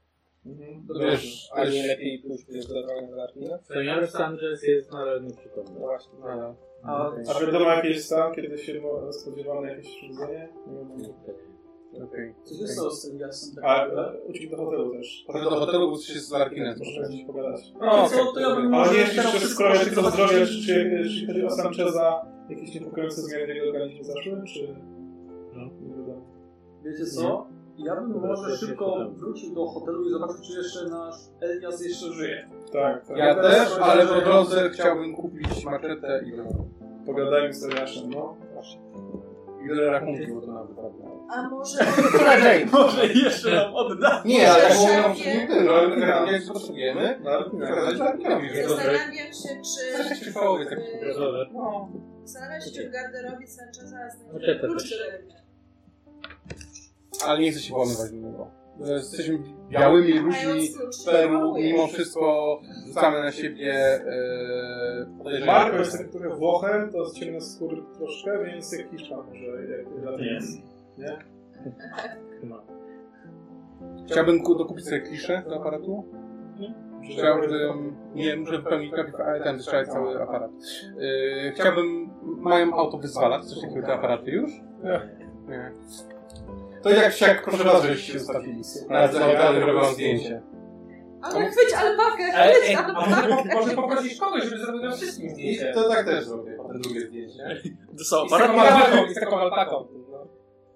[SPEAKER 4] no wiesz,
[SPEAKER 5] A
[SPEAKER 4] ale
[SPEAKER 5] nie lepiej pójść zdecydowanie do Larkina?
[SPEAKER 7] Senior Sanchez jest nadal nieprzytomny.
[SPEAKER 5] Właśnie.
[SPEAKER 3] A,
[SPEAKER 2] A wiadomo jaki jest stan, kiedy się mo- spodziewamy jakieś urządzenie? Nie wiem.
[SPEAKER 3] co się stało z tym jasnym? tak.
[SPEAKER 2] A e, uciekł do hotelu też.
[SPEAKER 4] Potem do hotelu, bo się z Larkinem
[SPEAKER 2] Możemy gdzieś pogadać.
[SPEAKER 3] No, co, to ja bym
[SPEAKER 2] Ale
[SPEAKER 3] może
[SPEAKER 2] nie
[SPEAKER 3] chciał
[SPEAKER 2] jeszcze w
[SPEAKER 3] wszystko
[SPEAKER 2] sprawie tylko
[SPEAKER 3] zobaczyć,
[SPEAKER 2] zdrowia, czy jeśli chodzi o Sancheza, jakieś niepokojące zmiany w jego organizmie zaszły, czy... Nie wiadomo.
[SPEAKER 3] Wiecie co? Ja bym może szybko wrócił do hotelu i zobaczył, czy jeszcze nasz Elias jeszcze żyje.
[SPEAKER 2] Tak, tak.
[SPEAKER 4] Ja też, ale po drodze chciałbym kupić maczetę i wiolę.
[SPEAKER 2] Pogadajmy z Tadeuszem, no.
[SPEAKER 4] I wiele rachunki, bo to nawet prawda.
[SPEAKER 6] A może
[SPEAKER 3] Może jeszcze nam odda.
[SPEAKER 4] Nie, ale
[SPEAKER 6] Szefie.
[SPEAKER 4] mówią, że nie tym, ale generalnie jak potrzebujemy,
[SPEAKER 2] No, ale nie.
[SPEAKER 4] przekazać Larkinowi.
[SPEAKER 6] zastanawiam się, czy...
[SPEAKER 4] Coś trwało, jest taki
[SPEAKER 6] y,
[SPEAKER 7] Rozumiem.
[SPEAKER 6] Zastanawiam się, czy w garderobie Sancheza znajdziemy
[SPEAKER 7] Znaczy, to
[SPEAKER 6] klucz
[SPEAKER 7] też.
[SPEAKER 6] do Remia.
[SPEAKER 4] Ale nie chcę się porównywać do niego. Jesteśmy białymi ludźmi
[SPEAKER 6] Mając klucz,
[SPEAKER 4] z
[SPEAKER 6] się
[SPEAKER 4] Peru,
[SPEAKER 6] powołujesz.
[SPEAKER 4] mimo wszystko rzucamy na siebie e,
[SPEAKER 2] [LAUGHS]
[SPEAKER 4] podejrzenia.
[SPEAKER 2] Marko jest który Włochem, to ciemne skóry troszkę, więc jak Hiszpan może. Jak
[SPEAKER 7] Nie.
[SPEAKER 4] Chciałbym ku- dokupić sobie kliszę do aparatu. Chciałbym, nie wiem, żeby pełnić napis, ale ten strzelić cały aparat. Yy, chciałbym, mają auto wyzwalać, coś takiego te aparaty już? Nie. To jak siak, proszę was, żeście się ustawili. Nawet za oddany robią zdjęcie.
[SPEAKER 6] Ale chwyć alpakę,
[SPEAKER 5] Ej,
[SPEAKER 6] chwyć
[SPEAKER 5] ej, a może,
[SPEAKER 6] alpakę.
[SPEAKER 5] po- może poprosić kogoś, żeby zrobił nam wszystkim
[SPEAKER 4] I
[SPEAKER 5] zdjęcie.
[SPEAKER 4] to tak też zrobię, potem drugie zdjęcie.
[SPEAKER 3] To są
[SPEAKER 5] I z taką alpaką, i z taką alpaką. No.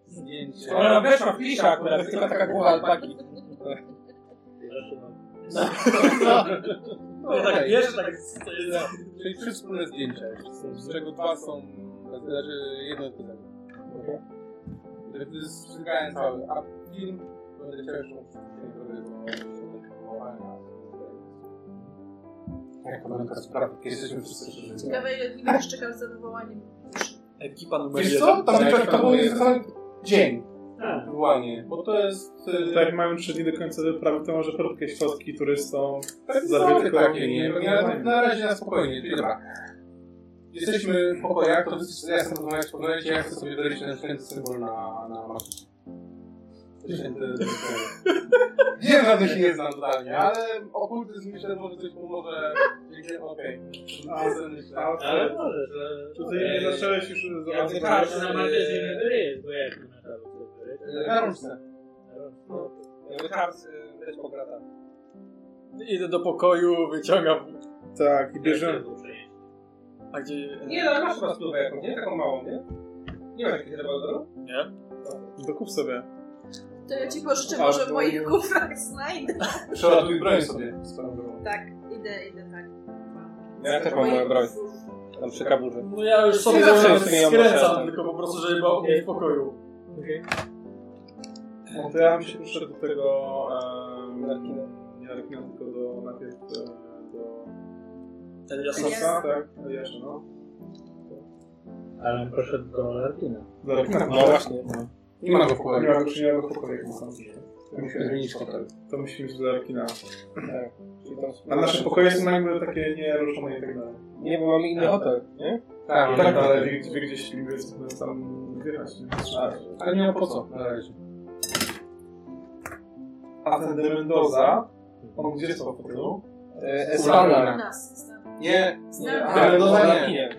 [SPEAKER 4] Zdjęcie.
[SPEAKER 5] Ona weszła w klisza akurat, tylko taka głowa alpaki.
[SPEAKER 4] No,
[SPEAKER 3] tak
[SPEAKER 4] okej.
[SPEAKER 3] wiesz, tak
[SPEAKER 4] no. Czyli trzy wspólne zdjęcia, z czego dwa są, znaczy jedno jest pytanie. Mhm. Wystrzygałem cały, a film będę chciał jeszcze mówić, bo jak to będę teraz sprawdzić, jesteśmy wszyscy przeżyli.
[SPEAKER 6] Ciekawe, ile dni będziesz czekał z zadowoleniem.
[SPEAKER 3] Ekipa numer
[SPEAKER 4] Wiesz co? Tam
[SPEAKER 18] Tak,
[SPEAKER 4] czeka, to był
[SPEAKER 18] panuje.
[SPEAKER 4] jest Tak. cały dzień. Aktualnie, bo to jest... y,
[SPEAKER 2] Tak, jak mają trzy dni do końca wyprawy, to może próbkę środki turystom.
[SPEAKER 4] Zabytkowe
[SPEAKER 2] Zabytkowe
[SPEAKER 4] takie, nie?
[SPEAKER 2] nie
[SPEAKER 4] Na,
[SPEAKER 2] mają.
[SPEAKER 4] na razie na spokojnie, czyli dobra. Jesteśmy w pokojach, to wystarczy, ja jestem w pokojach, w pokojach, ja chcę sobie dorobić ten święty symbol na, na maszynie. Święty symbol. Wiem, że na tym się nie znam totalnie, ale okultyzm myślę, może coś pomoże. Dzięki, Okej. No, Okay.
[SPEAKER 7] Ale może,
[SPEAKER 19] E,
[SPEAKER 7] że...
[SPEAKER 2] Czy ty nie zacząłeś już Tak, z
[SPEAKER 7] Ja
[SPEAKER 5] tak,
[SPEAKER 7] tylko na mapie, że nie wyryje, bo jak na
[SPEAKER 4] Na rączce.
[SPEAKER 5] Charles też pograta.
[SPEAKER 3] Idę do pokoju, wyciągam.
[SPEAKER 2] Tak, i bierzemy.
[SPEAKER 3] A gdzie... e,
[SPEAKER 5] Nie, no ale masz chyba spluwę jakąś, nie? Taką małą, nie? Nie masz jakiegoś rewolweru?
[SPEAKER 2] Dokup sobie.
[SPEAKER 6] To ja ci pożyczę, może w moich kufrach znajdę.
[SPEAKER 4] Przeładuj broń sobie. swoją drogą.
[SPEAKER 6] Tak, idę, idę, tak.
[SPEAKER 5] Ja też mam moją broń. Tam przy kaburze.
[SPEAKER 3] No ja już sobie
[SPEAKER 5] Zawsze
[SPEAKER 3] zawsze
[SPEAKER 5] sobie ją
[SPEAKER 3] skręcam,
[SPEAKER 5] posiadam.
[SPEAKER 3] tylko po prostu, żeby była u mnie w pokoju.
[SPEAKER 2] No to ja bym się przyszedł do tego... em, Nie Arkina, tylko do najpierw e, do...
[SPEAKER 6] Eliasa.
[SPEAKER 2] Sosa, tak? Eliasza, no.
[SPEAKER 7] Ale on poszedł do Larkina.
[SPEAKER 2] Do Arkina.
[SPEAKER 5] No właśnie.
[SPEAKER 4] Nie ma go
[SPEAKER 2] Tak. Nie
[SPEAKER 4] w pokoju.
[SPEAKER 2] ma go, czy nie ma go w pokoju, jak to są.
[SPEAKER 4] Musimy zmienić hotel.
[SPEAKER 2] To musimy iść do Arkina.
[SPEAKER 5] Tak. Czyli tam
[SPEAKER 2] A nasze pokoje są jakby takie nieruszone i tak dalej.
[SPEAKER 5] Nie, bo mamy inny hotel, nie?
[SPEAKER 2] Tak,
[SPEAKER 5] tak,
[SPEAKER 2] tak, ale wy, wy gdzieś niby w tym samym wyraźnie.
[SPEAKER 4] Ale nie ma po co, na razie.
[SPEAKER 2] A ten de Mendoza, on gdzie spał w hotelu?
[SPEAKER 5] E, Espana.
[SPEAKER 8] Nas.
[SPEAKER 4] Nie,
[SPEAKER 8] Znam.
[SPEAKER 5] Tak,
[SPEAKER 4] A, ale no
[SPEAKER 5] Espana.
[SPEAKER 4] nie.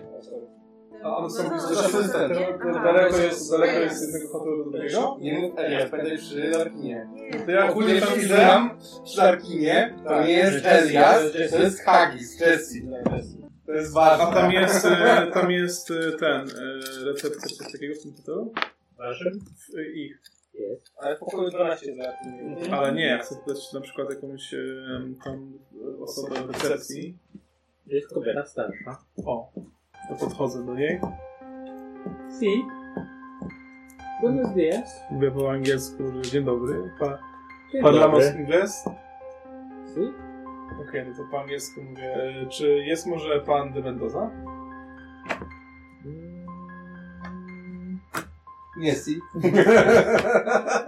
[SPEAKER 2] A one są
[SPEAKER 8] No,
[SPEAKER 2] blisko
[SPEAKER 8] no,
[SPEAKER 2] asystent.
[SPEAKER 8] nie?
[SPEAKER 6] Tak.
[SPEAKER 8] Aha.
[SPEAKER 2] Daleko jest, daleko jest z jednego hotelu do drugiego?
[SPEAKER 4] Nie mów Elias, pamiętaj przy Larkinie.
[SPEAKER 8] Nie.
[SPEAKER 2] To ja
[SPEAKER 4] Ogólnie
[SPEAKER 2] ogólnie tam
[SPEAKER 4] przy
[SPEAKER 2] widzę.
[SPEAKER 4] Lam, przy Larkinie, to
[SPEAKER 2] Tak.
[SPEAKER 4] nie jest Elias, to jest Hagis, Jesse. Tak. To jest ważne.
[SPEAKER 2] A tam jest, e, tam jest e, ten, e, recepcja coś takiego w tym hotelu?
[SPEAKER 7] Waszym?
[SPEAKER 2] E, Ich.
[SPEAKER 5] Ale w pokoju 12 za
[SPEAKER 2] Ale nie, ja chcę zapytać czy na przykład jakąś e, tam e, osobę w recepcji.
[SPEAKER 7] Jest kobieta starsza.
[SPEAKER 2] O, to podchodzę do niej.
[SPEAKER 7] Si. Buenos dias.
[SPEAKER 2] Mówię po angielsku, że dzień dobry. Pa,
[SPEAKER 7] Dzień
[SPEAKER 2] parlamos
[SPEAKER 7] dobry.
[SPEAKER 2] ingles?
[SPEAKER 7] Si.
[SPEAKER 2] Okej, no to po angielsku mówię. e, Czy jest może pan de Mendoza?
[SPEAKER 4] Nie, si.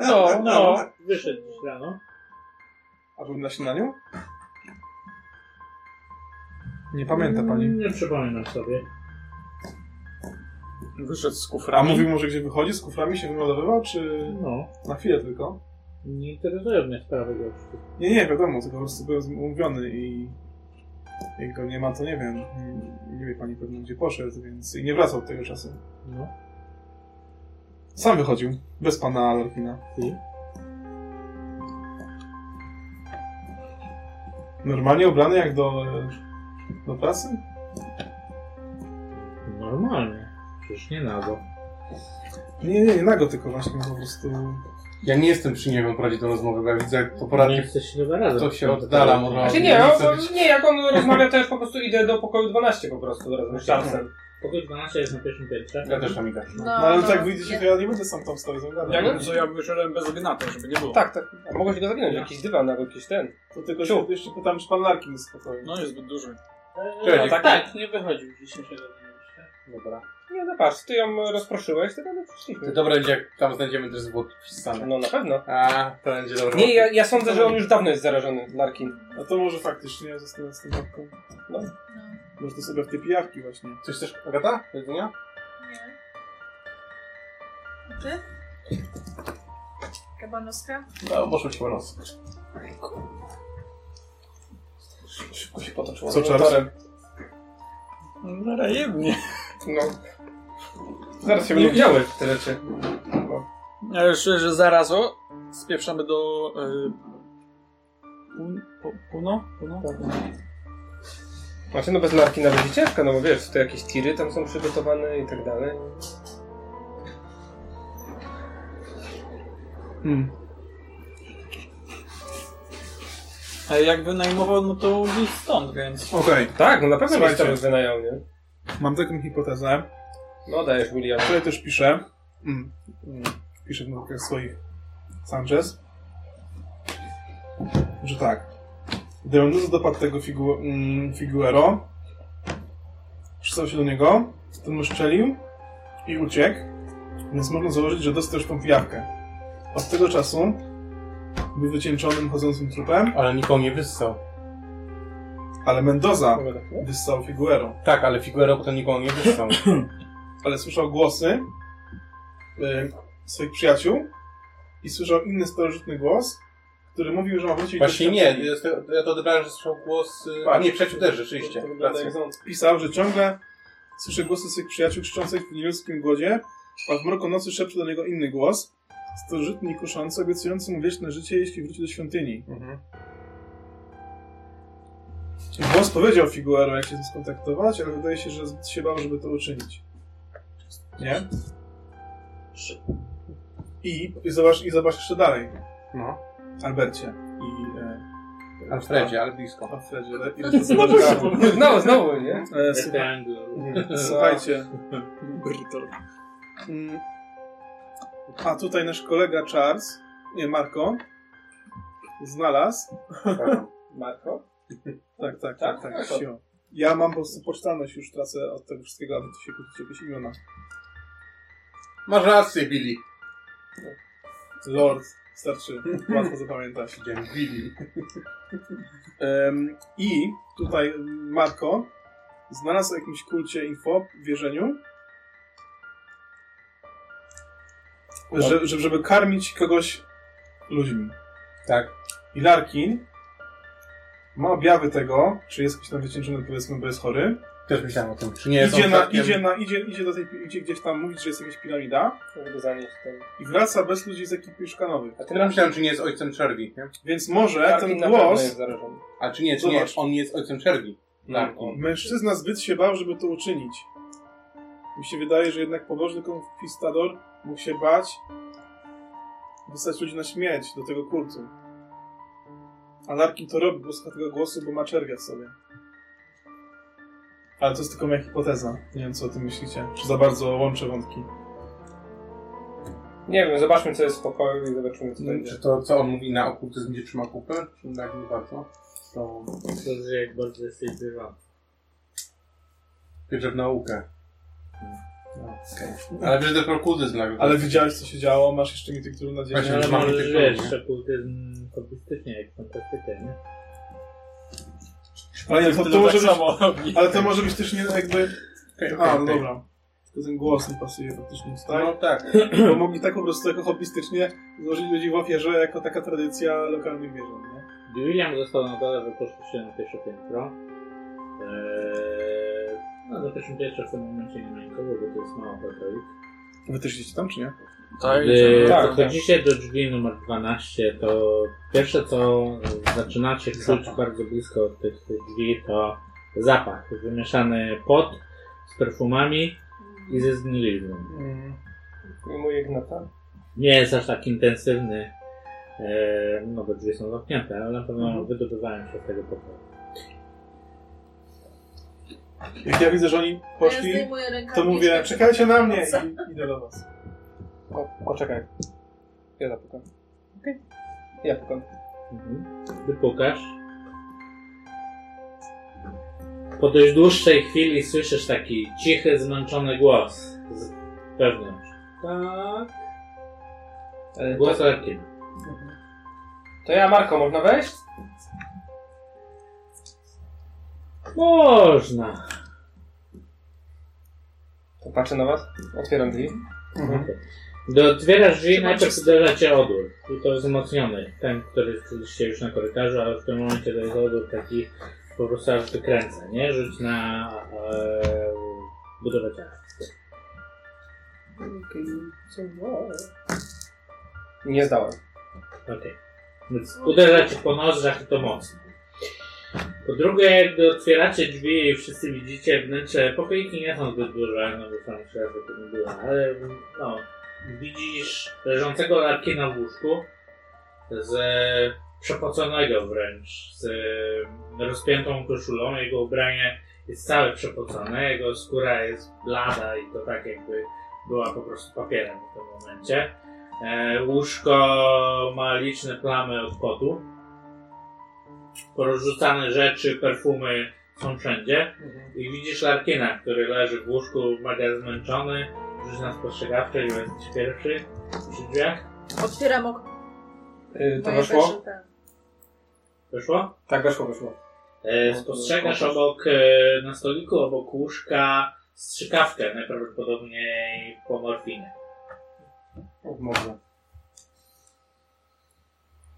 [SPEAKER 5] No, no.
[SPEAKER 7] Wyszedł dziś rano.
[SPEAKER 2] A był na śniadaniu? Nie pamięta pani.
[SPEAKER 7] Mm, Nie przypominam sobie.
[SPEAKER 2] Wyszedł z
[SPEAKER 7] Mm.
[SPEAKER 2] kuframi. A mówił może gdzie wychodzi? Z kuframi się wymeldowywał, czy
[SPEAKER 7] No.
[SPEAKER 2] na chwilę tylko?
[SPEAKER 7] Nie interesują mnie sprawy gości.
[SPEAKER 2] Nie, nie, wiadomo, tylko po prostu byłem umówiony i... Jak go nie ma, to nie wiem. Nie, nie wie pani pewnie gdzie poszedł, więc... I nie wracał od tego czasu.
[SPEAKER 7] No.
[SPEAKER 2] Sam wychodził, bez pana Alorkina.
[SPEAKER 7] I?
[SPEAKER 2] Normalnie ubrany jak do... e, do pracy?
[SPEAKER 7] Normalnie. Przecież nie nago.
[SPEAKER 2] Nie, nie, nie nago, tylko właśnie po prostu... No,
[SPEAKER 9] Ja nie jestem przy niego prowadzić tą rozmowę, bo ja widzę jak to
[SPEAKER 4] Tak.
[SPEAKER 9] poradnie
[SPEAKER 7] Nie jesteście chyba razem. Tak.
[SPEAKER 9] to się oddala może.
[SPEAKER 5] Znaczy nie, on, on- nie, jak on rozmawia, to ja po prostu idę do pokoju 12 po prostu do rozmowy z Charlesem.
[SPEAKER 7] Pokój 12 jest na pierwszym piętrze.
[SPEAKER 9] Ja też tam idę.
[SPEAKER 2] No, ale tak wyjdziecie, to ja nie będę sam tam stał i tak zagadał.
[SPEAKER 19] Jak co ja wyszedłem bez gnata, żeby nie było.
[SPEAKER 5] Tak, tak. A mogłeś go zawinąć, jakiś dywan albo jakiś ten.
[SPEAKER 2] To tylko się jeszcze pytam, czy pan Larkin jest spokojny.
[SPEAKER 19] No jest zbyt duży.
[SPEAKER 7] Eee,
[SPEAKER 9] Cześć.
[SPEAKER 7] tak, tak, nie wychodził dzisiejszego dnia.
[SPEAKER 9] Dobra.
[SPEAKER 5] Nie, no patrz, ty ją rozproszyłeś, to my
[SPEAKER 9] Ty
[SPEAKER 5] przyszliśmy.
[SPEAKER 9] dobra, będzie, jak tam znajdziemy też złoto wpisane.
[SPEAKER 5] No na pewno.
[SPEAKER 9] A, to będzie dobre.
[SPEAKER 5] Nie, ja, ja sądzę, że on już dawno jest zarażony, Larkin.
[SPEAKER 2] A to może faktycznie zostanę z tym babką. No. Może to sobie w te pijawki właśnie.
[SPEAKER 9] Coś też, Agata? Do jedzenia?
[SPEAKER 8] Nie.
[SPEAKER 6] No.
[SPEAKER 8] A Ty? Kabanoska?
[SPEAKER 9] No, poszło się po nos.
[SPEAKER 5] Szybko się potoczyło.
[SPEAKER 2] Co, Charles?
[SPEAKER 19] No rajemnie.
[SPEAKER 5] No. Zaraz się będą widziały te rzeczy.
[SPEAKER 19] Ale szczerze, zaraz o, spieprzamy do... Y, Pun- Pu- Puno? Puno?
[SPEAKER 5] Znaczy, no bez Larkina będzie ciężko, no bo wiesz, to jakieś tiry tam są przygotowane i tak dalej.
[SPEAKER 19] A jak wynajmował, no to gdzieś stąd, więc...
[SPEAKER 2] Okej,
[SPEAKER 5] Tak, no na pewno
[SPEAKER 2] Słuchajcie.
[SPEAKER 5] miejsce wynają, nie?
[SPEAKER 2] mam taką hipotezę,
[SPEAKER 5] No dajesz, William.
[SPEAKER 2] której też piszę. Mm. Mm. Piszę w notatkach swoich Sanchez. Że tak. Gdy Mendoza dopadł tego figu mm, Figuero, przystał się do niego, ten mu szczelił i uciekł, więc można założyć, że dostał już tą pijawkę. Od tego czasu był wycieńczonym, chodzącym trupem,
[SPEAKER 9] Ale nikomu nie wyssał.
[SPEAKER 2] Ale Mendoza wyssał Figuero.
[SPEAKER 9] Tak, ale Figuero potem nikomu nie wyssał.
[SPEAKER 2] [CLEARS THROAT] Ale słyszał głosy y, swoich przyjaciół i słyszał inny starożytny głos, który mówił, że ma wrócić
[SPEAKER 9] Właśnie
[SPEAKER 2] do
[SPEAKER 9] nie,
[SPEAKER 2] świątyni.
[SPEAKER 9] jest, ja to odebrałem, że słyszał głos... y, A nie, przeciw też, rzeczywiście. Racja.
[SPEAKER 2] Pisał, że ciągle słyszy głosy swych przyjaciół krzyczących w nieludzkim głodzie, a w mroku nocy szepcze do niego inny głos, starożytny i kuszący, obiecujący mu wieczne życie, jeśli wróci do świątyni. Głos powiedział Figuero, jak się z nim skontaktować, ale wydaje się, że zbyt się bał, żeby to uczynić. Nie? I, i, zobacz, I zobacz jeszcze dalej.
[SPEAKER 9] No.
[SPEAKER 2] Albercie i e,
[SPEAKER 9] Alfredzie, ale blisko.
[SPEAKER 2] Alfredzie. i resztę zabrałem.
[SPEAKER 5] [LAUGHS] No, znowu, nie?
[SPEAKER 2] E,
[SPEAKER 7] Jak
[SPEAKER 2] słuchaj-
[SPEAKER 7] Anglo.
[SPEAKER 2] [LAUGHS] Słuchajcie.
[SPEAKER 19] Brytor.
[SPEAKER 2] Mm. A tutaj nasz kolega Charles, nie, Marko, znalazł.
[SPEAKER 5] Marko?
[SPEAKER 2] Tak, tak, tak,
[SPEAKER 5] Tak?
[SPEAKER 2] tak. sio. Ja mam po prostu pocztalność, już tracę od tego wszystkiego, aby tu się kupić jakieś imiona.
[SPEAKER 9] Masz rację, Billy.
[SPEAKER 2] Lord Starczy, łatwo zapamiętać. Em, I tutaj Marko znalazł o jakimś kulcie info w wierzeniu, że, że, żeby karmić kogoś ludźmi.
[SPEAKER 4] Tak.
[SPEAKER 2] I Larkin ma objawy tego, czy jest jakiś tam wycieńczony, powiedzmy, bo jest chory.
[SPEAKER 4] Też myślałem o tym. Czy nie jest
[SPEAKER 2] Idzie,
[SPEAKER 4] on
[SPEAKER 2] na,
[SPEAKER 4] przypadkiem-
[SPEAKER 2] idzie, na, idzie, idzie do tej, idzie gdzieś tam mówić, że jest jakaś piramida
[SPEAKER 5] Żeby zanieść ten...
[SPEAKER 2] i wraca bez ludzi z ekipy szukanowych.
[SPEAKER 4] A ty myślałem, czy nie jest ojcem czerwi, nie?
[SPEAKER 2] Więc może
[SPEAKER 5] Karpin
[SPEAKER 2] ten
[SPEAKER 5] na pewno
[SPEAKER 2] głos
[SPEAKER 5] jest zarażony.
[SPEAKER 4] A czy nie, czy nie,
[SPEAKER 2] Zobacz.
[SPEAKER 4] on nie jest ojcem czerwi. Tak.
[SPEAKER 2] Mężczyzna zbyt się bał, żeby to uczynić. Mi się wydaje, że jednak pobożny konkwistador mógł się bać wysłać ludzi na śmierć do tego kultu. A Larkin to robi, bo słucha tego głosu, bo ma czerwia w sobie. Ale to jest tylko moja hipoteza. Nie wiem, co o tym myślicie. Czy za bardzo łączę wątki.
[SPEAKER 5] Nie wiem, zobaczmy co jest w pokoju i zobaczymy co będzie.
[SPEAKER 4] Czy to, co on mówi na okultyzm, gdzie trzyma kupę? Czy tak nie warto? To
[SPEAKER 7] Dobrze, jak bardzo jesteś bywa.
[SPEAKER 4] bierze w naukę. No, Ale bierze też okultyzm. Tak? jakby.
[SPEAKER 2] Ale widziałeś, co się działo, masz jeszcze mi tych na dzień.
[SPEAKER 4] Właśnie,
[SPEAKER 7] Ale
[SPEAKER 4] że mamy
[SPEAKER 7] może
[SPEAKER 4] tych ludzi,
[SPEAKER 7] wiesz,
[SPEAKER 4] nie?
[SPEAKER 7] fakultyzm hobbystycznie, jak fantastycznie, nie?
[SPEAKER 2] Ale nie, to, to może być,
[SPEAKER 19] samo robi.
[SPEAKER 2] ale to może być też nie jakby...
[SPEAKER 4] tak Okej,
[SPEAKER 2] A,
[SPEAKER 4] okej,
[SPEAKER 2] no
[SPEAKER 4] okej.
[SPEAKER 2] dobra. Tylko ten głos nie pasuje faktycznie tutaj.
[SPEAKER 4] No tak.
[SPEAKER 2] Bo mogli tak po prostu jako hobbystycznie złożyć ludzi w ofierze jako taka tradycja lokalnych wierzeń, nie?
[SPEAKER 7] Gdy William został na dole, wypuszczony na pierwsze piętro. Eee, no, na pierwszym piętrze w tym momencie nie ma nikogo, bo to jest mała pokoik.
[SPEAKER 2] Wy też idziecie tam, czy nie?
[SPEAKER 19] Tak,
[SPEAKER 7] Gdy
[SPEAKER 5] tak.
[SPEAKER 7] podchodzicie do drzwi numer 12, to pierwsze co zaczynacie czuć bardzo blisko od tych drzwi to zapach. Wymieszany pot z perfumami i ze zgnilizną.
[SPEAKER 5] I mój Ignata.
[SPEAKER 7] Nie jest aż tak intensywny, e, no bo drzwi są zamknięte, ale na pewno wydobywałem się z tego pokoju.
[SPEAKER 2] Jak ja widzę, że oni
[SPEAKER 8] ja
[SPEAKER 2] poszli,
[SPEAKER 8] zdejmuję rękawiczkę.
[SPEAKER 2] to mówię, czekajcie na mnie i idę do was.
[SPEAKER 5] O, poczekaj. Ja zapukam. Okej. Ja pukam.
[SPEAKER 7] Mhm. Wypukasz. Po dość dłuższej chwili słyszysz taki cichy, zmęczony głos z wewnątrz. Tak.
[SPEAKER 5] E,
[SPEAKER 7] Głos
[SPEAKER 5] to,
[SPEAKER 7] lekki.
[SPEAKER 5] to ja, Marko, można wejść?
[SPEAKER 7] Można.
[SPEAKER 5] To patrzę na was. Otwieram drzwi.
[SPEAKER 7] Do otwierasz drzwi najpierw uderza cię odór. I to wzmocniony. Ten, który czuliście już na korytarzu, ale w tym momencie to jest odór taki po prostu aż wykręca, nie? Rzuć na e, budowę ciała.
[SPEAKER 5] Nie zdałem.
[SPEAKER 7] Okej. Więc uderza cię po nożach i to mocno. Po drugie, gdy otwieracie drzwi i wszyscy widzicie wnętrze, pokoiki nie są zbyt duże, no bo tam jeszcze raz to nie było, ale no, widzisz leżącego Larkina w łóżku z przepoconego wręcz, z rozpiętą koszulą, jego ubranie jest całe przepocone, jego skóra jest blada i to tak jakby była po prostu papierem w tym momencie. E, łóżko ma liczne plamy od potu. Porozrzucane rzeczy, perfumy są wszędzie. I widzisz Larkina, który leży w łóżku, mega zmęczony. Rzuć na spostrzegawcze, już jesteś pierwszy przy drzwiach.
[SPEAKER 6] Otwieram okno.
[SPEAKER 5] Y, to
[SPEAKER 6] Moje
[SPEAKER 5] weszło?
[SPEAKER 6] pierwsze ten.
[SPEAKER 7] Wyszło?
[SPEAKER 5] Tak, weszło, weszło.
[SPEAKER 7] E, spostrzegasz obok, e, na stoliku obok łóżka strzykawkę, najprawdopodobniej po morfinie.
[SPEAKER 4] Można.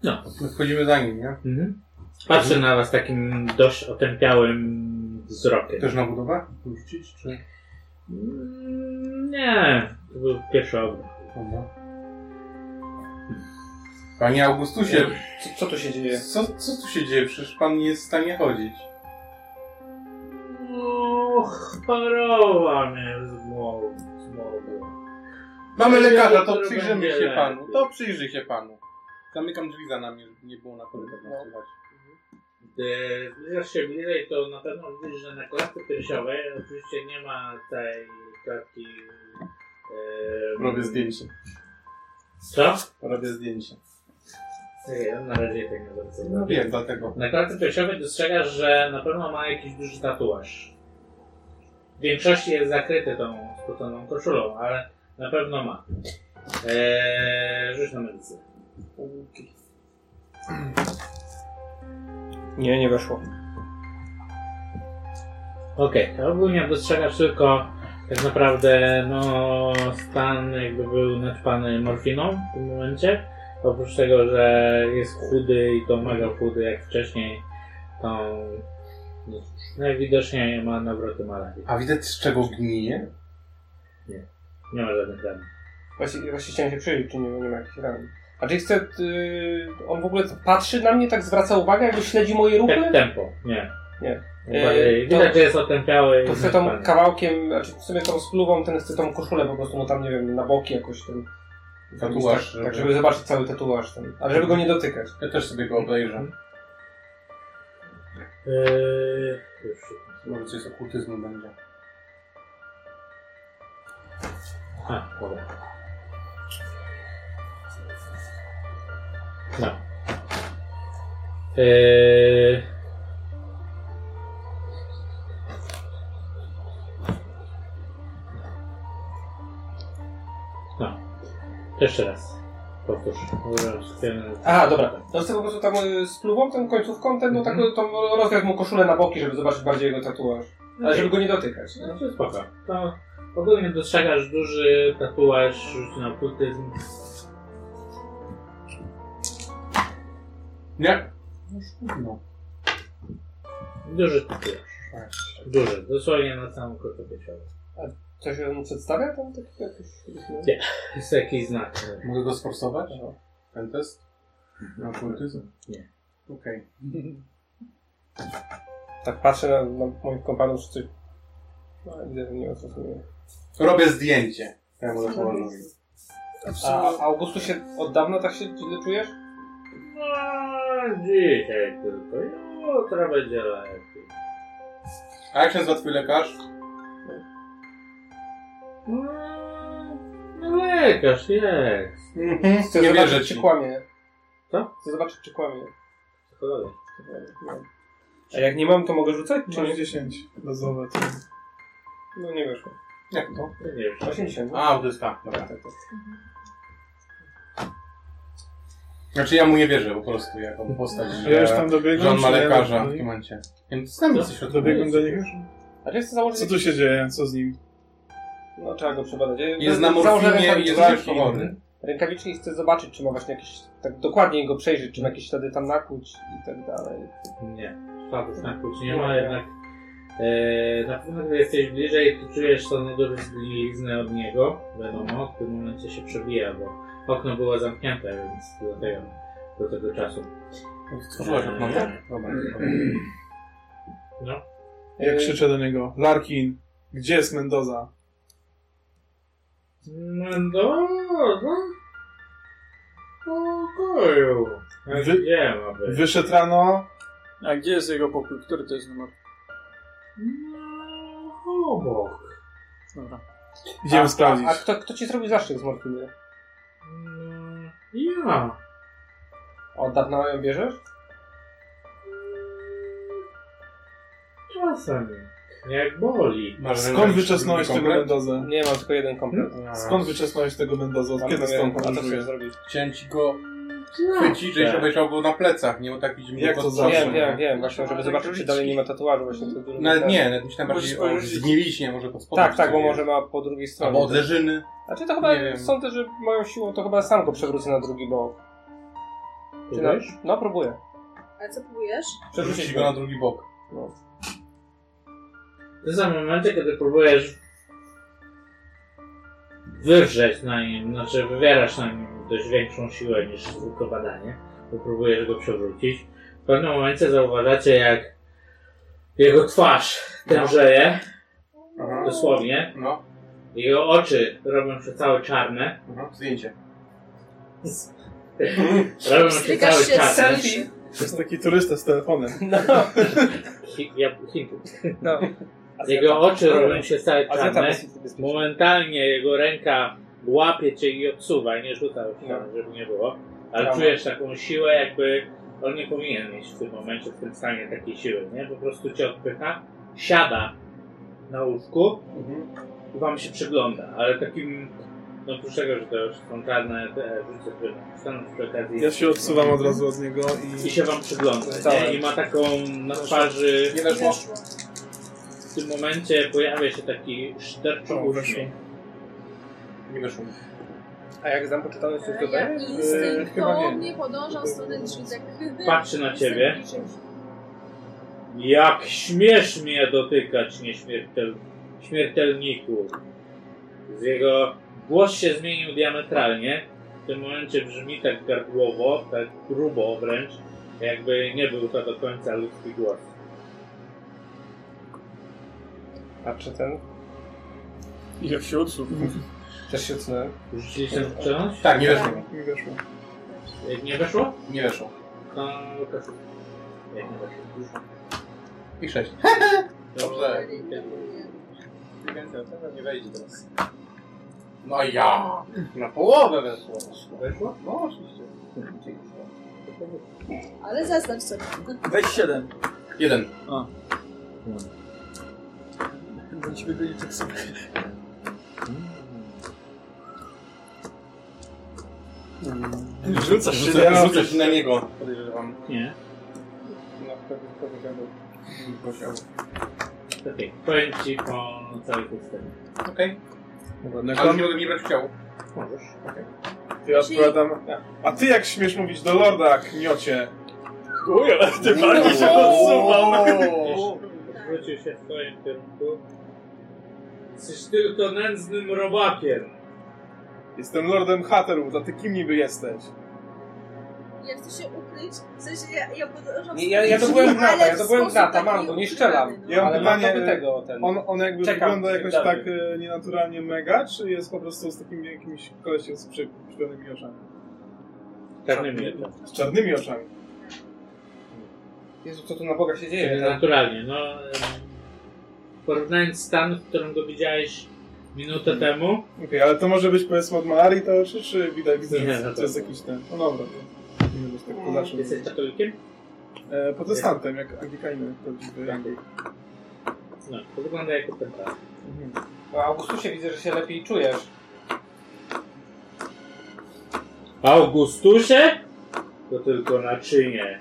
[SPEAKER 7] No.
[SPEAKER 4] My wchodzimy za nim, nie?
[SPEAKER 7] Mhm. Patrzy na was takim dość otępiałym wzrokiem.
[SPEAKER 4] Też na budowę? Rzucić, czy...
[SPEAKER 7] Mm, Nie, to był pierwszy obraz.
[SPEAKER 4] Dobra. Panie Augustusie,
[SPEAKER 5] Co, co tu się dzieje?
[SPEAKER 4] co, co tu się dzieje? Przecież pan nie jest w stanie chodzić.
[SPEAKER 7] No, choroba mnie zmogła. zmogła.
[SPEAKER 4] Mamy
[SPEAKER 7] Ja
[SPEAKER 4] lekarza, to
[SPEAKER 7] dopiero
[SPEAKER 4] przyjrzymy
[SPEAKER 7] będzie
[SPEAKER 4] się
[SPEAKER 7] lepiej.
[SPEAKER 4] panu. To przyjrzyj się panu. Zamykam drzwi za nami, żeby nie było na korytarz
[SPEAKER 7] No.
[SPEAKER 4] nas słychać.
[SPEAKER 7] Gdy zbliżasz się bliżej, to na pewno widzisz, że na klatce piersiowej oczywiście nie ma tej klatki... em,
[SPEAKER 4] Robię zdjęcie.
[SPEAKER 7] Co?
[SPEAKER 4] Robię zdjęcie.
[SPEAKER 7] Nie wiem, na razie tego nie bardzo
[SPEAKER 4] No wiem, dlatego.
[SPEAKER 7] Na klatce piersiowej dostrzegasz, że na pewno ma jakiś duży tatuaż. W większości jest zakryty tą spoconą koszulą, ale na pewno ma. Eee, rzuć na medycynę.
[SPEAKER 5] Nie, nie weszło.
[SPEAKER 7] Okej, to ogólnie dostrzegasz tylko tak naprawdę no, stan jakby był naćpany morfiną w tym momencie. Oprócz tego, że jest chudy i to mega chudy jak wcześniej, to no, cóż, najwidoczniej ma nawroty malarii.
[SPEAKER 4] A widać z czego gnije?
[SPEAKER 7] Nie ma żadnych ran.
[SPEAKER 5] Właśnie, właśnie chciałem się przyjrzeć, czy nie, nie ma jakichś ran. A czy chce. y, on w ogóle patrzy na mnie, tak zwraca uwagę, jakby śledzi moje ruchy?
[SPEAKER 7] Tak tempo, nie.
[SPEAKER 5] Nie.
[SPEAKER 7] Bardziej-
[SPEAKER 5] E,
[SPEAKER 7] Widać,
[SPEAKER 5] to-
[SPEAKER 7] że jest otępiały i
[SPEAKER 5] To chce tą
[SPEAKER 7] naćpany.
[SPEAKER 5] kawałkiem, znaczy w sumie tą spluwą, ten chce tą koszulę po prostu mu tam, nie wiem, na boki jakoś ten.
[SPEAKER 4] Tatuaż,
[SPEAKER 5] Tak, tak, żeby zobaczyć cały tatuaż ten. Ale żeby go nie dotykać.
[SPEAKER 4] Ja też sobie go obejrzę.
[SPEAKER 7] Yy, już.
[SPEAKER 4] Może coś z okultyzmu będzie.
[SPEAKER 7] A, dobra. No. Eee... No. Jeszcze raz. Powtórz.
[SPEAKER 5] Aha, dobra. To chce po prostu tam y, spluwą, tą końcówką, ten, no tak
[SPEAKER 7] Mhm.
[SPEAKER 5] tą rozwiać mu koszulę na boki, żeby zobaczyć bardziej jego tatuaż. Ale żeby go nie dotykać. nie?
[SPEAKER 7] No to spoko. To ogólnie dostrzegasz duży tatuaż, rzuć na okultyzm.
[SPEAKER 4] Nie. No szkodno.
[SPEAKER 7] Duży tatuaż. Tak. Duży, dosłownie na całą kotę ciała.
[SPEAKER 5] Coś on przedstawia tam taki jakiś...
[SPEAKER 7] Jest jakiś znak.
[SPEAKER 4] Mogę go sforsować?
[SPEAKER 5] No.
[SPEAKER 4] Ten test? Na okultyzm?
[SPEAKER 7] Nie.
[SPEAKER 4] Okej.
[SPEAKER 5] Tak patrzę na, na moich kompanów, czy coś... No, widzę, że nie ma co sobie...
[SPEAKER 4] Robię zdjęcie. Temu lekarzowi.
[SPEAKER 5] A Augustu się od dawna tak się źle czujesz?
[SPEAKER 7] No, dzisiaj tylko. Jutro będzie lepiej.
[SPEAKER 4] A jak się nazywa twój lekarz?
[SPEAKER 7] No, no lekarz jest.
[SPEAKER 4] Mhm.
[SPEAKER 5] Chcę
[SPEAKER 4] Nie
[SPEAKER 5] zobaczyć,
[SPEAKER 4] wierzę
[SPEAKER 5] czy
[SPEAKER 4] ci.
[SPEAKER 5] kłamie.
[SPEAKER 7] Co?
[SPEAKER 5] Chcę zobaczyć, czy kłamie.
[SPEAKER 7] Psycholog.
[SPEAKER 5] A jak nie mam, to mogę rzucać? Czy
[SPEAKER 2] Masz
[SPEAKER 5] nie?
[SPEAKER 2] 10 bazowe. To...
[SPEAKER 5] No nie weszło.
[SPEAKER 4] Jak to?
[SPEAKER 7] no Nie wiem.
[SPEAKER 5] 80.
[SPEAKER 4] A, autysta. Dobra. Mhm.
[SPEAKER 5] Tak, tak, tak.
[SPEAKER 4] Znaczy ja mu nie wierzę po prostu, jaką postać,
[SPEAKER 2] Ja już tam
[SPEAKER 4] że, że
[SPEAKER 2] dobiegłem.
[SPEAKER 4] on ma
[SPEAKER 2] czy nie?
[SPEAKER 4] lekarza w tym momencie. Nie wiem, co z nami coś
[SPEAKER 2] Dobiegłem do niego.
[SPEAKER 5] A czy chcę założyć...
[SPEAKER 2] Co tu się dzieje? Co z nim?
[SPEAKER 5] No trzeba go przebadać. Ja-
[SPEAKER 4] Jest na
[SPEAKER 5] założę
[SPEAKER 4] morfinie i
[SPEAKER 5] rękawiczki.
[SPEAKER 4] jest już chory.
[SPEAKER 5] Rękawiczki i chcę zobaczyć, czy ma właśnie jakieś... Tak dokładniej go przejrzeć, czy ma jakieś ślady tam nakłuć i tak dalej.
[SPEAKER 7] Nie, szlatu znaku ci nie ma, jednak e, na pewno gdy jesteś bliżej, to czujesz tą dużą zgliznę od niego. Wiadomo, w tym momencie się przebija, bo okno było zamknięte, więc do tego, do tego czasu. E,
[SPEAKER 4] Stworzyłaś okno, tak? Dobra.
[SPEAKER 7] No.
[SPEAKER 2] Ja krzyczę do niego. Larkin, gdzie jest Mendoza?
[SPEAKER 7] Mendoza? no, O koju.
[SPEAKER 2] Wy-
[SPEAKER 7] Gdzie ma być?
[SPEAKER 2] Wyszedł rano.
[SPEAKER 3] A gdzie jest jego pokój? Który to jest numer?
[SPEAKER 7] No, obok.
[SPEAKER 3] Dobra.
[SPEAKER 2] Idziemy
[SPEAKER 5] A-
[SPEAKER 2] sprawdzić.
[SPEAKER 5] A, a kto, kto ci zrobił zastrzyk z morfiny?
[SPEAKER 7] Mm, Ja.
[SPEAKER 5] Od dawna ją bierzesz?
[SPEAKER 7] Czasem. Jak boli.
[SPEAKER 4] Masz
[SPEAKER 2] Skąd
[SPEAKER 4] rękawiczki,
[SPEAKER 2] wyczesnąłeś tego
[SPEAKER 4] komplet?
[SPEAKER 2] Mendozę?
[SPEAKER 5] Nie, mam tylko jeden komplet.
[SPEAKER 2] Skąd wyczesnąłeś tego Mendozę? Od Hmm? kiedy stąd
[SPEAKER 5] A to
[SPEAKER 2] podróżujesz?
[SPEAKER 5] chcesz zrobić?
[SPEAKER 4] Chciałem ci go
[SPEAKER 5] No.
[SPEAKER 4] chwycić, żebyś obejrzał go na plecach, nie bo tak widzimy
[SPEAKER 2] Tak. Jak
[SPEAKER 4] go
[SPEAKER 2] to
[SPEAKER 4] pod
[SPEAKER 2] zawsze?
[SPEAKER 5] Wiem,
[SPEAKER 4] nosem.
[SPEAKER 5] wiem, wiem. Właśnie, żeby zobaczyć, czy dalej nie ma tatuażu. Właśnie to dużo
[SPEAKER 4] Nawet
[SPEAKER 5] pytań.
[SPEAKER 4] nie, nawet myślałem bardziej
[SPEAKER 3] Możesz
[SPEAKER 4] o
[SPEAKER 3] spojrzeć.
[SPEAKER 4] zgniliźnie, może pod spodem.
[SPEAKER 5] Tak, tak, bo
[SPEAKER 4] sobie.
[SPEAKER 5] może ma po drugiej stronie.
[SPEAKER 4] Albo od leżyny.
[SPEAKER 5] Znaczy to chyba,
[SPEAKER 4] Nie wiem.
[SPEAKER 5] sądzę, że moją siłą to chyba sam go przewrócę na drugi bok. Czy na,
[SPEAKER 7] Próbujesz?
[SPEAKER 5] no, próbuję.
[SPEAKER 6] A co próbujesz?
[SPEAKER 4] Przerzucić go na drugi bok.
[SPEAKER 5] No.
[SPEAKER 7] W tym samym momencie, kiedy próbujesz wywrzeć na nim, znaczy wywierasz na nim dość większą siłę niż tylko badanie, bo próbujesz go przewrócić, w pewnym momencie zauważacie, jak jego twarz tężeje, dosłownie,
[SPEAKER 4] No,
[SPEAKER 7] jego oczy robią się całe czarne,
[SPEAKER 4] mhm. zdjęcie.
[SPEAKER 7] robią się całe
[SPEAKER 6] Strykasz się z
[SPEAKER 7] czarne.
[SPEAKER 6] selfie.
[SPEAKER 2] To jest taki turysta z telefonem.
[SPEAKER 7] Hi- ja- hi-
[SPEAKER 5] no.
[SPEAKER 7] [LAUGHS] Jego oczy robią się całe
[SPEAKER 5] Azjata
[SPEAKER 7] czarne.
[SPEAKER 5] bez bezpieczny.
[SPEAKER 7] Momentalnie jego ręka łapie cię i odsuwa, nie rzuca już tam, żeby nie było. Ale
[SPEAKER 5] Brawo.
[SPEAKER 7] czujesz taką siłę, jakby on nie powinien mieć w tym momencie, w tym stanie takiej siły, nie? Po prostu cię odpycha, siada na łóżku i wam się przygląda, ale takim
[SPEAKER 1] No oprócz tego, że to już są czarne te rzuce, które tam staną przy okazji.
[SPEAKER 2] Ja się odsuwam od razu od niego
[SPEAKER 1] I
[SPEAKER 2] i...
[SPEAKER 1] się wam przygląda.
[SPEAKER 2] Wstałem.
[SPEAKER 1] Nie? I ma taką na twarzy.
[SPEAKER 4] Nie weszło.
[SPEAKER 1] W tym momencie pojawia się taki szterczy
[SPEAKER 2] O, weszło.
[SPEAKER 1] uśmiech.
[SPEAKER 4] Nie weszło.
[SPEAKER 5] A jak znam poczytalność, to jest
[SPEAKER 6] Ja
[SPEAKER 5] dobre?
[SPEAKER 6] instynktownie podążam w stronę drzwi, tak
[SPEAKER 1] Patrzy na ciebie. Jak śmiesz mnie dotykać, nieśmiertel... śmiertelniku. Z jego głos się zmienił diametralnie. W tym momencie brzmi tak gardłowo, tak grubo wręcz, jakby nie był to do końca ludzki głos.
[SPEAKER 5] A czy ten?
[SPEAKER 20] I jak się odsuwa?
[SPEAKER 5] Też się odsunąłem.
[SPEAKER 1] Rzuciliście w czegoś?
[SPEAKER 4] Tak, nie weszło.
[SPEAKER 20] Nie weszło.
[SPEAKER 1] Jak nie weszło?
[SPEAKER 4] Nie weszło.
[SPEAKER 1] To Łukaszu. Jak nie weszło?
[SPEAKER 4] I sześć. Tak,
[SPEAKER 1] Dobrze.
[SPEAKER 4] Nie wejdzie teraz. No ja! Na połowę weszło.
[SPEAKER 1] Weszło?
[SPEAKER 4] No oczywiście.
[SPEAKER 6] Ale zaznacz sobie.
[SPEAKER 3] Weź 7.
[SPEAKER 4] Jeden.
[SPEAKER 3] Do ciebie będzie tak samo.
[SPEAKER 4] Rzucasz się, ja rzucasz się na niego. Podejrzewam.
[SPEAKER 1] Nie.
[SPEAKER 4] No, to jest to wygląda.
[SPEAKER 1] Okej, powiem ci po całej historii.
[SPEAKER 4] Okej.
[SPEAKER 20] Na
[SPEAKER 4] Ale nie mogę mi brać w ciało.
[SPEAKER 1] Możesz.
[SPEAKER 20] Ja odpowiadam... A ty jak śmiesz mówić do lorda, kniocie? Chuja, ty bardziej się
[SPEAKER 6] Tak.
[SPEAKER 1] Wrócił się w twoim kierunku. Jesteś tylko nędznym robakiem.
[SPEAKER 2] Jestem lordem Hatterów, a ty kim niby jesteś?
[SPEAKER 21] Ja chcę się ukryć, w sensie ja, ja podążam...
[SPEAKER 5] Nie, ja- ja to
[SPEAKER 21] Ale
[SPEAKER 5] byłem gnata, ja to
[SPEAKER 21] w
[SPEAKER 5] byłem
[SPEAKER 21] sposób
[SPEAKER 5] gnata,
[SPEAKER 21] taki
[SPEAKER 5] mam go, nie
[SPEAKER 21] ukrywany,
[SPEAKER 5] strzelam.
[SPEAKER 21] no.
[SPEAKER 2] Ja mam
[SPEAKER 5] Ale mam
[SPEAKER 2] pytanie,
[SPEAKER 5] do tego ten.
[SPEAKER 2] On, on jakby
[SPEAKER 5] Czekam,
[SPEAKER 2] wygląda
[SPEAKER 5] jak
[SPEAKER 2] jakoś
[SPEAKER 5] dalej.
[SPEAKER 2] tak e, nienaturalnie mega, czy jest po prostu z takim jakimś kolesiem z przy- przyklejonymi oczami?
[SPEAKER 1] Czarnym mieczem.
[SPEAKER 2] Z czarnymi oczami.
[SPEAKER 5] Jezu, co tu na Boga się dzieje?
[SPEAKER 4] tak.
[SPEAKER 5] Ten...
[SPEAKER 1] Tak, Naturalnie, no. em, Porównując stan, w którym go widziałeś minutę temu,
[SPEAKER 2] Okej, ale to może być powiedzmy od malarii to czy, czy widać, widzę,
[SPEAKER 1] Nie,
[SPEAKER 2] że
[SPEAKER 1] na
[SPEAKER 2] to jest
[SPEAKER 1] pewno.
[SPEAKER 2] jakiś ten... No dobra, to nie będę tak podaczył.
[SPEAKER 1] jesteś katolikiem?
[SPEAKER 2] E, protestantem, jak Anglikaninem prawdziwy Anglik.
[SPEAKER 1] No, to wygląda jako pentagram.
[SPEAKER 5] A Augustusie widzę, że się lepiej czujesz.
[SPEAKER 1] Augustusie? To tylko naczynie.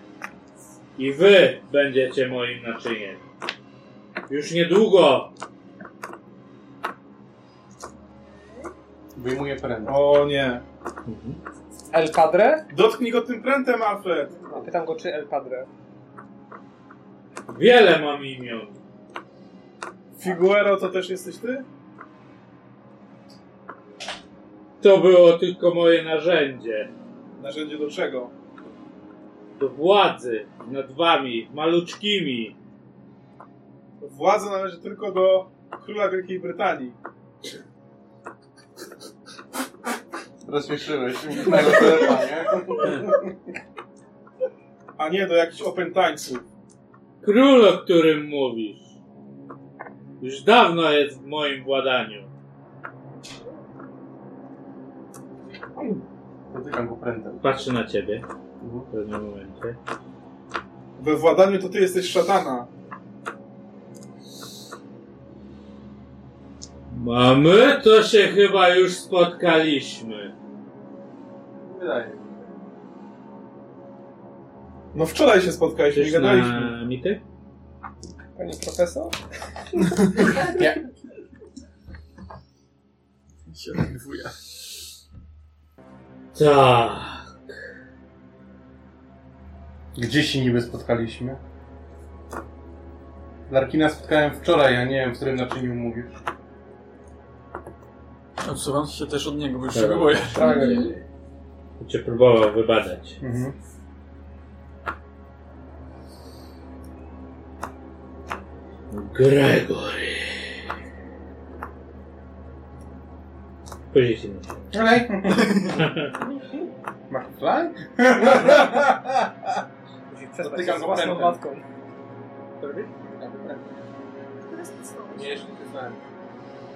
[SPEAKER 1] I wy będziecie moim naczyniem. Już niedługo.
[SPEAKER 4] Wyjmuję perenę.
[SPEAKER 2] O nie.
[SPEAKER 5] El Padre?
[SPEAKER 2] Dotknij go tym prętem, Alfred!
[SPEAKER 5] A pytam go, czy El Padre.
[SPEAKER 1] Wiele mam imion.
[SPEAKER 2] Figuero to też jesteś ty?
[SPEAKER 1] To było tylko moje narzędzie.
[SPEAKER 2] Narzędzie do czego?
[SPEAKER 1] Do władzy nad wami, maluczkimi.
[SPEAKER 2] Władza należy tylko do króla Wielkiej Brytanii.
[SPEAKER 4] Rozśmieszyłeś. Mego telepa, nie?
[SPEAKER 2] A nie do jakichś opętańców.
[SPEAKER 1] Król, o którym mówisz, już dawno jest w moim władaniu.
[SPEAKER 4] Dotykam go prętem.
[SPEAKER 1] Patrzę na ciebie w pewnym momencie.
[SPEAKER 2] We władaniu to ty jesteś szatana.
[SPEAKER 1] Mamy to się chyba już spotkaliśmy.
[SPEAKER 4] Wydaje mi
[SPEAKER 2] No wczoraj się spotkaliśmy i
[SPEAKER 1] Chcesz
[SPEAKER 2] gadaliśmy.
[SPEAKER 1] na mity?
[SPEAKER 5] Panie profesor?
[SPEAKER 1] Tak.
[SPEAKER 4] się. Gdzie się niby spotkaliśmy? Larkina spotkałem wczoraj, a nie wiem, w którym naczyniu mówisz.
[SPEAKER 3] Odsuwam się też od niego, bo już
[SPEAKER 1] Tak.
[SPEAKER 3] się go boję.
[SPEAKER 5] Tak.
[SPEAKER 1] Cię próbował wybadać.
[SPEAKER 4] Mhm.
[SPEAKER 1] Gregory. Później się na to.
[SPEAKER 4] Okej. Masz fly? Dotykam go prętem. Nie, jeszcze nie przyznałem.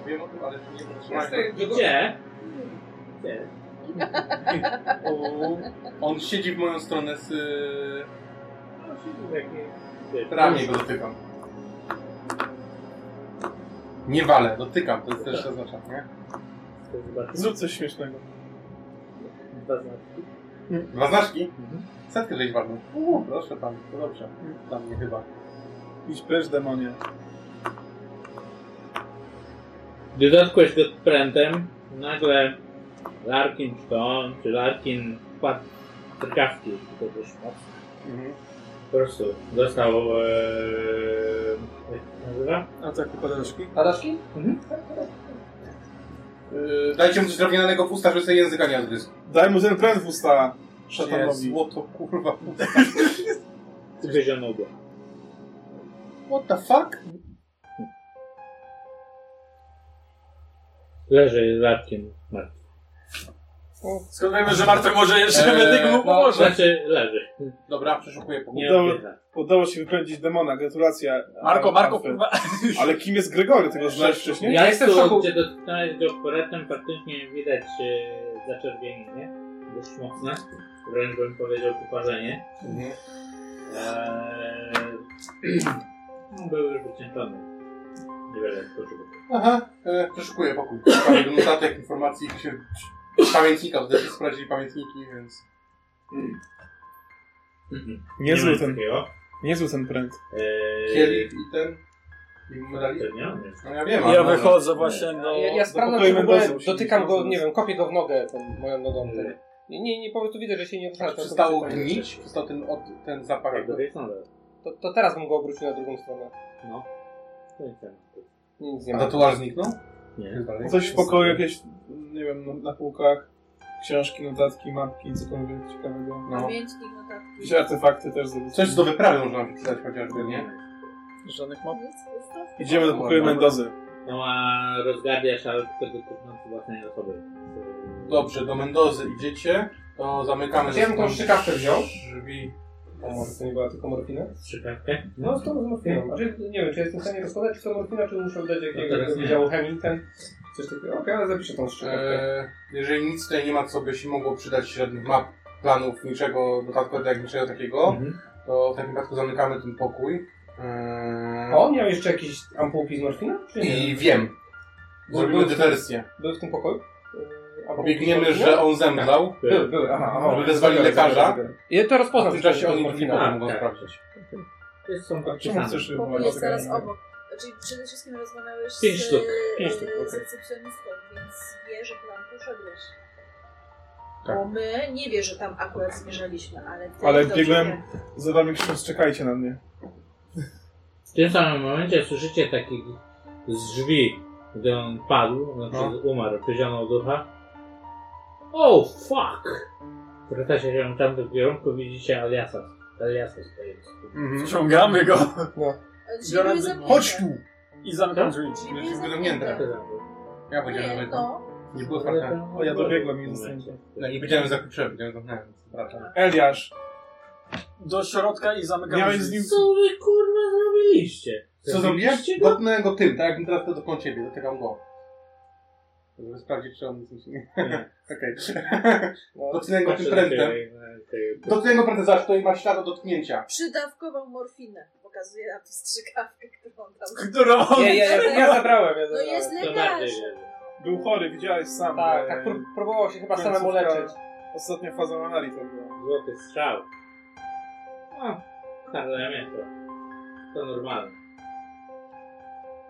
[SPEAKER 4] Wiem o tym, ale jeszcze nie przyznałem.
[SPEAKER 1] Gdzie? Gdzie?
[SPEAKER 4] O, On siedzi w moją stronę z... y,
[SPEAKER 1] No, siedzi w jakiej-
[SPEAKER 4] Ramię go dotykam. Nie walę, dotykam, to jest też oznacza, nie?
[SPEAKER 7] sobie zobaczyć.
[SPEAKER 2] Zrób coś śmiesznego.
[SPEAKER 7] Dwa znaczki.
[SPEAKER 4] Dwa znaczki? Setkę żeś wadną. Uuu, proszę pan, to dobrze. Dla mnie chyba.
[SPEAKER 2] Idź precz, demonie.
[SPEAKER 7] Gdy dotkłeś go prętem, nagle Larkin czy to on, czy Larkin wpadł w trkawki, jeśli to też mocno. Po prostu dostał... Ee, jak to się nazywa?
[SPEAKER 3] A tak, padaczki?
[SPEAKER 22] Padaczki?
[SPEAKER 4] Yy, dajcie mu coś drewnianego w usta, żeby sobie języka nie odgryzł.
[SPEAKER 2] Daj mu ten pręt w usta,
[SPEAKER 4] Nie,
[SPEAKER 2] szatanowi.
[SPEAKER 4] złoto, kurwa.
[SPEAKER 7] Gryzioną go.
[SPEAKER 4] What the fuck?
[SPEAKER 7] Leży Larkin martwy.
[SPEAKER 3] Skąd wiemy, że martwy tak może jeszcze
[SPEAKER 4] Eee,
[SPEAKER 3] medyk
[SPEAKER 5] no,
[SPEAKER 3] mu pomoże?
[SPEAKER 7] Znaczy, leży.
[SPEAKER 4] Dobra, przeszukuję po
[SPEAKER 7] Nie
[SPEAKER 2] Dobra.
[SPEAKER 7] oddycha.
[SPEAKER 2] Udało się wypędzić demona, gratulacje.
[SPEAKER 3] Marko,
[SPEAKER 2] Ale-
[SPEAKER 3] Marko,
[SPEAKER 2] Alfy.
[SPEAKER 3] kurwa.
[SPEAKER 2] Ale kim jest Gregory? Ty go znasz wcześniej?
[SPEAKER 7] Ja
[SPEAKER 4] jestem
[SPEAKER 7] tu,
[SPEAKER 4] w szoku.
[SPEAKER 7] Gdzie dotknąłeś go poletem, faktycznie widać e, zaczerwienienie. Dość mocne. Wręcz bym powiedział uparzenie. Eee, [CLEARS THROAT] no, był już wycieńczony. Niewiele spoczywa.
[SPEAKER 4] Aha, e, przeszukuję pokój. Mamy do notatek, informacji, jakichś z pamiętnika, wtedy sprawdzili pamiętniki, więc...
[SPEAKER 2] Niezły
[SPEAKER 7] ma
[SPEAKER 2] ten,
[SPEAKER 7] takiego.
[SPEAKER 2] niezły ten pręt.
[SPEAKER 7] Eee,
[SPEAKER 4] Kielich i ten... I medalik.
[SPEAKER 7] to nie on jest.
[SPEAKER 4] No ja wiem,
[SPEAKER 3] Ja
[SPEAKER 4] ale-
[SPEAKER 3] wychodzę właśnie do...
[SPEAKER 5] Ja, ja sprawdzam,
[SPEAKER 2] pokoju
[SPEAKER 5] czy w ogóle
[SPEAKER 2] Mendoza musimy
[SPEAKER 5] dotykam go,
[SPEAKER 2] wprowadzić.
[SPEAKER 5] nie wiem, kopię go w nogę tą moją nogą. Ten. Nie, nie, nie, po prostu widzę, że się nie
[SPEAKER 4] Tak
[SPEAKER 5] rusza.
[SPEAKER 4] przestało gnić, przestał ten, od, ten zapach.
[SPEAKER 7] Tak, to jest on.
[SPEAKER 5] To, to teraz bym go obrócił na drugą stronę.
[SPEAKER 7] No. To jest ten.
[SPEAKER 5] Nic nie
[SPEAKER 4] A
[SPEAKER 5] ma.
[SPEAKER 4] tatuaż zniknął?
[SPEAKER 7] Nie.
[SPEAKER 4] Dalej.
[SPEAKER 2] Coś w pokoju, jakieś, nie wiem, no, na, na półkach. Książki, notatki, mapki, cokolwiek ciekawego.
[SPEAKER 4] No.
[SPEAKER 6] Pamiętnik, notatki.
[SPEAKER 2] Jakieś artefakty też zrobić.
[SPEAKER 4] Coś do wyprawy można wypisać chociażby, nie?
[SPEAKER 3] Żadnych map.
[SPEAKER 2] Idziemy do pokoju Mendozy.
[SPEAKER 7] No a rozgardiasz, ale tylko dotknący własnej osoby.
[SPEAKER 4] Dobrze, do Mendozy idziecie, to zamykamy...
[SPEAKER 5] Ja bym tą strzykawkę wziął.
[SPEAKER 4] Drzwi.
[SPEAKER 5] A może to nie była tylko morfina?
[SPEAKER 7] Strzykawkę.
[SPEAKER 5] No, to morfina. Znaczy, nie wiem, czy jestem w stanie rozkładać, czy to morfina, czy muszę dać
[SPEAKER 7] No
[SPEAKER 5] jakiegoś
[SPEAKER 7] teraz nie.
[SPEAKER 5] wydziału chemii, ten... Coś takiego. Okej, ale zapiszę tą szczepkę.
[SPEAKER 4] E, jeżeli nic tutaj nie ma, co by się mogło przydać, średnich map, planów, niczego, dodatkowo jak niczego takiego,
[SPEAKER 7] Mhm.
[SPEAKER 4] to w takim przypadku zamykamy ten pokój. E,
[SPEAKER 5] O, miał jeszcze jakieś ampułki z morfiną? Czy nie?
[SPEAKER 4] I wiem. Zrobimy dywersję.
[SPEAKER 5] Były w tym pokoju? Yy, ampułki z
[SPEAKER 4] Pobiegniemy,
[SPEAKER 5] morfiną?
[SPEAKER 4] że on zemdlał.
[SPEAKER 5] Były, były, aha. aha.
[SPEAKER 4] Żeby wezwali
[SPEAKER 5] Zabiorę,
[SPEAKER 4] lekarza.
[SPEAKER 5] zabiorę, zabiorę. Ja to
[SPEAKER 4] A
[SPEAKER 5] rozpoznam.
[SPEAKER 4] w tym czasie
[SPEAKER 5] że to
[SPEAKER 4] oni
[SPEAKER 5] jest
[SPEAKER 4] drzwi
[SPEAKER 5] morfina.
[SPEAKER 4] mogą
[SPEAKER 7] A,
[SPEAKER 4] mogą
[SPEAKER 7] tak.
[SPEAKER 4] sprawdzić.
[SPEAKER 7] To jest są
[SPEAKER 2] A czemu chcesz
[SPEAKER 23] Pokój
[SPEAKER 2] wywołać
[SPEAKER 23] jest
[SPEAKER 2] tego
[SPEAKER 23] zaraz
[SPEAKER 2] demona?
[SPEAKER 23] obok.
[SPEAKER 6] Znaczy,
[SPEAKER 23] Czyli przede wszystkim rozmawiałeś z,
[SPEAKER 7] Pięć sztuk.
[SPEAKER 5] Pięć sztuk,
[SPEAKER 23] e,
[SPEAKER 5] okej.
[SPEAKER 23] z recepcjonistką, więc wie, że tam poszedłeś.
[SPEAKER 5] Tak.
[SPEAKER 6] Bo my nie wie, że tam akurat zmierzaliśmy, ale ty
[SPEAKER 2] Ale
[SPEAKER 6] dobrze
[SPEAKER 2] biegłem-
[SPEAKER 6] wie.
[SPEAKER 2] Za wami krzycząc, czekajcie na mnie.
[SPEAKER 7] W tym samym momencie słyszycie taki z drzwi, gdy on padł, znaczy
[SPEAKER 2] No.
[SPEAKER 7] umarł, wyzionął ducha. Oh fuck! Wracacie się w tamtym kierunku, widzicie Aliasa. Aliasa stojący.
[SPEAKER 2] Mm.
[SPEAKER 3] Ciągamy Mhm. go
[SPEAKER 23] Drzwi były zamknięte.
[SPEAKER 4] Chodź tu!
[SPEAKER 3] i zamykam drzwi.
[SPEAKER 23] Drzwi były
[SPEAKER 4] Będzie
[SPEAKER 23] zamknięte.
[SPEAKER 4] wyglądnięte. Ja powiedziałem
[SPEAKER 23] Nie,
[SPEAKER 4] zamykam.
[SPEAKER 23] no.
[SPEAKER 4] Nie było otwarte.
[SPEAKER 2] O, ja dobiegłem i zostałem.
[SPEAKER 4] No nie powiedziałem zakluczyłem, powiedziałem zamknąłem. Przepraszam.
[SPEAKER 2] Eliasz,
[SPEAKER 3] Do środka i zamykam
[SPEAKER 2] miałeś
[SPEAKER 3] drzwi.
[SPEAKER 2] z nim...
[SPEAKER 7] Co wy kurwa zrobiliście?
[SPEAKER 4] Co zrobiłeś? Dotknąłem go tym, tak jakbym teraz to dotknął ciebie, dotykam go. Żeby sprawdzić, czy on nic nie... [LAUGHS] Okej.
[SPEAKER 2] No,
[SPEAKER 4] Dotknąłem go tym prętem. Dotknąłem go prętem, zobacz, to ma ślad od dotknięcia.
[SPEAKER 6] Przydawkował morfinę. Pokazuje na to strzykawkę, którą on tam...
[SPEAKER 3] Którą...
[SPEAKER 5] Nie, ja, ja, ja zabrałem, ja
[SPEAKER 23] No
[SPEAKER 5] zabrałem.
[SPEAKER 23] jest
[SPEAKER 7] To bardziej
[SPEAKER 23] lekarz.
[SPEAKER 7] wiem.
[SPEAKER 2] Był chory, widziałeś sam.
[SPEAKER 5] Tak,
[SPEAKER 2] e,
[SPEAKER 5] tak pró- próbował się chyba
[SPEAKER 2] końcówka-
[SPEAKER 5] samemu leczyć.
[SPEAKER 2] Ostatnia faza Manali to była.
[SPEAKER 7] Złoty strzał. No, ale ja to. To normalne.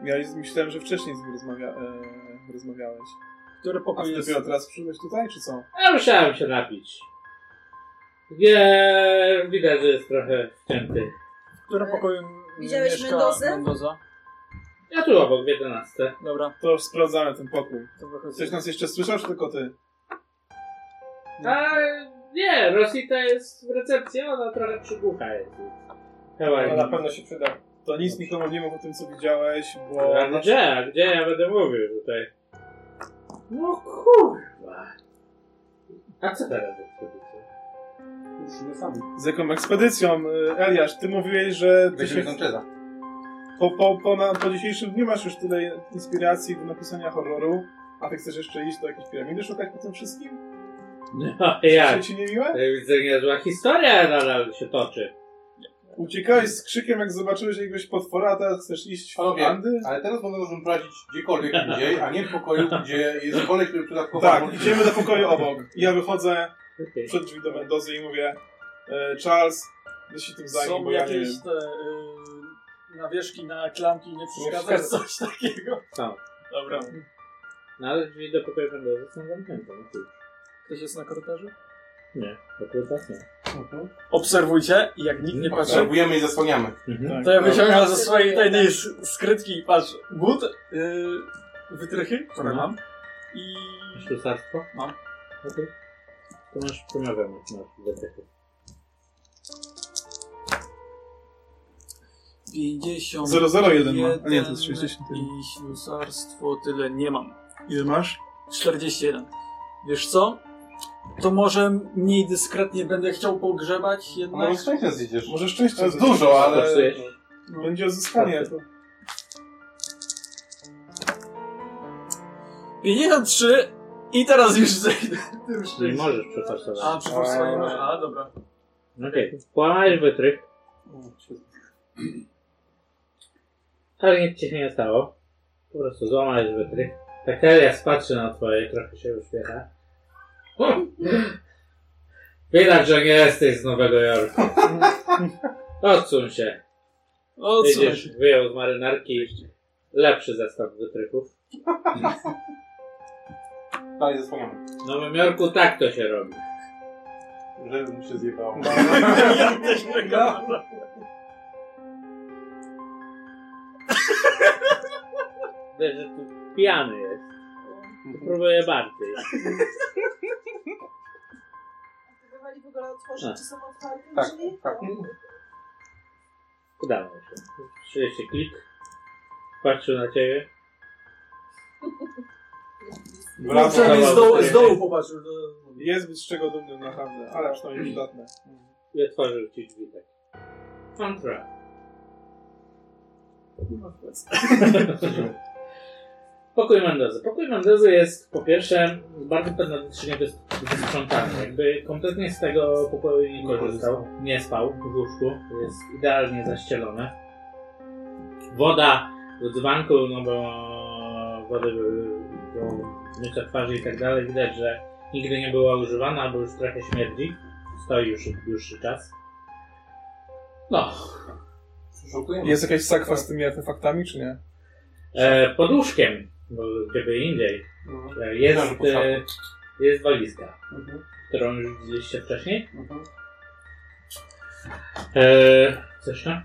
[SPEAKER 2] Ja myślałem, że wcześniej z nim rozmawia... e, rozmawiałeś.
[SPEAKER 3] Który
[SPEAKER 2] A
[SPEAKER 3] pokój
[SPEAKER 2] ty
[SPEAKER 3] jest?
[SPEAKER 2] dopiero teraz przyszedłeś tutaj, czy co?
[SPEAKER 7] Ja musiałem się napić. Nie, widać, że jest trochę wcięty.
[SPEAKER 3] W którym pokoju
[SPEAKER 6] Widziałeś
[SPEAKER 3] mieszka
[SPEAKER 6] Mendozę?
[SPEAKER 3] Mendoza?
[SPEAKER 7] Ja tu obok, w 11.
[SPEAKER 3] Dobra,
[SPEAKER 2] To już sprawdzamy ten pokój.
[SPEAKER 3] to wychodzę.
[SPEAKER 2] Ktoś nas jeszcze słyszał, czy tylko ty?
[SPEAKER 7] A nie, Rosita jest w recepcji, ona trochę przygłucha jest. Chyba
[SPEAKER 5] To Tak, na pewno się przyda.
[SPEAKER 2] To nic nikomu nie mów o tym, co widziałeś, bo...
[SPEAKER 7] A gdzie? A gdzie ja będę mówił tutaj? No kurwa. A co teraz [LAUGHS] ekspedycja?
[SPEAKER 4] Ruszymy sami.
[SPEAKER 2] Z jaką ekspedycją? e, Eliasz, ty mówiłeś, że ty
[SPEAKER 4] Weźmy
[SPEAKER 2] się
[SPEAKER 4] Sancheza.
[SPEAKER 2] po, po, po, na, po dzisiejszym dniu masz już tyle inspiracji do napisania horroru, a ty chcesz jeszcze iść do jakiejś piramidy szukać po tym wszystkim?
[SPEAKER 7] No jak?
[SPEAKER 2] Czy ci nie miłe?
[SPEAKER 7] Widzę, niezła historia nadal się toczy.
[SPEAKER 2] Uciekałeś z krzykiem, jak zobaczyłeś jakiegoś potwora, a teraz chcesz iść w
[SPEAKER 4] Panowie,
[SPEAKER 2] Andy?
[SPEAKER 4] ale teraz mogę możemy prowadzić gdziekolwiek indziej, a nie w
[SPEAKER 2] [LAUGHS]
[SPEAKER 4] pokoju, gdzie jest koleś, który przydatkowo...
[SPEAKER 2] Tak, idziemy do pokoju obok. I ja wychodzę przed drzwi do Mendozy i mówię e, Charles, ty się tym zajmij,
[SPEAKER 3] Są
[SPEAKER 2] bo ja nie wiem.
[SPEAKER 3] jakieś te y, nawieszki na klamki, nie przeszkadza
[SPEAKER 7] przeszkadza.
[SPEAKER 3] coś takiego.
[SPEAKER 7] Są.
[SPEAKER 2] Tak.
[SPEAKER 3] Dobra.
[SPEAKER 7] No ale drzwi do pokoju będą są zamknięte. no cóż.
[SPEAKER 3] Ktoś jest na korytarzu?
[SPEAKER 7] Nie, akurat tak nie.
[SPEAKER 3] Obserwujcie i jak nikt nie patrzy...
[SPEAKER 4] Obserwujemy i zasłaniamy.
[SPEAKER 3] Mhm. To ja wyciągam ze swojej tajnej s- skrytki i patrz, but, yy, wytrychy, które
[SPEAKER 7] Mhm.
[SPEAKER 3] mam i...
[SPEAKER 7] Masz ślusarstwo?
[SPEAKER 2] No.
[SPEAKER 3] Mam.
[SPEAKER 7] Okej. To masz pomagamy, masz detektyw.
[SPEAKER 3] 50...
[SPEAKER 2] 001 ma. A nie, to jest 61.
[SPEAKER 3] I ślusarstwo tyle nie mam. Ile masz? 41. Wiesz co? To może mniej dyskretnie będę chciał pogrzebać jednak.
[SPEAKER 4] Może szczęście zjedziesz.
[SPEAKER 2] Może szczęście
[SPEAKER 4] To jest
[SPEAKER 2] zjedziesz.
[SPEAKER 4] dużo, ale...
[SPEAKER 7] Kosztuje.
[SPEAKER 2] Będzie
[SPEAKER 3] Tak,
[SPEAKER 2] odzyskanie. To...
[SPEAKER 3] 53 i teraz już zejdę.
[SPEAKER 7] Nie możesz przeforsować.
[SPEAKER 3] A, przepraszam, nie masz. A, dobra.
[SPEAKER 7] Okej, połamałeś wytrych. Ale nic ci się nie stało. Po prostu złamałeś wytrych. Tak Elias patrzy na twoje, trochę się uśmiecha. Widać, że nie jesteś z Nowego Jorku. Odsuń się.
[SPEAKER 3] Odsuń
[SPEAKER 7] Widzisz, wyjął z marynarki lepszy zestaw wytryków.
[SPEAKER 4] Dalej zasłaniamy.
[SPEAKER 7] W Nowym Jorku tak to się robi.
[SPEAKER 4] Żeby mi się zjebało.
[SPEAKER 3] [LAUGHS] Ja też tego
[SPEAKER 7] Wiesz, że tu pijany jest. To próbuję bardziej.
[SPEAKER 6] Próbowali w ogóle otworzyć,
[SPEAKER 7] A.
[SPEAKER 6] czy są otwarte
[SPEAKER 4] Tak,
[SPEAKER 6] drzwi?
[SPEAKER 4] tak.
[SPEAKER 7] Udało się. 30 klik. Patrzył na ciebie.
[SPEAKER 3] No, przynajmniej z dołu, z dołu popatrzył. no.
[SPEAKER 2] Jest z czego dumnym naprawdę, ale przynajmniej
[SPEAKER 3] Mm.
[SPEAKER 2] przydatne.
[SPEAKER 7] I otworzył ci drzwi tak. Kontra. [LAUGHS] Pokój Mendozy. Pokój Mendozy jest po pierwsze bardzo pedantycznie wys- wysprzątany. Jakby kompletnie z tego pokoju nie korzystał. Nie spał w łóżku. Jest idealnie zaścielone. Woda w dzbanku, no bo wody były do mycia twarzy i tak dalej. Widać, że nigdy nie była używana, bo już trochę śmierdzi. Stoi już dłuższy czas. No,
[SPEAKER 4] Szukujemy.
[SPEAKER 2] Jest jakaś sakwa z tymi artefaktami, czy nie?
[SPEAKER 7] E, pod łóżkiem, bo gdyby indziej, e,
[SPEAKER 4] Leży
[SPEAKER 7] jest,
[SPEAKER 4] pod szafą.
[SPEAKER 7] e, jest walizka, którą już widzieliście wcześniej. E, coś tam?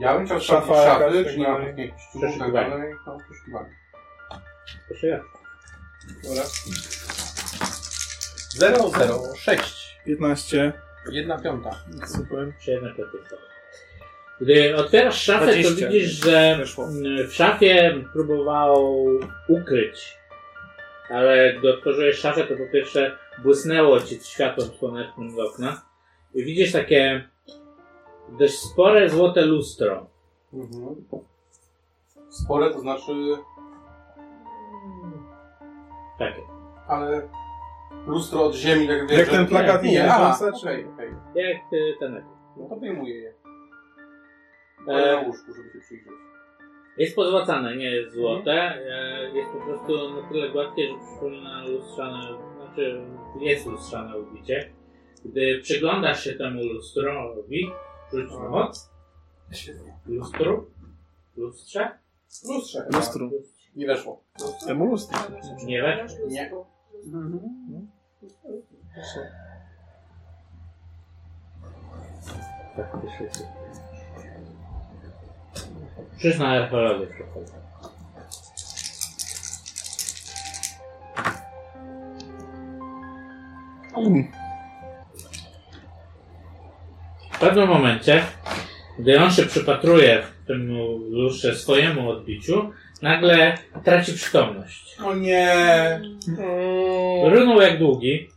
[SPEAKER 4] Ja bym chciał
[SPEAKER 2] Szafa
[SPEAKER 4] sprawdzić
[SPEAKER 2] jakaś,
[SPEAKER 4] szafy, czy nie ma
[SPEAKER 2] tak dalej.
[SPEAKER 4] jakichś ściuków, tak
[SPEAKER 7] Przeszukiwanie.
[SPEAKER 4] dalej. No, przeszukiwanie.
[SPEAKER 7] Proszę ja.
[SPEAKER 4] Dobra. 0, 0, 6.
[SPEAKER 2] 15.
[SPEAKER 4] 1 piąta.
[SPEAKER 2] Super.
[SPEAKER 7] Jeszcze jedna klasyka. Gdy otwierasz szafę, to
[SPEAKER 3] 20.
[SPEAKER 7] widzisz, że
[SPEAKER 3] Weszło.
[SPEAKER 7] mm, w szafie próbował ukryć. Ale gdy otworzyłeś szafę, to po pierwsze błysnęło ci światłem słonecznym z okna. I widzisz takie dość spore złote lustro.
[SPEAKER 4] Mhm. Spore to znaczy...
[SPEAKER 7] Takie.
[SPEAKER 4] Ale... Lustro od ziemi, tak wiesz...
[SPEAKER 2] Jak
[SPEAKER 4] że-
[SPEAKER 2] ten plakat
[SPEAKER 4] Nie,
[SPEAKER 2] nie
[SPEAKER 4] aha,
[SPEAKER 2] Jonesa,
[SPEAKER 4] okej,
[SPEAKER 2] czy...
[SPEAKER 4] okej.
[SPEAKER 7] Jak y, ten.
[SPEAKER 4] No to wyjmuję je. Kładę
[SPEAKER 7] E,
[SPEAKER 4] na łóżku, żeby się przyjrzeć.
[SPEAKER 7] Jest pozłacane, nie jest złote. E, Jest po prostu na tyle gładkie, że przypomina lustrzane, znaczy jest lustrzane ubicie. Gdy przyglądasz się temu lustrowi, rzuć na moc. Lustru? Lustrze?
[SPEAKER 4] Lustrze chyba.
[SPEAKER 2] Lustru.
[SPEAKER 7] Lustrze.
[SPEAKER 4] Nie weszło.
[SPEAKER 2] Temu lustru.
[SPEAKER 7] Nie weszło.
[SPEAKER 4] Nie.
[SPEAKER 7] Krzyż na archeologię przechodzę. W pewnym momencie, gdy on się przypatruje temu lustrze swojemu odbiciu, nagle traci przytomność.
[SPEAKER 4] O nie!
[SPEAKER 6] Mm.
[SPEAKER 7] Runął jak długi.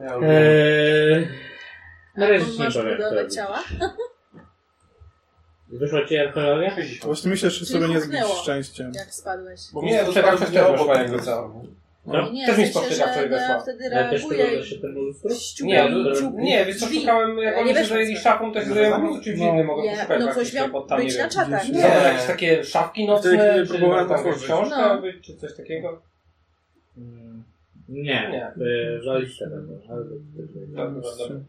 [SPEAKER 4] Ja
[SPEAKER 7] E,
[SPEAKER 4] już wiem.
[SPEAKER 7] Eee, na razie ci nie
[SPEAKER 24] Masz
[SPEAKER 7] powiem. co
[SPEAKER 24] budowę
[SPEAKER 5] tak.
[SPEAKER 7] robić.
[SPEAKER 24] ciała?
[SPEAKER 7] Wyszła ci archeologia?
[SPEAKER 2] Właśnie myślę, że sobie nie zbić
[SPEAKER 24] Kuchnęło.
[SPEAKER 2] szczęściem.
[SPEAKER 24] Jak spadłeś?
[SPEAKER 4] Bo nie, to tak się
[SPEAKER 5] nie
[SPEAKER 4] obok
[SPEAKER 5] obok
[SPEAKER 4] tego całego.
[SPEAKER 5] No.
[SPEAKER 6] Nie,
[SPEAKER 5] Też mi
[SPEAKER 6] w sensie,
[SPEAKER 5] spostrzega,
[SPEAKER 6] że
[SPEAKER 5] której
[SPEAKER 6] ona
[SPEAKER 5] weszła.
[SPEAKER 6] wtedy
[SPEAKER 5] Ale też
[SPEAKER 6] reaguje
[SPEAKER 5] tego,
[SPEAKER 6] i
[SPEAKER 5] że
[SPEAKER 7] ten lustro?
[SPEAKER 6] ściuga
[SPEAKER 5] Nie,
[SPEAKER 6] i-
[SPEAKER 5] no, nie, wiesz co,
[SPEAKER 6] drzwi.
[SPEAKER 5] szukałem, jak
[SPEAKER 6] Ale nie
[SPEAKER 5] oni się
[SPEAKER 6] weszło
[SPEAKER 5] zajęli
[SPEAKER 6] co.
[SPEAKER 5] szafą, to się
[SPEAKER 6] No,
[SPEAKER 5] zajęli
[SPEAKER 6] no.
[SPEAKER 5] po prostu czymś innym, mogę
[SPEAKER 6] Nie,
[SPEAKER 5] poszukać
[SPEAKER 6] no,
[SPEAKER 5] właśnie
[SPEAKER 6] coś miał
[SPEAKER 5] tutaj pod tam,
[SPEAKER 6] być znaczy-
[SPEAKER 5] nie
[SPEAKER 6] na
[SPEAKER 5] wiem,
[SPEAKER 6] czatach.
[SPEAKER 5] gdzieś-
[SPEAKER 6] Nie.
[SPEAKER 5] Zobacz, jakieś takie szafki nocne,
[SPEAKER 7] Wtedy, kiedy
[SPEAKER 5] czy
[SPEAKER 7] próbowałem
[SPEAKER 5] tam jakaś
[SPEAKER 7] otworzyć.
[SPEAKER 5] książka,
[SPEAKER 6] No.
[SPEAKER 5] być, czy coś takiego.
[SPEAKER 7] Mm, Nie, y, żalić teraz.
[SPEAKER 5] Dobra, dobra.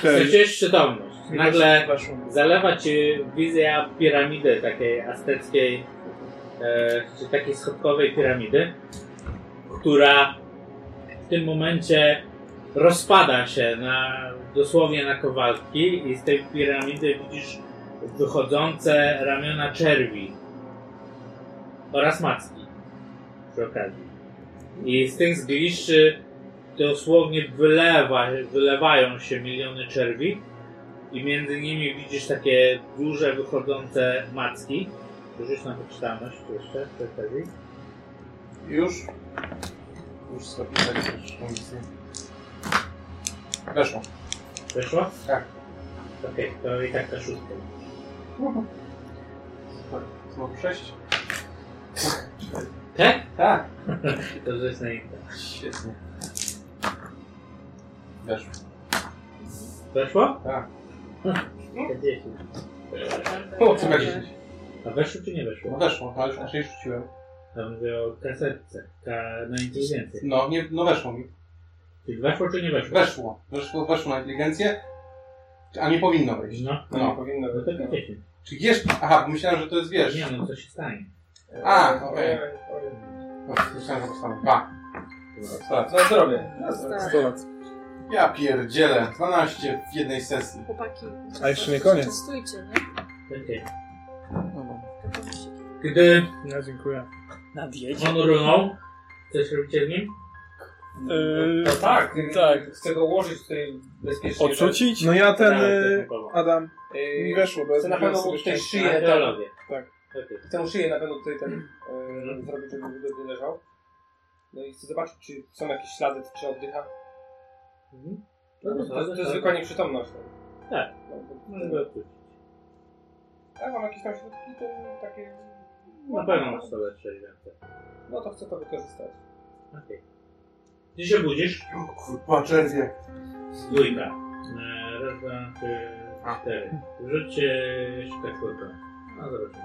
[SPEAKER 7] Straciłeś przytomność. Nagle zalewa ci wizja piramidy takiej azteckiej, e, czy takiej schodkowej piramidy, która w tym momencie rozpada się na, dosłownie na kowalki i z tej piramidy widzisz wychodzące ramiona czerwi oraz macki przy okazji. I z tych zgliszczy dosłownie wylewa, wylewają się miliony czerwi i między nimi widzisz takie duże wychodzące macki. Rzuć na wyczytalność jeszcze przy okazji.
[SPEAKER 4] Już. Już sobie też amunicję. Weszło.
[SPEAKER 7] Weszło?
[SPEAKER 4] Tak.
[SPEAKER 7] Okej, to i tak na szóstkę.
[SPEAKER 4] Znowu sześć.
[SPEAKER 7] Tak?
[SPEAKER 4] Tak.
[SPEAKER 7] [LAUGHS] to rzuć na inne.
[SPEAKER 4] Świetnie. Weszło.
[SPEAKER 7] Weszło? [LAUGHS]
[SPEAKER 4] Tak.
[SPEAKER 7] O,
[SPEAKER 6] Tak.
[SPEAKER 5] [LAUGHS]
[SPEAKER 4] O, co weszliś?
[SPEAKER 7] A weszło czy nie weszło?
[SPEAKER 4] No weszło, ale już na sześć rzuciłem.
[SPEAKER 7] Ja mówię o kasetce, ka- na inteligencję.
[SPEAKER 4] No, nie, no weszło mi.
[SPEAKER 7] Czyli weszło czy nie weszło?
[SPEAKER 4] Weszło. Weszło, weszło na inteligencję, a nie powinno wejść.
[SPEAKER 7] No,
[SPEAKER 5] No, nie powinno
[SPEAKER 7] no
[SPEAKER 5] być.
[SPEAKER 7] to wiecie.
[SPEAKER 4] Czy jeszcze... Aha, bo myślałem, że to jest wiesz.
[SPEAKER 7] Nie no, co się stanie.
[SPEAKER 4] A, okej. No, Myślałem, że postanę. Dwa. Sto
[SPEAKER 5] No zrobię.
[SPEAKER 6] Sto
[SPEAKER 14] lat.
[SPEAKER 4] Ja pierdzielę. 12 w jednej sesji.
[SPEAKER 6] Chłopaki.
[SPEAKER 14] A jeszcze nie koniec.
[SPEAKER 6] Częstujcie, nie?
[SPEAKER 7] Okej.
[SPEAKER 6] Taką się-
[SPEAKER 7] Gdy
[SPEAKER 14] Ja dziękuję. Na
[SPEAKER 7] on runął, coś robicie z nim?
[SPEAKER 2] Yy,
[SPEAKER 5] No tak, tak. Chcę go ułożyć tutaj bezpiecznie.
[SPEAKER 3] No ja ten,
[SPEAKER 5] Tak,
[SPEAKER 7] e,
[SPEAKER 3] y,
[SPEAKER 5] tak,
[SPEAKER 3] Adam,
[SPEAKER 5] Yy,
[SPEAKER 3] mi weszło, bo ja
[SPEAKER 5] Chcę na pewno
[SPEAKER 3] zrobiłem sobie
[SPEAKER 5] mu tutaj
[SPEAKER 3] szczęście.
[SPEAKER 5] szyję.
[SPEAKER 7] Archeologię.
[SPEAKER 3] Tak.
[SPEAKER 7] Okej.
[SPEAKER 5] Tę szyję na pewno tutaj ten yy, zrobię, żeby wygodnie leżał. No i chcę zobaczyć, czy są jakieś ślady, czy oddycha.
[SPEAKER 7] No
[SPEAKER 5] To,
[SPEAKER 7] to-
[SPEAKER 5] to,
[SPEAKER 7] to-
[SPEAKER 5] jest zwykła nieprzytomność.
[SPEAKER 7] Tak.
[SPEAKER 5] No, to-
[SPEAKER 7] Może go odpuścić.
[SPEAKER 5] Ja mam jakieś tam środki, to takie...
[SPEAKER 7] Na pewno masz to lepsze eventy.
[SPEAKER 5] No to chcę to wykorzystać.
[SPEAKER 7] Okej. Ty się budzisz?
[SPEAKER 4] O kurwa, czerwie.
[SPEAKER 7] Dwójka. E, Raz, dwa, trzy, cztery. Rzućcie jeszcze tak kurwa. No zobaczymy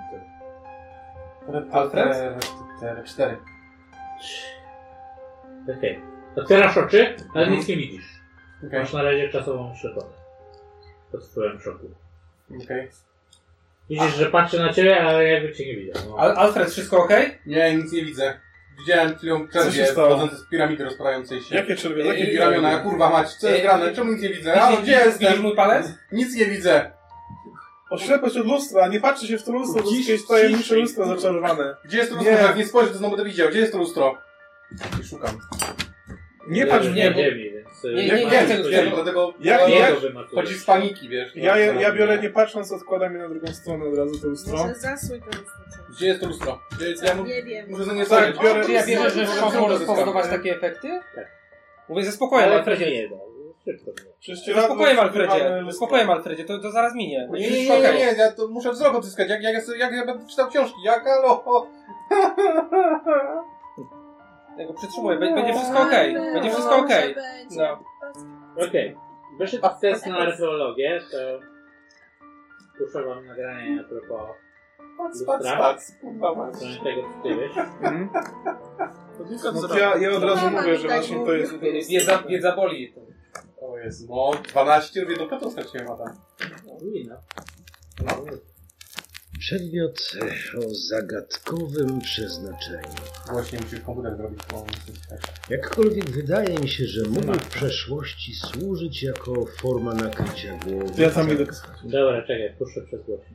[SPEAKER 7] co.
[SPEAKER 5] E,
[SPEAKER 4] Alfred? Cztery.
[SPEAKER 7] Okej. Otwierasz oczy, ale
[SPEAKER 4] Mhm.
[SPEAKER 7] nic nie widzisz.
[SPEAKER 4] Okej.
[SPEAKER 7] Masz na razie czasową ślepotę. Pod wpływem szoku.
[SPEAKER 4] Okej.
[SPEAKER 7] Widzisz, że patrzy na ciebie, ale jakby cię nie widział. No.
[SPEAKER 5] Al Alfred, wszystko ok?
[SPEAKER 4] Nie, nic nie widzę. Widziałem chwilę czerwie
[SPEAKER 3] się stało?
[SPEAKER 4] wchodzące z piramidy rozprającej się.
[SPEAKER 3] Jakie czerwie?
[SPEAKER 4] Jakie
[SPEAKER 3] Jakie
[SPEAKER 4] piramiona?
[SPEAKER 3] czerwie?
[SPEAKER 4] Kurwa mać, co jest
[SPEAKER 5] Ej,
[SPEAKER 4] grane? Czemu nic nie widzę?
[SPEAKER 5] Widzisz-
[SPEAKER 4] A, gdzie
[SPEAKER 5] widzisz- widzisz
[SPEAKER 4] jestem?
[SPEAKER 5] mój palec?
[SPEAKER 4] Nic nie widzę.
[SPEAKER 3] Oślepać od lustra, nie patrzy się w to lustro, to
[SPEAKER 14] Ciszej,
[SPEAKER 3] jest jakieś tajemnicze
[SPEAKER 14] ciszej.
[SPEAKER 3] lustro zaczarowane.
[SPEAKER 4] Gdzie jest to lustro?
[SPEAKER 3] Nie.
[SPEAKER 4] Jak nie spojrzę, to znowu będę widział. Gdzie jest to lustro? I szukam.
[SPEAKER 3] Nie patrz
[SPEAKER 7] Nie,
[SPEAKER 3] w
[SPEAKER 7] nie,
[SPEAKER 3] niebo.
[SPEAKER 7] ziemi, więc... e,
[SPEAKER 5] Nie,
[SPEAKER 4] Jak
[SPEAKER 5] nie,
[SPEAKER 4] wiem,
[SPEAKER 5] nie,
[SPEAKER 4] wiem,
[SPEAKER 5] nie.
[SPEAKER 4] dlatego
[SPEAKER 3] Jak-
[SPEAKER 4] dlatego
[SPEAKER 3] jak-
[SPEAKER 4] chodzi z paniki, wiesz.
[SPEAKER 3] Ja,
[SPEAKER 4] no,
[SPEAKER 3] je,
[SPEAKER 4] no,
[SPEAKER 3] ja biorę
[SPEAKER 4] no.
[SPEAKER 3] nie patrząc, odkładam je na drugą stronę od razu to lustro.
[SPEAKER 6] Może zasuń to znaczy.
[SPEAKER 4] Gdzie jest to lustro? Gdzie jest, ja mu...
[SPEAKER 6] Nie wiem.
[SPEAKER 4] Muszę za nie
[SPEAKER 3] Tak,
[SPEAKER 4] spojrzeć.
[SPEAKER 3] biorę-
[SPEAKER 5] Czy ja wiem, że
[SPEAKER 6] Znowu
[SPEAKER 5] wciąż może
[SPEAKER 4] zyskam.
[SPEAKER 5] spowodować takie efekty?
[SPEAKER 7] Tak.
[SPEAKER 5] Mówię ze spokojem,
[SPEAKER 7] Ale
[SPEAKER 5] Alfredzie.
[SPEAKER 7] Fredzie nie da. Szybko było.
[SPEAKER 5] Ze
[SPEAKER 3] Prześcieradło
[SPEAKER 5] spokojem,
[SPEAKER 3] odkrywane
[SPEAKER 5] Alfredzie. Ze
[SPEAKER 3] lustro.
[SPEAKER 5] spokojem, Alfredzie. To, to zaraz minie.
[SPEAKER 4] Nie, nie, nie, nie, nie, ja to muszę wzrok odzyskać. Jak, jak, ja sobie- jak ja będę czytał książki? Jak, alo?
[SPEAKER 5] Ja go przytrzymuję. Be- Będzie wszystko okej.
[SPEAKER 6] Ale
[SPEAKER 5] Będzie wszystko okej.
[SPEAKER 6] może będzie.
[SPEAKER 5] No.
[SPEAKER 7] Okej. Wyszedł test na archeologię, to... Puszczę wam nagranie a propos
[SPEAKER 5] No.
[SPEAKER 4] Pac, pac,
[SPEAKER 7] Lustra?
[SPEAKER 4] pac. Kurwa mać.
[SPEAKER 7] tego, co ty wiesz.
[SPEAKER 3] Mhm. No to ja, ja od razu mówię, że właśnie to jest to lustro.
[SPEAKER 5] Wiedza, wiedza boli.
[SPEAKER 4] O jest, no, 12 w jedną kartą straciłem, Adam.
[SPEAKER 7] Ruina.
[SPEAKER 25] Przedmiot o zagadkowym przeznaczeniu.
[SPEAKER 4] Właśnie musisz komputer zrobić, bo
[SPEAKER 25] Jakkolwiek wydaje mi się, że mógł w przeszłości służyć jako forma nakrycia głowy.
[SPEAKER 3] Ja tam idę.
[SPEAKER 7] Dobra, czekaj, puszczę przez głośno.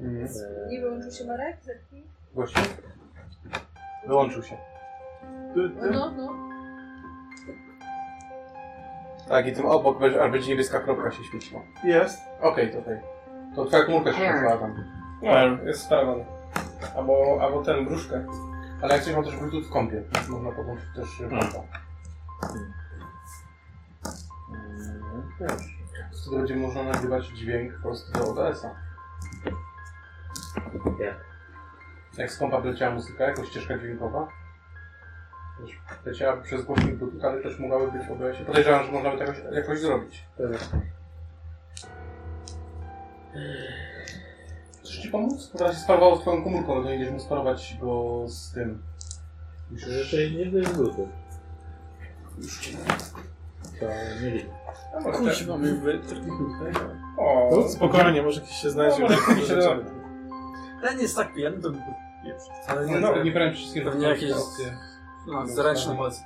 [SPEAKER 4] Mhm.
[SPEAKER 7] Eee,
[SPEAKER 26] Nie wyłączył się Marek? Zerknij.
[SPEAKER 4] Gościu? Wyłączył się.
[SPEAKER 26] No, no, no.
[SPEAKER 4] Tak, i tym obok będzie, a będzie niebieska kropka się świeciła.
[SPEAKER 3] Jest.
[SPEAKER 4] Okej, to okej. To twoja komórka się świeciła tam.
[SPEAKER 5] No, jest sprawą. Albo, albo ten, gruszkę.
[SPEAKER 4] Ale jak coś mam też Bluetooth w kompie, więc można podłączyć też y, kompa. Wtedy będzie można nagrywać dźwięk po prostu do ODS-a.
[SPEAKER 7] Jak?
[SPEAKER 4] Jak z kompa wleciała muzyka, jako ścieżka dźwiękowa, leciałaby przez górnik budynku, ale też mogłaby być w
[SPEAKER 3] No.
[SPEAKER 4] obrocie. Podejrzewam, że można by to jakoś, jakoś zrobić. Chcesz ci pomóc? Bo teraz się sparowało z twoją komórką, no to idziesz mu sparować go z tym.
[SPEAKER 1] Myślę, że to nie jest głupi. To nie wiem.
[SPEAKER 19] Kuźwa, mamy
[SPEAKER 4] O,
[SPEAKER 3] No, spokojnie, może jakiś się znajdzie.
[SPEAKER 19] No, może
[SPEAKER 3] Jakieś
[SPEAKER 19] jakiś się
[SPEAKER 3] rzeczy.
[SPEAKER 19] znajdzie. Ten jest tak pijany, to
[SPEAKER 3] Ale nie- no, nie brałem wszystkiego.
[SPEAKER 19] Pewnie jakieś
[SPEAKER 3] Opcje.
[SPEAKER 19] no, zręczne mocy.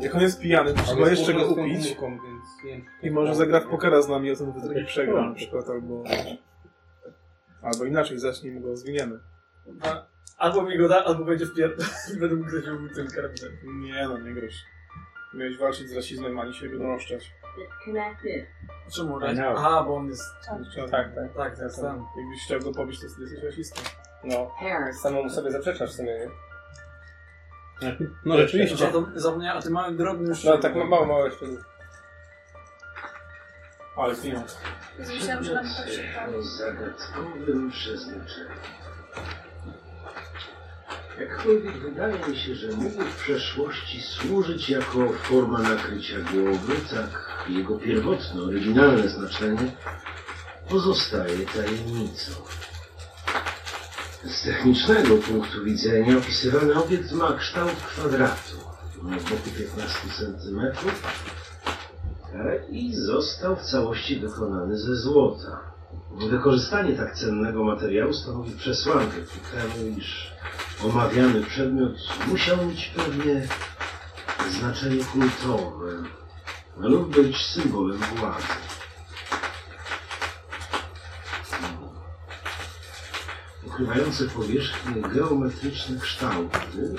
[SPEAKER 3] Jak on jest pijany, to
[SPEAKER 19] Ale
[SPEAKER 3] trzeba jeszcze
[SPEAKER 19] z
[SPEAKER 3] go
[SPEAKER 19] tą
[SPEAKER 3] upić.
[SPEAKER 19] komórką, więc nie wiem, czy to
[SPEAKER 3] I
[SPEAKER 4] No.
[SPEAKER 3] może
[SPEAKER 19] jest-
[SPEAKER 3] zagra w pokera z nami, a ten drugi przegra na
[SPEAKER 19] tak.
[SPEAKER 3] przykład, albo... Albo inaczej, zaczniemy go zwiniemy.
[SPEAKER 19] Albo mi go da, albo będzie w pier... Będę mu groził mu tym karabinem.
[SPEAKER 3] Nie no, nie groź. Miałeś walczyć z rasizmem, ani się go donoszczać.
[SPEAKER 26] Knapy.
[SPEAKER 19] Czemu?
[SPEAKER 3] I know.
[SPEAKER 19] Aha, bo on jest...
[SPEAKER 3] Tak, tak. Tak,
[SPEAKER 19] tak, tak.
[SPEAKER 3] Jakbyś chciał go pobić, to jesteś rasistą.
[SPEAKER 5] No, samemu sobie zaprzeczasz w sumie, nie?
[SPEAKER 4] No rzeczywiście.
[SPEAKER 19] Za- Zapomniałem, a ty mały drobny już...
[SPEAKER 5] No tak ma- mało, mało jeszcze.
[SPEAKER 3] Ale pieniądz.
[SPEAKER 8] Myślałam, że nam tak się pali.
[SPEAKER 25] zagadkowym przeznaczeniem. Jakkolwiek wydaje mi się, że mógł w przeszłości służyć jako forma nakrycia głowy, tak jego pierwotne, oryginalne znaczenie pozostaje tajemnicą. Z technicznego punktu widzenia opisywany obiekt ma kształt kwadratu, ma boku 15 cm i został w całości wykonany ze złota. Wykorzystanie tak cennego materiału stanowi przesłankę ku temu, iż omawiany przedmiot musiał mieć pewnie znaczenie kultowe lub być symbolem władzy. Ukrywające powierzchnie geometryczne kształty,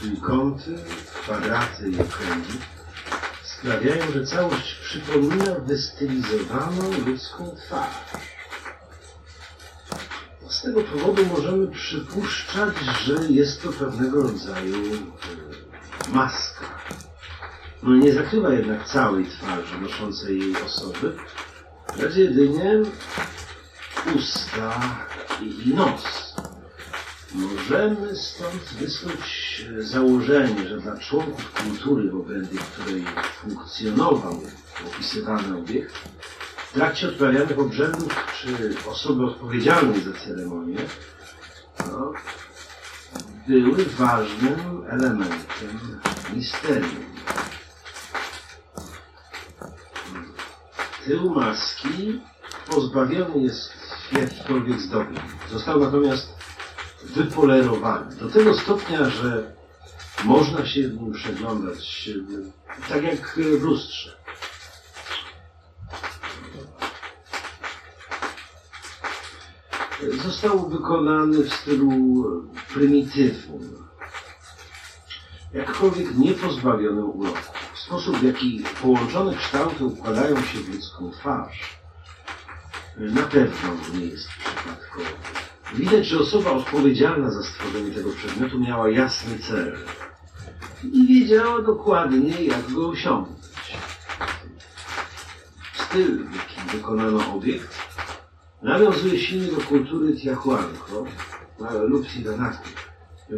[SPEAKER 25] trójkąty, kwadraty i okręgi sprawiają, że całość przypomina wystylizowaną ludzką twarz. No Z tego powodu możemy przypuszczać, że jest to pewnego rodzaju e, maska. No nie zakrywa jednak całej twarzy noszącej jej osoby, lecz jedynie usta i nos. Możemy stąd wysnuć e, założenie, że dla członków kultury, w obrębie której funkcjonował opisywany obiekt, w trakcie odprawianych obrzędów czy osoby odpowiedzialnej za ceremonię no, były ważnym elementem misterium. Tył maski pozbawiony jest jakichkolwiek zdobień. Został natomiast wypolerowany do tego stopnia, że można się nim przeglądać e, tak jak e, w lustrze. został wykonany w stylu prymitywnym, jakkolwiek nie pozbawionym uroku. Sposób, w jaki połączone kształty układają się w ludzką twarz, na pewno nie jest przypadkowy. Widać, że osoba odpowiedzialna za stworzenie tego przedmiotu miała jasny cel i wiedziała dokładnie, jak go osiągnąć. Styl, w jakim wykonano obiekt, nawiązuje silnie do kultury Tiahuanco e, lub Sidanaki.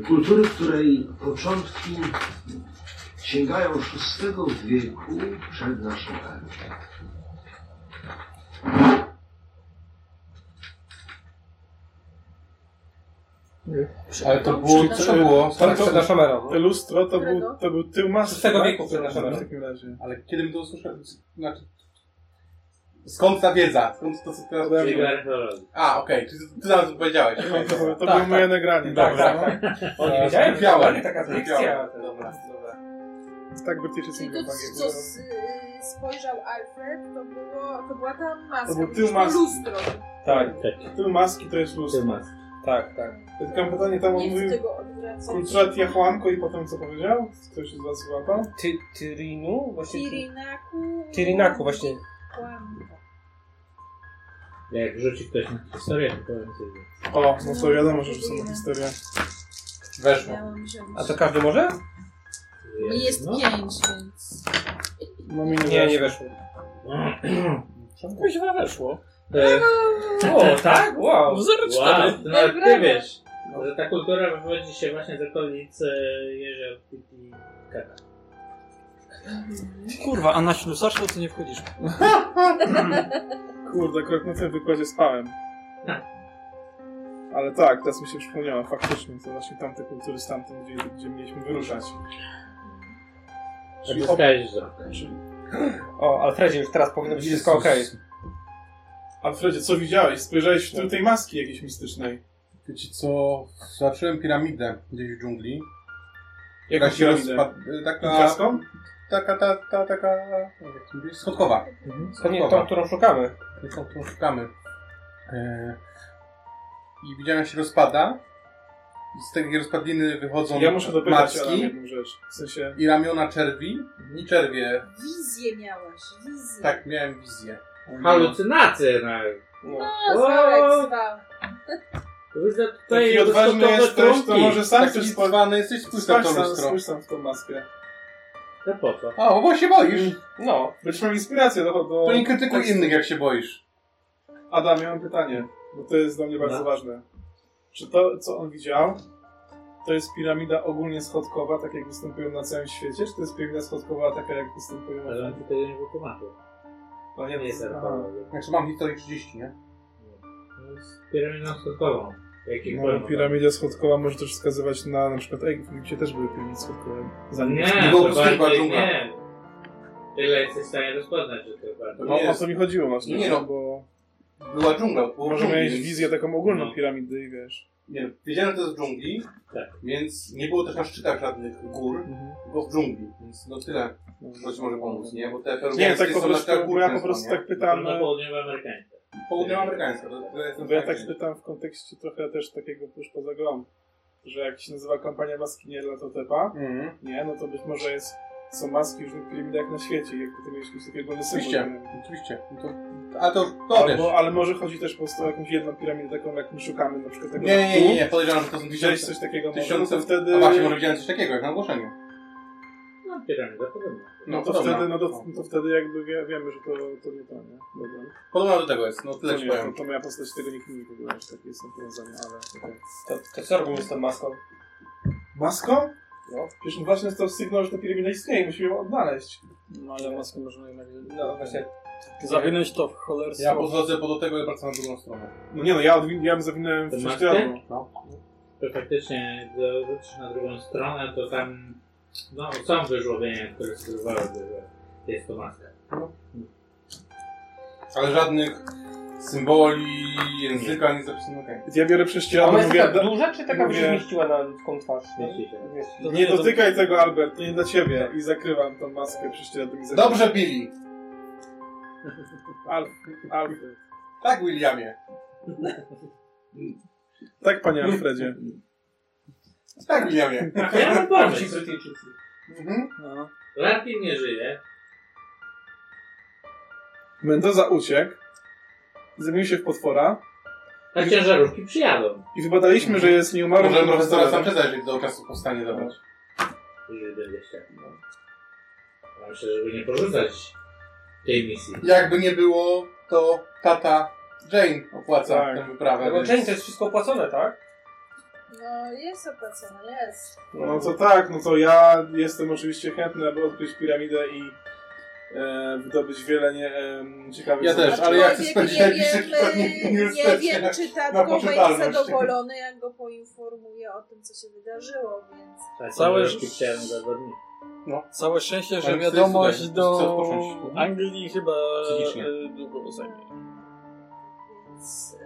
[SPEAKER 25] Kultury, której początki sięgają VI wieku przed naszą erą.
[SPEAKER 4] Ale to było- to było-
[SPEAKER 3] Tam
[SPEAKER 4] przed naszą erą.
[SPEAKER 3] Lustro to był, to był tył maski.
[SPEAKER 4] Z tego
[SPEAKER 3] tak?
[SPEAKER 4] wieku przed naszą erą.
[SPEAKER 3] W takim razie.
[SPEAKER 4] Ale kiedy bym to usłyszał, z- znaczy... Skąd ta wiedza? Skąd to, co teraz
[SPEAKER 3] Ode mnie.
[SPEAKER 4] A, okej, czyli ty- ty zaraz powiedziałeś.
[SPEAKER 3] No, to- to było moje nagranie,
[SPEAKER 4] Tak,
[SPEAKER 3] dobra,
[SPEAKER 4] tak.
[SPEAKER 3] no.
[SPEAKER 4] tak.
[SPEAKER 3] O, nie
[SPEAKER 4] E,
[SPEAKER 3] wiedziałem, że
[SPEAKER 4] skupiałem,
[SPEAKER 3] była taka
[SPEAKER 4] skupiałem.
[SPEAKER 3] fikcja.
[SPEAKER 4] Dobra, dobra.
[SPEAKER 3] Tak, British jest
[SPEAKER 8] Czyli to, co z, y, spojrzał Alfred, to, było, to była ta maska.
[SPEAKER 3] To był
[SPEAKER 8] to
[SPEAKER 3] tył maski.
[SPEAKER 8] lustro.
[SPEAKER 3] Tak. Tył maski to jest lustro. Tył maski.
[SPEAKER 5] Tak, tak.
[SPEAKER 3] Tylko mam pytanie, tam on
[SPEAKER 8] Nie chcę
[SPEAKER 3] mówił
[SPEAKER 8] tego odwracać.
[SPEAKER 3] kultura Tiahuanco i potem co powiedział? Ktoś z was złapał?
[SPEAKER 5] Ty, Tyrinu? Właśnie,
[SPEAKER 8] Tirinaku.
[SPEAKER 5] Tyrinaku, właśnie.
[SPEAKER 8] Kłamka.
[SPEAKER 1] Jak rzuci ktoś na historię, to powiem coś więcej.
[SPEAKER 3] O, no to wiadomo, że już są na historię.
[SPEAKER 5] Weszło. A to każdy może?
[SPEAKER 8] Mi jest
[SPEAKER 5] No.
[SPEAKER 8] pięć, więc...
[SPEAKER 3] No mi
[SPEAKER 5] Nie, nie weszło.
[SPEAKER 2] [CLEARS THROAT]
[SPEAKER 19] Kuźwa weszło.
[SPEAKER 5] E, o, tak? Wow.
[SPEAKER 19] No, 0,4.
[SPEAKER 2] tak?
[SPEAKER 1] Wow, to nawet ty wiesz.
[SPEAKER 7] Że ta kultura wywodzi się właśnie z okolic e, jezior Titicaca.
[SPEAKER 19] Kurwa, a na ślusarstwo to nie wchodzisz.
[SPEAKER 2] Kurde, akurat na tym wykładzie spałem.
[SPEAKER 4] Tak.
[SPEAKER 2] Ale tak, teraz mi się przypomniała, faktycznie, to właśnie tamte kultury stamtąd, gdzie, gdzie mieliśmy wyruszać.
[SPEAKER 1] Odzyskałeś
[SPEAKER 2] op- czyli-
[SPEAKER 5] O, Alfredzie, już teraz powinno być wszystko
[SPEAKER 2] Jezus.
[SPEAKER 5] okej.
[SPEAKER 2] Alfredzie, co widziałeś? Spojrzałeś w tył tej maski jakiejś mistycznej.
[SPEAKER 4] Wiecie co, zobaczyłem piramidę gdzieś w dżungli.
[SPEAKER 2] Jaką
[SPEAKER 4] Taka się
[SPEAKER 2] piramidę?
[SPEAKER 4] rozpad- Taka...
[SPEAKER 2] Łukaską?
[SPEAKER 4] Taka, ta, ta, taka... Jak to mówisz? Schodkowa.
[SPEAKER 5] Mhm.
[SPEAKER 4] Schodkowa.
[SPEAKER 5] Nie tą, którą szukamy.
[SPEAKER 4] Nie tą, którą szukamy. E... I widziałem, jak się rozpada. I z takiej rozpadliny wychodzą
[SPEAKER 2] Ja muszę dopytać Adam
[SPEAKER 4] macki
[SPEAKER 2] jedną rzecz. W sensie,
[SPEAKER 4] i ramiona czerwi. I czerwie.
[SPEAKER 6] Wizję miałaś, wizję.
[SPEAKER 4] Tak, miałem wizję.
[SPEAKER 7] Halucynacje nawet.
[SPEAKER 6] No,
[SPEAKER 7] O!
[SPEAKER 6] Zarek zwał.
[SPEAKER 7] Wygląda tutaj
[SPEAKER 2] taki odważny
[SPEAKER 7] doskokowe
[SPEAKER 2] jesteś, to
[SPEAKER 7] trunki.
[SPEAKER 2] może sam
[SPEAKER 4] Taki
[SPEAKER 2] chcesz
[SPEAKER 4] zwany Tak, jesteś, spójrz na to
[SPEAKER 2] sam,
[SPEAKER 4] lustro.
[SPEAKER 2] spójrz sam w tą maskę.
[SPEAKER 7] To po co?
[SPEAKER 4] A, bo się boisz.
[SPEAKER 5] No.
[SPEAKER 2] Być mam inspirację do... do
[SPEAKER 4] To nie
[SPEAKER 2] Tak,
[SPEAKER 4] krytykuj innych, jak się boisz.
[SPEAKER 2] Adam, ja mam pytanie, bo to jest dla mnie bardzo
[SPEAKER 4] No.
[SPEAKER 2] ważne. Czy to, co on widział, to jest piramida ogólnie schodkowa, tak jak występują na całym świecie, czy to jest piramida schodkowa, taka jak występują
[SPEAKER 7] Ale
[SPEAKER 2] na
[SPEAKER 7] on tutaj nie wytłumaczył.
[SPEAKER 2] To
[SPEAKER 7] nie jest zerwało.
[SPEAKER 4] Znaczy mam historię 30, nie?
[SPEAKER 7] Piramidą skokową. Jakich
[SPEAKER 2] No, piramida schodkowa może też wskazywać na na przykład Egipt, gdzie też były piramidy schodkowe. Zanim
[SPEAKER 7] Nie,
[SPEAKER 2] nie
[SPEAKER 7] to
[SPEAKER 2] było
[SPEAKER 7] bardziej
[SPEAKER 2] dżungla.
[SPEAKER 7] nie. Tyle jesteś w stanie rozpoznać, że to bardzo.
[SPEAKER 2] No, o co mi chodziło właśnie,
[SPEAKER 4] Nie
[SPEAKER 2] nie,
[SPEAKER 4] no.
[SPEAKER 2] bo
[SPEAKER 4] Była dżungla. było
[SPEAKER 2] może
[SPEAKER 4] dżungli,
[SPEAKER 2] miałeś
[SPEAKER 4] więc-
[SPEAKER 2] wizję taką ogólną
[SPEAKER 4] No.
[SPEAKER 2] piramidy i wiesz.
[SPEAKER 4] Nie wiem, wiedziałem, że to jest w dżungli,
[SPEAKER 2] Tak.
[SPEAKER 4] więc nie było też na szczytach żadnych gór,
[SPEAKER 2] Mhm.
[SPEAKER 4] tylko w dżungli, więc no tyle. Ktoś może pomóc, nie? Bo te
[SPEAKER 2] Nie,
[SPEAKER 4] peruwiańskie
[SPEAKER 2] tak po
[SPEAKER 4] są na szczytach
[SPEAKER 2] prostu, bo
[SPEAKER 4] gór
[SPEAKER 2] ja po
[SPEAKER 4] często,
[SPEAKER 2] prostu
[SPEAKER 4] nie?
[SPEAKER 2] tak pytam... e,
[SPEAKER 7] Południowoamerykańska.
[SPEAKER 4] Południowoamerykańska, to, to jest
[SPEAKER 2] Bo ja tak pytam w kontekście trochę też takiego pójść poza grą, że jak się nazywa kampania no maski nie dla Totepa,
[SPEAKER 4] Mhm.
[SPEAKER 2] nie, no to być może jest, są maski już w piramidach na świecie, jakby to mieliśmy sobie ogólny symbol.
[SPEAKER 4] Oczywiście,
[SPEAKER 2] nie?
[SPEAKER 4] oczywiście. No to, a to, to wiesz.
[SPEAKER 2] Albo, ale może chodzi też po prostu o jakąś jedną piramidę taką, jak my szukamy, na przykład tego
[SPEAKER 4] Nie, nie, nie, nie,
[SPEAKER 2] tu.
[SPEAKER 4] podejrzewam, że to są
[SPEAKER 2] Widziałeś
[SPEAKER 4] tysiące,
[SPEAKER 2] coś takiego
[SPEAKER 4] tysiące,
[SPEAKER 2] może, No to wtedy...
[SPEAKER 4] A właśnie, może widziałem coś takiego, jak na ogłoszeniu.
[SPEAKER 7] No, piramida podobna.
[SPEAKER 2] No to,
[SPEAKER 4] podobno.
[SPEAKER 2] wtedy, no, to, no to wtedy jakby wie, wiemy, że to, to nie to, nie? Dobra.
[SPEAKER 4] Podobno do tego jest, no tyle
[SPEAKER 2] To
[SPEAKER 4] ci
[SPEAKER 2] nie, to,
[SPEAKER 4] powiem.
[SPEAKER 2] to moja postać tego nikt nie wygląda, takie są powiązania, ale... okej.
[SPEAKER 5] To, to co robimy z tą maską?
[SPEAKER 2] Maską?
[SPEAKER 5] No.
[SPEAKER 2] Przecież właśnie jest to sygnał, że ta piramida istnieje, musimy ją odnaleźć.
[SPEAKER 19] No ale maskę można jednak...
[SPEAKER 5] No właśnie.
[SPEAKER 19] Zawinąć to w cholerstwo.
[SPEAKER 4] Ja podchodzę po do tego i wracam na drugą stronę.
[SPEAKER 2] No nie no, ja, odwin- ja bym zawinąłem
[SPEAKER 7] Te
[SPEAKER 2] w
[SPEAKER 7] maskę?
[SPEAKER 2] prześcieradło.
[SPEAKER 4] No.
[SPEAKER 7] To faktycznie, gdy wrócisz na drugą stronę, to tam no, są wyżłobienia, które sugerowałyby, że jest to maska.
[SPEAKER 4] Ale żadnych symboli, języka nie zapisano, okej.
[SPEAKER 2] Ja biorę prześcieradło,
[SPEAKER 5] Ona jest
[SPEAKER 2] mówię...
[SPEAKER 5] taka
[SPEAKER 2] da-
[SPEAKER 5] duża, czy taka by się
[SPEAKER 2] mówię-
[SPEAKER 5] mieściła na ludzką twarz?
[SPEAKER 7] Mieści się.
[SPEAKER 5] Mieści.
[SPEAKER 2] Nie dotykaj tego, Albert, to nie dla ciebie. I zakrywam tą maskę prześcieradłem i zakrywam.
[SPEAKER 4] Dobrze, Billy!
[SPEAKER 2] Alf, Alf.
[SPEAKER 4] Tak, Williamie.
[SPEAKER 2] Tak,
[SPEAKER 5] [LAUGHS]
[SPEAKER 2] panie Alfredzie.
[SPEAKER 4] Tak, Williamie.
[SPEAKER 7] Ja mam pomysł.
[SPEAKER 4] Mhm.
[SPEAKER 19] No.
[SPEAKER 7] Larkin nie żyje.
[SPEAKER 2] Mendoza uciekł, zamienił się w potwora
[SPEAKER 7] A ciężarówki przyjadą.
[SPEAKER 2] i wybadaliśmy, że jest nieumarłym
[SPEAKER 4] Możemy profesora
[SPEAKER 2] profesorem.
[SPEAKER 4] Sancheza, jeżeli do czasu powstanie zabrać.
[SPEAKER 7] Jeżeli będzie chciał. no. Ja Myślę, żeby nie porzucać tej misji.
[SPEAKER 4] Jakby nie było, to tata Jane opłaca
[SPEAKER 2] Tak.
[SPEAKER 4] tę wyprawę.
[SPEAKER 5] No bo
[SPEAKER 4] więc-
[SPEAKER 5] Jane, to jest wszystko opłacone, tak?
[SPEAKER 6] No, jest opłacone, jest.
[SPEAKER 2] No to tak, no to ja jestem oczywiście chętny, aby odkryć piramidę i e, wydobyć wiele nie, e, ciekawych
[SPEAKER 4] Ja też,
[SPEAKER 2] rzeczy.
[SPEAKER 4] ale ja chcę
[SPEAKER 6] Człowiek
[SPEAKER 4] spędzić
[SPEAKER 6] nie
[SPEAKER 4] najbliższe
[SPEAKER 6] wiem,
[SPEAKER 4] kilka dni w
[SPEAKER 6] e, nie
[SPEAKER 4] uniwersytecie
[SPEAKER 6] wiem, czy
[SPEAKER 4] na
[SPEAKER 6] tatko będzie
[SPEAKER 4] poczytalność.
[SPEAKER 6] zadowolony, jak go poinformuje o tym, co się wydarzyło, więc...
[SPEAKER 7] Tak,
[SPEAKER 19] Całe-
[SPEAKER 7] ciężarówki przyjadą za dwa dni.
[SPEAKER 5] No.
[SPEAKER 19] Całe szczęście,
[SPEAKER 4] Ale
[SPEAKER 19] że
[SPEAKER 4] to jest
[SPEAKER 19] wiadomość
[SPEAKER 4] cudem.
[SPEAKER 19] do
[SPEAKER 4] Chcę odpocząć.
[SPEAKER 19] Anglii chyba
[SPEAKER 4] Psychicznie.
[SPEAKER 19] e, długo zajmie.
[SPEAKER 6] mm, więc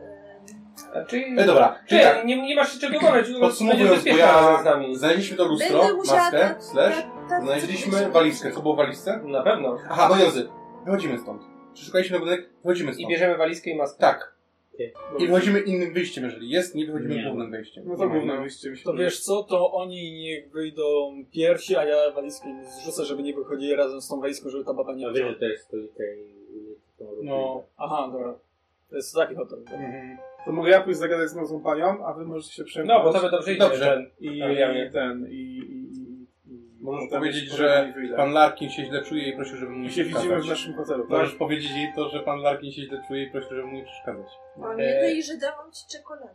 [SPEAKER 5] A Czyli...
[SPEAKER 4] E, dobra,
[SPEAKER 5] Czy
[SPEAKER 4] czyli tak.
[SPEAKER 5] nie, nie masz się czego obawiać, bo no będzie
[SPEAKER 4] Podsumowując, bo
[SPEAKER 5] bezpieczna
[SPEAKER 4] ja
[SPEAKER 5] razem z nami.
[SPEAKER 4] znaleźliśmy to
[SPEAKER 6] Będę
[SPEAKER 4] lustro,
[SPEAKER 6] musiała
[SPEAKER 4] maskę,
[SPEAKER 6] tak-
[SPEAKER 4] slash,
[SPEAKER 6] tak- tak-
[SPEAKER 4] znaleźliśmy walizkę. Co było w walizce?
[SPEAKER 5] Na pewno.
[SPEAKER 4] Aha, pieniądze. Wychodzimy stąd. Przeszukaliśmy budynek, wychodzimy
[SPEAKER 5] I
[SPEAKER 4] stąd.
[SPEAKER 5] bierzemy walizkę i maskę.
[SPEAKER 4] Tak.
[SPEAKER 7] Okej.
[SPEAKER 4] I wychodzimy innym wyjściem, jeżeli jest, nie wychodzimy
[SPEAKER 7] Nie.
[SPEAKER 4] głównym wyjściem.
[SPEAKER 2] No to główne wyjście mi się
[SPEAKER 19] To wiesz co, to oni niech wyjdą pierwsi, a ja walizkę im zrzucę, żeby nie wychodzili razem z tą walizką, żeby ta baba nie
[SPEAKER 7] No wiem,
[SPEAKER 19] wzięła.
[SPEAKER 7] że to jest stolica i i-
[SPEAKER 4] No.
[SPEAKER 19] Aha, dobra. To jest taki hotel. tak?
[SPEAKER 4] Mhm.
[SPEAKER 2] To mogę ja pójść zagadać z nową panią, a wy możecie się przejmować.
[SPEAKER 5] No, bo Tak, tobie dobrze idzie.
[SPEAKER 4] Dobrze.
[SPEAKER 2] I
[SPEAKER 5] Ten, Williamie.
[SPEAKER 2] ten, i... i, i, i
[SPEAKER 4] Możesz
[SPEAKER 2] potem
[SPEAKER 4] powiedzieć,
[SPEAKER 2] już
[SPEAKER 4] że
[SPEAKER 2] powoli wyjdę.
[SPEAKER 4] pan Larkin się źle czuje i prosi, żeby mu nie No.
[SPEAKER 2] I się widzimy
[SPEAKER 4] przeszkadzać.
[SPEAKER 2] w naszym hotelu, tak?
[SPEAKER 4] Możesz powiedzieć jej
[SPEAKER 5] E,
[SPEAKER 6] no
[SPEAKER 4] to, że pan Larkin się źle czuje i prosi, żeby mu nie przeszkadzać.
[SPEAKER 6] Pamiętaj, że dałam ci czekoladę.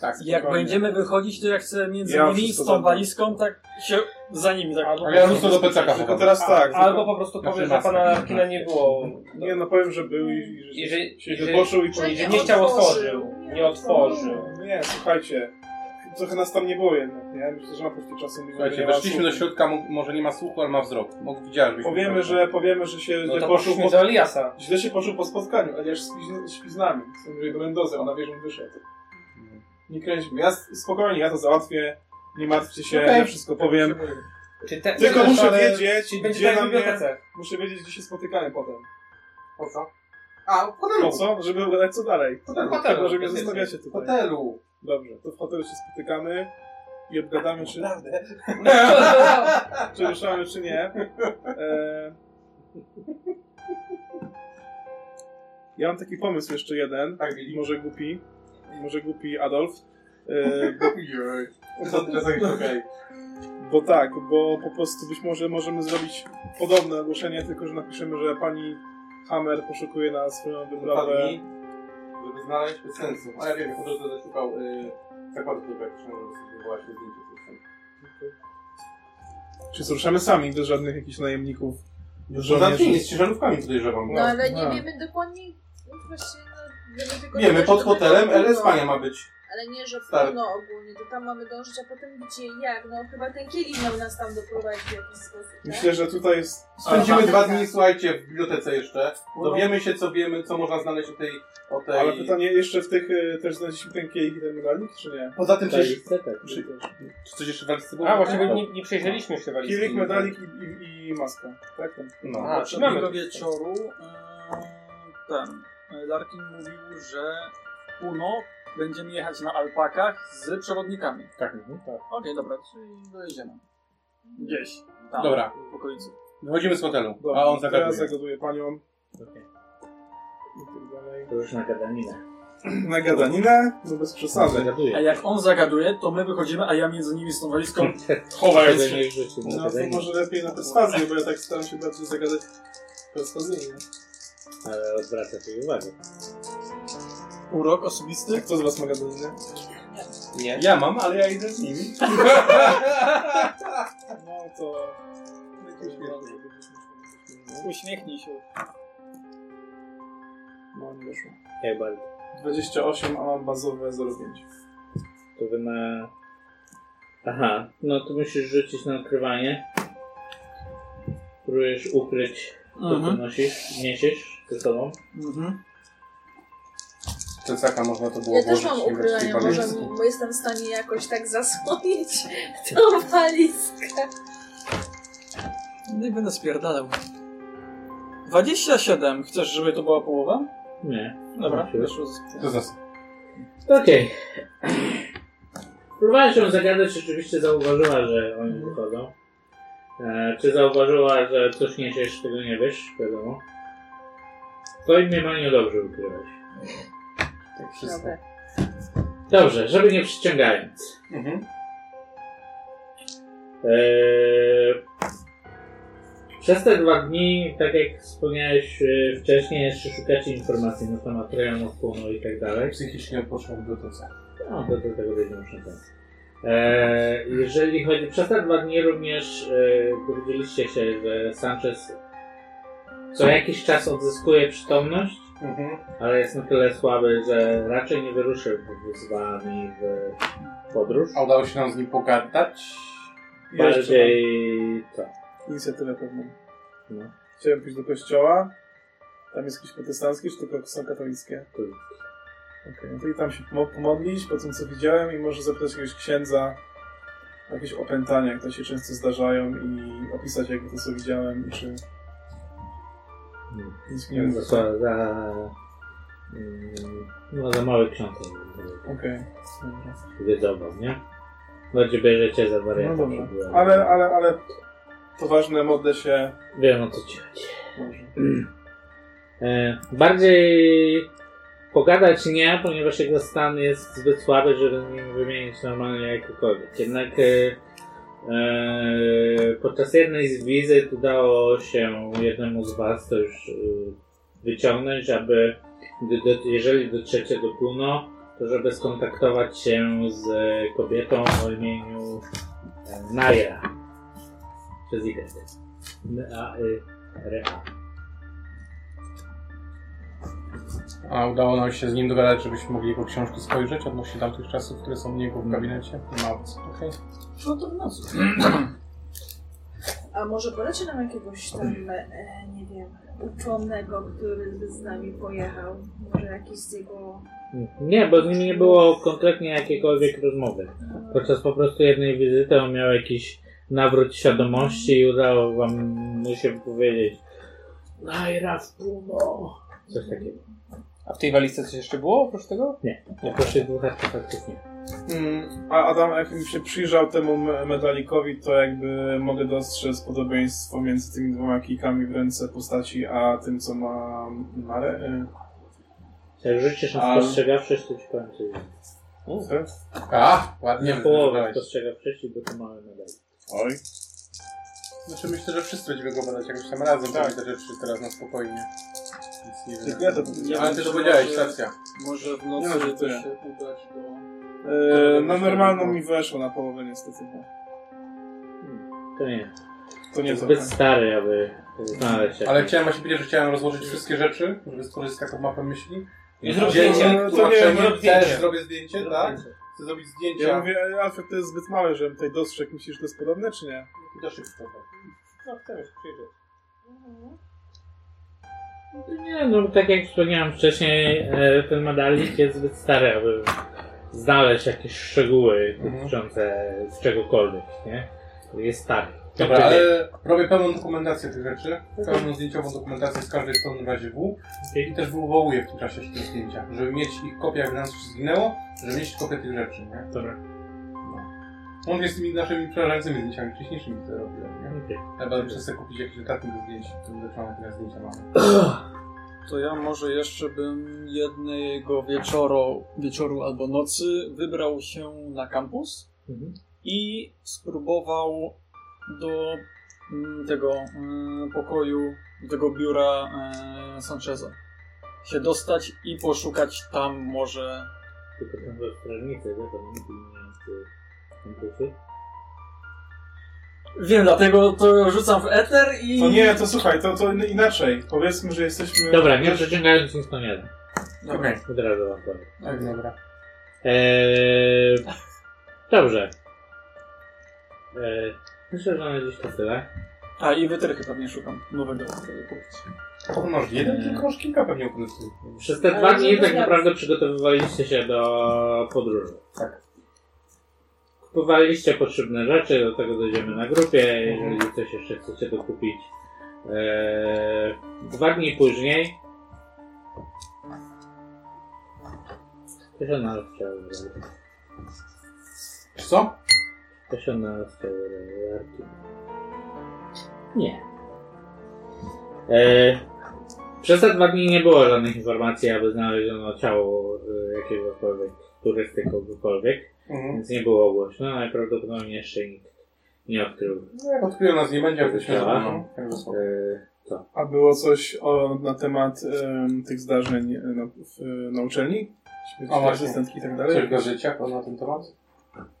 [SPEAKER 4] Tak,
[SPEAKER 3] Jak
[SPEAKER 4] spokojnie.
[SPEAKER 3] będziemy wychodzić, to ja chcę między
[SPEAKER 4] Ja
[SPEAKER 3] nimi
[SPEAKER 4] wszystko
[SPEAKER 3] z tą
[SPEAKER 4] zadbam.
[SPEAKER 3] walizką tak się za nimi tak.
[SPEAKER 4] Ale ja rzucę do plecaka. chowam.
[SPEAKER 5] Albo po prostu powiem, że pana Arkina nie było.
[SPEAKER 2] Nie, no powiem, że był i że
[SPEAKER 5] Jeżeli,
[SPEAKER 2] się wyboszył i
[SPEAKER 5] jeżeli
[SPEAKER 2] powiedział-
[SPEAKER 5] nie chciał otworzył. Nie otworzył.
[SPEAKER 2] Nie, słuchajcie, trochę nas tam nie było jednak, nie? Myślę, że na prostu czasem nie
[SPEAKER 4] Słuchajcie,
[SPEAKER 2] nie ma
[SPEAKER 4] weszliśmy do
[SPEAKER 2] słuchu.
[SPEAKER 4] środka, mo- może nie ma słuchu, ale ma wzrok. Mógł widziałeś. byśmy
[SPEAKER 2] Powiemy,
[SPEAKER 4] tam-
[SPEAKER 2] że, powiemy, że się
[SPEAKER 4] No
[SPEAKER 2] źle
[SPEAKER 4] to
[SPEAKER 2] poszło
[SPEAKER 4] poszliśmy
[SPEAKER 2] po,
[SPEAKER 4] do Eliasa.
[SPEAKER 2] Źle się poszło po spotkaniu, ale ja już śpi, śpi z nami. Mówię do Mendozy, ona wie, że on wyszedł. Nie kręćmy. Ja s- spokojnie, ja to załatwię. Nie martwcie się,
[SPEAKER 5] Okej.
[SPEAKER 2] ja wszystko powiem.
[SPEAKER 5] Czy te-
[SPEAKER 2] Tylko
[SPEAKER 5] czy
[SPEAKER 2] muszę
[SPEAKER 5] ale-
[SPEAKER 2] wiedzieć,
[SPEAKER 5] czyli będzie
[SPEAKER 2] gdzie
[SPEAKER 5] tak w
[SPEAKER 2] na mnie...
[SPEAKER 5] bibliotece.
[SPEAKER 2] Muszę wiedzieć, gdzie się spotykamy potem.
[SPEAKER 4] Po co? A, po
[SPEAKER 2] Po co? Żeby ugadać co dalej.
[SPEAKER 5] No
[SPEAKER 4] Potem w hotelu.
[SPEAKER 2] Dlatego, że mnie
[SPEAKER 4] Potem
[SPEAKER 2] zostawiacie
[SPEAKER 4] w
[SPEAKER 2] tutaj.
[SPEAKER 4] hotelu.
[SPEAKER 2] Dobrze, to w hotelu się spotykamy i obgadamy, czy... Naprawdę? [LAUGHS] czy ruszamy, czy nie. E... Ja mam taki pomysł jeszcze jeden.
[SPEAKER 4] Tak.
[SPEAKER 2] Może głupi. Może głupi Adolf. E...
[SPEAKER 4] [LAUGHS]
[SPEAKER 2] Bo...
[SPEAKER 4] Co ty zrobisz? Okej.
[SPEAKER 2] Bo tak, bo po prostu być może możemy zrobić podobne ogłoszenie, tylko że napiszemy, że pani Hammer poszukuje na swoją wyprawę.
[SPEAKER 4] Wypadli, żeby znaleźć bez sensu. A ja wiem, po drodze będę szukał y, zakładu fotograficznego, żeby właśnie zdjęcie z tym.
[SPEAKER 2] Czy ruszamy sami, bez żadnych jakichś najemników?
[SPEAKER 3] No
[SPEAKER 2] Bez
[SPEAKER 4] Zamknięcie Znaczy, z ciężarówkami podejrzewam.
[SPEAKER 6] No ale nie
[SPEAKER 2] A.
[SPEAKER 6] wiemy dokładnie. No właśnie, no, wiemy tylko
[SPEAKER 4] Wiemy,
[SPEAKER 6] tyle,
[SPEAKER 4] pod
[SPEAKER 6] że to
[SPEAKER 4] hotelem
[SPEAKER 6] będzie
[SPEAKER 4] El
[SPEAKER 6] północ.
[SPEAKER 4] Espania ma być.
[SPEAKER 6] Ale nie, że
[SPEAKER 4] Stary.
[SPEAKER 6] półno ogólnie, to tam mamy dążyć, a potem gdzie, jak? No chyba ten kielich miał nas tam doprowadzić w jakiś sposób. tak?
[SPEAKER 2] Myślę, że tutaj jest...
[SPEAKER 4] Spędzimy
[SPEAKER 2] Aha.
[SPEAKER 4] dwa dni, słuchajcie, w bibliotece jeszcze.
[SPEAKER 2] No.
[SPEAKER 4] Dowiemy się, co wiemy, co można znaleźć o tej... O tej...
[SPEAKER 2] Ale pytanie jeszcze w tych, y, też znaleźliśmy ten kielich i ten medalik, czy nie?
[SPEAKER 4] Poza tym
[SPEAKER 2] Tak,
[SPEAKER 4] przecież-
[SPEAKER 2] tak, tak.
[SPEAKER 4] Czy, czy coś jeszcze w walizce było?
[SPEAKER 5] A, właśnie nie, nie przejrzeliśmy jeszcze walizki.
[SPEAKER 2] Kielich, medalik i, i, i maska. Tak? Tam.
[SPEAKER 4] No.
[SPEAKER 5] A, czy mamy
[SPEAKER 3] Poprzedniego wieczoru e, ten e, Larkin mówił, że w Puno będziemy jechać na alpakach z przewodnikami.
[SPEAKER 4] Tak.
[SPEAKER 3] Okej, dobra, czyli dojedziemy. Gdzieś. Tam,
[SPEAKER 4] Dobra.
[SPEAKER 3] W okolicy.
[SPEAKER 4] Wychodzimy z hotelu,
[SPEAKER 2] Dobra,
[SPEAKER 4] a on
[SPEAKER 2] Teraz
[SPEAKER 4] zagaduje.
[SPEAKER 2] zagaduję panią.
[SPEAKER 7] To już na gadaninę.
[SPEAKER 2] Na gadaninę? No bez przesady.
[SPEAKER 3] A jak on zagaduje, to my wychodzimy, a ja między nimi z tą
[SPEAKER 4] [LAUGHS]
[SPEAKER 3] walizką
[SPEAKER 2] Chowając
[SPEAKER 3] chowając się.
[SPEAKER 2] się. No to może lepiej na perswazję, bo ja tak staram się bardziej zagadać perswazyjnie.
[SPEAKER 7] Ale odwraca się uwagę.
[SPEAKER 3] Urok osobisty?
[SPEAKER 2] Kto z was ma gadaninę?
[SPEAKER 4] Nie. Ja mam, ale ja idę z nimi.
[SPEAKER 2] [LAUGHS] No to...
[SPEAKER 3] Uśmiechnij się.
[SPEAKER 2] No nie wyszło.
[SPEAKER 7] Jak bardzo.
[SPEAKER 2] 28, a mam bazowe 0,5.
[SPEAKER 7] To wy ma... Aha, no to musisz rzucić na ukrywanie. Próbujesz ukryć to, co
[SPEAKER 3] Mhm.
[SPEAKER 7] nosisz, niesiesz ze sobą.
[SPEAKER 3] Mhm.
[SPEAKER 4] Celsaka można to było
[SPEAKER 6] Ja też
[SPEAKER 4] włożyć
[SPEAKER 6] mam
[SPEAKER 4] nie wiem, czy tej
[SPEAKER 6] ukrywania, może
[SPEAKER 4] walizki.
[SPEAKER 6] bo jestem w stanie jakoś tak zasłonić [LAUGHS] tą walizkę.
[SPEAKER 3] No i będę spierdalał. 27. Chcesz, żeby to była połowa?
[SPEAKER 7] Nie.
[SPEAKER 3] Dobra,
[SPEAKER 4] Tak
[SPEAKER 7] Musi
[SPEAKER 3] wyszło
[SPEAKER 7] być.
[SPEAKER 3] z-
[SPEAKER 4] To zas-
[SPEAKER 7] Okej. Próbowałem się zagadać, rzeczywiście zauważyła, że oni wychodzą. E, czy zauważyła, że coś niesiesz, tego nie wiesz, wiadomo. To imię ma niedobrze ukrywać.
[SPEAKER 4] Tak
[SPEAKER 6] Dobra.
[SPEAKER 7] Dobrze, żeby nie przyciągając.
[SPEAKER 4] Mhm.
[SPEAKER 7] Eee, przez te dwa dni, tak jak wspomniałeś e, wcześniej, jeszcze szukacie informacji na temat rejonu wpłynu i tak dalej.
[SPEAKER 4] Psychicznie poszłam do bibliotece.
[SPEAKER 7] No, to do tego będziemy muszę e, Jeżeli chodzi, przez te dwa dni również e, dowiedzieliście się, że Sanchez co jakiś czas odzyskuje przytomność,
[SPEAKER 4] Mhm.
[SPEAKER 7] ale jest na tyle słaby, że raczej nie wyruszy z wami w podróż.
[SPEAKER 4] A udało się nam z nim pogadać?
[SPEAKER 7] Bardziej co?
[SPEAKER 2] Inicjatywę pewną.
[SPEAKER 7] No.
[SPEAKER 2] Chciałem pójść do kościoła. Tam jest jakieś protestanckie, czy tylko są katolickie?
[SPEAKER 7] Tak.
[SPEAKER 2] Okej, no to i tam się pomo- pomodlić po tym, co widziałem i może zapytać jakiegoś księdza o jakieś opętania, które się często zdarzają i opisać jakby to, co widziałem i czy...
[SPEAKER 7] No.
[SPEAKER 2] Nic mi nie
[SPEAKER 7] za,
[SPEAKER 2] mówi.
[SPEAKER 7] za, mm, no, za mały książek.
[SPEAKER 2] Okej,
[SPEAKER 7] Wiedzową, nie? Bardziej bierzecie za
[SPEAKER 2] no
[SPEAKER 7] wariantę.
[SPEAKER 2] dobrze.
[SPEAKER 7] żeby-
[SPEAKER 2] Ale, ale, ale to ważne, modlę się.
[SPEAKER 7] Wiem o co ci chodzi. [CLEARS THROAT] E, Bardziej pogadać nie, ponieważ jego stan jest zbyt słaby, żeby z nim wymienić normalnie jakokolwiek. Jednak e, e, podczas jednej z wizyt udało się jednemu z Was to już e, wyciągnąć, aby gdy do, jeżeli dotrzecie do Puno, to żeby skontaktować się z kobietą o imieniu e, Naja. Przez IKT. N A Y R A.
[SPEAKER 4] A udało nam się z nim dogadać, żebyśmy mogli jego książki spojrzeć odnośnie tamtych czasów, które są u niego w gabinecie? Nie ma opcji. Okej.
[SPEAKER 6] No to w nas. A może poleci nam jakiegoś tam, e, nie wiem, uczonego, który by z nami pojechał? Może jakiś z jego...
[SPEAKER 7] Nie, bo z nimi nie było konkretnie jakiejkolwiek rozmowy. Podczas po prostu jednej wizyty on miał jakiś nawrót świadomości i udało wam mu się powiedzieć Najra w półno. coś takiego.
[SPEAKER 5] A w tej walizce coś jeszcze było oprócz tego?
[SPEAKER 7] Nie. Nie, proszę dwóch artefaktów nie.
[SPEAKER 2] Mm, A Adam, jakbym się przyjrzał temu me- medalikowi, to jakby mogę dostrzec podobieństwo między tymi dwoma kijkami w ręce postaci, a tym, co ma Mare.
[SPEAKER 7] Jak rzucisz na
[SPEAKER 2] A-
[SPEAKER 7] spostrzegawczość, to ci powiem coś.
[SPEAKER 4] A, ładnie
[SPEAKER 7] Na połowę
[SPEAKER 4] wybrałeś.
[SPEAKER 7] spostrzegawczości, bo to mamy medal.
[SPEAKER 2] Oj.
[SPEAKER 4] Znaczy myślę, że wszyscy będziemy go badać jakoś tam razem, tak. te rzeczy teraz na spokojnie. Więc nie wiem.
[SPEAKER 2] Ja to-
[SPEAKER 4] ja Ale ty to powiedziałeś, stacja.
[SPEAKER 3] Może w
[SPEAKER 2] Nie ma
[SPEAKER 3] nocy
[SPEAKER 2] żartu,
[SPEAKER 3] to
[SPEAKER 2] nie.
[SPEAKER 3] się udać do...
[SPEAKER 2] Yy, no normalną mi weszło na połowę niestety. no.
[SPEAKER 7] To nie.
[SPEAKER 2] To nie to.
[SPEAKER 7] Zbyt stary, aby znaleźć.
[SPEAKER 4] Ale
[SPEAKER 7] jakieś-
[SPEAKER 4] chciałem właśnie powiedzieć, że chciałem rozłożyć wszystkie rzeczy, żeby stworzyć taką mapę myśli.
[SPEAKER 7] I
[SPEAKER 2] zrób
[SPEAKER 4] Dzień-
[SPEAKER 2] zdjęcie.
[SPEAKER 4] tu
[SPEAKER 2] To
[SPEAKER 4] masz
[SPEAKER 2] nie,
[SPEAKER 4] przejmie-
[SPEAKER 2] zrób zdjęcie.
[SPEAKER 4] Też zrobię zdjęcie,
[SPEAKER 2] Zrób
[SPEAKER 4] tak?
[SPEAKER 2] zdjęcie.
[SPEAKER 4] Chcę zrobić zdjęcie.
[SPEAKER 2] Ja mówię, Alfred, to jest zbyt małe, żebym tutaj dostrzegł. Myślisz, że to jest podobne, czy nie?
[SPEAKER 4] To szybko. No chcemy się przyjrzeć.
[SPEAKER 7] Nie, no tak jak wspomniałem wcześniej, e, ten medalik jest zbyt stary, aby znaleźć jakieś szczegóły dotyczące czegokolwiek, nie? Jest stary.
[SPEAKER 4] Dobra, ale robię pełną dokumentację tych rzeczy, pełną zdjęciową dokumentację z każdej strony w razie W i też wywołuję w tym czasie te zdjęcia, żeby mieć ich kopię, jakby nas coś zginęło, żeby mieć kopię tych rzeczy, nie?
[SPEAKER 7] Dobra.
[SPEAKER 2] Tak.
[SPEAKER 4] No. Łącznie z tymi naszymi przerażającymi zdjęciami wcześniejszymi, które robiłem, nie?
[SPEAKER 7] Okej.
[SPEAKER 4] Ja będę przez sobie kupić jakiś notatnik do zdjęć, którym zaczynam teraz zdjęcia mamy.
[SPEAKER 3] To ja może jeszcze bym jednego wieczoru, wieczoru albo nocy wybrał się na kampus
[SPEAKER 2] Mhm.
[SPEAKER 3] i spróbował do mm, tego mm, pokoju, do tego biura e, Sancheza się dostać i poszukać tam może...
[SPEAKER 7] Tylko tam we strażnicy, wie pan, nie pilnujący kompusy.
[SPEAKER 3] Wiem, dlatego to rzucam w eter i...
[SPEAKER 2] y, To nie, to słuchaj, to, to inaczej. Powiedzmy, że jesteśmy...
[SPEAKER 7] Dobra, nie przeciągając nic na jeden.
[SPEAKER 2] Dobra.
[SPEAKER 7] Od razu wam powiem.
[SPEAKER 4] Tak, dobra.
[SPEAKER 7] Eee, dobrze. Eee, myślę, że mamy gdzieś to tyle.
[SPEAKER 3] A i wytrychy pewnie szukam nowego. żeby kupić.
[SPEAKER 4] To masz jeden, tylko masz kilka pewnie ukrytych.
[SPEAKER 7] Przez te dwa dni tak naprawdę przygotowywaliście się do podróży.
[SPEAKER 4] Tak.
[SPEAKER 7] Kupowaliście potrzebne rzeczy, do tego dojdziemy na grupie. Jeżeli
[SPEAKER 4] Mhm.
[SPEAKER 7] coś jeszcze chcecie dokupić, eee, dwa dni później. To się na chciał robić.
[SPEAKER 4] Co?
[SPEAKER 7] To się na chciał robić. Nie. E, przez te dwa dni nie było żadnych informacji, aby znaleziono ciało e, jakiegokolwiek turysty, kogokolwiek,
[SPEAKER 4] Mhm.
[SPEAKER 7] więc nie było głośno. Najprawdopodobniej jeszcze nikt nie odkrył.
[SPEAKER 4] No jak odkryją nas nie będzie, jak byśmy
[SPEAKER 7] Ciała.
[SPEAKER 4] zobaczą.
[SPEAKER 7] E, to.
[SPEAKER 2] A było coś o, na temat em, tych zdarzeń e, na, w, na uczelni? Śmierci
[SPEAKER 4] O, właśnie.
[SPEAKER 2] asystentki i tak
[SPEAKER 4] Coś
[SPEAKER 2] dalej?
[SPEAKER 4] w gazetach na ten temat?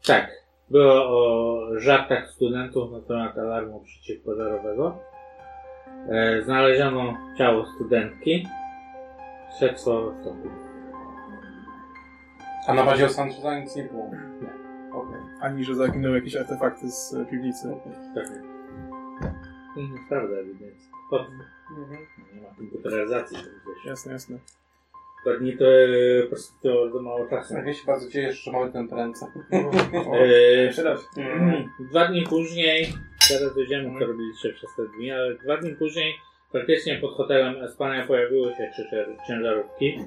[SPEAKER 7] Tak. Było o żartach studentów na temat alarmu przeciwpożarowego. E, znaleziono ciało studentki. Śledztwo w toku.
[SPEAKER 4] A na bazie Sancheza nic nie było.
[SPEAKER 7] Nie.
[SPEAKER 4] Okej.
[SPEAKER 2] Ani, że zaginęły jakieś artefakty z e, piwnicy.
[SPEAKER 7] Tak. Mhm, Prawda, więc pod...
[SPEAKER 4] Mhm.
[SPEAKER 7] nie ma komputeryzacji.
[SPEAKER 2] Jasne, jasne.
[SPEAKER 7] Dwa dni to e, po prostu to za mało czasu.
[SPEAKER 4] Ja się bardzo cieszę, że mamy ten
[SPEAKER 7] [LAUGHS]
[SPEAKER 4] prędce.
[SPEAKER 7] E,
[SPEAKER 4] Przydał się.
[SPEAKER 7] Dwa dni później, zaraz dojdziemy, co robiliście przez te dni, ale dwa dni później praktycznie pod hotelem Espania pojawiły się krzycze- ciężarówki.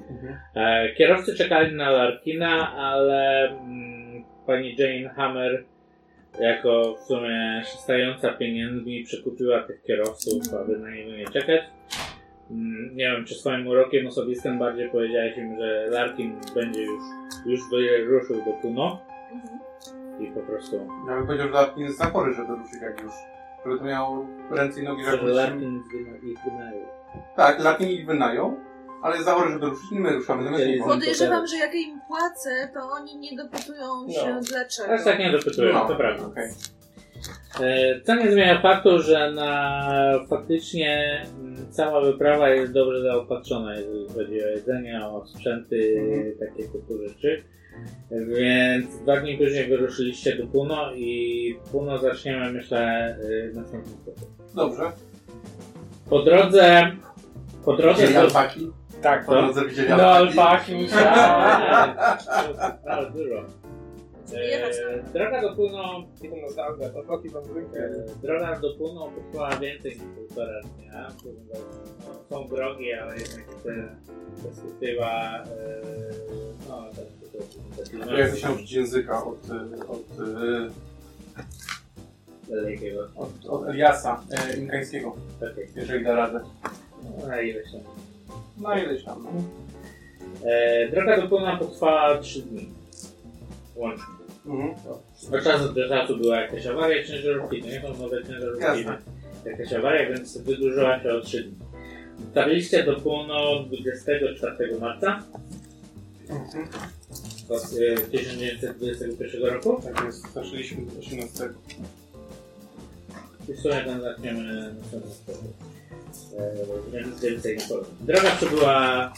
[SPEAKER 7] E, Kierowcy czekali na Larkina, ale mm, pani Jane Hammer jako w sumie szastająca pieniędzmi przekupiła tych kierowców, aby na niego nie czekać. Mm, Nie wiem, czy swoim urokiem osobistym bardziej powiedziałeś im, że Larkin będzie już, już wyruszył do Puno
[SPEAKER 4] Mhm.
[SPEAKER 7] i po prostu
[SPEAKER 4] Ja bym No, powiedział, że Larkin jest za chory, żeby ruszyć jak już. Żeby to miał ręce i nogi
[SPEAKER 7] Że
[SPEAKER 4] żeby się-
[SPEAKER 7] Larkin ich wynajął.
[SPEAKER 4] Tak, Larkin ich wynajął. ale za orę, żeby ruszyć, nie my ruszamy. zamiast nich.
[SPEAKER 6] Podejrzewam, że jak ja im płacę, to oni nie dopytują się dlaczego.
[SPEAKER 7] Aż tak nie dopytują,
[SPEAKER 4] No,
[SPEAKER 7] to prawda.
[SPEAKER 4] okej.
[SPEAKER 7] E, To nie zmienia faktu, że na faktycznie mm, cała wyprawa jest dobrze zaopatrzona, jeżeli chodzi o jedzenie, o sprzęty, takie typu rzeczy. Więc dwa dni później wyruszyliście do Puno i Puno zaczniemy, myślę, y, na samym początku.
[SPEAKER 4] Dobrze.
[SPEAKER 7] Po drodze... Po drodze...
[SPEAKER 4] Widzieli alpaki?
[SPEAKER 7] Tak,
[SPEAKER 4] Po
[SPEAKER 7] to-
[SPEAKER 4] drodze widzieli
[SPEAKER 7] No,
[SPEAKER 4] alpaki.
[SPEAKER 7] alpaki musiałem. Bardzo dużo.
[SPEAKER 6] Eee,
[SPEAKER 7] E, Droga do Puno... E, Droga do Puno potrwała więcej niż półtora dnia. Puno, no, są drogi, ale jednak te perspektywa... E, no, tak, tak, tak,
[SPEAKER 4] Ja chcę się uczyć języka od... e, od e,
[SPEAKER 7] Dalekiego.
[SPEAKER 4] Od, od Eliasa e, Inkańskiego, jeżeli da radę.
[SPEAKER 7] Na ile się?
[SPEAKER 4] No ileś tam. no.
[SPEAKER 7] E, droga do Puna potrwała 3 dni. Łącznie.
[SPEAKER 4] Mhm.
[SPEAKER 7] Od czasu do czasu była jakaś awaria ciężarówki, to nie są nowe ciężarówki.
[SPEAKER 4] Jasne.
[SPEAKER 7] Jakaś awaria, więc wydłużyła się o 3 dni. Dotarliście do Puno 24 marca e, 1921 roku.
[SPEAKER 4] Tak jest, zaczęliśmy od 18.
[SPEAKER 7] I w sumie tam zaczniemy następną sprawę. Więc więcej nie powiem. Droga przebyła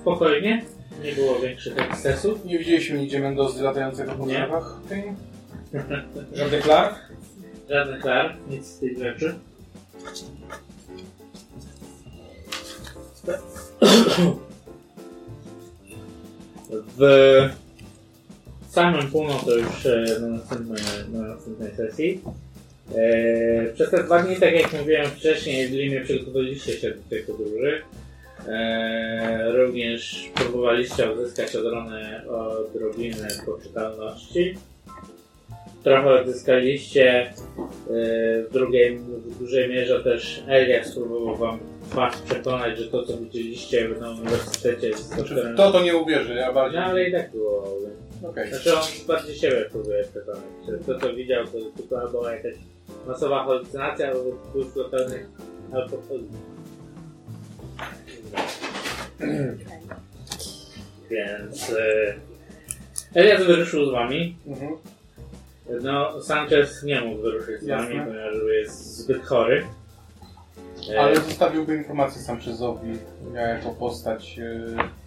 [SPEAKER 7] spokojnie, nie było większych ekscesów.
[SPEAKER 4] Nie widzieliśmy nigdzie Mendozy latającego po
[SPEAKER 7] Nie.
[SPEAKER 4] drzewach. [LAUGHS]
[SPEAKER 7] Żadnych klar? Żadnych klar, nic z tych rzeczy. W samym północ to już e, na następnej, na następnej sesji. E, przez te dwa dni, tak jak mówiłem wcześniej, jeżeli nie przygotowaliście się do tej podróży, e, również próbowaliście uzyskać odrobinę, odrobinę poczytalności. Trochę odzyskaliście e, w, drugiej, w dużej mierze też Elias próbował wam was przekonać, że to co widzieliście na uniwersytecie jest
[SPEAKER 4] Znaczy, to to nie uwierzy, ja bardziej.
[SPEAKER 7] No ale i tak było.
[SPEAKER 4] Okej.
[SPEAKER 7] Znaczy on bardziej siebie próbuje przekonać. że To co widział to tylko albo jakaś masowa halucynacja, albo wpływ lokalnych alkoholi. Więc e, Elias wyruszył z wami.
[SPEAKER 4] Mhm.
[SPEAKER 7] No, Sanchez nie mógł wyruszyć z
[SPEAKER 4] Jasne.
[SPEAKER 7] wami, ponieważ jest zbyt chory. E,
[SPEAKER 4] Ale zostawiłby informację sam przez Zowi, ja jako postać. e,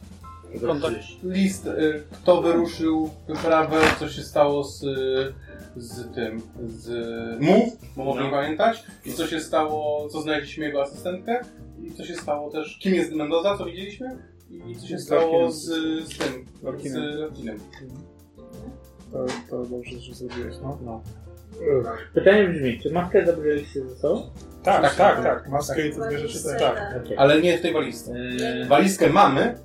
[SPEAKER 7] Kontakt.
[SPEAKER 4] List, e, kto wyruszył wyprawę, co się stało z, e, z tym, z mów, bo mogę
[SPEAKER 7] No.
[SPEAKER 4] nie pamiętać, i co się stało, co znaleźliśmy jego asystentkę, i co się stało też, kim jest Mendoza, co widzieliśmy, i co się
[SPEAKER 2] Z
[SPEAKER 4] stało
[SPEAKER 2] Larkinem.
[SPEAKER 4] z, z tym,
[SPEAKER 2] Larkinem.
[SPEAKER 4] z Larkinem.
[SPEAKER 2] To, to dobrze, że zrobiłeś, no.
[SPEAKER 7] Pytanie brzmi, czy maskę zabraliście ze sobą?
[SPEAKER 2] Tak, tak, tak, tak.
[SPEAKER 4] Maskę
[SPEAKER 2] i te dwie rzeczy też.
[SPEAKER 4] Tak,
[SPEAKER 7] Okej.
[SPEAKER 4] ale nie w tej walizce.
[SPEAKER 7] Eee.
[SPEAKER 4] Walizkę mamy,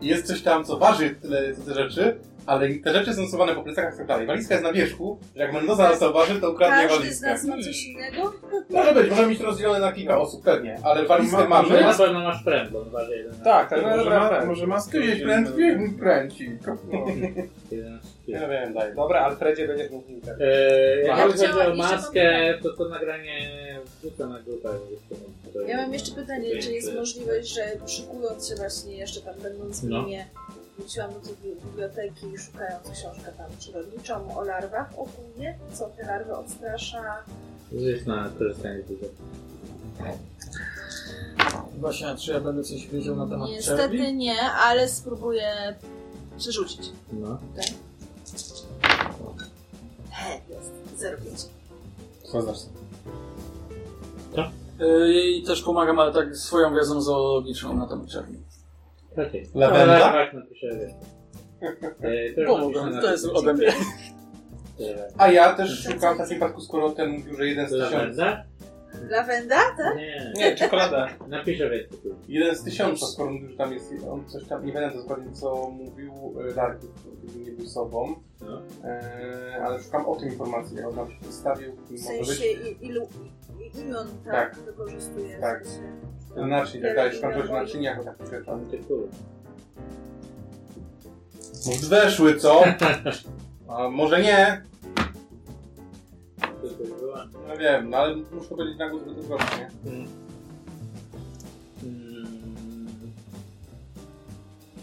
[SPEAKER 4] jest coś tam, co waży tyle co te rzeczy, ale te rzeczy są schowane po plecakach i tak dalej. Walizka jest na wierzchu, że jak Mendoza nas zauważy, to ukradnie
[SPEAKER 6] Każdy z
[SPEAKER 4] walizkę. Hmm.
[SPEAKER 6] nas ma coś innego?
[SPEAKER 4] Może być, może mieć rozdzielone na kilka osób, pewnie, ale walizkę mamy.
[SPEAKER 7] Na pewno masz pręd, bo waży jeden.
[SPEAKER 4] Tak,
[SPEAKER 2] tak,
[SPEAKER 4] może,
[SPEAKER 2] dobra,
[SPEAKER 4] ma,
[SPEAKER 2] tak.
[SPEAKER 4] może maskę
[SPEAKER 2] Ty
[SPEAKER 4] wziąć
[SPEAKER 2] wziąć
[SPEAKER 4] pręt,
[SPEAKER 2] będę.
[SPEAKER 4] wziąć pręcik. No. Ja wiem, daj.
[SPEAKER 5] Dobra, Alfredzie będziesz mówił teraz.
[SPEAKER 7] Eee,
[SPEAKER 5] Ja
[SPEAKER 7] jak chodzi
[SPEAKER 6] chciałam
[SPEAKER 7] o
[SPEAKER 6] jeszcze
[SPEAKER 7] maskę, to to nagranie wrzucę na grupę. jeszcze mam tutaj.
[SPEAKER 6] Ja mam jeszcze pytanie, czy jest
[SPEAKER 7] Dziękuję.
[SPEAKER 6] możliwość, że szykując się właśnie jeszcze tam będąc w
[SPEAKER 7] No.
[SPEAKER 6] Limie, wróciłam do tej biblioteki i szukając książkę tam przyrodniczą o larwach ogólnie, co te larwy odstrasza.
[SPEAKER 7] Jest na korzystanie z budżetu.
[SPEAKER 3] Właśnie, czy ja będę coś wiedział na temat czerwi?
[SPEAKER 6] Niestety nie, ale spróbuję przerzucić.
[SPEAKER 7] No.
[SPEAKER 6] Tak? He, jest. Zero pięć.
[SPEAKER 3] Y, I też pomagam, ale tak swoją wiedzą zoologiczną na temat czerwi.
[SPEAKER 7] Okej.
[SPEAKER 3] Lawenda?
[SPEAKER 7] No, Tak, napiszę. Eee, to już
[SPEAKER 3] Pomogłem,
[SPEAKER 7] napiszę na-
[SPEAKER 3] to jest ode mnie.
[SPEAKER 7] Eee,
[SPEAKER 4] A ja też szukam w takim przypadku, skoro ten mówił, że jeden z tysiąca.
[SPEAKER 7] Lawenda?
[SPEAKER 6] Lawenda, tak?
[SPEAKER 7] Nie.
[SPEAKER 4] Nie, czekolada. [LAUGHS]
[SPEAKER 7] Napiszę więcej.
[SPEAKER 4] Jeden z tysiąca, skoro mówił, że tam jest, on coś tam, nie pamiętam dokładnie co mówił e, Darki, który nie był sobą,
[SPEAKER 7] No.
[SPEAKER 4] e, ale szukam o tym informacji, jak on nam się przedstawił, kim
[SPEAKER 6] W
[SPEAKER 4] może
[SPEAKER 6] sensie
[SPEAKER 4] być,
[SPEAKER 6] i- ilu i- imion tak,
[SPEAKER 4] Tak.
[SPEAKER 6] wykorzystuje.
[SPEAKER 4] Tak.
[SPEAKER 6] W sensie.
[SPEAKER 4] naczyń, tak dalej, szukam czegoś w naczyniach, o takich rzeczach. Może weszły, co? A może nie? No wiem, no ale muszę
[SPEAKER 7] Mm.
[SPEAKER 4] powiedzieć na głos, bo to zrobię, nie?
[SPEAKER 7] Mm.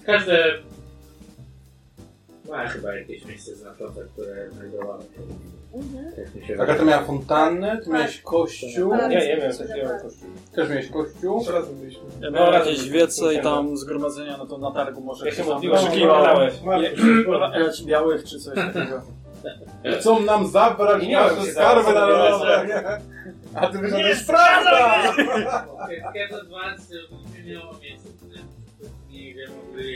[SPEAKER 7] Każde ma chyba jakieś miejsce znaczące, które znajdowałem. Tak mi się
[SPEAKER 4] Agata
[SPEAKER 7] wydaje.
[SPEAKER 4] miała fontannę, ty miałeś kościół.
[SPEAKER 6] Tak.
[SPEAKER 7] Ja- ja
[SPEAKER 4] miałem też miałem kościół. Też miałeś kościół. Trzy razy byliśmy.
[SPEAKER 3] Ja miałem jakieś wiece i tam zgromadzenia, no to na targu może...
[SPEAKER 4] Ja się
[SPEAKER 3] jakieś tam
[SPEAKER 4] modliłem,
[SPEAKER 3] było.
[SPEAKER 4] że kiwałeś.
[SPEAKER 3] Nie, Elać białych czy [LAUGHS] coś takiego.
[SPEAKER 4] Chcą nam zabrać
[SPEAKER 3] Nie miałem
[SPEAKER 4] nasze
[SPEAKER 3] się
[SPEAKER 4] skarby
[SPEAKER 3] zaraz
[SPEAKER 4] narodowe.
[SPEAKER 3] zabierać.
[SPEAKER 4] A ty
[SPEAKER 7] Nie,
[SPEAKER 4] wyglądasz prawda!
[SPEAKER 3] Tak,
[SPEAKER 7] Kiedy was nie miało miejsca, nie wiem, mogli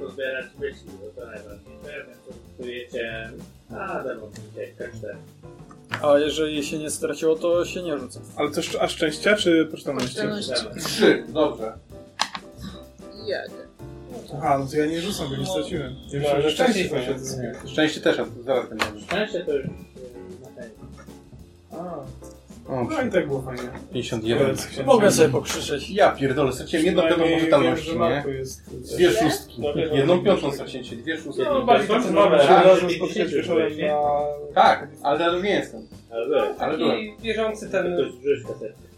[SPEAKER 7] pozbierać myśli, bo to najważniejsze, więc pozyskujecie, a demontujcie każde.
[SPEAKER 3] A jeżeli się nie straciło, to się nie rzuca.
[SPEAKER 2] Ale to szcz- a szczęścia czy pocztalności?
[SPEAKER 3] Pocztalności.
[SPEAKER 4] Trzy, dobrze.
[SPEAKER 6] Jeden.
[SPEAKER 2] Aha, no to ja nie rzucam, bo nie straciłem. Ja
[SPEAKER 4] No,
[SPEAKER 2] myślałem,
[SPEAKER 4] że
[SPEAKER 2] że
[SPEAKER 4] szczęście
[SPEAKER 2] szczęście
[SPEAKER 4] to się
[SPEAKER 2] będzie.
[SPEAKER 4] zyskuje. Szczęście też, a to zaraz będzie.
[SPEAKER 7] Szczęście to już e, na pewno.
[SPEAKER 4] O,
[SPEAKER 2] No i tak było fajnie.
[SPEAKER 4] 51.
[SPEAKER 3] Mogę sobie pokrzyczeć.
[SPEAKER 4] Ja pierdolę, straciłem jedną pewną
[SPEAKER 2] Przynajmniej
[SPEAKER 4] poczytalności,
[SPEAKER 2] wiem, że
[SPEAKER 4] nie?
[SPEAKER 2] Marku jest-
[SPEAKER 4] Dwie szóstki.
[SPEAKER 2] No, wiem,
[SPEAKER 4] Jedną
[SPEAKER 2] że-
[SPEAKER 4] piątą straciłem się, dwie szóstki.
[SPEAKER 2] No, bardziej
[SPEAKER 4] Piątą.
[SPEAKER 2] docelowe,
[SPEAKER 4] Tak,
[SPEAKER 2] ale-
[SPEAKER 4] że spotkać
[SPEAKER 2] że-
[SPEAKER 4] wieczorem
[SPEAKER 2] że-
[SPEAKER 4] na- Tak, ale teraz już nie jestem. Ale byłem.
[SPEAKER 5] Taki wierzący ten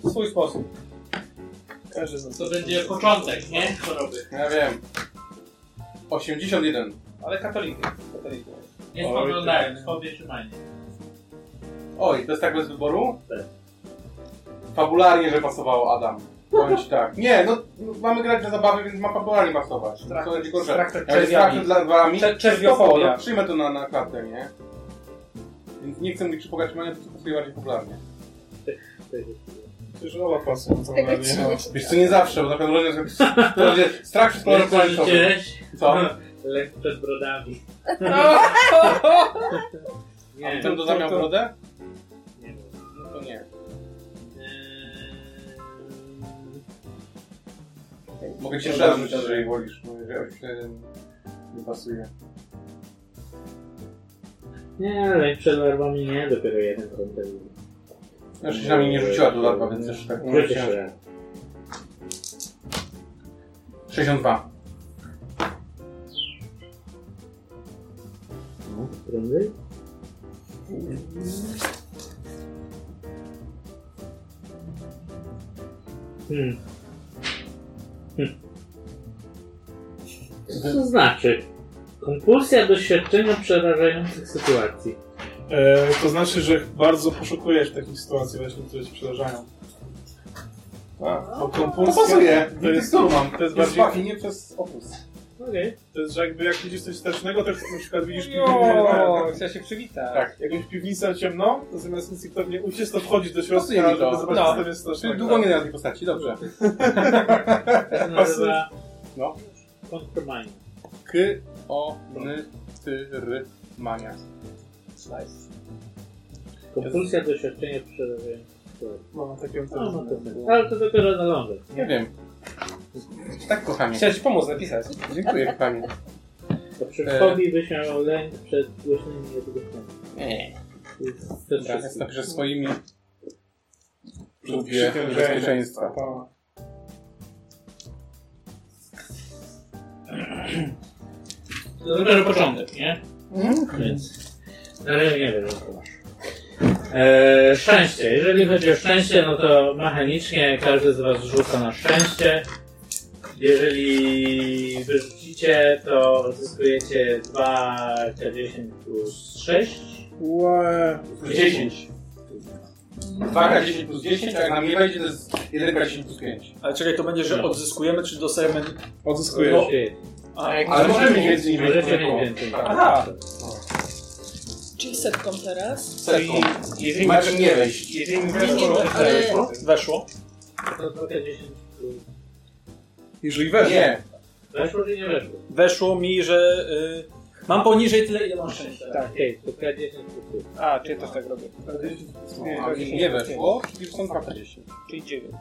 [SPEAKER 4] W swój sposób.
[SPEAKER 27] To będzie początek, nie? Choroby.
[SPEAKER 4] Ja wiem. 81.
[SPEAKER 5] Ale katolikiem. katolikiem.
[SPEAKER 7] Nie spoglądają, powietrzymanie.
[SPEAKER 4] Oj, to jest tak bez wyboru? Fabularnie, że pasowało Adam. Bądź tak. Nie, no no, mamy grać na zabawę, więc ma fabularnie pasować.
[SPEAKER 5] Strach-
[SPEAKER 4] to będzie gorsze.
[SPEAKER 5] strach przed
[SPEAKER 4] Jak jest
[SPEAKER 5] czerwiami.
[SPEAKER 4] strach przed lawami,
[SPEAKER 5] Cze-
[SPEAKER 4] to
[SPEAKER 5] czerwiofobia.
[SPEAKER 4] spoko, no, przyjmę to na, na klatę, nie? Więc nie chcę mówić przypogać mania, to pasuje bardziej popularnie.
[SPEAKER 2] Przecież oba pasują co najmniej.
[SPEAKER 4] Wiesz co, nie zawsze, bo na pewno ludzie to będzie strach przed kolorem planetowym. Co?
[SPEAKER 7] Lek przed brodami.
[SPEAKER 4] A ten do zamiał
[SPEAKER 7] to-
[SPEAKER 4] brodę?
[SPEAKER 7] Nie wiem.
[SPEAKER 4] No to nie.
[SPEAKER 7] Eee,
[SPEAKER 4] Mogę cię żarzyć, jeżeli wolisz. Mówię, że ja się nie pasuje.
[SPEAKER 7] Nie, lek przed larwami nie, dopiero jeden kontakt. No,
[SPEAKER 4] Znaczy się na mnie nie rzuciła tu larwa, więc też tak
[SPEAKER 7] Rzuci
[SPEAKER 4] myślałem,
[SPEAKER 7] się.
[SPEAKER 4] 62.
[SPEAKER 7] No, prędzej? Hmm. Co to znaczy? Kompulsja doświadczenia przerażających sytuacji.
[SPEAKER 2] E, to znaczy, że bardzo poszukujesz takich sytuacji właśnie, które ci przerażają. Tak, bo kompulsja...
[SPEAKER 4] To No, pasuje.
[SPEAKER 2] To jest,
[SPEAKER 4] Mityk Turman.
[SPEAKER 2] to jest
[SPEAKER 4] Jest
[SPEAKER 2] bardziej...
[SPEAKER 4] nie przez opus.
[SPEAKER 7] Okej.
[SPEAKER 2] To jest, że jakby jak widzisz coś strasznego, to na przykład widzisz
[SPEAKER 5] Jo,
[SPEAKER 2] piwnicę.
[SPEAKER 5] chciał się przywitać.
[SPEAKER 2] Tak, jakąś piwnicę ciemno, to zamiast instynktownie uciec, to wchodzić do
[SPEAKER 3] No
[SPEAKER 2] środka,
[SPEAKER 4] Pasuje mi
[SPEAKER 2] żeby
[SPEAKER 4] to.
[SPEAKER 2] zobaczyć, co tam jest strasznego.
[SPEAKER 4] Czyli długo nie na tej postaci, dobrze.
[SPEAKER 7] To
[SPEAKER 4] [LAUGHS]
[SPEAKER 7] się
[SPEAKER 4] Pasuje.
[SPEAKER 7] nazywa
[SPEAKER 4] No.
[SPEAKER 7] kontrmania.
[SPEAKER 4] K, o, n, ty, r, mania. Nice.
[SPEAKER 7] Kompulsja doświadczenia przerażających sytuacji.
[SPEAKER 2] Mam taką
[SPEAKER 7] No, no to Ale to dopiero na lądek.
[SPEAKER 4] Nie wiem. Tak, kochanie.
[SPEAKER 5] Chciałem ci pomóc napisać.
[SPEAKER 4] Dziękuję, kochanie.
[SPEAKER 7] To przy
[SPEAKER 4] E.
[SPEAKER 7] hobby byś miał lęk przed głośnymi niedogłosnymi.
[SPEAKER 4] Nie. Tak.
[SPEAKER 7] Przed
[SPEAKER 4] Dobra,
[SPEAKER 7] wszystkim.
[SPEAKER 4] jest napiszę swoimi... Lubię
[SPEAKER 2] Przykrężenie.
[SPEAKER 4] bezpieczeństwa.
[SPEAKER 2] Pa.
[SPEAKER 7] To dopiero początek, nie? Więc. Ale nie wiem, co masz. Eee, szczęście. Jeżeli chodzi o szczęście, no to mechanicznie każdy z Was rzuca na szczęście. Jeżeli wyrzucicie, to odzyskujecie 2K10 plus 6.
[SPEAKER 2] Łe.
[SPEAKER 4] Plus 10. 2K10 plus 10, a jak nam nie wejdzie, to jest 1K10 plus 5.
[SPEAKER 3] Ale czekaj, to będzie, że odzyskujemy, czy dostajemy...
[SPEAKER 2] Odzyskujesz.
[SPEAKER 3] No.
[SPEAKER 7] A,
[SPEAKER 4] Ale możemy mieć więcej niż
[SPEAKER 7] Możecie
[SPEAKER 4] będzie.
[SPEAKER 7] mieć więcej.
[SPEAKER 3] Aha!
[SPEAKER 6] Czyli setką teraz?
[SPEAKER 4] Setką.
[SPEAKER 2] Jeżeli
[SPEAKER 4] Macie nie wejść.
[SPEAKER 2] Jeżeli
[SPEAKER 6] weszło- ale- y,
[SPEAKER 3] Weszło.
[SPEAKER 7] To 2K10 plus...
[SPEAKER 2] Jeżeli weszło.
[SPEAKER 3] Nie.
[SPEAKER 7] Weszło czy nie weszło?
[SPEAKER 3] Weszło mi, że... y, mam poniżej tyle, ile mam szczęścia.
[SPEAKER 7] Tak. Okej, to K10 plus 5.
[SPEAKER 5] A, czyli też tak robię.
[SPEAKER 4] No, a mi nie weszło, czyli są 2K10.
[SPEAKER 5] Czyli 9.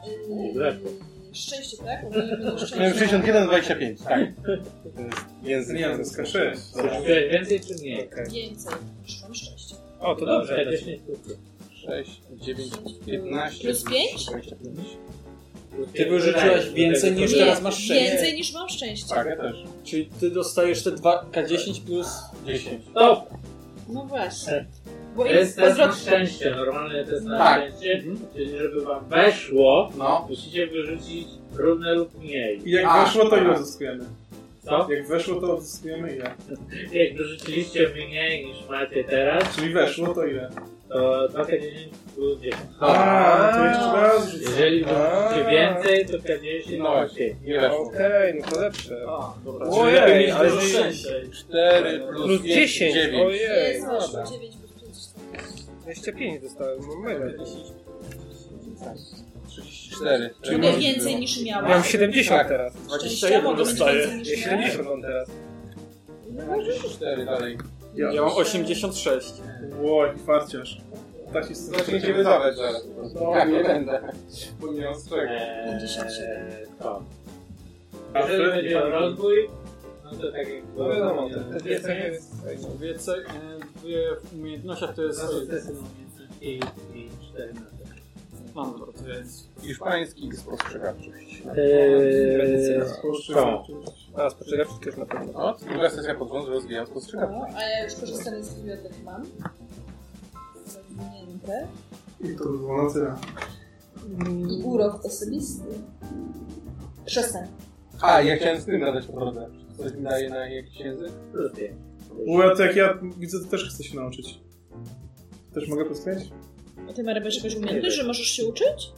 [SPEAKER 6] Szczęście, tak?
[SPEAKER 4] Miałem 61, 25, tak. To jest Język.
[SPEAKER 2] Nie, to jest 6.
[SPEAKER 7] Więcej czy mniej?
[SPEAKER 6] Więcej. Mam szczęście.
[SPEAKER 5] O, to dobrze.
[SPEAKER 7] 10 plus 5.
[SPEAKER 4] 6, 9, 15.
[SPEAKER 6] Plus pięć?
[SPEAKER 4] 25.
[SPEAKER 3] Ty wyrzuciłaś więcej niż teraz masz
[SPEAKER 6] Nie,
[SPEAKER 3] szczęście.
[SPEAKER 6] Więcej niż mam szczęście.
[SPEAKER 4] Tak, ja też.
[SPEAKER 3] Czyli ty dostajesz te 2K10 plus...
[SPEAKER 4] 10.
[SPEAKER 7] Stop!
[SPEAKER 6] No właśnie.
[SPEAKER 7] To
[SPEAKER 6] Bo
[SPEAKER 7] jest test na
[SPEAKER 6] odwrotnie.
[SPEAKER 7] szczęście, normalny test na
[SPEAKER 4] Tak.
[SPEAKER 7] szczęście, czyli żeby wam weszło,
[SPEAKER 4] No.
[SPEAKER 7] musicie wyrzucić równe lub mniej.
[SPEAKER 2] I jak
[SPEAKER 4] A,
[SPEAKER 2] weszło, No to
[SPEAKER 4] a.
[SPEAKER 2] ile zyskujemy?
[SPEAKER 7] Co?
[SPEAKER 2] Jak weszło, to zyskujemy ile?
[SPEAKER 7] Jak dorzuciliście mniej niż macie teraz,
[SPEAKER 2] Czyli weszło, to ile?
[SPEAKER 7] to 2K10 plus 10.
[SPEAKER 2] A, to jeszcze raz rzucę.
[SPEAKER 7] Jeżeli dorzucicie
[SPEAKER 5] A.
[SPEAKER 7] więcej, to K10
[SPEAKER 5] No,
[SPEAKER 7] no, łatwiej.
[SPEAKER 5] Okej, no to lepsze.
[SPEAKER 7] dobra.
[SPEAKER 5] Ojej, ale
[SPEAKER 7] Czyli
[SPEAKER 5] sześć.
[SPEAKER 4] 4
[SPEAKER 5] Plus
[SPEAKER 4] plus
[SPEAKER 5] 10,
[SPEAKER 4] 10, 9.
[SPEAKER 5] ojej. dobra.
[SPEAKER 28] 9 plus 5.
[SPEAKER 5] 25 dostałem, no mega.
[SPEAKER 4] 34.
[SPEAKER 5] Ile
[SPEAKER 6] więcej niż miałeś?
[SPEAKER 5] Mam 70
[SPEAKER 4] Tak.
[SPEAKER 5] teraz.
[SPEAKER 6] Szczęścia mogę mieć więcej niż
[SPEAKER 5] Ja 70 mam teraz.
[SPEAKER 4] 4 dalej.
[SPEAKER 3] Ja, mam 86.
[SPEAKER 2] Łoj, farciarz. Tak się
[SPEAKER 4] Zacznie się wydawać zaraz.
[SPEAKER 2] No,
[SPEAKER 4] Tak,
[SPEAKER 2] nie
[SPEAKER 4] nie
[SPEAKER 2] będę.
[SPEAKER 4] będę. Bo nie mam z czego.
[SPEAKER 7] To. Jeżeli chodzi o rozwój, no to tak jak było.
[SPEAKER 3] wiadomo,
[SPEAKER 7] wspomniane.
[SPEAKER 3] to wiece jest- Wiece, e, dwie w umiejętnościach to jest...
[SPEAKER 7] Dwa sukcesy na umiejętności i, i cztery na to.
[SPEAKER 3] Mam dobra, to jest...
[SPEAKER 4] Hiszpański i spostrzegawczość.
[SPEAKER 7] Eee,
[SPEAKER 4] Tradycja.
[SPEAKER 5] spostrzegawczość. A, spostrzegawczość też na pewno.
[SPEAKER 4] O, druga sesja pod rząd rozwijam spostrzegawczość.
[SPEAKER 28] No, a ja już korzystanie z bibliotek mam. Zawinięte.
[SPEAKER 2] I to było na tyle.
[SPEAKER 28] Urok osobisty. 16.
[SPEAKER 4] A, ja chciałem z tym nadać po drodze. Coś mi daje na jakiś język?
[SPEAKER 2] Bo to jak ja widzę, to też chcę się nauczyć. Też mogę postrzegać?
[SPEAKER 6] A ty, Mary, masz jakąś umiejętność, że możesz się uczyć?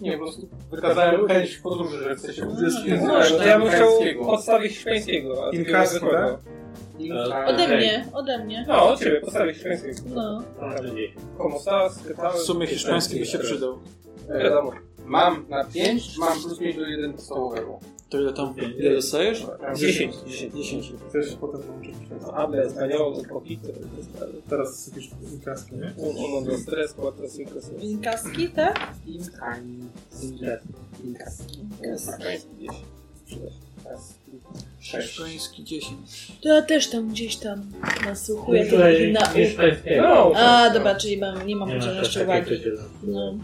[SPEAKER 4] Nie, po prostu wykazałem chęć w podróży, że chcę się uczyć
[SPEAKER 3] No,
[SPEAKER 5] Można, No, ja bym chciał
[SPEAKER 4] hiszpańskiego.
[SPEAKER 5] podstawy hiszpańskiego. a takiego
[SPEAKER 2] Inkaski,
[SPEAKER 5] zwykłego.
[SPEAKER 2] tak?
[SPEAKER 6] Ode mnie, ode mnie.
[SPEAKER 5] No, od ciebie, podstawy hiszpańskiego.
[SPEAKER 6] No.
[SPEAKER 5] Como estás, ¿qué tal?
[SPEAKER 3] W sumie hiszpański by się
[SPEAKER 2] Tak.
[SPEAKER 3] przydał.
[SPEAKER 4] Wiadomo. Mam na 5, mam plus 5 do 1 podstawowego.
[SPEAKER 3] To ile tam, ile dostajesz?
[SPEAKER 2] Tak.
[SPEAKER 5] 10.
[SPEAKER 3] 10.
[SPEAKER 2] Też się potem nauczyć.
[SPEAKER 5] Habla español un poquito.
[SPEAKER 2] Teraz jakieś inkaski, nie?
[SPEAKER 5] Uno, dos, tres, cuatro, cinco, seis.
[SPEAKER 6] Inkaski, tak?
[SPEAKER 3] Hiszpański 10.
[SPEAKER 6] To ja też tam gdzieś tam nasłuchuję
[SPEAKER 7] No Tutaj
[SPEAKER 6] tych nauk.
[SPEAKER 7] hiszpańskiego.
[SPEAKER 6] No, A,
[SPEAKER 7] tak.
[SPEAKER 6] dobra, czyli mam, nie mam
[SPEAKER 7] Nie ma
[SPEAKER 6] podzielenia jeszcze
[SPEAKER 7] takiej
[SPEAKER 6] uwagi.
[SPEAKER 7] przeciwności.
[SPEAKER 6] No.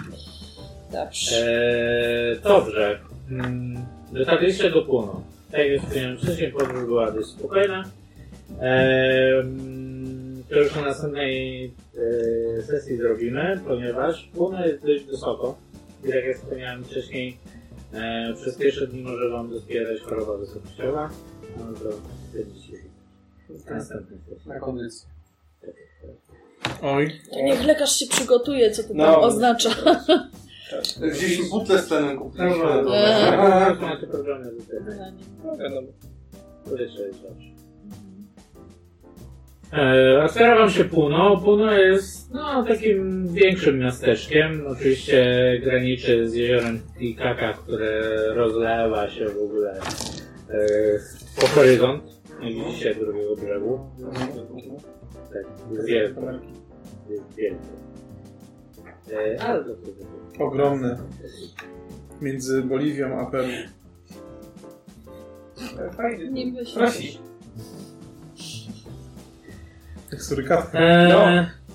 [SPEAKER 6] Dobrze.
[SPEAKER 7] Eee, dobrze. Mm, Dotarliście do Puno. Tak jak wspomniałem wcześniej, podróż była dość spokojna. Eee, mm, to już na następnej eee, sesji zrobimy, ponieważ Puno jest dość wysoko. I tak jak wspomniałem wcześniej, eee, przez pierwsze dni może Wam dospierać choroba wysokościowa. No to będziecie w następnej sesji.
[SPEAKER 4] Na kondycję.
[SPEAKER 2] Oj.
[SPEAKER 6] To niech lekarz się przygotuje, co to
[SPEAKER 4] No.
[SPEAKER 6] tam oznacza.
[SPEAKER 4] Wzięliśmy butle z tlenem, kupiliśmy.
[SPEAKER 7] Eee. Macie problemy z tym.
[SPEAKER 6] E.
[SPEAKER 7] To jeszcze jest dobrze. E, otwiera wam się Puno. Puno jest no, takim większym miasteczkiem. Oczywiście graniczy z jeziorem Titicaca, które rozlewa się w ogóle e, po horyzont. Nie widzicie drugiego brzegu. Tak, jest wielkie. Jest wielkie. E, ale to to-
[SPEAKER 2] Ogromny. Między Boliwią a Peru.
[SPEAKER 5] E,
[SPEAKER 28] Nie myślę.
[SPEAKER 4] Prosi.
[SPEAKER 2] Jak surykatka.
[SPEAKER 7] Eee,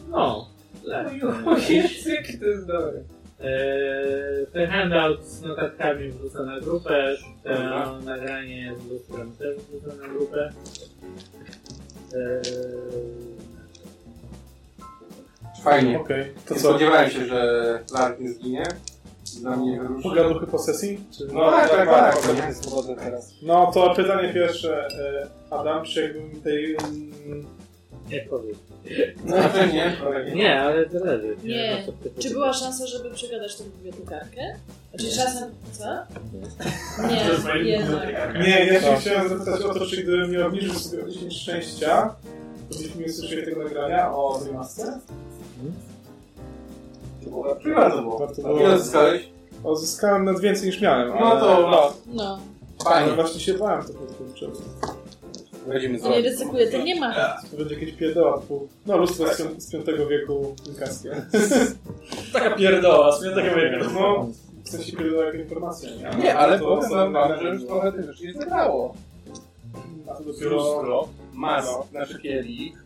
[SPEAKER 7] no. no.
[SPEAKER 5] Język to jest dobre.
[SPEAKER 7] Eee, Ten handout z notatkami wrzucę na grupę, to nagranie z lustrem też wrzucę na grupę. Eee,
[SPEAKER 4] Fajnie.
[SPEAKER 2] Okej, to
[SPEAKER 4] Nie
[SPEAKER 2] co?
[SPEAKER 4] Spodziewałem się, że Lark nie zginie. Dla mnie wyruszy.
[SPEAKER 2] Pogaduchy po sesji? Czy...
[SPEAKER 4] No tak, tak, tak.
[SPEAKER 2] tak.
[SPEAKER 4] tak. Swobodny teraz.
[SPEAKER 2] No to pytanie pierwsze. e, Adam, czy jakbym tej... mm,
[SPEAKER 7] Jak powiem?
[SPEAKER 4] No to nie. to nie.
[SPEAKER 7] Nie, ale to leży.
[SPEAKER 6] Nie.
[SPEAKER 7] No, to-
[SPEAKER 6] Czy była szansa, żeby przegadać tą bibliotekarkę? Znaczy czasem... Co? Nie, no. jednak.
[SPEAKER 2] Nie, ja się chciałem zapytać o to, czy gdybym nie obniżył sobie o 10 szczęścia, to byśmy nie słyszeli tego nagrania o tej masce?
[SPEAKER 4] To było bardzo było.
[SPEAKER 2] Warto
[SPEAKER 4] Ile odzyskałeś?
[SPEAKER 2] Odzyskałem nawet więcej niż miałem,
[SPEAKER 4] No to no.
[SPEAKER 6] No.
[SPEAKER 2] Ale
[SPEAKER 4] Fajnie.
[SPEAKER 2] właśnie się bałem tego kurczę.
[SPEAKER 4] Będziemy
[SPEAKER 6] To nie
[SPEAKER 4] zrobić.
[SPEAKER 6] ryzykuje, to nie ma.
[SPEAKER 2] To będzie jakieś pierdoła typu... No, lustro z pią- z V wieku inkaskie.
[SPEAKER 3] Taka pierdoła, w sumie
[SPEAKER 2] Takiego jak- No, w sensie pierdoła jak informacja. Nie, No,
[SPEAKER 4] Nie, ale
[SPEAKER 2] To
[SPEAKER 4] powiem wam,
[SPEAKER 2] nagranie
[SPEAKER 4] że już
[SPEAKER 2] było.
[SPEAKER 4] trochę tych rzeczy nie zebrało.
[SPEAKER 2] A to dopiero...
[SPEAKER 4] Lustro, mask, nasz kielich,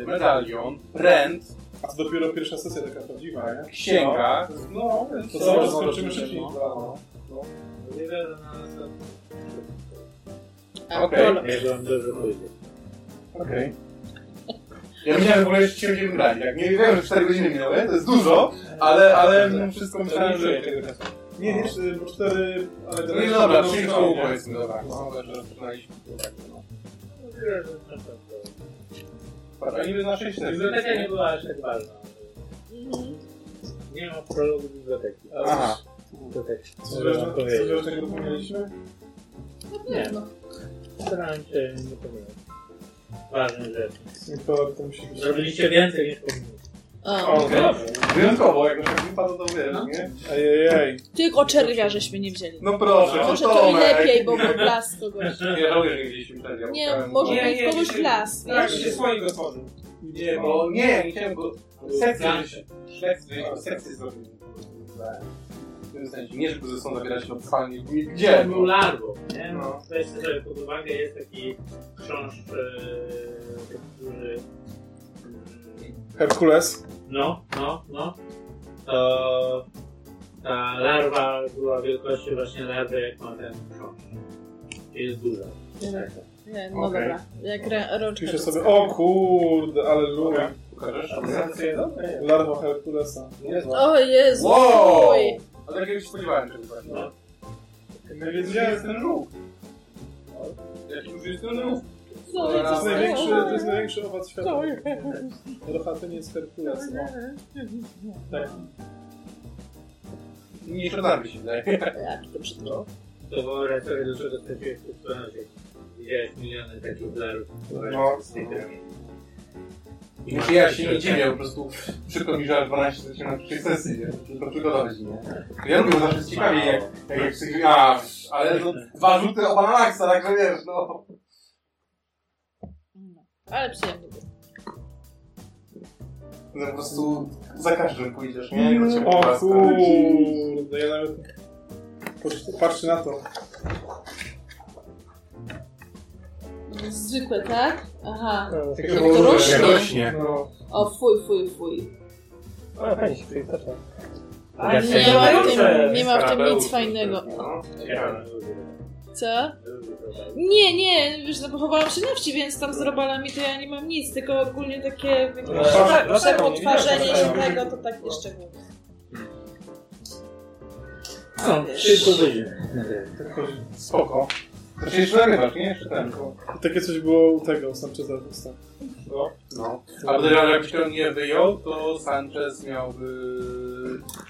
[SPEAKER 4] y, medalion, rent,
[SPEAKER 2] A to dopiero pierwsza sesja taka prawdziwa, nie?
[SPEAKER 4] księga.
[SPEAKER 2] No, to
[SPEAKER 4] to
[SPEAKER 2] zaraz
[SPEAKER 4] zaraz
[SPEAKER 2] skończymy
[SPEAKER 4] zobaczymy,
[SPEAKER 2] szybciej.
[SPEAKER 4] no.
[SPEAKER 7] Możliwe, że na następnym.
[SPEAKER 4] No. Okej.
[SPEAKER 7] Nie, że on dobrze pójdzie.
[SPEAKER 4] Okej. Ja myślałem w ogóle, że dzisiaj będziemy grali. Jak nie wiem, że 4 godziny minęły, to jest dużo, ale, ale wszystko myślałem, że...
[SPEAKER 5] Nie, nie, cztery, bo cztery, ale
[SPEAKER 4] No i
[SPEAKER 5] teraz
[SPEAKER 4] dobra,
[SPEAKER 5] będą
[SPEAKER 4] trzy
[SPEAKER 5] w
[SPEAKER 4] koło
[SPEAKER 5] nie?
[SPEAKER 4] powiedzmy, dobra. No, ale że rozpoczynaliśmy, to tak, no. Dobra, niby na 6
[SPEAKER 7] Biblioteka nie była aż tak ważna.
[SPEAKER 6] Mm,
[SPEAKER 7] Nie ma prologu biblioteki.
[SPEAKER 4] Aha.
[SPEAKER 7] Biblioteki.
[SPEAKER 5] Coś ważnego- coś ważnego pomnieliśmy?
[SPEAKER 7] Nie no. Starałem się nie pomylić. Ważne rzeczy.
[SPEAKER 5] Nikola, to musi być...
[SPEAKER 7] Zrobiliście więcej niż powinno.
[SPEAKER 5] O, dobrze. Wyjątkowo, jakoś tak wypada to wiesz, nie? Ejejej.
[SPEAKER 6] Tylko czerwia żeśmy nie wzięli.
[SPEAKER 4] No proszę,
[SPEAKER 6] Może
[SPEAKER 4] no
[SPEAKER 6] to i
[SPEAKER 4] Tomek.
[SPEAKER 6] lepiej, bo był blask kogoś.
[SPEAKER 4] Nie żałuję, że nie wzięliśmy tego. ja
[SPEAKER 6] Nie,
[SPEAKER 4] musiałem-
[SPEAKER 6] może być kogoś blask.
[SPEAKER 4] Tak,
[SPEAKER 6] wiesz?
[SPEAKER 4] się słoni gospody. Nie, bo nie, nie chciałem go... Sekcję, sekcję, sekcję zrobić. W tym sensie, nie żeby ze sobą zabierać się od sali, gdzie?
[SPEAKER 7] Był larwą, nie? Tak. No. Weźcie sobie pod uwagę, jest taki książ, yy, który...
[SPEAKER 5] Herkules?
[SPEAKER 7] No, no, no. To ta larwa była wielkości właśnie larwy, vlastně jak ma ten książ. Jest duża.
[SPEAKER 6] Nie, nie, no
[SPEAKER 5] Okej.
[SPEAKER 6] dobra. Jak rę, rączka.
[SPEAKER 5] Piszę
[SPEAKER 6] ludzka.
[SPEAKER 5] sobie, o kurde, ale lubię.
[SPEAKER 4] Pokażesz?
[SPEAKER 5] Larwa Herkulesa.
[SPEAKER 6] O Jezu!
[SPEAKER 4] Wow!
[SPEAKER 6] Oj.
[SPEAKER 4] Ale jakiegoś tak spodziewałem się tak, właśnie.
[SPEAKER 7] No.
[SPEAKER 4] Nie wiedziałem, ten ruch. Jaki już jest ten ruch?
[SPEAKER 6] No,
[SPEAKER 5] To jest
[SPEAKER 6] co
[SPEAKER 5] największy,
[SPEAKER 6] to?
[SPEAKER 5] to jest największy owad świata.
[SPEAKER 6] To-
[SPEAKER 5] Rochaty nie jest Herkules. no. Tak.
[SPEAKER 4] Mniejsza narwy się tak? wydaje.
[SPEAKER 6] Jak to brzydko.
[SPEAKER 7] No. To wyobraź sobie, do czego straciłeś tu stronę. Widziałeś miliony takich larw.
[SPEAKER 4] No.
[SPEAKER 7] Z tej drogi.
[SPEAKER 4] I Znaczy ja się nie dziwię, po prostu przykro mi, że aż 12 to się na pierwszej sesji, nie? To przygotować, nie? To ja lubię zawsze ciekawie, jak, jak, jak sobie, a, ale no, dwa rzuty o bananaksa, także wiesz, no.
[SPEAKER 6] Ale przyjemnie było.
[SPEAKER 4] No po prostu za każdym pójdziesz, nie? Jak się
[SPEAKER 5] O
[SPEAKER 4] pochlaska.
[SPEAKER 5] kurde, ja nawet... Patrz- Patrzcie na to.
[SPEAKER 6] Zwykłe, tak? Aha.
[SPEAKER 4] Takie
[SPEAKER 6] Jak
[SPEAKER 4] było,
[SPEAKER 6] to
[SPEAKER 4] że
[SPEAKER 6] rośnie.
[SPEAKER 4] rośnie.
[SPEAKER 6] O, fuj, fuj, fuj.
[SPEAKER 29] A, fajnie się tutaj zaczyna.
[SPEAKER 6] A nie, ma w tym, nie ma w tym nic fajnego. Co? Nie, nie, wiesz, no, pochowałam się na wsi, więc tam z robalami to ja nie mam nic, tylko ogólnie takie jakieś prze- przepotwarzenie się tego, to tak jeszcze nie.
[SPEAKER 7] No, szybko wyjdzie.
[SPEAKER 4] Spoko. To się jeszcze nagrywasz, nie? Jeszcze tak. ten.
[SPEAKER 5] Takie coś było u tego, u Sancheza Augusta.
[SPEAKER 4] No. no. A podejrzewam, że jakbyś to nie wyjął, to Sanchez miałby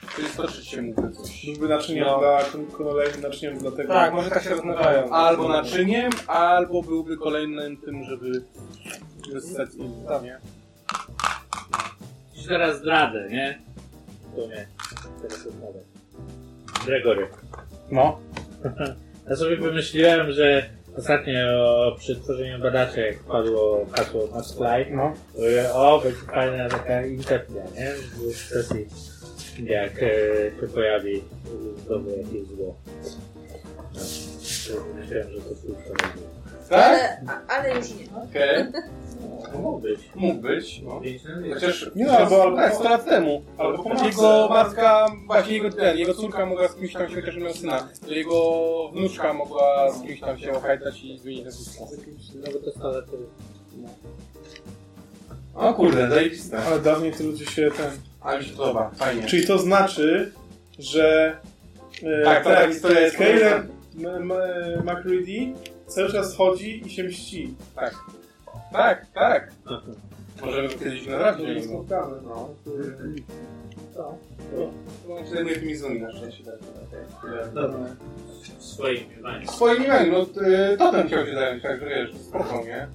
[SPEAKER 4] 330 mówię coś.
[SPEAKER 5] Byłby naczyniem
[SPEAKER 4] No.
[SPEAKER 5] dla konolegi, naczyniem dla tego.
[SPEAKER 4] Tak, może tak się rozmywają. Albo naczyniem, albo byłby kolejnym tym, żeby wyssać inny. Tak, nie?
[SPEAKER 7] Ci teraz zdradę, nie? To nie. Teraz odpadę. Gregory.
[SPEAKER 4] No.
[SPEAKER 7] [LAUGHS] Ja sobie wymyśliłem, że ostatnio przy tworzeniu badaczy, jak padło hasło na sklej,
[SPEAKER 4] no.
[SPEAKER 7] mówię, o, będzie fajna taka interpia, nie? W sesji, jak e, się pojawi znowu jakieś zło. No. To Myślałem, że to słuszne będzie.
[SPEAKER 4] Tak?
[SPEAKER 6] A- Ale już nie.
[SPEAKER 4] Okej.
[SPEAKER 7] No, Mógł być.
[SPEAKER 4] Mógł być, no.
[SPEAKER 7] Pięć na pięć.
[SPEAKER 4] Chociaż
[SPEAKER 5] Nie no, albo- albo-
[SPEAKER 4] tak, 100 lat temu.
[SPEAKER 5] albo po
[SPEAKER 4] jego matka, właśnie jego, ten, jego córka mogła z kimś tam się, chociaż miał syna, to jego wnuczka mogła z kimś tam się ohajdać i zmienić nazwisko.
[SPEAKER 7] Nawet to stale to
[SPEAKER 4] O kurde, zajebiste.
[SPEAKER 5] Ale dawniej to ludzie się ten...
[SPEAKER 4] Ale mi się podoba, fajnie.
[SPEAKER 5] Czyli to znaczy, że... e,
[SPEAKER 4] Tak, to tak, historia jest
[SPEAKER 5] Caleb M- M- McReady cały czas chodzi i się mści.
[SPEAKER 4] Tak. Tak, tak. Możemy kiedyś
[SPEAKER 9] Tak,
[SPEAKER 4] nagrać.
[SPEAKER 5] Może nie spotkamy.
[SPEAKER 4] No.
[SPEAKER 7] Co?
[SPEAKER 4] No, Zajmuję tymi złymi na szczęście. tak, tak.
[SPEAKER 7] Dobra. w swoim miewaniu.
[SPEAKER 4] Swoim imieniem, no y, totem chciał się zająć, także wiesz, spoko, nie?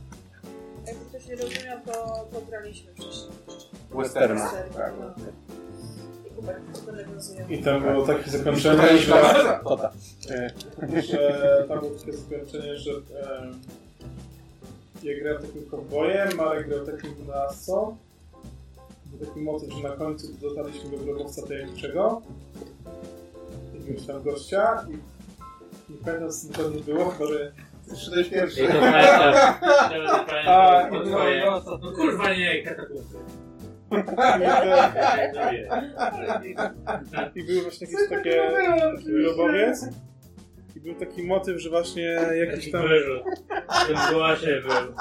[SPEAKER 6] Jakby ktoś nie rozumiał, to pograliśmy wcześniej.
[SPEAKER 4] Westerna.
[SPEAKER 6] Tak. I Kuba, to nawiązuje.
[SPEAKER 5] I tam było takie zakończenie,
[SPEAKER 4] Spokojnie,
[SPEAKER 5] że,
[SPEAKER 4] Tota.
[SPEAKER 5] że tam było takie zakończenie, że e, ja grałem takim kowbojem, Marek grał takim wynalazcą. Był taki motyw, że na końcu dotarliśmy do grobowca tajemniczego, jakiegoś tam gościa i nie pamiętam co dokładnie było, chyba że
[SPEAKER 4] Przyszedłeś pierwszy.
[SPEAKER 7] I to pamiętasz. to
[SPEAKER 5] A,
[SPEAKER 7] pamiętasz.
[SPEAKER 5] i
[SPEAKER 7] twoje-
[SPEAKER 5] no,
[SPEAKER 7] No kurwa nie, katakumby.
[SPEAKER 5] I był właśnie jakieś takie grobowiec. I był taki motyw, że właśnie jakiś tam...
[SPEAKER 7] Wyrzut. W tym głosie był.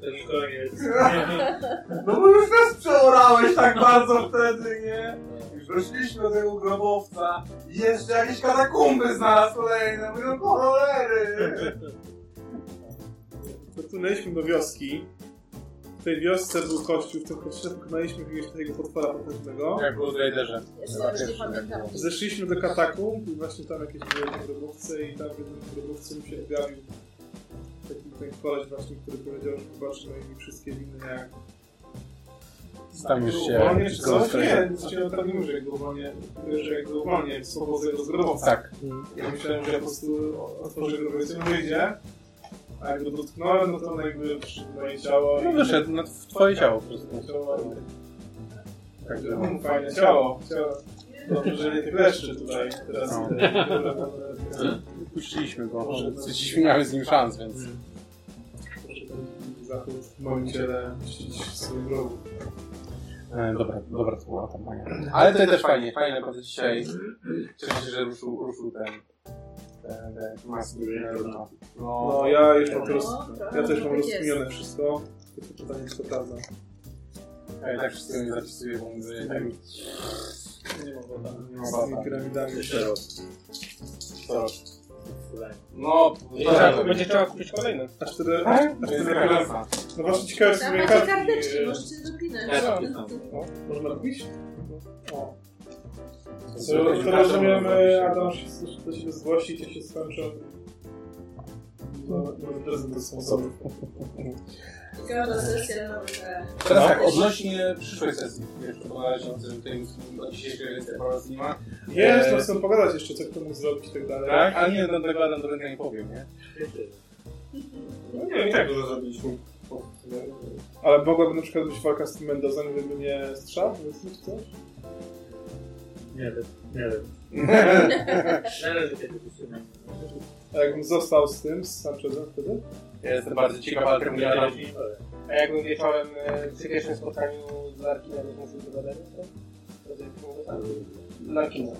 [SPEAKER 7] Ten koniec.
[SPEAKER 4] No bo już nas przeorałeś tak bardzo wtedy, nie? Już wróciliśmy do tego
[SPEAKER 9] grobowca. I Jeszcze jakieś katakumby znalazł kolejne. Mówię, no cholery.
[SPEAKER 2] Popłynęliśmy do wioski. W tej wiosce był kościół, w tym kościele pokonaliśmy jakiegoś takiego potwora potężnego.
[SPEAKER 4] Jak było w Raiderze.
[SPEAKER 6] No,
[SPEAKER 2] Zeszliśmy do katakumb i właśnie tam jakieś były grobowce i tam w jednym grobowcu mi się objawił taki ten koleś właśnie, który powiedział, że zobaczy moje wszystkie winy jak...
[SPEAKER 4] Tam już się-
[SPEAKER 2] Uwolnię czy coś? Nie,
[SPEAKER 4] Zostawiam.
[SPEAKER 2] nic się tam nie mówi, że go uwolnię, że jak go uwolnię, swobodzę go z grobowca.
[SPEAKER 4] Tak.
[SPEAKER 2] Ja myślałem, że ja po prostu otworzę grobowiec i on wyjdzie. A jak go dotknąłem, no to on jakby przyszedł na jej ciało
[SPEAKER 4] No
[SPEAKER 2] i-
[SPEAKER 4] wyszedł na tw- twoje ciało po prostu. e, tak,
[SPEAKER 2] Także mm, fajne ciało. ciało. Dobrze, że nie tych leszczy tutaj teraz.
[SPEAKER 4] No.
[SPEAKER 2] e,
[SPEAKER 4] Puściliśmy go. Jesteśmy miały z nim szans, więc...
[SPEAKER 2] Zachód w moim ciele mścić w swoim grobu.
[SPEAKER 4] E, Dobra, dobra, to była kampania. Ale to też fajnie, fajnie naprawdę dzisiaj. Cieszę się, że ruszył, ruszył ten... ten- ten maski.
[SPEAKER 2] No ja już mam roz... ja też
[SPEAKER 6] Tak
[SPEAKER 2] mam rozkminione wszystko. Tylko pytanie, czy to prawda.
[SPEAKER 4] Ja i tak wszystkiego nie zapisuję, bo mówię, tak...
[SPEAKER 2] Nie ma woda.
[SPEAKER 4] Nie ma
[SPEAKER 2] Z tymi
[SPEAKER 4] bata.
[SPEAKER 2] piramidami.
[SPEAKER 4] No,
[SPEAKER 5] Będzie
[SPEAKER 2] tak.
[SPEAKER 5] trzeba- będzie trzeba kupić kolejne.
[SPEAKER 2] A cztery...
[SPEAKER 5] Tak?
[SPEAKER 2] A
[SPEAKER 5] To jest
[SPEAKER 2] cztery
[SPEAKER 5] karta.
[SPEAKER 2] karta. No właśnie ciekawe w sumie
[SPEAKER 6] Tam macie karteczki, możecie dopinać.
[SPEAKER 2] No, Można robić? O.
[SPEAKER 4] Zrobię
[SPEAKER 2] To, to
[SPEAKER 4] kartę,
[SPEAKER 2] rozumiem,
[SPEAKER 4] bo zrobię
[SPEAKER 2] e,
[SPEAKER 4] się.
[SPEAKER 2] Adam, się, do siebie zgłosi, czy się skończy. No, prezent do sponsorów.
[SPEAKER 6] Ciekawa sesja na no, wygrę.
[SPEAKER 4] Teraz
[SPEAKER 2] No.
[SPEAKER 4] tak, odnośnie przyszłej sesji. Jeszcze bo na razie widzę, że tutaj o dzisiejszej jest problem z
[SPEAKER 2] Tak?
[SPEAKER 4] nima.
[SPEAKER 2] Jest,
[SPEAKER 4] E,
[SPEAKER 2] no chcę pogadać jeszcze, co kto mógł zrobić i tak dalej.
[SPEAKER 4] Tak? A nie, no tego Adam do ręka nie powiem, nie?
[SPEAKER 2] No nie, i tak to zrobiliśmy. Ale mogłaby na przykład być walka z tym Mendozem, gdyby nie strzał, więc nie chcesz?
[SPEAKER 1] Nie wiem, nie
[SPEAKER 5] [LAUGHS]
[SPEAKER 1] wiem. Należy się wysunąć.
[SPEAKER 2] A jakbym został z tym, z Sanchezem wtedy?
[SPEAKER 4] Ja jestem bardzo ciekaw, ale temu nie Adam.
[SPEAKER 5] A jakbym wieczorem e, przy pierwszym spotkaniu z Larkinem zmusił do badania, to? Larkina.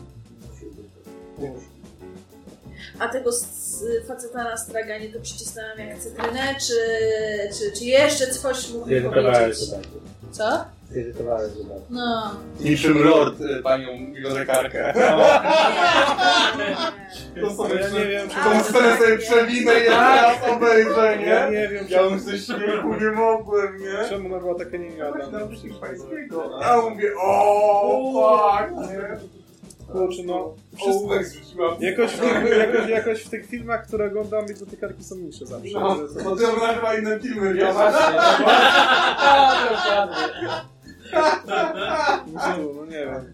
[SPEAKER 6] A tego s- s- faceta na straganie to przycisnęłam jak cytrynę, czy, czy, czy jeszcze coś mógł mi
[SPEAKER 1] Zirytowałeś
[SPEAKER 6] powiedzieć?
[SPEAKER 1] to bardzo.
[SPEAKER 6] Co?
[SPEAKER 1] Zirytowałeś to bardzo.
[SPEAKER 6] No.
[SPEAKER 4] Niczym lord
[SPEAKER 9] y,
[SPEAKER 4] e, panią bibliotekarkę.
[SPEAKER 2] To sobie ja nie wiem, czy
[SPEAKER 9] [LAUGHS] Tą scenę sobie przewinę i
[SPEAKER 4] Tak.
[SPEAKER 9] raz obejrzę, nie?
[SPEAKER 2] Ja nie wiem,
[SPEAKER 9] Ja bym ze śmiechu nie mogłem, nie?
[SPEAKER 2] Czemu ona była taka niemiła?
[SPEAKER 9] Naucznik pańskiego. A ja mówię, o fuck, nie?
[SPEAKER 2] Kurczę, no.
[SPEAKER 9] Wszystko jak zrzuciłam.
[SPEAKER 2] Jakoś, w- jakoś, jakoś w tych filmach, które oglądam, bibliotekarki są niższe zawsze.
[SPEAKER 9] No,
[SPEAKER 2] Że są-
[SPEAKER 9] bo ty oglądasz chyba inne filmy,
[SPEAKER 2] Ja
[SPEAKER 9] wiesz?
[SPEAKER 2] właśnie,
[SPEAKER 9] Czemu?
[SPEAKER 2] No nie wiem.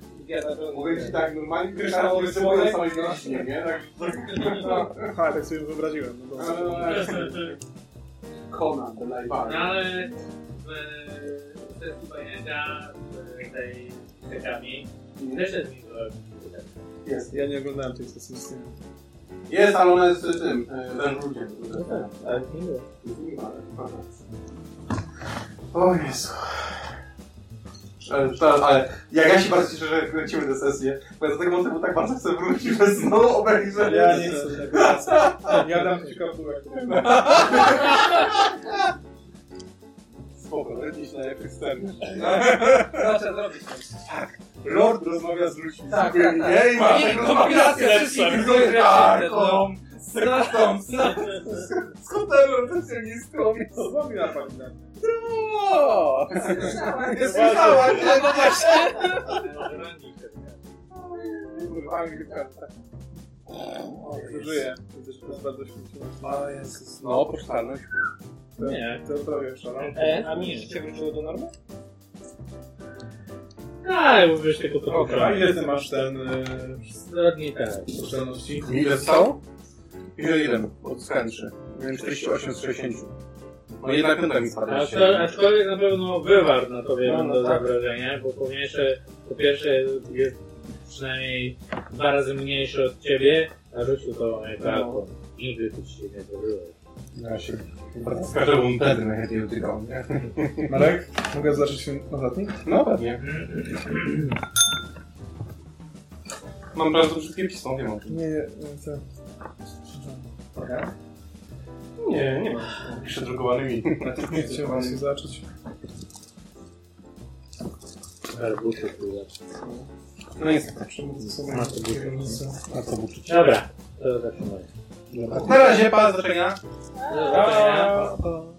[SPEAKER 9] Mówię ci tak, normalnie
[SPEAKER 4] Kryształ
[SPEAKER 9] kryształ
[SPEAKER 4] rysunek.
[SPEAKER 9] rysuję sobie nośnie, nie? Tak,
[SPEAKER 2] [LAUGHS] Aha, tak sobie wyobraziłem. No dobrze.
[SPEAKER 4] Conan, the
[SPEAKER 1] No
[SPEAKER 4] Library.
[SPEAKER 1] ale w e, sesji pojęcia e, tej tekami też jest mi
[SPEAKER 2] Jest. Ja nie oglądałem tej sesji z tym.
[SPEAKER 4] Jest, ale ona jest e, tym, e, ten ludzie. Tak, O Jezu.
[SPEAKER 9] Ale, E, to- ale jak ja się bardzo cieszę, że kręcimy tę sesję, bo ja do tego motywu tak bardzo chcę wrócić, bez znowu obejrzenia.
[SPEAKER 2] Ja nie chcę tego. Ja dam ci kapturę.
[SPEAKER 4] Spoko, lecisz na jakiś sceny.
[SPEAKER 5] Proszę No, zrobić coś.
[SPEAKER 9] Lord rozmawia z ludźmi.
[SPEAKER 5] Tak,
[SPEAKER 9] Nie,
[SPEAKER 5] tak, tak.
[SPEAKER 9] nie ma.
[SPEAKER 5] I
[SPEAKER 9] tak
[SPEAKER 5] kombinacja
[SPEAKER 9] rozmawia.
[SPEAKER 5] wszystkich
[SPEAKER 9] Z
[SPEAKER 5] różnych rzeczy.
[SPEAKER 9] lekarką,
[SPEAKER 5] no.
[SPEAKER 9] z
[SPEAKER 5] [LAUGHS]
[SPEAKER 9] ratą, z
[SPEAKER 5] Tak,
[SPEAKER 9] z hotelem pensjonistką.
[SPEAKER 2] Co zrobiła pani na
[SPEAKER 4] O!
[SPEAKER 9] Nie słyszała, nie?
[SPEAKER 5] No właśnie.
[SPEAKER 4] Kurwa, Anglika.
[SPEAKER 2] Żyje. Widzę, że to jest bardzo śmieszne.
[SPEAKER 4] O Jezus. No, pocztalność.
[SPEAKER 1] Nie.
[SPEAKER 2] To no. prawie szalone.
[SPEAKER 5] E, a mi życie wróciło do normy?
[SPEAKER 1] A, mówisz tylko po
[SPEAKER 2] Okej, a ile ty masz ten... y,
[SPEAKER 1] Zrodni tak.
[SPEAKER 2] Oszczędności?
[SPEAKER 4] Ile stało? Ile ile? Od skanczy. Miałem 48 z 60. No jedna piąta mi spadła.
[SPEAKER 1] A to- Aczkolwiek na pewno wywarł na tobie
[SPEAKER 4] No,
[SPEAKER 1] no,
[SPEAKER 4] no
[SPEAKER 1] do
[SPEAKER 4] tak.
[SPEAKER 1] wrażenia, bo po pierwsze, po pierwsze jest przynajmniej dwa razy mniejszy od ciebie, a rzucił to tak. No. Nigdy tu ci się nie zdarzyło.
[SPEAKER 4] Ja się skażę mu wtedy najchętniej utykał.
[SPEAKER 2] Marek, mogę zacząć się ostatni?
[SPEAKER 4] No pewnie. Mam bardzo wszystkie pismo, wiem o tym.
[SPEAKER 2] Nie, nie, co?
[SPEAKER 4] Nie, nie mam. Piszę drukowanymi.
[SPEAKER 2] Nie chciałbym się zacząć.
[SPEAKER 1] Arbusy tu
[SPEAKER 30] No jest. A to
[SPEAKER 2] A to był przeciw.
[SPEAKER 5] Dobra, to zaczynamy.
[SPEAKER 2] Na razie, pa, do zobaczenia.
[SPEAKER 5] Do zobaczenia.
[SPEAKER 2] Pa, pa.